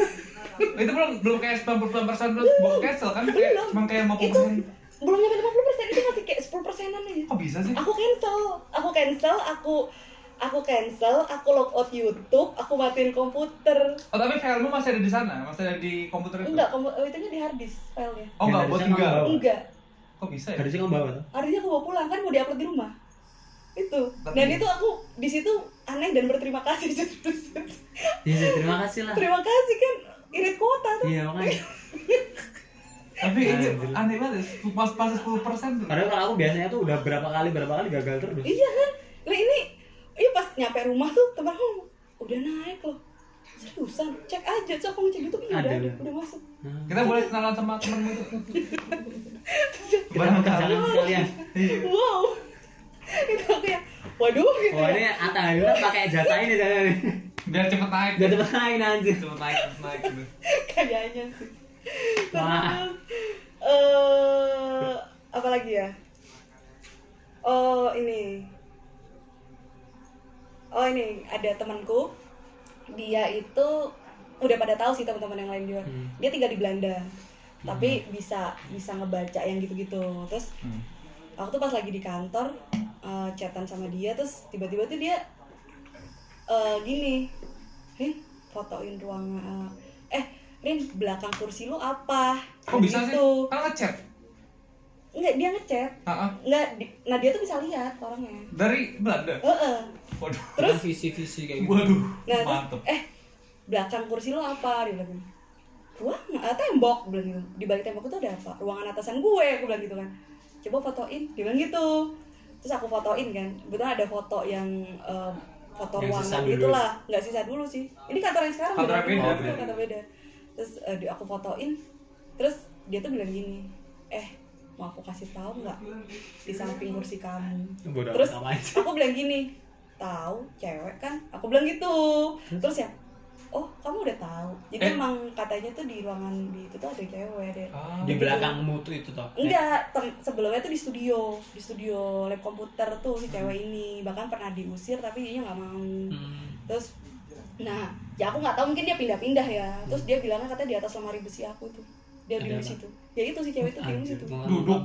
Speaker 4: itu belum belum kayak 90 persen belum belum cancel kan kayak
Speaker 1: Belum.
Speaker 4: cuma kayak 50
Speaker 1: itu belum nyampe 50 persen itu masih kayak 10 persenan aja
Speaker 4: Kok bisa sih?
Speaker 1: aku cancel aku cancel aku aku cancel aku log out YouTube aku matiin komputer
Speaker 4: Oh tapi filemu masih ada di sana, masih ada di komputer itu.
Speaker 1: enggak komputer itunya di hard disk filenya
Speaker 4: Oh enggak, buat
Speaker 3: Yang ada di sana
Speaker 4: tinggal.
Speaker 3: nggak bawa.
Speaker 1: enggak
Speaker 4: Kok bisa ya?
Speaker 3: Harusnya kamu bawa tuh.
Speaker 1: harusnya aku bawa pulang kan mau diupload di rumah itu
Speaker 4: Tapi-
Speaker 1: dan itu aku di situ aneh dan berterima kasih (laughs)
Speaker 3: Ya, Jun, terima kasih lah.
Speaker 1: terima kasih kan irit kuota tuh
Speaker 3: Iya makanya.
Speaker 4: Tapi itu
Speaker 3: Anjir.
Speaker 4: aneh banget, ya, pas pas 10 persen tuh.
Speaker 3: Padahal kalau aku biasanya tuh udah berapa kali berapa kali gagal terus.
Speaker 1: iya kan nah ini ini pas nyampe rumah tuh teman aku ngomong, udah naik loh seriusan cek aja so aku ngecek YouTube ya
Speaker 3: Ada.
Speaker 1: udah ada, udah masuk
Speaker 3: Nah,
Speaker 4: Kita boleh kenalan sama temenmu itu.
Speaker 3: Kita mengerjakan sekalian.
Speaker 4: Iya.
Speaker 1: (laughs) wow itu aku ya waduh gitu
Speaker 3: Oh
Speaker 1: ya
Speaker 3: ini Atta Hayura pakai jasa ini jangan nih.
Speaker 4: Biar cepet naik.
Speaker 3: Biar cepet naik anjir.
Speaker 4: Cepet naik, cepet naik gitu.
Speaker 1: kayaknya sih
Speaker 3: Wah.
Speaker 1: terus eh apa lagi ya oh ini oh ini ada temanku dia itu udah pada tahu sih teman-teman yang lain juga
Speaker 3: Hmm.
Speaker 1: dia tinggal di Belanda tapi bisa bisa ngebaca yang gitu-gitu terus
Speaker 4: Hmm.
Speaker 1: aku tuh pas lagi di kantor eh, chatan sama dia terus tiba-tiba tuh dia eh, gini Rin fotoin ruangan eh Rin belakang kursi lu apa
Speaker 4: Kok bisa sih?
Speaker 1: Gitu.
Speaker 4: Kan ngechat.
Speaker 1: nggak dia ngechat
Speaker 4: Ah, ah.
Speaker 1: nggak di- nah dia tuh bisa lihat orangnya
Speaker 4: Dari Belanda.
Speaker 1: Eh, eh.
Speaker 4: Waduh.
Speaker 1: Terus?
Speaker 3: visi-visi kayak gitu.
Speaker 4: Waduh.
Speaker 1: nah terus,
Speaker 4: Mantep.
Speaker 1: eh belakang kursi lu apa dia bilang gitu. ruangan eh, tembok Dia bilang gitu di balik tembok itu ada apa ruangan atasan gue aku bilang gitu kan coba fotoin dia bilang gitu terus aku fotoin kan kebetulan ada foto yang eh, foto
Speaker 3: Yang sisa
Speaker 1: ruangan
Speaker 3: dulu.
Speaker 1: gitulah nggak sisa dulu sih ini kantor yang sekarang ya? Oh,
Speaker 4: Kantor
Speaker 1: beda.
Speaker 4: beda,
Speaker 1: Itu
Speaker 4: beda.
Speaker 1: kantor beda terus eh, di- aku fotoin terus dia tuh bilang gini eh mau aku kasih tahu nggak di samping kursi kamu
Speaker 3: Bodoh
Speaker 1: Terus?
Speaker 3: amat sama aja.
Speaker 1: aku bilang gini tahu cewek kan aku bilang gitu terus ya oh kamu udah tahu jadi
Speaker 4: Eh.
Speaker 1: emang katanya tuh di ruangan di itu tuh ada cewek deh
Speaker 4: Ah.
Speaker 3: Di belakangmu tuh itu toh.
Speaker 1: enggak tem- sebelumnya tuh di studio di studio lab komputer tuh si cewek ini bahkan pernah diusir tapi dia nggak mau
Speaker 3: Hmm.
Speaker 1: terus nah ya aku nggak tahu mungkin dia pindah-pindah ya terus dia bilangnya katanya di atas lemari besi aku tuh dia
Speaker 3: Ada
Speaker 1: di
Speaker 3: apa?
Speaker 1: situ ya itu si cewek itu di
Speaker 3: Ah, Anjir,
Speaker 1: situ
Speaker 3: gua-
Speaker 4: Duduk.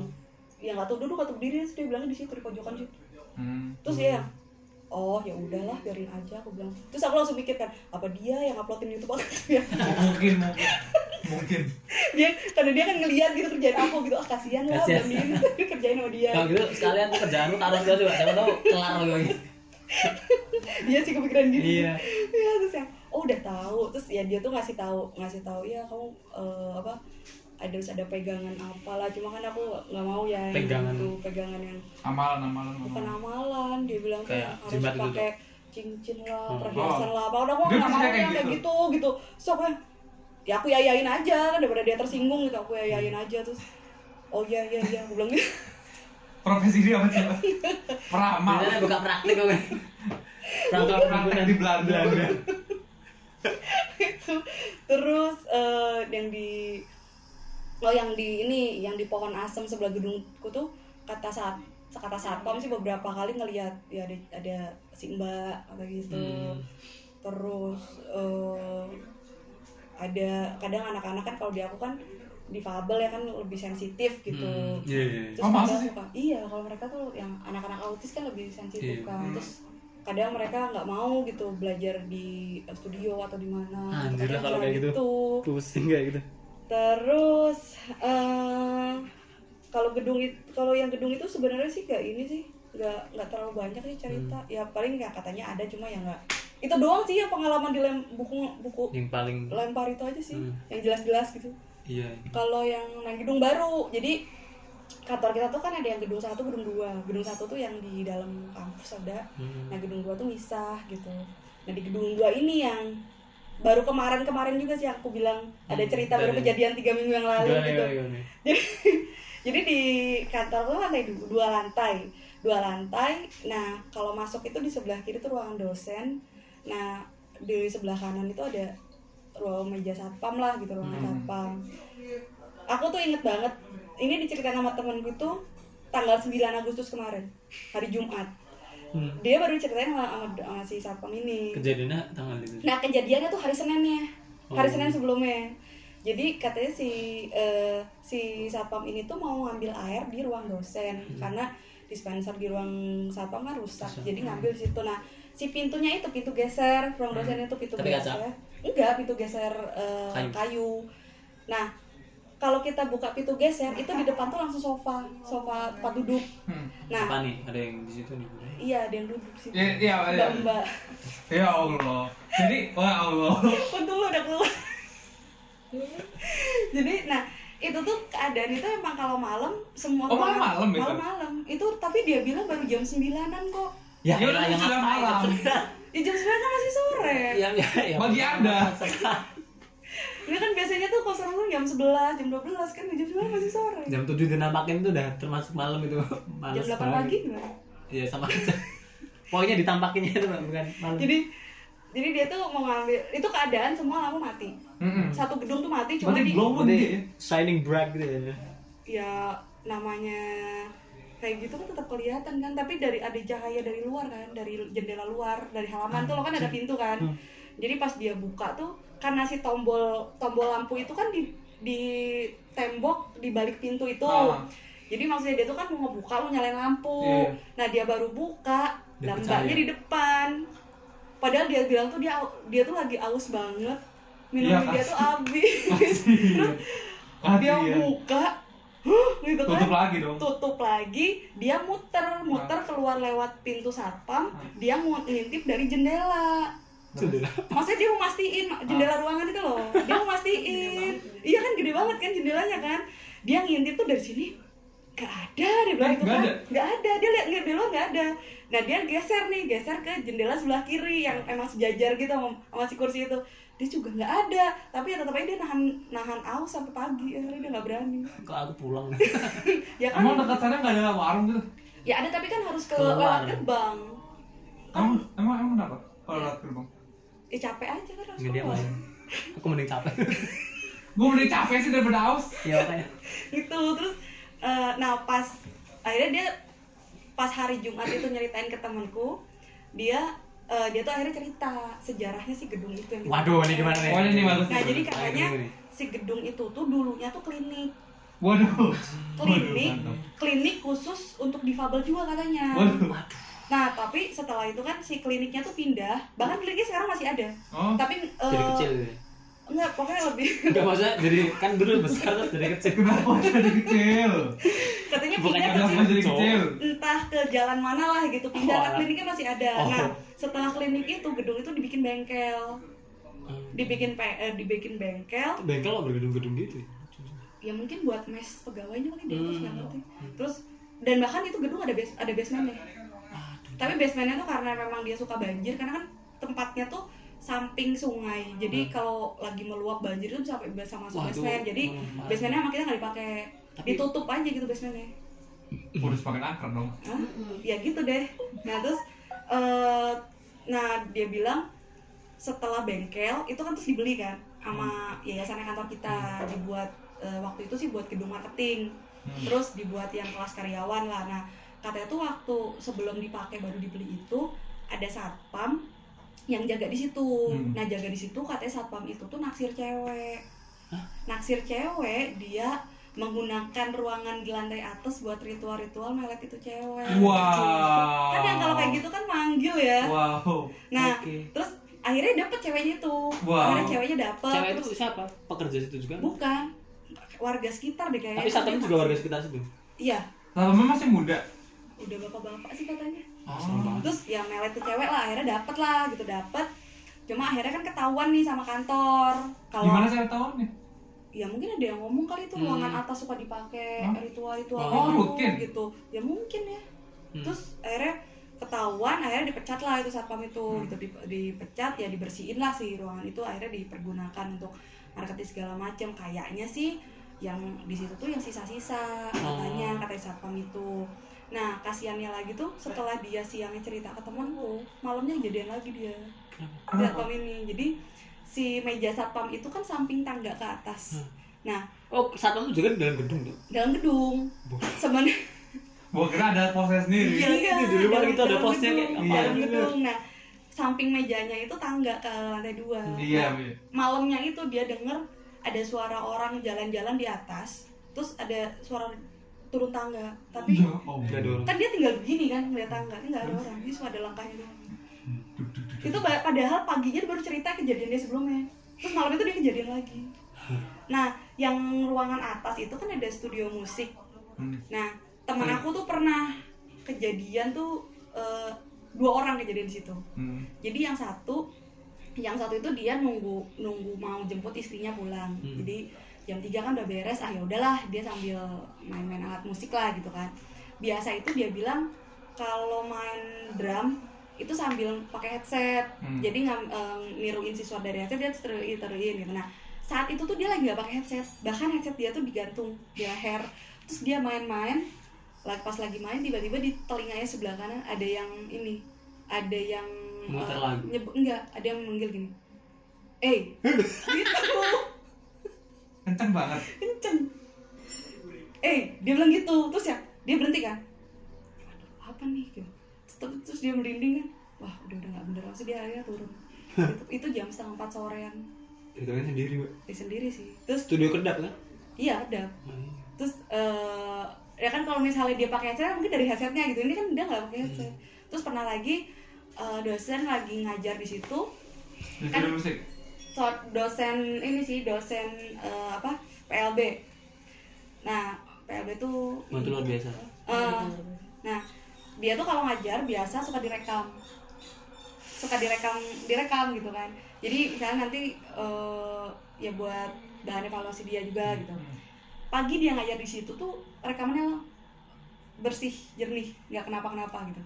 Speaker 1: yang nggak tahu duduk atau berdiri terus dia bilangnya di situ di pojokan situ
Speaker 4: Hmm.
Speaker 1: terus dia yang oh ya udahlah biarin aja aku bilang terus aku langsung mikir kan apa dia yang uploadin YouTube aku (laughs) ya
Speaker 4: Mungkin, mungkin. Mungkin.
Speaker 1: dia karena dia kan ngeliat gitu kerjaan aku gitu ah kasihan lah
Speaker 3: Kasihan.
Speaker 1: bandingin kerjain sama (laughs) dia
Speaker 3: Kalau gitu sekalian tuh kerjaan lu taruh dia juga. Siapa tahu kelar lu gitu.
Speaker 1: dia sih kepikiran gitu (laughs)
Speaker 3: Iya.
Speaker 1: ya terus yang oh udah tahu terus ya dia tuh ngasih tahu ngasih tahu ya kamu eh, apa ada harus ada pegangan apalah cuma kan aku nggak mau ya yang
Speaker 3: Pegangan.
Speaker 1: gitu, pegangan yang
Speaker 4: Amalan, amalan,
Speaker 1: bukan
Speaker 4: amalan.
Speaker 1: amalan dia bilang tuh
Speaker 3: Hmm. Kayak
Speaker 1: harus
Speaker 3: jimat gitu
Speaker 1: pakai cincin lah
Speaker 3: Hmm.
Speaker 1: perhiasan lah apa udah gua
Speaker 4: Dia
Speaker 1: nggak
Speaker 4: bisa
Speaker 1: mau
Speaker 4: kayak
Speaker 1: yang kayak gitu
Speaker 4: gitu.
Speaker 1: gitu so kan ya aku yayain aja kan daripada dia tersinggung gitu aku yayain
Speaker 3: Hmm.
Speaker 1: aja terus oh iya iya iya aku bilang gitu
Speaker 3: (laughs)
Speaker 4: Profesi dia apa coba? Peramal.
Speaker 3: Biasanya buka praktik gue. Perantau
Speaker 4: Praktek di Belanda. dia.
Speaker 1: itu terus eh, yang di lo yang di ini yang di pohon asem sebelah gedungku tuh kata saat kata satpam sih beberapa kali ngelihat ya ada ada si mbak kata gitu
Speaker 3: Hmm.
Speaker 1: terus eh, ada kadang anak-anak kan kalau di aku kan difabel ya kan lebih sensitif gitu
Speaker 3: Hmm.
Speaker 4: Iya, iya, iya.
Speaker 1: terus
Speaker 4: Oh, masa
Speaker 1: kadang
Speaker 4: sih?
Speaker 1: suka- iya kalau mereka tuh yang anak-anak autis kan lebih sensitif
Speaker 3: Iya.
Speaker 1: kan terus kadang mereka nggak mau gitu belajar di eh, studio atau di mana
Speaker 3: Anjir
Speaker 1: Kadang
Speaker 3: lah kalau
Speaker 1: suka
Speaker 3: kayak gitu. Pusing kayak gitu.
Speaker 1: terus eh, kalau gedung itu kalau yang gedung itu sebenarnya sih gak ini sih nggak nggak terlalu banyak sih cerita
Speaker 3: Hmm.
Speaker 1: ya paling nggak katanya ada cuma ya nggak itu doang sih ya pengalaman di lem, buku buku
Speaker 3: Yang paling
Speaker 1: lempar itu aja sih
Speaker 3: Hmm.
Speaker 1: yang jelas-jelas gitu
Speaker 3: iya.
Speaker 1: kalau yang naik gedung baru jadi kantor kita tuh kan ada yang gedung satu gedung dua gedung satu tuh yang di dalam kampus ada
Speaker 3: Hmm.
Speaker 1: nah gedung dua tuh misah gitu nah di gedung dua ini yang baru kemarin-kemarin juga sih aku bilang ada
Speaker 3: Hmm,
Speaker 1: cerita baru
Speaker 3: dari-
Speaker 1: kejadian tiga minggu yang lalu
Speaker 3: Gimana,
Speaker 1: gitu
Speaker 3: gimana, gimana?
Speaker 1: jadi di kantor tuh lantai du- dua lantai dua lantai nah kalau masuk itu di sebelah kiri tuh ruangan dosen nah di sebelah kanan itu ada ruang meja satpam lah gitu ruangan
Speaker 3: Hmm.
Speaker 1: satpam aku tuh inget banget ini diceritain sama temenku tuh tanggal 9 Agustus kemarin hari Jumat
Speaker 3: Hmm.
Speaker 1: dia baru ceritain sama, sama, sama si satpam ini
Speaker 3: Kejadiannya tanggal itu.
Speaker 1: Nah kejadiannya tuh hari Seninnya, hari
Speaker 3: Oh.
Speaker 1: Senin sebelumnya. Jadi katanya si eh, si satpam ini tuh mau ngambil air di ruang dosen karena dispenser di ruang satpam kan rusak,
Speaker 3: Hmm. Rusak.
Speaker 1: jadi ngambil di situ. Nah si pintunya itu pintu geser, ruang
Speaker 3: Hmm.
Speaker 1: dosen itu pintu
Speaker 3: Tapi
Speaker 1: geser. Enggak, pintu geser eh,
Speaker 3: Kayu.
Speaker 1: kayu. Nah kalau kita buka pintu geser itu di depan tuh langsung sofa, sofa tempat duduk.
Speaker 4: Hmm.
Speaker 1: Nah
Speaker 3: Apa nih? Ada yang di situ nih. Bu.
Speaker 1: iya ada yang duduk di situ.
Speaker 4: Iya, iya, iya.
Speaker 1: Mbak-mbak,
Speaker 4: Ya Allah. Jadi, wah Allah.
Speaker 1: untung lu udah keluar.
Speaker 4: Hmm.
Speaker 1: jadi nah itu tuh keadaan itu emang kalau malam semua
Speaker 4: Oh, malam malam itu?
Speaker 1: malam malam itu tapi dia bilang baru jam 9-an kok
Speaker 3: Ya,
Speaker 4: Ya udah,
Speaker 3: elah, yang
Speaker 4: sudah
Speaker 3: ngapain?
Speaker 4: malam.
Speaker 1: ya jam 9 kan masih sore
Speaker 3: (laughs)
Speaker 4: Iya.
Speaker 3: Ya, ya, ya.
Speaker 4: Bagi Anda.
Speaker 1: ini kan biasanya tuh kosan lu jam 11 jam 12 kan jam 9 masih sore
Speaker 3: (laughs) Jam 7 dinampakin tuh udah termasuk malam itu. (laughs)
Speaker 1: jam
Speaker 3: Males
Speaker 1: 8
Speaker 3: banget.
Speaker 1: pagi gimana
Speaker 3: Iya, sama aja. (laughs) Pokoknya ditampakinnya itu bukan malam.
Speaker 1: jadi jadi dia tuh mau ngambil itu keadaan semua lampu mati
Speaker 4: Mm-mm.
Speaker 1: satu gedung tuh mati cuma
Speaker 4: Berarti
Speaker 1: di
Speaker 4: belum pun dia ya?
Speaker 3: shining bright gitu ya.
Speaker 1: ya namanya kayak gitu kan tetap kelihatan kan tapi dari ada cahaya dari luar kan dari jendela luar dari halaman tuh lo
Speaker 4: Ah,
Speaker 1: kan ada pintu kan
Speaker 3: Hmm.
Speaker 1: jadi pas dia buka tuh karena si tombol tombol lampu itu kan di di tembok di balik pintu itu
Speaker 4: Ah.
Speaker 1: jadi maksudnya dia tuh kan mau ngebuka mau nyalain lampu
Speaker 4: Iya.
Speaker 1: nah dia baru buka nah
Speaker 3: Dia percaya.
Speaker 1: mbaknya di depan padahal dia bilang tuh dia au- dia tuh lagi aus banget
Speaker 4: Iya,
Speaker 1: minum dia
Speaker 4: pasti.
Speaker 1: tuh
Speaker 4: (laughs)
Speaker 1: habis
Speaker 4: Pasti
Speaker 1: dia
Speaker 4: ya.
Speaker 1: buka huh, gitu kan
Speaker 4: Tutup lagi dong.
Speaker 1: tutup lagi dia muter muter
Speaker 4: Ah.
Speaker 1: keluar lewat pintu satpam dia mau ngintip dari jendela
Speaker 3: Cendera.
Speaker 1: maksudnya dia mau mastiin
Speaker 4: Ah.
Speaker 1: jendela ruangan itu loh dia mau mastiin iya kan gede banget kan jendelanya kan dia ngintip tuh dari sini gak ada dia bilang
Speaker 4: Eh,
Speaker 1: gitu
Speaker 4: nggak
Speaker 1: kan
Speaker 4: ada?
Speaker 1: gak ada dia lihat nggak di luar nggak ada nah dia geser nih geser ke jendela sebelah kiri yang
Speaker 4: Ah.
Speaker 1: emang sejajar gitu sama, sama si kursi itu dia juga nggak ada tapi ya tetap aja dia nahan nahan aus sampai pagi akhirnya dia nggak berani (laughs)
Speaker 3: Kok aku pulang?
Speaker 4: (laughs)
Speaker 1: ya kan
Speaker 4: Emang dekat sana nggak ada warung gitu?
Speaker 1: Ya ada tapi kan harus ke
Speaker 3: Keluar.
Speaker 1: lewat gerbang.
Speaker 4: Emang, emang, emang kenapa? Kalau lewat gerbang.
Speaker 1: Ya capek aja kan harus
Speaker 3: Enggak dia
Speaker 1: keluar. (laughs)
Speaker 3: malam. Aku mending capek. (laughs)
Speaker 4: Gue udah capek sih daripada haus.
Speaker 3: ya makanya.
Speaker 1: Gitu terus eh, nah pas akhirnya dia pas hari Jumat itu nyeritain ke temanku, dia eh, dia tuh akhirnya cerita sejarahnya si gedung itu yang
Speaker 3: Waduh, ini gimana nih?
Speaker 4: Oh, ini nih, bagus.
Speaker 1: Nah, jadi
Speaker 3: Ayo,
Speaker 1: katanya
Speaker 3: dulu nih.
Speaker 1: si gedung itu tuh dulunya tuh klinik.
Speaker 4: Waduh.
Speaker 1: Klinik,
Speaker 4: mantap.
Speaker 1: klinik khusus untuk difabel juga katanya.
Speaker 4: Waduh.
Speaker 1: Nah, tapi setelah itu kan si kliniknya tuh pindah, bahkan kliniknya sekarang masih ada.
Speaker 4: Oh,
Speaker 1: Tapi eh,
Speaker 3: Jadi kecil. gitu.
Speaker 1: Enggak, pokoknya lebih (laughs)
Speaker 3: Enggak maksudnya jadi kan dulu besar terus jadi kecil.
Speaker 4: kenapa jadi kecil?
Speaker 1: katanya
Speaker 3: Bukan
Speaker 1: pindah ke
Speaker 4: Kenapa
Speaker 1: sini.
Speaker 4: jadi
Speaker 3: Cowok.
Speaker 4: kecil?
Speaker 1: entah ke jalan mana lah gitu pindah
Speaker 3: Oh,
Speaker 1: kan
Speaker 3: alah.
Speaker 1: kliniknya masih ada
Speaker 3: Oh.
Speaker 1: nah setelah klinik itu gedung itu dibikin bengkel dibikin pe- eh, dibikin bengkel
Speaker 3: Bengkel lo bergedung-gedung gitu. ya?
Speaker 1: ya mungkin buat mes pegawainya kali dia terus
Speaker 3: Hmm.
Speaker 1: nggak ngerti terus dan bahkan itu gedung ada bas ada basementnya
Speaker 3: Aduh.
Speaker 1: tapi basementnya tuh karena memang dia suka banjir karena kan tempatnya tuh samping sungai
Speaker 3: Hmm.
Speaker 1: jadi kalau lagi meluap banjir tuh sampai bisa masuk
Speaker 3: Wah, itu-
Speaker 1: basement jadi
Speaker 3: hmm, parah.
Speaker 1: basementnya sama kita nggak dipakai
Speaker 3: Tapi-
Speaker 1: ditutup aja gitu basementnya
Speaker 4: Udah pakai angker dong.
Speaker 1: Hah? ya gitu deh nah terus eh, nah dia bilang setelah bengkel itu kan terus dibeli kan sama yayasannya kantor kita dibuat eh, waktu itu sih buat gedung marketing
Speaker 4: Hmm.
Speaker 1: terus dibuat yang kelas karyawan lah nah katanya tuh waktu sebelum dipakai baru dibeli itu ada satpam yang jaga di situ
Speaker 4: Hmm.
Speaker 1: nah jaga di situ katanya satpam itu tuh naksir cewek naksir cewek dia menggunakan ruangan di lantai atas buat ritual-ritual melet itu cewek
Speaker 4: Wow.
Speaker 1: kan yang kalau kayak gitu kan manggil ya
Speaker 4: Wow.
Speaker 1: nah
Speaker 3: Oke.
Speaker 1: terus akhirnya dapet ceweknya itu
Speaker 4: Wow.
Speaker 1: akhirnya ceweknya dapet
Speaker 3: cewek
Speaker 1: terus
Speaker 3: itu siapa pekerja situ juga
Speaker 1: bukan warga sekitar deh kayaknya
Speaker 3: tapi satpam
Speaker 1: Dia
Speaker 3: juga warga
Speaker 1: naksir.
Speaker 3: sekitar situ
Speaker 1: iya
Speaker 4: Satpamnya masih muda.
Speaker 1: udah bapak-bapak sih katanya
Speaker 3: Ah, serem banget.
Speaker 1: terus ya melet tuh cewek lah akhirnya dapet lah gitu dapet cuma akhirnya kan ketahuan nih sama kantor kalau
Speaker 4: Gimana saya tahu nih?
Speaker 1: ya mungkin ada yang ngomong kali itu
Speaker 3: Hmm.
Speaker 1: ruangan atas suka dipakai
Speaker 4: Hah?
Speaker 1: ritual ritual
Speaker 3: Oh,
Speaker 4: rutin.
Speaker 1: gitu ya mungkin ya
Speaker 3: Hmm.
Speaker 1: terus akhirnya ketahuan akhirnya dipecat lah itu satpam itu
Speaker 4: Hmm.
Speaker 1: gitu Di- dipecat ya dibersihin lah si ruangan itu akhirnya dipergunakan untuk marketing segala macam kayaknya sih yang di situ tuh yang sisa-sisa katanya katanya satpam itu nah kasihannya lagi tuh setelah dia siangnya cerita ke temanku malamnya jadian lagi dia
Speaker 4: Kenapa?
Speaker 1: satpam ini jadi si meja satpam itu kan samping tangga ke atas
Speaker 3: Hmm. oh satpam itu juga di dalam gedung tuh
Speaker 1: dalam gedung
Speaker 3: Boh. (laughs)
Speaker 1: sebenarnya
Speaker 4: Gua kira ada posnya sendiri.
Speaker 1: iya iya
Speaker 3: di luar
Speaker 1: dalam-
Speaker 3: gitu ada
Speaker 1: dalam
Speaker 3: posnya
Speaker 1: gedung,
Speaker 3: kayak
Speaker 4: apa?
Speaker 1: dalam
Speaker 3: Iya.
Speaker 1: gedung nah samping mejanya itu tangga ke lantai dua
Speaker 4: Iya,
Speaker 1: Nah,
Speaker 4: iya.
Speaker 1: malamnya itu dia denger ada suara orang jalan-jalan di atas terus ada suara turun tangga tapi
Speaker 4: Oh,
Speaker 3: Gak ada orang
Speaker 1: kan dia tinggal begini kan melihat tangga ini
Speaker 3: Iya.
Speaker 1: nggak ada orang ini cuma ada langkahnya doang
Speaker 4: Duk, duk, duk, duk.
Speaker 1: itu ba- padahal paginya dia baru cerita kejadiannya sebelumnya terus malam itu dia kejadian lagi nah yang ruangan atas itu kan ada studio musik
Speaker 4: Hmm.
Speaker 1: Nah, temen aku tuh pernah kejadian tuh eh, dua orang kejadian di situ.
Speaker 4: Hmm.
Speaker 1: Jadi yang satu, yang satu itu dia nunggu nunggu mau jemput istrinya pulang.
Speaker 3: Hmm.
Speaker 1: Jadi jam 3 kan udah beres, ah ya udahlah dia sambil main-main alat musik lah gitu kan. Biasa itu dia bilang kalau main drum itu sambil pakai headset
Speaker 4: Hmm.
Speaker 1: jadi ngam, em, niruin siswa dari headset dia teruin teruin gitu nah saat itu tuh dia lagi nggak pakai headset bahkan headset dia tuh digantung di leher terus dia main-main lagi pas lagi main tiba-tiba di telinganya sebelah kanan ada yang ini ada yang
Speaker 3: Muter
Speaker 1: eh,
Speaker 3: lagu.
Speaker 1: nyebut enggak ada yang manggil gini eh
Speaker 3: (laughs)
Speaker 1: gitu
Speaker 4: Kenceng banget.
Speaker 1: kenceng eh dia bilang gitu terus ya dia berhenti kan Aduh, apa nih gitu terus, terus dia merinding kan wah udah udah nggak bener sih dia akhirnya turun itu, itu jam setengah empat sorean
Speaker 3: Hitungnya sendiri Mbak.
Speaker 1: dia sendiri sih terus
Speaker 3: studio kedap kan
Speaker 1: iya udah terus eh ya kan kalau misalnya dia pakai headset mungkin dari headsetnya gitu ini kan dia nggak pakai headset terus pernah lagi eh, dosen lagi ngajar di situ
Speaker 4: Di
Speaker 1: Kan-
Speaker 4: studio musik.
Speaker 1: so, dosen ini sih dosen eh, apa PLB nah PLB tuh
Speaker 3: Mantu Oh, luar biasa
Speaker 5: Iya,
Speaker 1: eh, Nah, dia tuh kalau ngajar biasa suka direkam. Suka direkam, direkam gitu kan. Jadi misalnya nanti eh, ya buat bahan evaluasi dia
Speaker 4: Hmm.
Speaker 1: juga gitu. Pagi dia ngajar di situ tuh rekamannya bersih, jernih, nggak kenapa-kenapa gitu.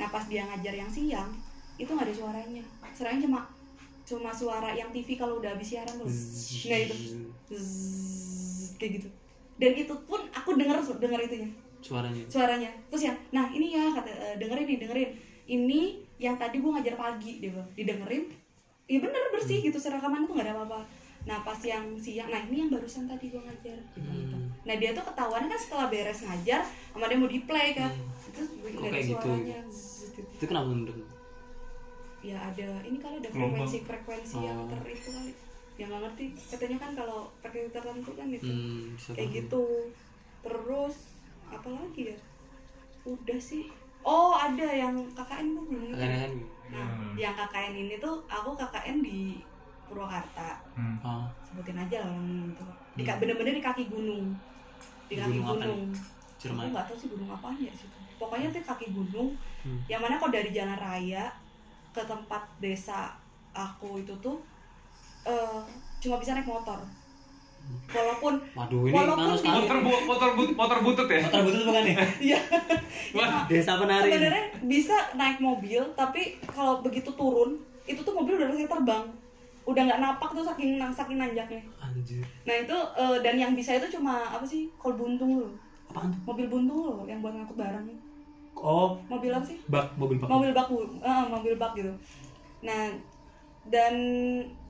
Speaker 1: Nah, pas dia ngajar yang siang, itu nggak ada suaranya. Suaranya cuma cuma suara yang TV kalau udah habis siaran tuh. Nah, itu
Speaker 3: Hmm.
Speaker 1: Zzz, kayak gitu. Dan itu pun aku denger denger itunya
Speaker 3: suaranya
Speaker 1: suaranya terus yang nah ini ya kata e, dengerin nih dengerin ini yang tadi gue ngajar pagi dia bilang didengerin ya bener bersih gitu serakaman tuh nggak ada apa-apa nah pas yang siang nah ini yang barusan tadi gue ngajar dia bilang gitu.
Speaker 3: Hmm.
Speaker 1: nah dia tuh ketahuan kan setelah beres ngajar sama dia mau di play kan
Speaker 3: Hmm.
Speaker 1: terus
Speaker 3: Kok
Speaker 1: nggak ada
Speaker 3: kayak gitu?
Speaker 1: suaranya Zzz, gitu.
Speaker 3: itu kenapa mendung
Speaker 1: ya ada ini kali ada
Speaker 4: Gelombang.
Speaker 1: frekuensi frekuensi yang
Speaker 3: Oh.
Speaker 1: ter itu kali yang nggak ngerti katanya kan kalau frekuensi tertentu kan itu
Speaker 3: hmm, bisa
Speaker 1: kayak
Speaker 3: paham.
Speaker 1: gitu terus apa lagi ya udah sih oh ada yang KKN gue belum ngerti
Speaker 3: Kalian kan
Speaker 1: Hmm. nah
Speaker 4: Hmm.
Speaker 1: yang KKN ini tuh aku KKN di Purwakarta
Speaker 4: Hmm.
Speaker 3: oh
Speaker 1: sebutin aja lah orang itu di ka-
Speaker 3: Hmm.
Speaker 1: bener-bener di kaki gunung di kaki
Speaker 3: Gunung apa nih?
Speaker 1: gunung, aku
Speaker 3: Jerman
Speaker 1: nggak tahu sih gunung apaan ya situ pokoknya tuh kaki gunung
Speaker 3: Hmm.
Speaker 1: yang mana kok dari jalan raya ke tempat desa aku itu tuh eh, cuma bisa naik motor
Speaker 3: Hmm.
Speaker 1: walaupun
Speaker 3: Waduh ini
Speaker 1: Walaupun di-
Speaker 3: panas sekali.
Speaker 4: motor bu motor bu motor butut ya
Speaker 3: Motor butut (laughs) bukan nih?
Speaker 1: iya
Speaker 4: Wah.
Speaker 3: Desa penari.
Speaker 1: sebenarnya bisa naik mobil tapi kalau begitu turun itu tuh mobil udah rasanya terbang udah nggak napak tuh saking saking nanjaknya
Speaker 3: Anjir.
Speaker 1: nah itu eh, dan yang bisa itu cuma apa sih kol buntung loh
Speaker 3: Apaan tuh?
Speaker 1: mobil buntung loh yang buat ngangkut barang
Speaker 3: Oh,
Speaker 1: mobil apa sih
Speaker 3: bak mobil bak.
Speaker 1: mobil bak bu- eh, mobil bak gitu nah dan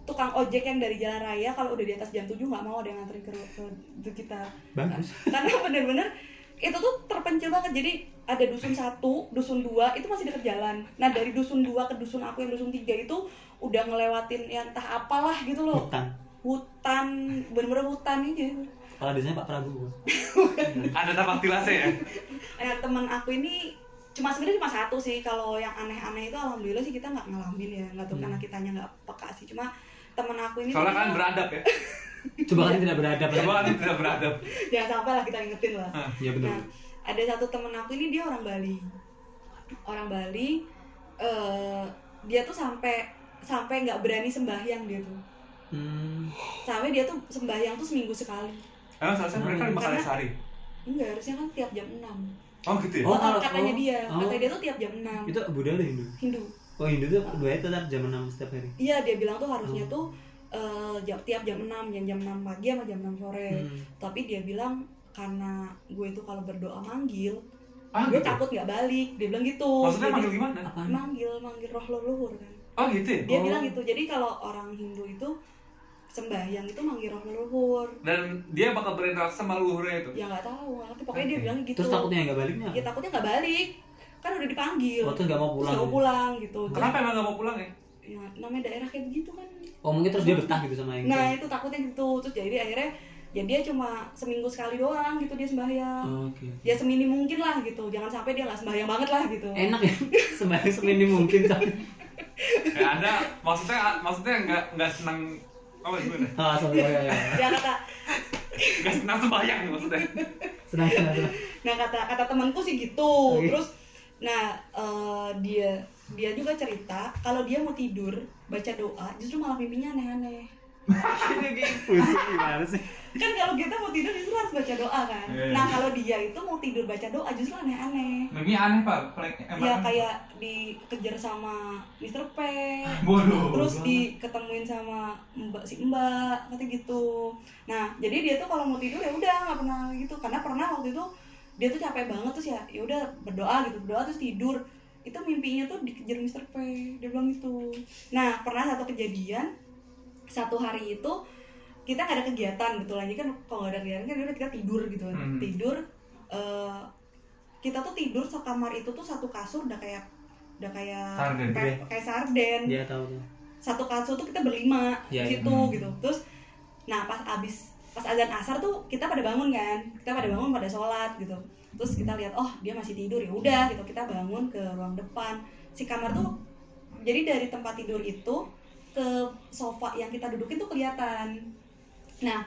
Speaker 1: tukang ojek yang dari jalan raya kalau udah di atas jam 7 nggak mau ada yang nganterin ke, ke, ke kita
Speaker 3: Bagus.
Speaker 1: karena bener-bener itu tuh terpencil banget jadi ada dusun satu dusun dua itu masih deket jalan nah dari dusun dua ke dusun aku yang dusun tiga itu udah ngelewatin yang entah apalah gitu loh
Speaker 3: Hutan.
Speaker 1: hutan bener-bener hutan aja
Speaker 3: Kepala desanya Pak Prabowo.
Speaker 4: ada tapak tilasnya ya
Speaker 1: nah teman aku ini cuma sebenarnya cuma satu sih kalau yang aneh-aneh itu alhamdulillah sih kita nggak ngalamin ya nggak tahu
Speaker 3: Hmm.
Speaker 1: karena kitanya nggak peka sih cuma teman aku ini
Speaker 4: soalnya kan
Speaker 1: terkenal-
Speaker 4: beradab ya
Speaker 3: Coba kan tidak beradab. ya.
Speaker 4: coba kan tidak beradab
Speaker 1: jangan sampai lah kita ingetin lah
Speaker 3: Iya benar.
Speaker 1: Nah, ada satu temen aku ini dia orang Bali. Orang Bali eh dia tuh sampai sampai nggak berani sembahyang dia tuh.
Speaker 3: Hmm.
Speaker 1: Sampai dia tuh sembahyang tuh seminggu sekali.
Speaker 4: emang seharusnya mereka lima kali
Speaker 1: Karena-
Speaker 4: sehari
Speaker 1: Enggak, harusnya kan tiap jam 6.
Speaker 4: oh gitu ya
Speaker 3: Oh, kalau-
Speaker 1: katanya
Speaker 3: oh,
Speaker 1: dia,
Speaker 3: oh.
Speaker 1: katanya dia tuh tiap jam 6.
Speaker 3: Itu Buddha atau Hindu?
Speaker 1: Hindu.
Speaker 3: Oh Hindu tuh dua itu tetap jam 6 setiap hari.
Speaker 1: Iya, dia bilang tuh harusnya
Speaker 3: Oh.
Speaker 1: tuh eh jam- tiap jam 6, yang jam 6 pagi sama jam 6 sore.
Speaker 3: Hmm.
Speaker 1: Tapi dia bilang karena gue tuh kalau berdoa manggil,
Speaker 4: ah
Speaker 1: gue
Speaker 4: gitu
Speaker 1: takut nggak balik. Dia bilang gitu.
Speaker 4: maksudnya
Speaker 1: Jadi-
Speaker 4: manggil gimana
Speaker 3: Apaan?
Speaker 1: manggil manggil roh leluhur kan.
Speaker 4: oh gitu ya
Speaker 1: dia
Speaker 3: Oh.
Speaker 1: bilang gitu jadi kalau orang Hindu itu sembahyang itu manggil roh leluhur
Speaker 4: dan dia bakal berinteraksi sama leluhurnya itu
Speaker 1: ya nggak tahu nggak ngerti pokoknya dia
Speaker 3: Oke.
Speaker 1: bilang gitu
Speaker 3: Terus takutnya nggak baliknya?
Speaker 1: ya takutnya nggak balik kan udah dipanggil
Speaker 3: Oh,
Speaker 1: terus
Speaker 3: terus nggak mau pulang.
Speaker 1: nggak mau pulang gitu Terus,
Speaker 4: kenapa emang gak mau pulang ya
Speaker 1: ya, namanya daerah kayak begitu kan
Speaker 3: Oh mungkin terus dia betah gitu sama yang.
Speaker 1: nah itu takutnya gitu terus jadi akhirnya ya dia cuma seminggu sekali doang gitu dia sembahyang
Speaker 3: Oh, Oke.
Speaker 1: ya seminim mungkin lah gitu jangan sampai dia nggak sembahyang banget lah gitu
Speaker 3: Enak ya, (laughs) sembahyang semini mungkin tapi
Speaker 4: ya ada maksudnya maksudnya nggak nggak senang apa gimana
Speaker 3: (laughs) Ah, sorry, ya, ya.
Speaker 1: ya kata
Speaker 4: nggak senang sembahyang maksudnya
Speaker 3: Senang, senang, senang.
Speaker 1: nah kata kata temanku sih gitu
Speaker 3: Oke.
Speaker 1: terus nah eh, dia dia juga cerita kalau dia mau tidur baca doa justru malah mimpinya aneh-aneh
Speaker 3: Pusing gimana sih?
Speaker 1: kan kalau kita mau tidur justru harus baca doa kan
Speaker 4: Iya.
Speaker 1: nah kalau dia itu mau tidur baca doa justru aneh-aneh
Speaker 4: Mimpi aneh pak, eh, Plek,
Speaker 1: ya kayak dikejar sama Mr. P
Speaker 4: Ah, bodoh.
Speaker 1: terus diketemuin sama mbak si mbak kata gitu nah jadi dia tuh kalau mau tidur ya udah nggak pernah gitu karena pernah waktu itu dia tuh capek banget terus ya ya udah berdoa gitu berdoa terus tidur itu mimpinya tuh dikejar Mr. P dia bilang gitu nah pernah satu kejadian satu hari itu kita nggak ada kegiatan betul aja kan kalau nggak ada kegiatan kan yaudah kita tidur gitu kan
Speaker 4: Hmm.
Speaker 1: tidur eh, kita tuh tidur sekamar itu tuh satu kasur udah kayak udah kayak
Speaker 4: Sarden, gitu ya?
Speaker 1: kayak, kayak sarden
Speaker 3: Dia Iya, tahu tuh.
Speaker 1: satu kasur tuh kita berlima
Speaker 3: Iya,
Speaker 1: di
Speaker 3: iya.
Speaker 1: situ
Speaker 4: Hmm.
Speaker 1: gitu terus nah pas abis pas azan asar tuh kita pada bangun kan kita pada bangun pada sholat gitu terus kita lihat oh dia masih tidur ya udah gitu kita bangun ke ruang depan si kamar tuh jadi dari tempat tidur itu ke sofa yang kita dudukin tuh kelihatan nah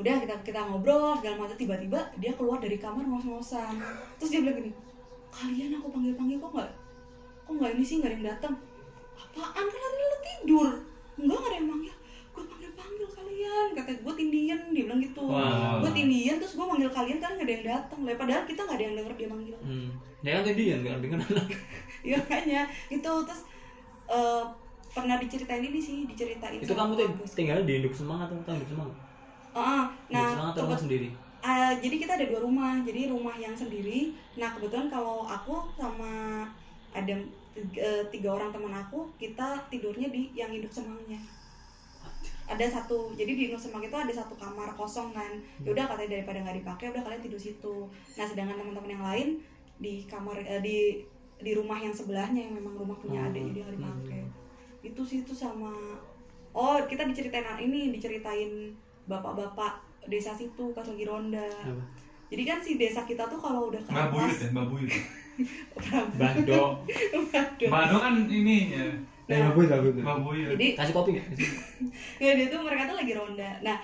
Speaker 1: udah kita kita ngobrol segala macam tiba-tiba dia keluar dari kamar ngos-ngosan terus dia bilang gini kalian aku panggil-panggil kok nggak kok nggak ini sih nggak ada yang datang apaan kan tadi lo tidur enggak nggak ada yang manggil gue panggil panggil kalian kata gue tindian dia bilang gitu
Speaker 3: Wah.
Speaker 1: gue tindian terus gue manggil kalian kalian nggak ada yang datang lah padahal kita nggak ada yang denger dia manggil (laughs)
Speaker 3: Hmm. Dia kan tadi ya nggak dengar.
Speaker 1: iya makanya itu terus eh, pernah diceritain ini sih diceritain
Speaker 3: Itu
Speaker 1: sama
Speaker 3: kamu tuh
Speaker 1: kampus.
Speaker 3: tinggal di induk semangat atau tahu induk semangat?
Speaker 1: Heeh. nah
Speaker 3: Induk Iya, semangat atau rumah
Speaker 1: kebetulan-
Speaker 3: sendiri?
Speaker 1: ah, jadi kita ada dua rumah jadi rumah yang sendiri nah kebetulan kalau aku sama ada tiga, eh, tiga orang teman aku kita tidurnya di yang induk semangnya ada satu jadi di induk semang itu ada satu kamar kosong kan yaudah katanya daripada nggak dipakai udah kalian tidur situ nah sedangkan teman-teman yang lain di kamar eh, di di rumah yang sebelahnya yang memang rumah punya
Speaker 3: Oh,
Speaker 1: adik jadi nggak dipakai
Speaker 3: hmm.
Speaker 1: itu sih itu sama oh kita diceritain ini diceritain bapak-bapak desa situ pas lagi ronda
Speaker 3: Apa?
Speaker 1: jadi kan si desa kita tuh kalau udah ke
Speaker 4: Mbak Buyut
Speaker 1: (laughs) atas
Speaker 4: ya, Mbak Buyut.
Speaker 1: Prabu-
Speaker 3: Bando.
Speaker 1: Prabu.
Speaker 4: Mbak Do kan ininya,
Speaker 3: Eh, bagus, bagus.
Speaker 4: Mbak Buyut.
Speaker 1: jadi
Speaker 3: Kasih kopi nggak?
Speaker 1: ya dia tuh mereka tuh lagi ronda nah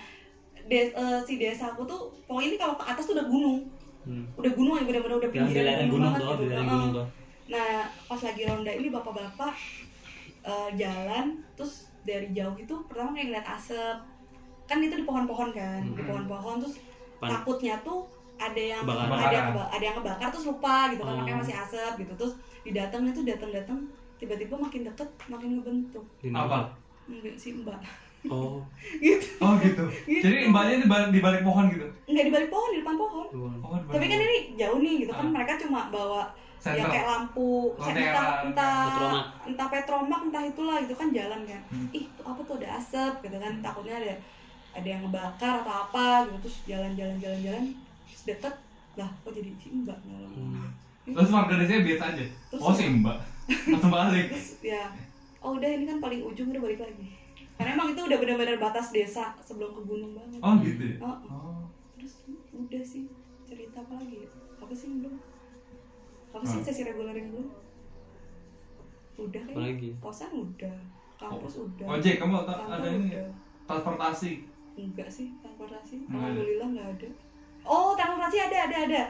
Speaker 1: des- eh, si desa aku tuh pokoknya ini kalau ke atas tuh udah gunung
Speaker 3: Hmm.
Speaker 1: udah gunung ya bener-bener udah
Speaker 3: Yang di
Speaker 1: pinggiran
Speaker 3: lereng gunung
Speaker 1: banget
Speaker 3: tuh, di
Speaker 1: gitu.
Speaker 3: lereng
Speaker 1: Heeh.
Speaker 3: gunung tuh.
Speaker 1: Nah, pas lagi ronda ini bapak-bapak eh, jalan, terus dari jauh itu pertama kayak ngeliat asap. kan itu di pohon-pohon kan di
Speaker 4: Mhm.
Speaker 1: pohon-pohon terus
Speaker 3: Pan-
Speaker 1: takutnya tuh ada yang
Speaker 3: Kebakaran.
Speaker 1: ada yang keba- ada yang kebakar terus lupa gitu kan
Speaker 3: Oh.
Speaker 1: makanya masih asap gitu terus didatengnya tuh dateng-dateng tiba-tiba makin deket makin ngebentuk
Speaker 3: Di
Speaker 4: Apa?
Speaker 3: mana?
Speaker 1: enggak si mbak
Speaker 3: Oh,
Speaker 1: gitu
Speaker 4: Oh gitu.
Speaker 1: Gitu.
Speaker 4: Jadi mbaknya di balik, di balik pohon gitu.
Speaker 1: nggak di balik pohon di depan pohon
Speaker 3: luar.
Speaker 4: Oh, di balik
Speaker 1: tapi kan
Speaker 4: pohon.
Speaker 1: ini jauh nih gitu kan
Speaker 4: Ah.
Speaker 1: mereka cuma bawa ya
Speaker 4: Sentral.
Speaker 1: kayak lampu
Speaker 4: Oh,
Speaker 1: saya entah
Speaker 4: kayak lampu
Speaker 1: entah
Speaker 3: petromak.
Speaker 1: entah petromak entah itulah gitu kan jalan kan
Speaker 4: Hmm.
Speaker 1: ih tuh apa tuh ada asap gitu kan takutnya ada ada yang ngebakar atau apa gitu terus jalan-jalan jalan-jalan terus deket lah kok jadi si mbak ngomong
Speaker 3: Hmm.
Speaker 4: Terus warga desanya biasa aja.
Speaker 1: Terus-
Speaker 4: oh si mbak.
Speaker 1: (laughs)
Speaker 4: Atau balik.
Speaker 1: terus ya oh udah ini kan paling ujung udah balik lagi karena emang itu udah benar-benar batas desa sebelum ke gunung banget
Speaker 4: Oh gitu ya.
Speaker 1: Oh,
Speaker 4: Oh.
Speaker 1: terus udah sih cerita apa lagi ya? apa sih yang belum apa sih
Speaker 4: Hmm.
Speaker 1: sesi reguler yang belum udah
Speaker 3: Apa
Speaker 1: kan
Speaker 3: lagi?
Speaker 1: kosan udah kampus udah
Speaker 4: Ojek kamu ta-
Speaker 1: kantor
Speaker 4: Oh, ada ini ya?
Speaker 1: udah.
Speaker 4: transportasi.
Speaker 1: enggak sih transportasi
Speaker 4: Nggak ada.
Speaker 1: alhamdulillah nggak ada oh transportasi ada ada ada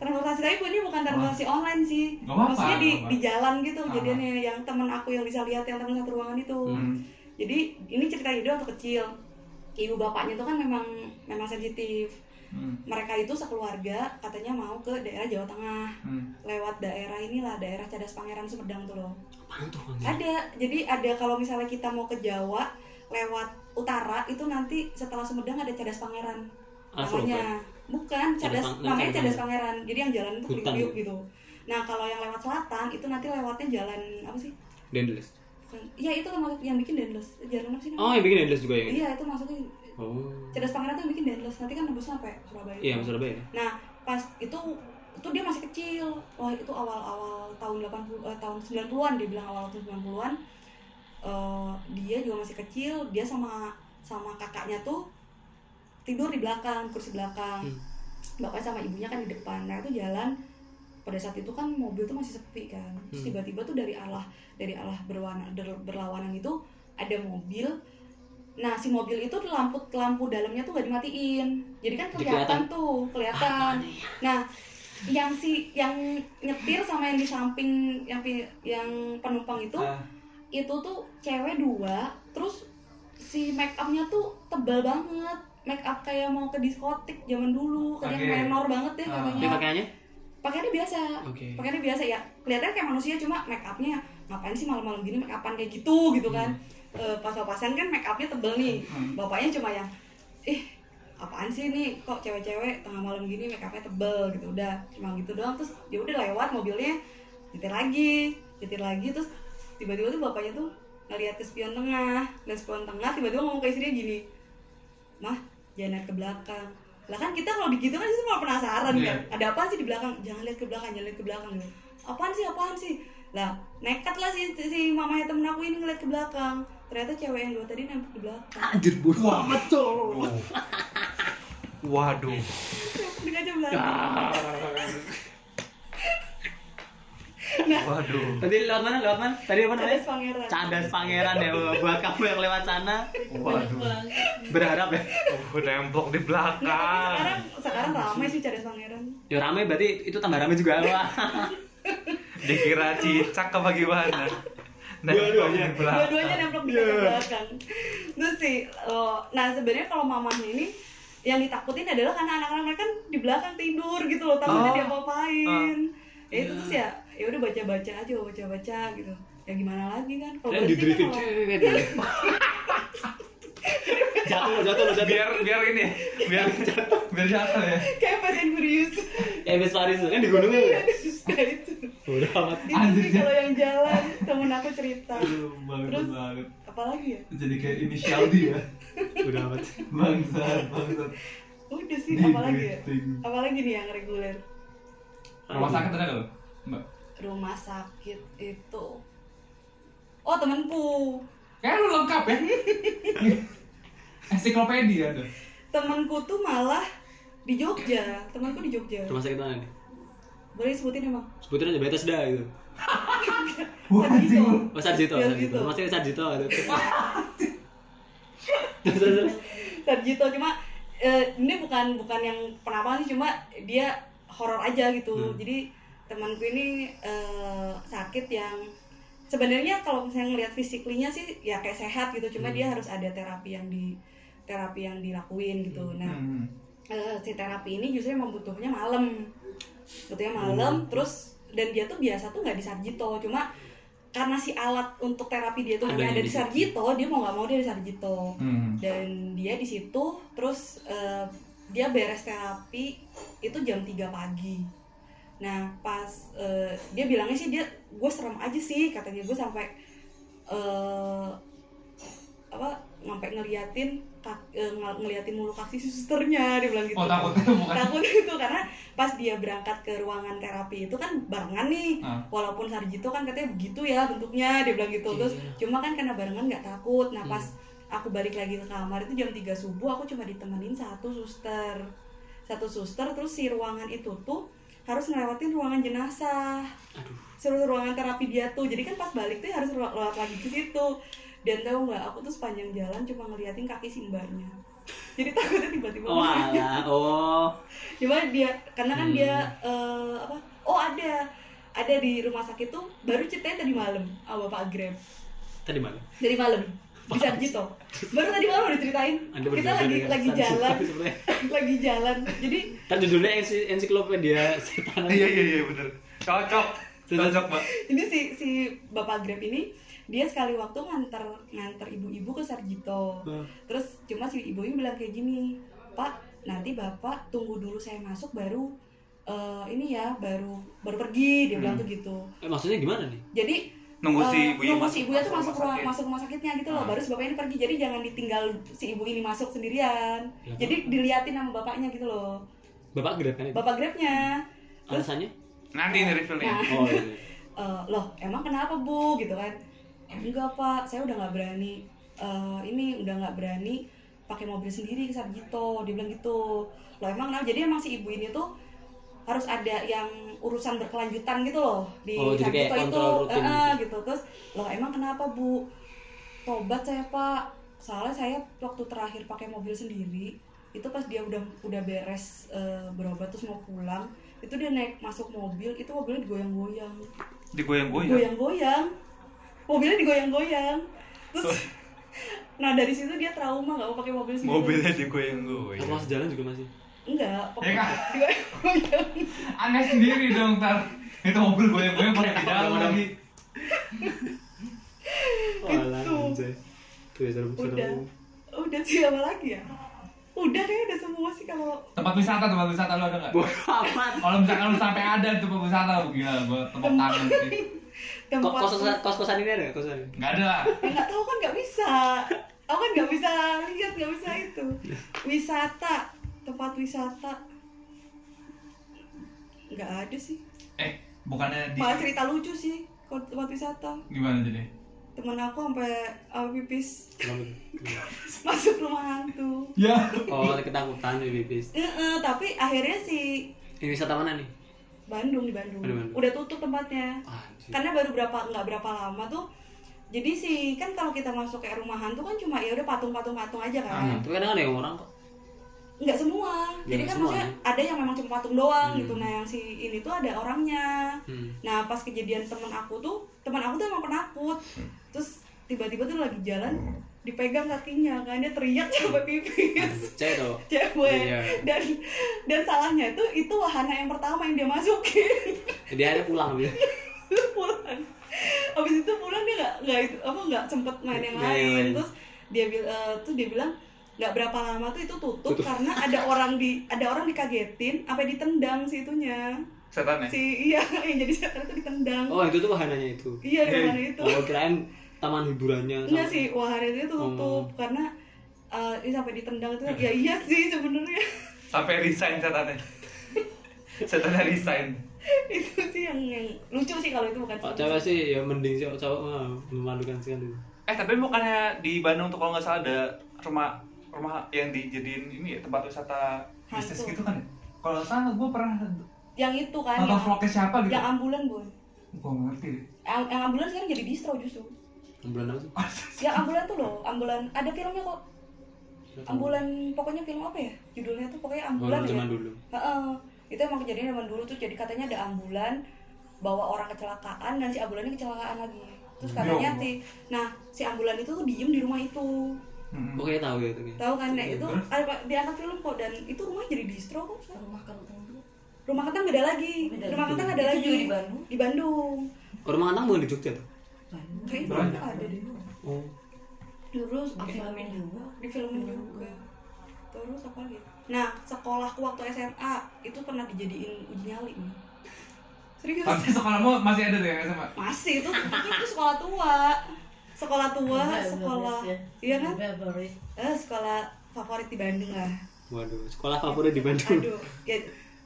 Speaker 1: transportasi tapi ini bukan transportasi online sih
Speaker 4: Nggak apa-apa,
Speaker 1: maksudnya di,
Speaker 4: nggak apa-apa.
Speaker 1: di jalan gitu
Speaker 4: Ah.
Speaker 1: jadinya yang teman aku yang bisa lihat yang teman satu ruangan itu
Speaker 4: Hmm.
Speaker 1: jadi ini cerita ide waktu kecil ibu bapaknya itu kan memang memang sensitif
Speaker 4: Hmm.
Speaker 1: mereka itu sekeluarga katanya mau ke daerah Jawa Tengah
Speaker 4: Hmm.
Speaker 1: lewat daerah inilah daerah Cadas Pangeran Sumedang tuh loh
Speaker 3: Apaan tuh? anjing?
Speaker 1: ada jadi ada kalau misalnya kita mau ke Jawa lewat utara itu nanti setelah Sumedang ada Cadas Pangeran
Speaker 3: Afro, Pak.
Speaker 1: namanya bukan
Speaker 3: Ah, Cadas
Speaker 1: Cadas
Speaker 3: Pang-
Speaker 1: namanya
Speaker 3: Cadas
Speaker 1: Cadas Pangeran jadi yang jalan itu
Speaker 3: Hutan.
Speaker 1: kriuk gitu nah kalau yang lewat selatan itu nanti lewatnya jalan apa sih
Speaker 3: Dendles.
Speaker 1: Bukan, ya itu termasuk yang bikin Dendles jalan apa sih
Speaker 3: Oh,
Speaker 1: namanya?
Speaker 3: yang bikin Dendles juga yang ini.
Speaker 1: iya itu masuknya
Speaker 3: Oh.
Speaker 1: Cadas Pangeran tuh yang bikin Dendles nanti kan nembus sampai Surabaya
Speaker 3: Iya, Mas Surabaya.
Speaker 1: Nah, pas itu itu dia masih kecil. Wah, itu awal-awal tahun 80 eh, tahun 90-an dia bilang awal tahun 90-an. Eh, dia juga masih kecil, dia sama sama kakaknya tuh tidur di belakang, kursi belakang.
Speaker 3: Hmm.
Speaker 1: Bapaknya sama ibunya kan di depan. Nah, itu jalan pada saat itu kan mobil tuh masih sepi kan. Terus
Speaker 3: Hmm.
Speaker 1: tiba-tiba tuh dari arah dari arah berwana, der- berlawanan itu ada mobil. Nah, si mobil itu lampu lampu dalamnya tuh gak dimatiin. Jadi kan
Speaker 3: Jadi
Speaker 1: kelihatan
Speaker 3: kelihatan.
Speaker 1: tuh, kelihatan. Nah, yang si yang nyetir sama yang di samping yang pi- yang penumpang itu
Speaker 4: Ah.
Speaker 1: itu tuh cewek dua, terus si make upnya tuh tebal banget. Make up kayak mau ke diskotik zaman dulu, kayak
Speaker 4: Oke.
Speaker 1: menor banget deh
Speaker 4: Ah.
Speaker 3: Dia
Speaker 1: katanya.
Speaker 3: pakaiannya?
Speaker 1: Pakaiannya biasa.
Speaker 3: Oke.
Speaker 1: Pakaiannya biasa ya. Kelihatannya kayak manusia cuma make upnya ngapain sih malam-malam gini make upan kayak gitu gitu kan. Eh, pas-pasan kan make upnya tebel nih
Speaker 4: Hmm.
Speaker 1: bapaknya cuma yang ih apaan sih ini kok cewek-cewek tengah malam gini make upnya tebel gitu udah cuma gitu doang terus dia udah lewat mobilnya nyetir lagi nyetir lagi terus tiba-tiba tuh bapaknya tuh ngeliat ke spion tengah dan spion tengah tiba-tiba ngomong ke istrinya gini mah jangan lihat ke belakang lah kan kita kalau digitu kan justru malah penasaran
Speaker 4: Iya.
Speaker 1: kan ada apaan sih di belakang jangan lihat ke belakang jangan lihat ke belakang gitu. apaan sih apaan sih lah nekat lah si, si mamanya temen aku ini ngeliat ke belakang ternyata cewek yang dua tadi nempel di belakang
Speaker 3: Anjir, bodoh
Speaker 4: Wah.
Speaker 3: amat, Cok.
Speaker 4: Waduh.
Speaker 1: di kaca belakang
Speaker 3: Ah.
Speaker 4: Waduh.
Speaker 3: Tadi lewat mana? Lewat mana? Tadi apa namanya?
Speaker 1: Cadas pangeran
Speaker 3: Cadas pangeran ya buat kamu yang lewat sana
Speaker 5: Banyak banget.
Speaker 3: berharap ya.
Speaker 4: Oh, nemplok di
Speaker 1: Nggak, tapi
Speaker 4: belakang.
Speaker 1: sekarang sekarang ramai sih cadas pangeran
Speaker 3: Ya rame berarti itu tambah rame juga wah.
Speaker 4: Dikira cicak apa gimana?
Speaker 1: iya.
Speaker 4: Nemplok
Speaker 3: Dua-duanya.
Speaker 4: di
Speaker 1: dua-duanya
Speaker 4: belakang.
Speaker 1: nempel di kaca belakang terus sih eh, nah sebenarnya kalau mamahnya ini yang ditakutin adalah karena anak-anak mereka kan di belakang tidur gitu loh takutnya
Speaker 4: Oh. Ah.
Speaker 1: dia apa-apain ya itu
Speaker 3: Iya.
Speaker 1: terus ya ya udah baca-baca aja baca-baca gitu ya gimana lagi kan kalau
Speaker 3: Dan
Speaker 1: berhenti
Speaker 3: di
Speaker 1: kan
Speaker 3: drifting.
Speaker 1: kalau-
Speaker 3: Jatuh lo, jatuh lo, jatuh.
Speaker 4: Biar biar ini ya, biar biar jatuh ya.
Speaker 1: (laughs) kayak Fast and Furious
Speaker 3: Eh bis Paris kan di gunung ya.
Speaker 1: nah itu
Speaker 3: Bodoh amat.
Speaker 1: itu sih
Speaker 4: Anjir.
Speaker 1: kalau yang jalan temen aku cerita
Speaker 4: Aduh, bagus
Speaker 1: Terus?
Speaker 4: banget.
Speaker 1: apalagi ya
Speaker 4: Jadi kayak inisial dia.
Speaker 3: Bodoh amat.
Speaker 4: Bangsat, bangsat.
Speaker 1: udah sih apalagi ya
Speaker 4: Di-drifting.
Speaker 1: apalagi nih yang reguler
Speaker 4: Rumah sakit ada nggak lo? Mbak.
Speaker 1: rumah sakit itu oh temenku
Speaker 4: Kayak lu lengkap ya. Ensiklopedia tuh.
Speaker 1: temenku tuh malah di Jogja temanku di Jogja
Speaker 3: Rumah sakit mana nih?
Speaker 1: boleh sebutin emang
Speaker 3: Sebutin aja betes dah gitu.
Speaker 1: Sarjito.
Speaker 4: Wah, anjing lu.
Speaker 3: Oh Sarjito,
Speaker 1: Iya,
Speaker 3: Sarjito.
Speaker 1: gitu.
Speaker 3: Rumah sakit Sarjito
Speaker 1: (laughs)
Speaker 3: gitu. Terus terus terus.
Speaker 1: Sarjito gitu, cuma eh, ini bukan bukan yang penapa sih cuma dia horor aja gitu
Speaker 3: Hmm.
Speaker 1: jadi temanku ini eh, sakit yang sebenarnya kalau misalnya ngelihat fisiklinya sih ya kayak sehat gitu cuma
Speaker 3: Hmm.
Speaker 1: dia harus ada terapi yang di terapi yang dilakuin gitu nah
Speaker 4: Hmm.
Speaker 1: eh, si terapi ini justru emang butuhnya malam butuhnya
Speaker 3: Hmm.
Speaker 1: malam terus dan dia tuh biasa tuh nggak di Sarjito cuma karena si alat untuk terapi dia tuh
Speaker 3: Ada
Speaker 1: hanya ada
Speaker 3: di
Speaker 1: di Sarjito dia mau nggak mau dia di Sarjito
Speaker 4: Hmm.
Speaker 1: dan dia di situ terus eh, dia beres terapi itu jam 3 pagi nah pas eh, dia bilangnya sih dia gue serem aja sih katanya gue sampai eh, apa sampai ngeliatin kak- eh, ng- ngeliatin mulu kaki susternya dia bilang gitu
Speaker 4: Oh takut itu bukan.
Speaker 1: takut itu karena pas dia berangkat ke ruangan terapi itu kan barengan nih
Speaker 4: Ah. Iya,
Speaker 1: walaupun Sarjito kan katanya begitu ya bentuknya dia bilang gitu terus cuma kan karena barengan nggak takut nah pas
Speaker 3: Hmm.
Speaker 1: aku balik lagi ke kamar itu jam 3 subuh aku cuma ditemenin satu suster satu suster terus si ruangan itu tuh harus ngelewatin ruangan jenazah
Speaker 3: Aduh.
Speaker 1: seru ruangan terapi dia tuh jadi kan pas balik tuh harus lewat lewat lagi ke situ dan tahu nggak aku tuh sepanjang jalan cuma ngeliatin kaki si mbaknya jadi (laughs) takutnya tiba-tiba
Speaker 3: Oh, alah. oh.
Speaker 1: cuma dia karena kan
Speaker 3: Hmm.
Speaker 1: dia eh, apa oh ada ada di rumah sakit tuh baru ceritanya tadi malam sama Pak Grab
Speaker 3: Tadi mana?
Speaker 1: dari malam di Sarjito baru tadi malam udah diceritain kita
Speaker 3: Anda berjalan
Speaker 1: lagi lagi
Speaker 3: dengan Sarjito
Speaker 1: jalan (laughs)
Speaker 3: sebenarnya.
Speaker 1: lagi jalan jadi
Speaker 3: Kan judulnya ensi- ensiklopedia setan.
Speaker 4: Iya iya iya benar. Cocok. Cocok mbak.
Speaker 1: jadi si si bapak Grab ini dia sekali waktu nganter nganter ibu-ibu ke Sarjito
Speaker 3: Hmm.
Speaker 1: terus cuma si ibu ini bilang kayak gini Pak nanti bapak tunggu dulu saya masuk baru eh, ini ya baru baru pergi dia bilang
Speaker 4: Hmm.
Speaker 1: tuh gitu
Speaker 3: Eh, maksudnya gimana nih?
Speaker 1: jadi
Speaker 4: Nunggu si
Speaker 1: Eh,
Speaker 4: ibunya
Speaker 1: nunggu si ibunya tuh masuk
Speaker 4: masuk
Speaker 1: rumah,
Speaker 4: sakit.
Speaker 1: masuk rumah sakitnya gitu loh
Speaker 4: Ah.
Speaker 1: baru si bapak ini pergi jadi jangan ditinggal si ibu ini masuk sendirian
Speaker 3: Ya,
Speaker 1: jadi diliatin sama bapaknya gitu loh
Speaker 3: Bapak gerak kan?
Speaker 1: bapak grabnya terus
Speaker 3: Alasannya?
Speaker 4: Nanti ini reveal-nya.
Speaker 1: nah
Speaker 3: Oh, iya.
Speaker 1: eh, loh emang kenapa bu gitu kan enggak pak saya udah nggak berani Eh, ini udah nggak berani pakai mobil sendiri ke Sarjito dia bilang gitu loh emang kenapa jadi emang si ibu ini tuh harus ada yang urusan berkelanjutan gitu loh di
Speaker 3: Oh, jadi kayak
Speaker 1: Sarjito itu
Speaker 3: kontrol rutin
Speaker 1: Eh, eh,
Speaker 3: gitu.
Speaker 1: gitu terus loh emang kenapa bu tobat saya pak soalnya saya waktu terakhir pakai mobil sendiri itu pas dia udah udah beres eh, berobat terus mau pulang itu dia naik masuk mobil itu mobilnya digoyang-goyang
Speaker 4: Digoyang-goyang.
Speaker 1: goyang-goyang mobilnya digoyang-goyang terus nah dari situ dia trauma nggak mau pakai mobil sendiri
Speaker 4: Mobilnya
Speaker 1: iya.
Speaker 3: Aku
Speaker 4: digoyang-goyang.
Speaker 3: masih jalan juga masih.
Speaker 1: Gitu. enggak
Speaker 4: Ya
Speaker 1: pokoknya
Speaker 4: kan?
Speaker 1: digoyang-goyang
Speaker 4: Aneh sendiri dong ntar. Itu mobil goyang-goyang pakai
Speaker 3: Kenapa
Speaker 4: pedal
Speaker 3: goyang-goyang?
Speaker 4: lagi.
Speaker 3: Walah,
Speaker 1: Gitu.
Speaker 3: Oh, anjay. Tuh ya, serem
Speaker 1: Udah. udah siapa lagi ya udah kayaknya udah semua sih kalau
Speaker 4: Tempat wisata, tempat wisata lu ada nggak?
Speaker 3: Bodoh amat.
Speaker 4: Kalau misalkan lu sampai ada tuh tempat wisata, lu gila gua tepuk tangan sih.
Speaker 3: Kok
Speaker 1: tempat
Speaker 3: kos-kosan kos-kosan ini ada nggak? kos-kosan? ini?
Speaker 4: Enggak ada lah.
Speaker 1: Ya, nggak tahu kan nggak bisa aku kan nggak bisa lihat nggak bisa itu wisata tempat wisata nggak ada sih
Speaker 4: Eh, bukannya di
Speaker 1: malah cerita lucu sih kalau tempat wisata
Speaker 4: gimana jadi?
Speaker 1: temen aku sampai sampai pipis
Speaker 3: Kenapa tuh? Kenapa?
Speaker 1: (laughs) masuk rumah hantu
Speaker 4: Ya.
Speaker 3: Oh, ketakutan nih bibis.
Speaker 1: Heeh, tapi akhirnya si
Speaker 3: Ini wisata mana nih?
Speaker 1: Bandung di Bandung
Speaker 3: Oh, Di Bandung.
Speaker 1: udah tutup tempatnya
Speaker 3: Ah, anjir.
Speaker 1: karena baru berapa nggak berapa lama tuh jadi sih kan kalau kita masuk kayak rumah hantu kan cuma ya udah patung-patung patung aja kan
Speaker 4: Hmm.
Speaker 3: Tapi kadang ada yang orang kok.
Speaker 1: nggak semua
Speaker 3: Ya,
Speaker 1: jadi
Speaker 3: nggak
Speaker 1: kan
Speaker 3: semua,
Speaker 1: maksudnya ada yang memang cuma patung doang
Speaker 3: Hmm.
Speaker 1: gitu nah yang si ini tuh ada orangnya
Speaker 3: Hmm.
Speaker 1: Nah pas kejadian temen aku tuh temen aku tuh emang penakut
Speaker 3: Hmm.
Speaker 1: Terus tiba-tiba tuh lagi jalan dipegang kakinya kan dia teriak (laughs) sampai pipis
Speaker 3: Cewek tau.
Speaker 1: cewek
Speaker 3: Iya.
Speaker 1: dan dan salahnya tuh itu wahana yang pertama yang dia masukin (laughs)
Speaker 3: Dia akhirnya pulang dia.
Speaker 1: pulang abis itu pulang dia nggak nggak itu apa nggak sempet main yang
Speaker 3: Nggak yang
Speaker 1: lain
Speaker 3: lain.
Speaker 1: terus dia bil- eh, terus dia bilang nggak berapa lama tuh itu tutup,
Speaker 3: Tutup.
Speaker 1: karena ada orang di ada orang dikagetin apa ditendang si itunya
Speaker 4: Setan ya?
Speaker 1: si iya (laughs) yang jadi setan itu ditendang
Speaker 3: Oh, itu tuh wahananya itu.
Speaker 1: iya di
Speaker 4: Hey.
Speaker 1: mana itu
Speaker 3: Oh, kirain taman hiburannya.
Speaker 1: Enggak
Speaker 3: sama-
Speaker 1: sih, wahana itu tutup karena eh ini sampai ditendang itu ya iya sih sebenarnya (laughs)
Speaker 4: Sampai resign setannya. Setannya resign.
Speaker 1: itu sih yang, yang lucu sih kalau itu bukan
Speaker 3: Kalau cewek sih ya mending sih kalau cowok mah memalukan sekali.
Speaker 4: Eh, tapi bukannya di Bandung tuh kalau nggak salah ada rumah rumah yang dijadiin ini ya tempat wisata
Speaker 1: Hantu.
Speaker 4: bisnis gitu kan ya? Kalau nggak salah gue pernah
Speaker 1: yang itu kan
Speaker 4: nonton
Speaker 1: yang,
Speaker 4: vlognya siapa gitu.
Speaker 1: yang ambulan boy
Speaker 4: Gue ngerti deh. (laughs)
Speaker 1: yang, yang ambulan sekarang jadi distro justru
Speaker 3: Ambulan apa sih?
Speaker 1: yang ambulan tuh loh ambulan ada filmnya kok ambulan pokoknya film apa ya judulnya tuh pokoknya ambulan
Speaker 3: Ambulan
Speaker 1: ya
Speaker 3: Oh, zaman dulu.
Speaker 1: Heeh. itu emang kejadian zaman dulu tuh jadi katanya ada ambulan bawa orang kecelakaan dan si ambulannya kecelakaan lagi terus
Speaker 4: Ya
Speaker 1: katanya
Speaker 4: Allah.
Speaker 1: si nah si ambulan itu tuh diem di rumah itu
Speaker 4: Hmm.
Speaker 3: Pokoknya tahu ya itu nih.
Speaker 1: tahu kan Nek
Speaker 3: Iya,
Speaker 1: itu
Speaker 4: terus?
Speaker 1: ada di anak film kok dan itu rumah jadi distro kok sekarang.
Speaker 5: rumah kentang dulu
Speaker 1: rumah kentang beda lagi
Speaker 5: Beda
Speaker 1: rumah
Speaker 3: lagi.
Speaker 1: kentang ada
Speaker 5: Itu
Speaker 1: lagi
Speaker 5: juga di Bandung?
Speaker 1: di Bandung
Speaker 3: Kalau rumah kentang bukan di Jogja tuh.
Speaker 1: Kayaknya
Speaker 4: Banyak.
Speaker 1: ada deh.
Speaker 3: Oh.
Speaker 1: terus apa
Speaker 5: Di Bandung
Speaker 1: lagi?
Speaker 5: juga.
Speaker 1: di film juga terus apa lagi nah sekolahku waktu SMA itu pernah dijadiin uji nyali serius
Speaker 4: Tapi sekolahmu masih ada tuh ya SMA?
Speaker 1: masih itu itu itu sekolah tua sekolah tua
Speaker 5: Enggak,
Speaker 1: sekolah
Speaker 5: enggak,
Speaker 1: iya kan
Speaker 5: Enggak, baru
Speaker 1: eh sekolah favorit di Bandung lah
Speaker 3: Waduh, sekolah favorit di Bandung.
Speaker 1: aduh ya,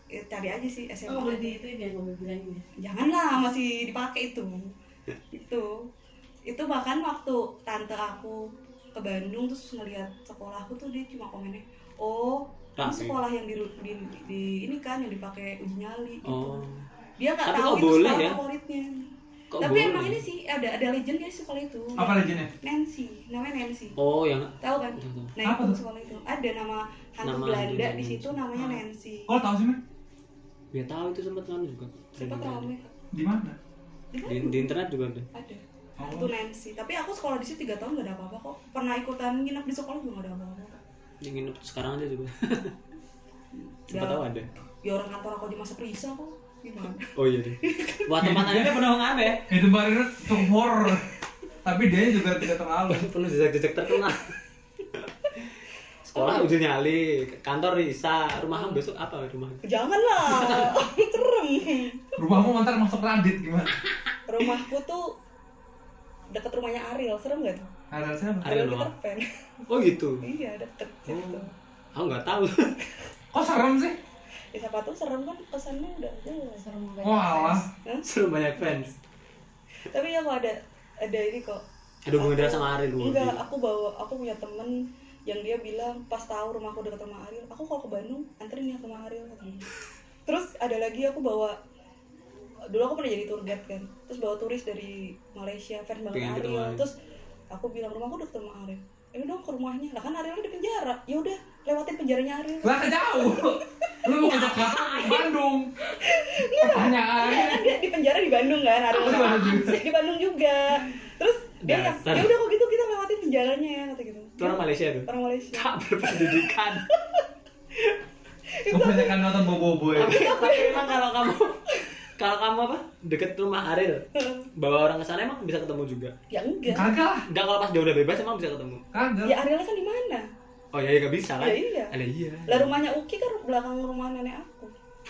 Speaker 1: ya cari aja sih SMA
Speaker 5: Oh, boleh di itu ya, gue bilang ya.
Speaker 1: janganlah masih dipakai itu itu itu bahkan waktu tante aku ke Bandung terus ngeliat sekolahku tuh dia cuma komennya oh kan
Speaker 3: Rame.
Speaker 1: sekolah yang di, di, di- ini kan yang dipakai uji nyali gitu.
Speaker 3: Oh.
Speaker 1: dia nggak
Speaker 3: Tapi
Speaker 1: tahu
Speaker 3: kok
Speaker 1: itu
Speaker 3: boleh
Speaker 1: sekolah
Speaker 3: ya?
Speaker 1: favoritnya
Speaker 3: Kok
Speaker 1: tapi
Speaker 3: boleh?
Speaker 1: emang ini sih ada ada legendnya di sekolah itu
Speaker 4: Apa legendnya?
Speaker 1: Nancy namanya Nancy
Speaker 3: Oh, yang
Speaker 1: tahu kan
Speaker 3: Tahu, tahu.
Speaker 1: nah
Speaker 4: Apa
Speaker 1: itu
Speaker 4: tuh?
Speaker 1: sekolah itu ada nama hantu
Speaker 3: Nama
Speaker 1: Belanda
Speaker 3: hantu Ah.
Speaker 1: di situ namanya
Speaker 4: Hmm.
Speaker 1: Nancy
Speaker 4: Kok tau sih, Men?
Speaker 3: ya tahu itu sempat kan juga.
Speaker 1: sempat
Speaker 3: Trending.
Speaker 1: rame
Speaker 4: Di mana?
Speaker 3: Di, di internet juga ada.
Speaker 1: Iya kan? ada itu
Speaker 4: Oh.
Speaker 1: Nancy tapi aku sekolah di situ tiga tahun gak ada apa-apa kok pernah ikutan nginep di sekolah juga gak ada apa-apa
Speaker 3: Yang nginep sekarang aja
Speaker 1: (laughs)
Speaker 3: juga. Siapa
Speaker 1: Ya.
Speaker 3: tahu ada.
Speaker 1: ya orang kantor aku di masa perisa kok gimana (laughs)
Speaker 3: Oh iya deh. Wah, tempat Anda penuh aneh.
Speaker 4: Hidup Barira tuh horror. Tapi dia juga tidak terlalu.
Speaker 3: penuh jejak-jejak terkenal. Sekolah uji nyali, kantor Risa, rumah besok apa rumah?
Speaker 1: janganlah (laughs) serem
Speaker 4: Rumahmu ntar masuk Radit gimana?
Speaker 1: rumahku tuh deket rumahnya Ariel serem gak tuh
Speaker 4: Nah, Ada siapa?
Speaker 3: Ariel
Speaker 1: Peter
Speaker 3: rumah.
Speaker 1: Pan
Speaker 3: Oh gitu.
Speaker 1: iya deket situ
Speaker 3: Aku nggak tahu. (laughs)
Speaker 4: Kok serem sih?
Speaker 1: ya siapa tuh serem kan kesannya udah jelas
Speaker 5: Serem banget.
Speaker 4: Walah.
Speaker 3: Seru banyak fans.
Speaker 1: tapi ya kok ada ada ini kok
Speaker 3: Ada hubungan darah sama Ariel dulu.
Speaker 1: enggak aku bawa aku punya temen yang dia bilang pas tahu rumahku deket rumah Ariel aku kalau ke Bandung anterin ya ke rumah Ariel katanya. terus ada lagi aku bawa dulu aku pernah jadi tour guide kan terus bawa turis dari Malaysia fans banget
Speaker 3: Pengen ke
Speaker 1: Ariel
Speaker 3: rumah Ariel.
Speaker 1: terus aku bilang rumahku deket rumah Ariel ayo dong ke rumahnya lah kan Ariel di penjara ya udah lewatin penjaranya Ariel
Speaker 4: Lah jauh. Lu mau ngajak ke Bandung.
Speaker 1: Iya
Speaker 4: Pertanyaan.
Speaker 1: kan dia di penjara di Bandung kan
Speaker 3: (laughs)
Speaker 1: Ariel
Speaker 4: Oh, di Bandung juga.
Speaker 1: di Bandung juga terus dia ya
Speaker 3: Dasar.
Speaker 1: udah kok gitu kita lewatin penjaranya kata gitu
Speaker 3: Itu orang Malaysia tuh.
Speaker 1: orang Malaysia
Speaker 3: Tak berpendidikan.
Speaker 4: Kebanyakan nonton bobo-bobo ya.
Speaker 3: (laughs) tapi, tapi emang kalau kamu kalau kamu apa deket rumah Ariel bawa orang ke sana emang bisa ketemu juga.
Speaker 1: ya enggak
Speaker 4: Kagak lah.
Speaker 3: Enggak kalau pas dia udah bebas emang bisa ketemu.
Speaker 4: Kagak.
Speaker 1: Ya Ariel kan di mana?
Speaker 3: Oh ya ya nggak bisa lah.
Speaker 1: Ya iya.
Speaker 3: Alah, iya.
Speaker 1: Lah rumahnya Uki kan belakang rumah nenek aku.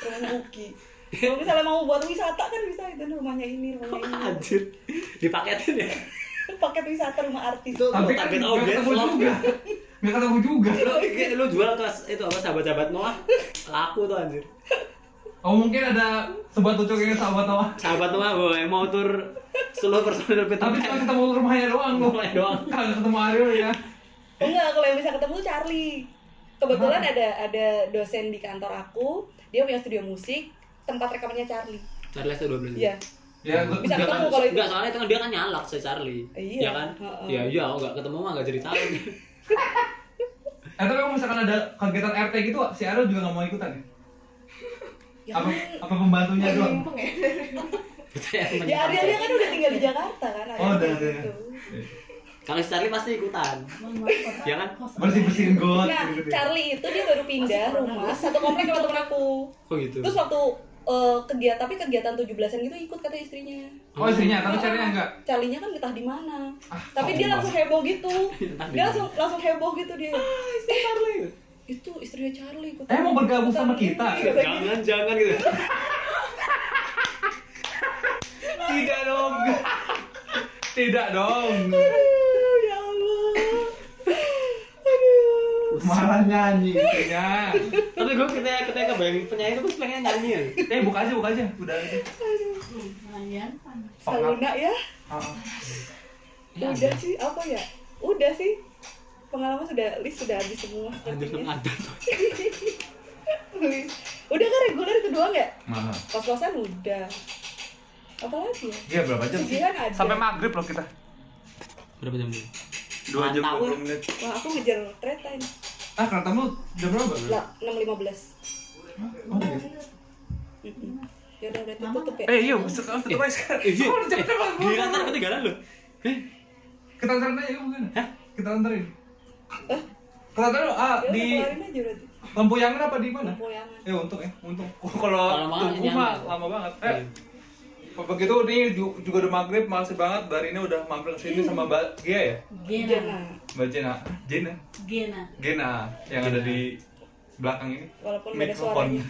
Speaker 1: Rumahnya Uki. Kalau misalnya mau buat wisata kan bisa itu rumahnya ini, rumahnya ini.
Speaker 3: Anjir. Dipaketin ya.
Speaker 1: Paket wisata rumah artis.
Speaker 3: Itu-
Speaker 4: Tapi kan
Speaker 3: Target
Speaker 4: nggak
Speaker 3: audience
Speaker 4: ketemu
Speaker 3: love.
Speaker 4: juga. Nggak ketemu juga.
Speaker 3: lu, lu jual ke itu apa sahabat-sahabat Noah laku tuh anjir
Speaker 4: Oh mungkin ada sobat lucu yang sahabat tawa.
Speaker 3: sahabat Noah bawa yang mau tur seluruh personil Peter
Speaker 4: Tapi cuma
Speaker 3: Pan
Speaker 4: ketemu rumahnya doang lu.
Speaker 3: Rumahnya doang.
Speaker 4: Kagak ketemu Ariel ya.
Speaker 1: Oh, Enggak, kalau yang bisa ketemu tuh Charlie. Kebetulan ada ada dosen di kantor aku, dia punya studio musik, tempat rekamannya Charlie.
Speaker 3: Charlie itu dua belas
Speaker 1: Iya.
Speaker 4: Ya lu-
Speaker 1: Bisa
Speaker 4: nggak-
Speaker 1: ketemu kalau itu.
Speaker 3: Enggak, soalnya itu kan dia kan nyalak si Charlie
Speaker 1: Iya.
Speaker 3: ya kan
Speaker 1: Heeh.
Speaker 3: iya iya kalau nggak ketemu mah nggak jadi
Speaker 1: (laughs)
Speaker 3: tahu
Speaker 4: Eh tapi kalau misalkan ada kegiatan RT gitu, si Ariel juga nggak mau ikutan ya?
Speaker 1: Ya
Speaker 4: Apa,
Speaker 1: kan.
Speaker 4: apa pembantunya doang?
Speaker 5: Mumpung ya.
Speaker 1: Ya Ariel dia kan udah tinggal di Jakarta kan.
Speaker 4: Oh, udah, udah.
Speaker 1: gitu.
Speaker 3: kalau si Charlie pasti ikutan Ya kan?
Speaker 4: Bersih-bersihin got
Speaker 1: Nah,
Speaker 4: gitu. ya.
Speaker 1: Charlie itu dia baru pindah rumah satu komplek sama temen aku.
Speaker 3: oh gitu
Speaker 1: Terus waktu eh, kegiatan tapi kegiatan 17-an gitu ikut kata istrinya.
Speaker 4: Oh istrinya, tapi carinya enggak.
Speaker 1: Calinya kan entah di mana.
Speaker 4: Ah,
Speaker 1: tapi dia langsung heboh
Speaker 4: (laughs)
Speaker 1: gitu.
Speaker 3: Entah di
Speaker 1: dia
Speaker 3: mana.
Speaker 1: langsung langsung heboh gitu dia. ya?
Speaker 3: Charlie
Speaker 1: Itu istrinya Charlie ikut.
Speaker 4: Ah, Eh mau bergabung sama kita?
Speaker 1: Iya, kayak gitu.
Speaker 3: jangan jangan gitu
Speaker 4: Tidak dong. (laughs) Tidak dong.
Speaker 1: Aduh, ya Allah. Aduh.
Speaker 4: Malah nyanyi istrinya.
Speaker 3: tapi gue ketika ketika kebayang penyanyi itu gue pengen nyanyi ya
Speaker 4: Eh buka aja, buka aja. Udah aja.
Speaker 5: Lumayan panas.
Speaker 1: Sauna ya.
Speaker 4: Ah, ah. Iya,
Speaker 1: Udah sih apa ya? Udah sih. Pengalaman sudah list sudah habis semua (laughs)
Speaker 3: anjir
Speaker 1: sepertinya.
Speaker 3: ada
Speaker 1: udah kan reguler itu doang ya?
Speaker 4: Mahal.
Speaker 1: Pas-pasan udah. Apa lagi ya?
Speaker 4: Iya berapa jam sih?
Speaker 1: Sugihan ada.
Speaker 4: Sampai maghrib loh kita.
Speaker 3: berapa jam dulu
Speaker 4: Dua jam
Speaker 3: Mantap.
Speaker 4: 20 menit.
Speaker 1: Wah, aku ngejar kereta ini.
Speaker 4: Ah kereta lu jam berapa?
Speaker 1: Lah, 6.15.
Speaker 4: Oh, iya.
Speaker 1: Mm-mm. Ya udah berarti tutup ya.
Speaker 4: Eh iya, sekarang tutup aja sekarang.
Speaker 3: iya
Speaker 4: Oh, udah cepet banget.
Speaker 3: di latar ketinggalan loh
Speaker 4: Kita anterin aja kamu kan? Hah? Kita anterin. Kalau kan ah,
Speaker 1: Ya udah,
Speaker 4: di
Speaker 1: keluarin aja berarti.
Speaker 4: Lempuyangan apa di mana?
Speaker 1: Lempoyangan.
Speaker 4: Eh untung ya, untung.
Speaker 3: Kalau
Speaker 4: (laughs) Kalau
Speaker 3: mahal,
Speaker 4: Tugu
Speaker 3: nyaman.
Speaker 4: mah lama banget. Eh, begitu ini ju- juga udah maghrib, masih banget. Dari ini udah mampir ke sini sama Mbak Gia ya,
Speaker 5: Gena,
Speaker 1: Nah,
Speaker 4: Mbak Jena, Jena,
Speaker 5: Gena.
Speaker 4: Gena yang ada di belakang ini.
Speaker 1: walaupun gak ada
Speaker 4: Mikrofon.
Speaker 1: suaranya.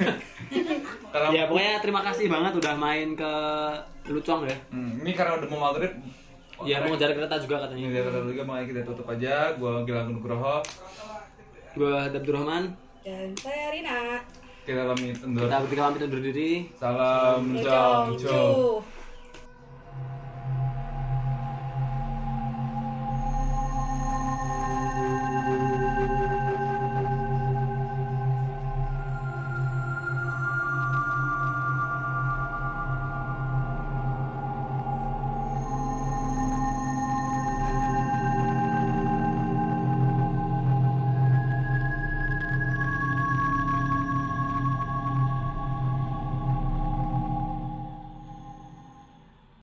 Speaker 4: (laughs) karena
Speaker 3: Ya pokoknya terima kasih banget udah main ke Lucong ya.
Speaker 4: Hmm, ini karena udah mau maghrib.
Speaker 3: Ya mau ngejar kereta juga
Speaker 4: Ini
Speaker 3: katanya.
Speaker 4: dia kata juga makanya kita tutup aja. Gua Gilang Nugroho.
Speaker 3: Gua Abdul Rahman.
Speaker 1: Dan saya Rina.
Speaker 4: Kita pamit undur.
Speaker 3: Kita bertiga pamit undur diri.
Speaker 4: Salam jam
Speaker 1: Jong, Ju.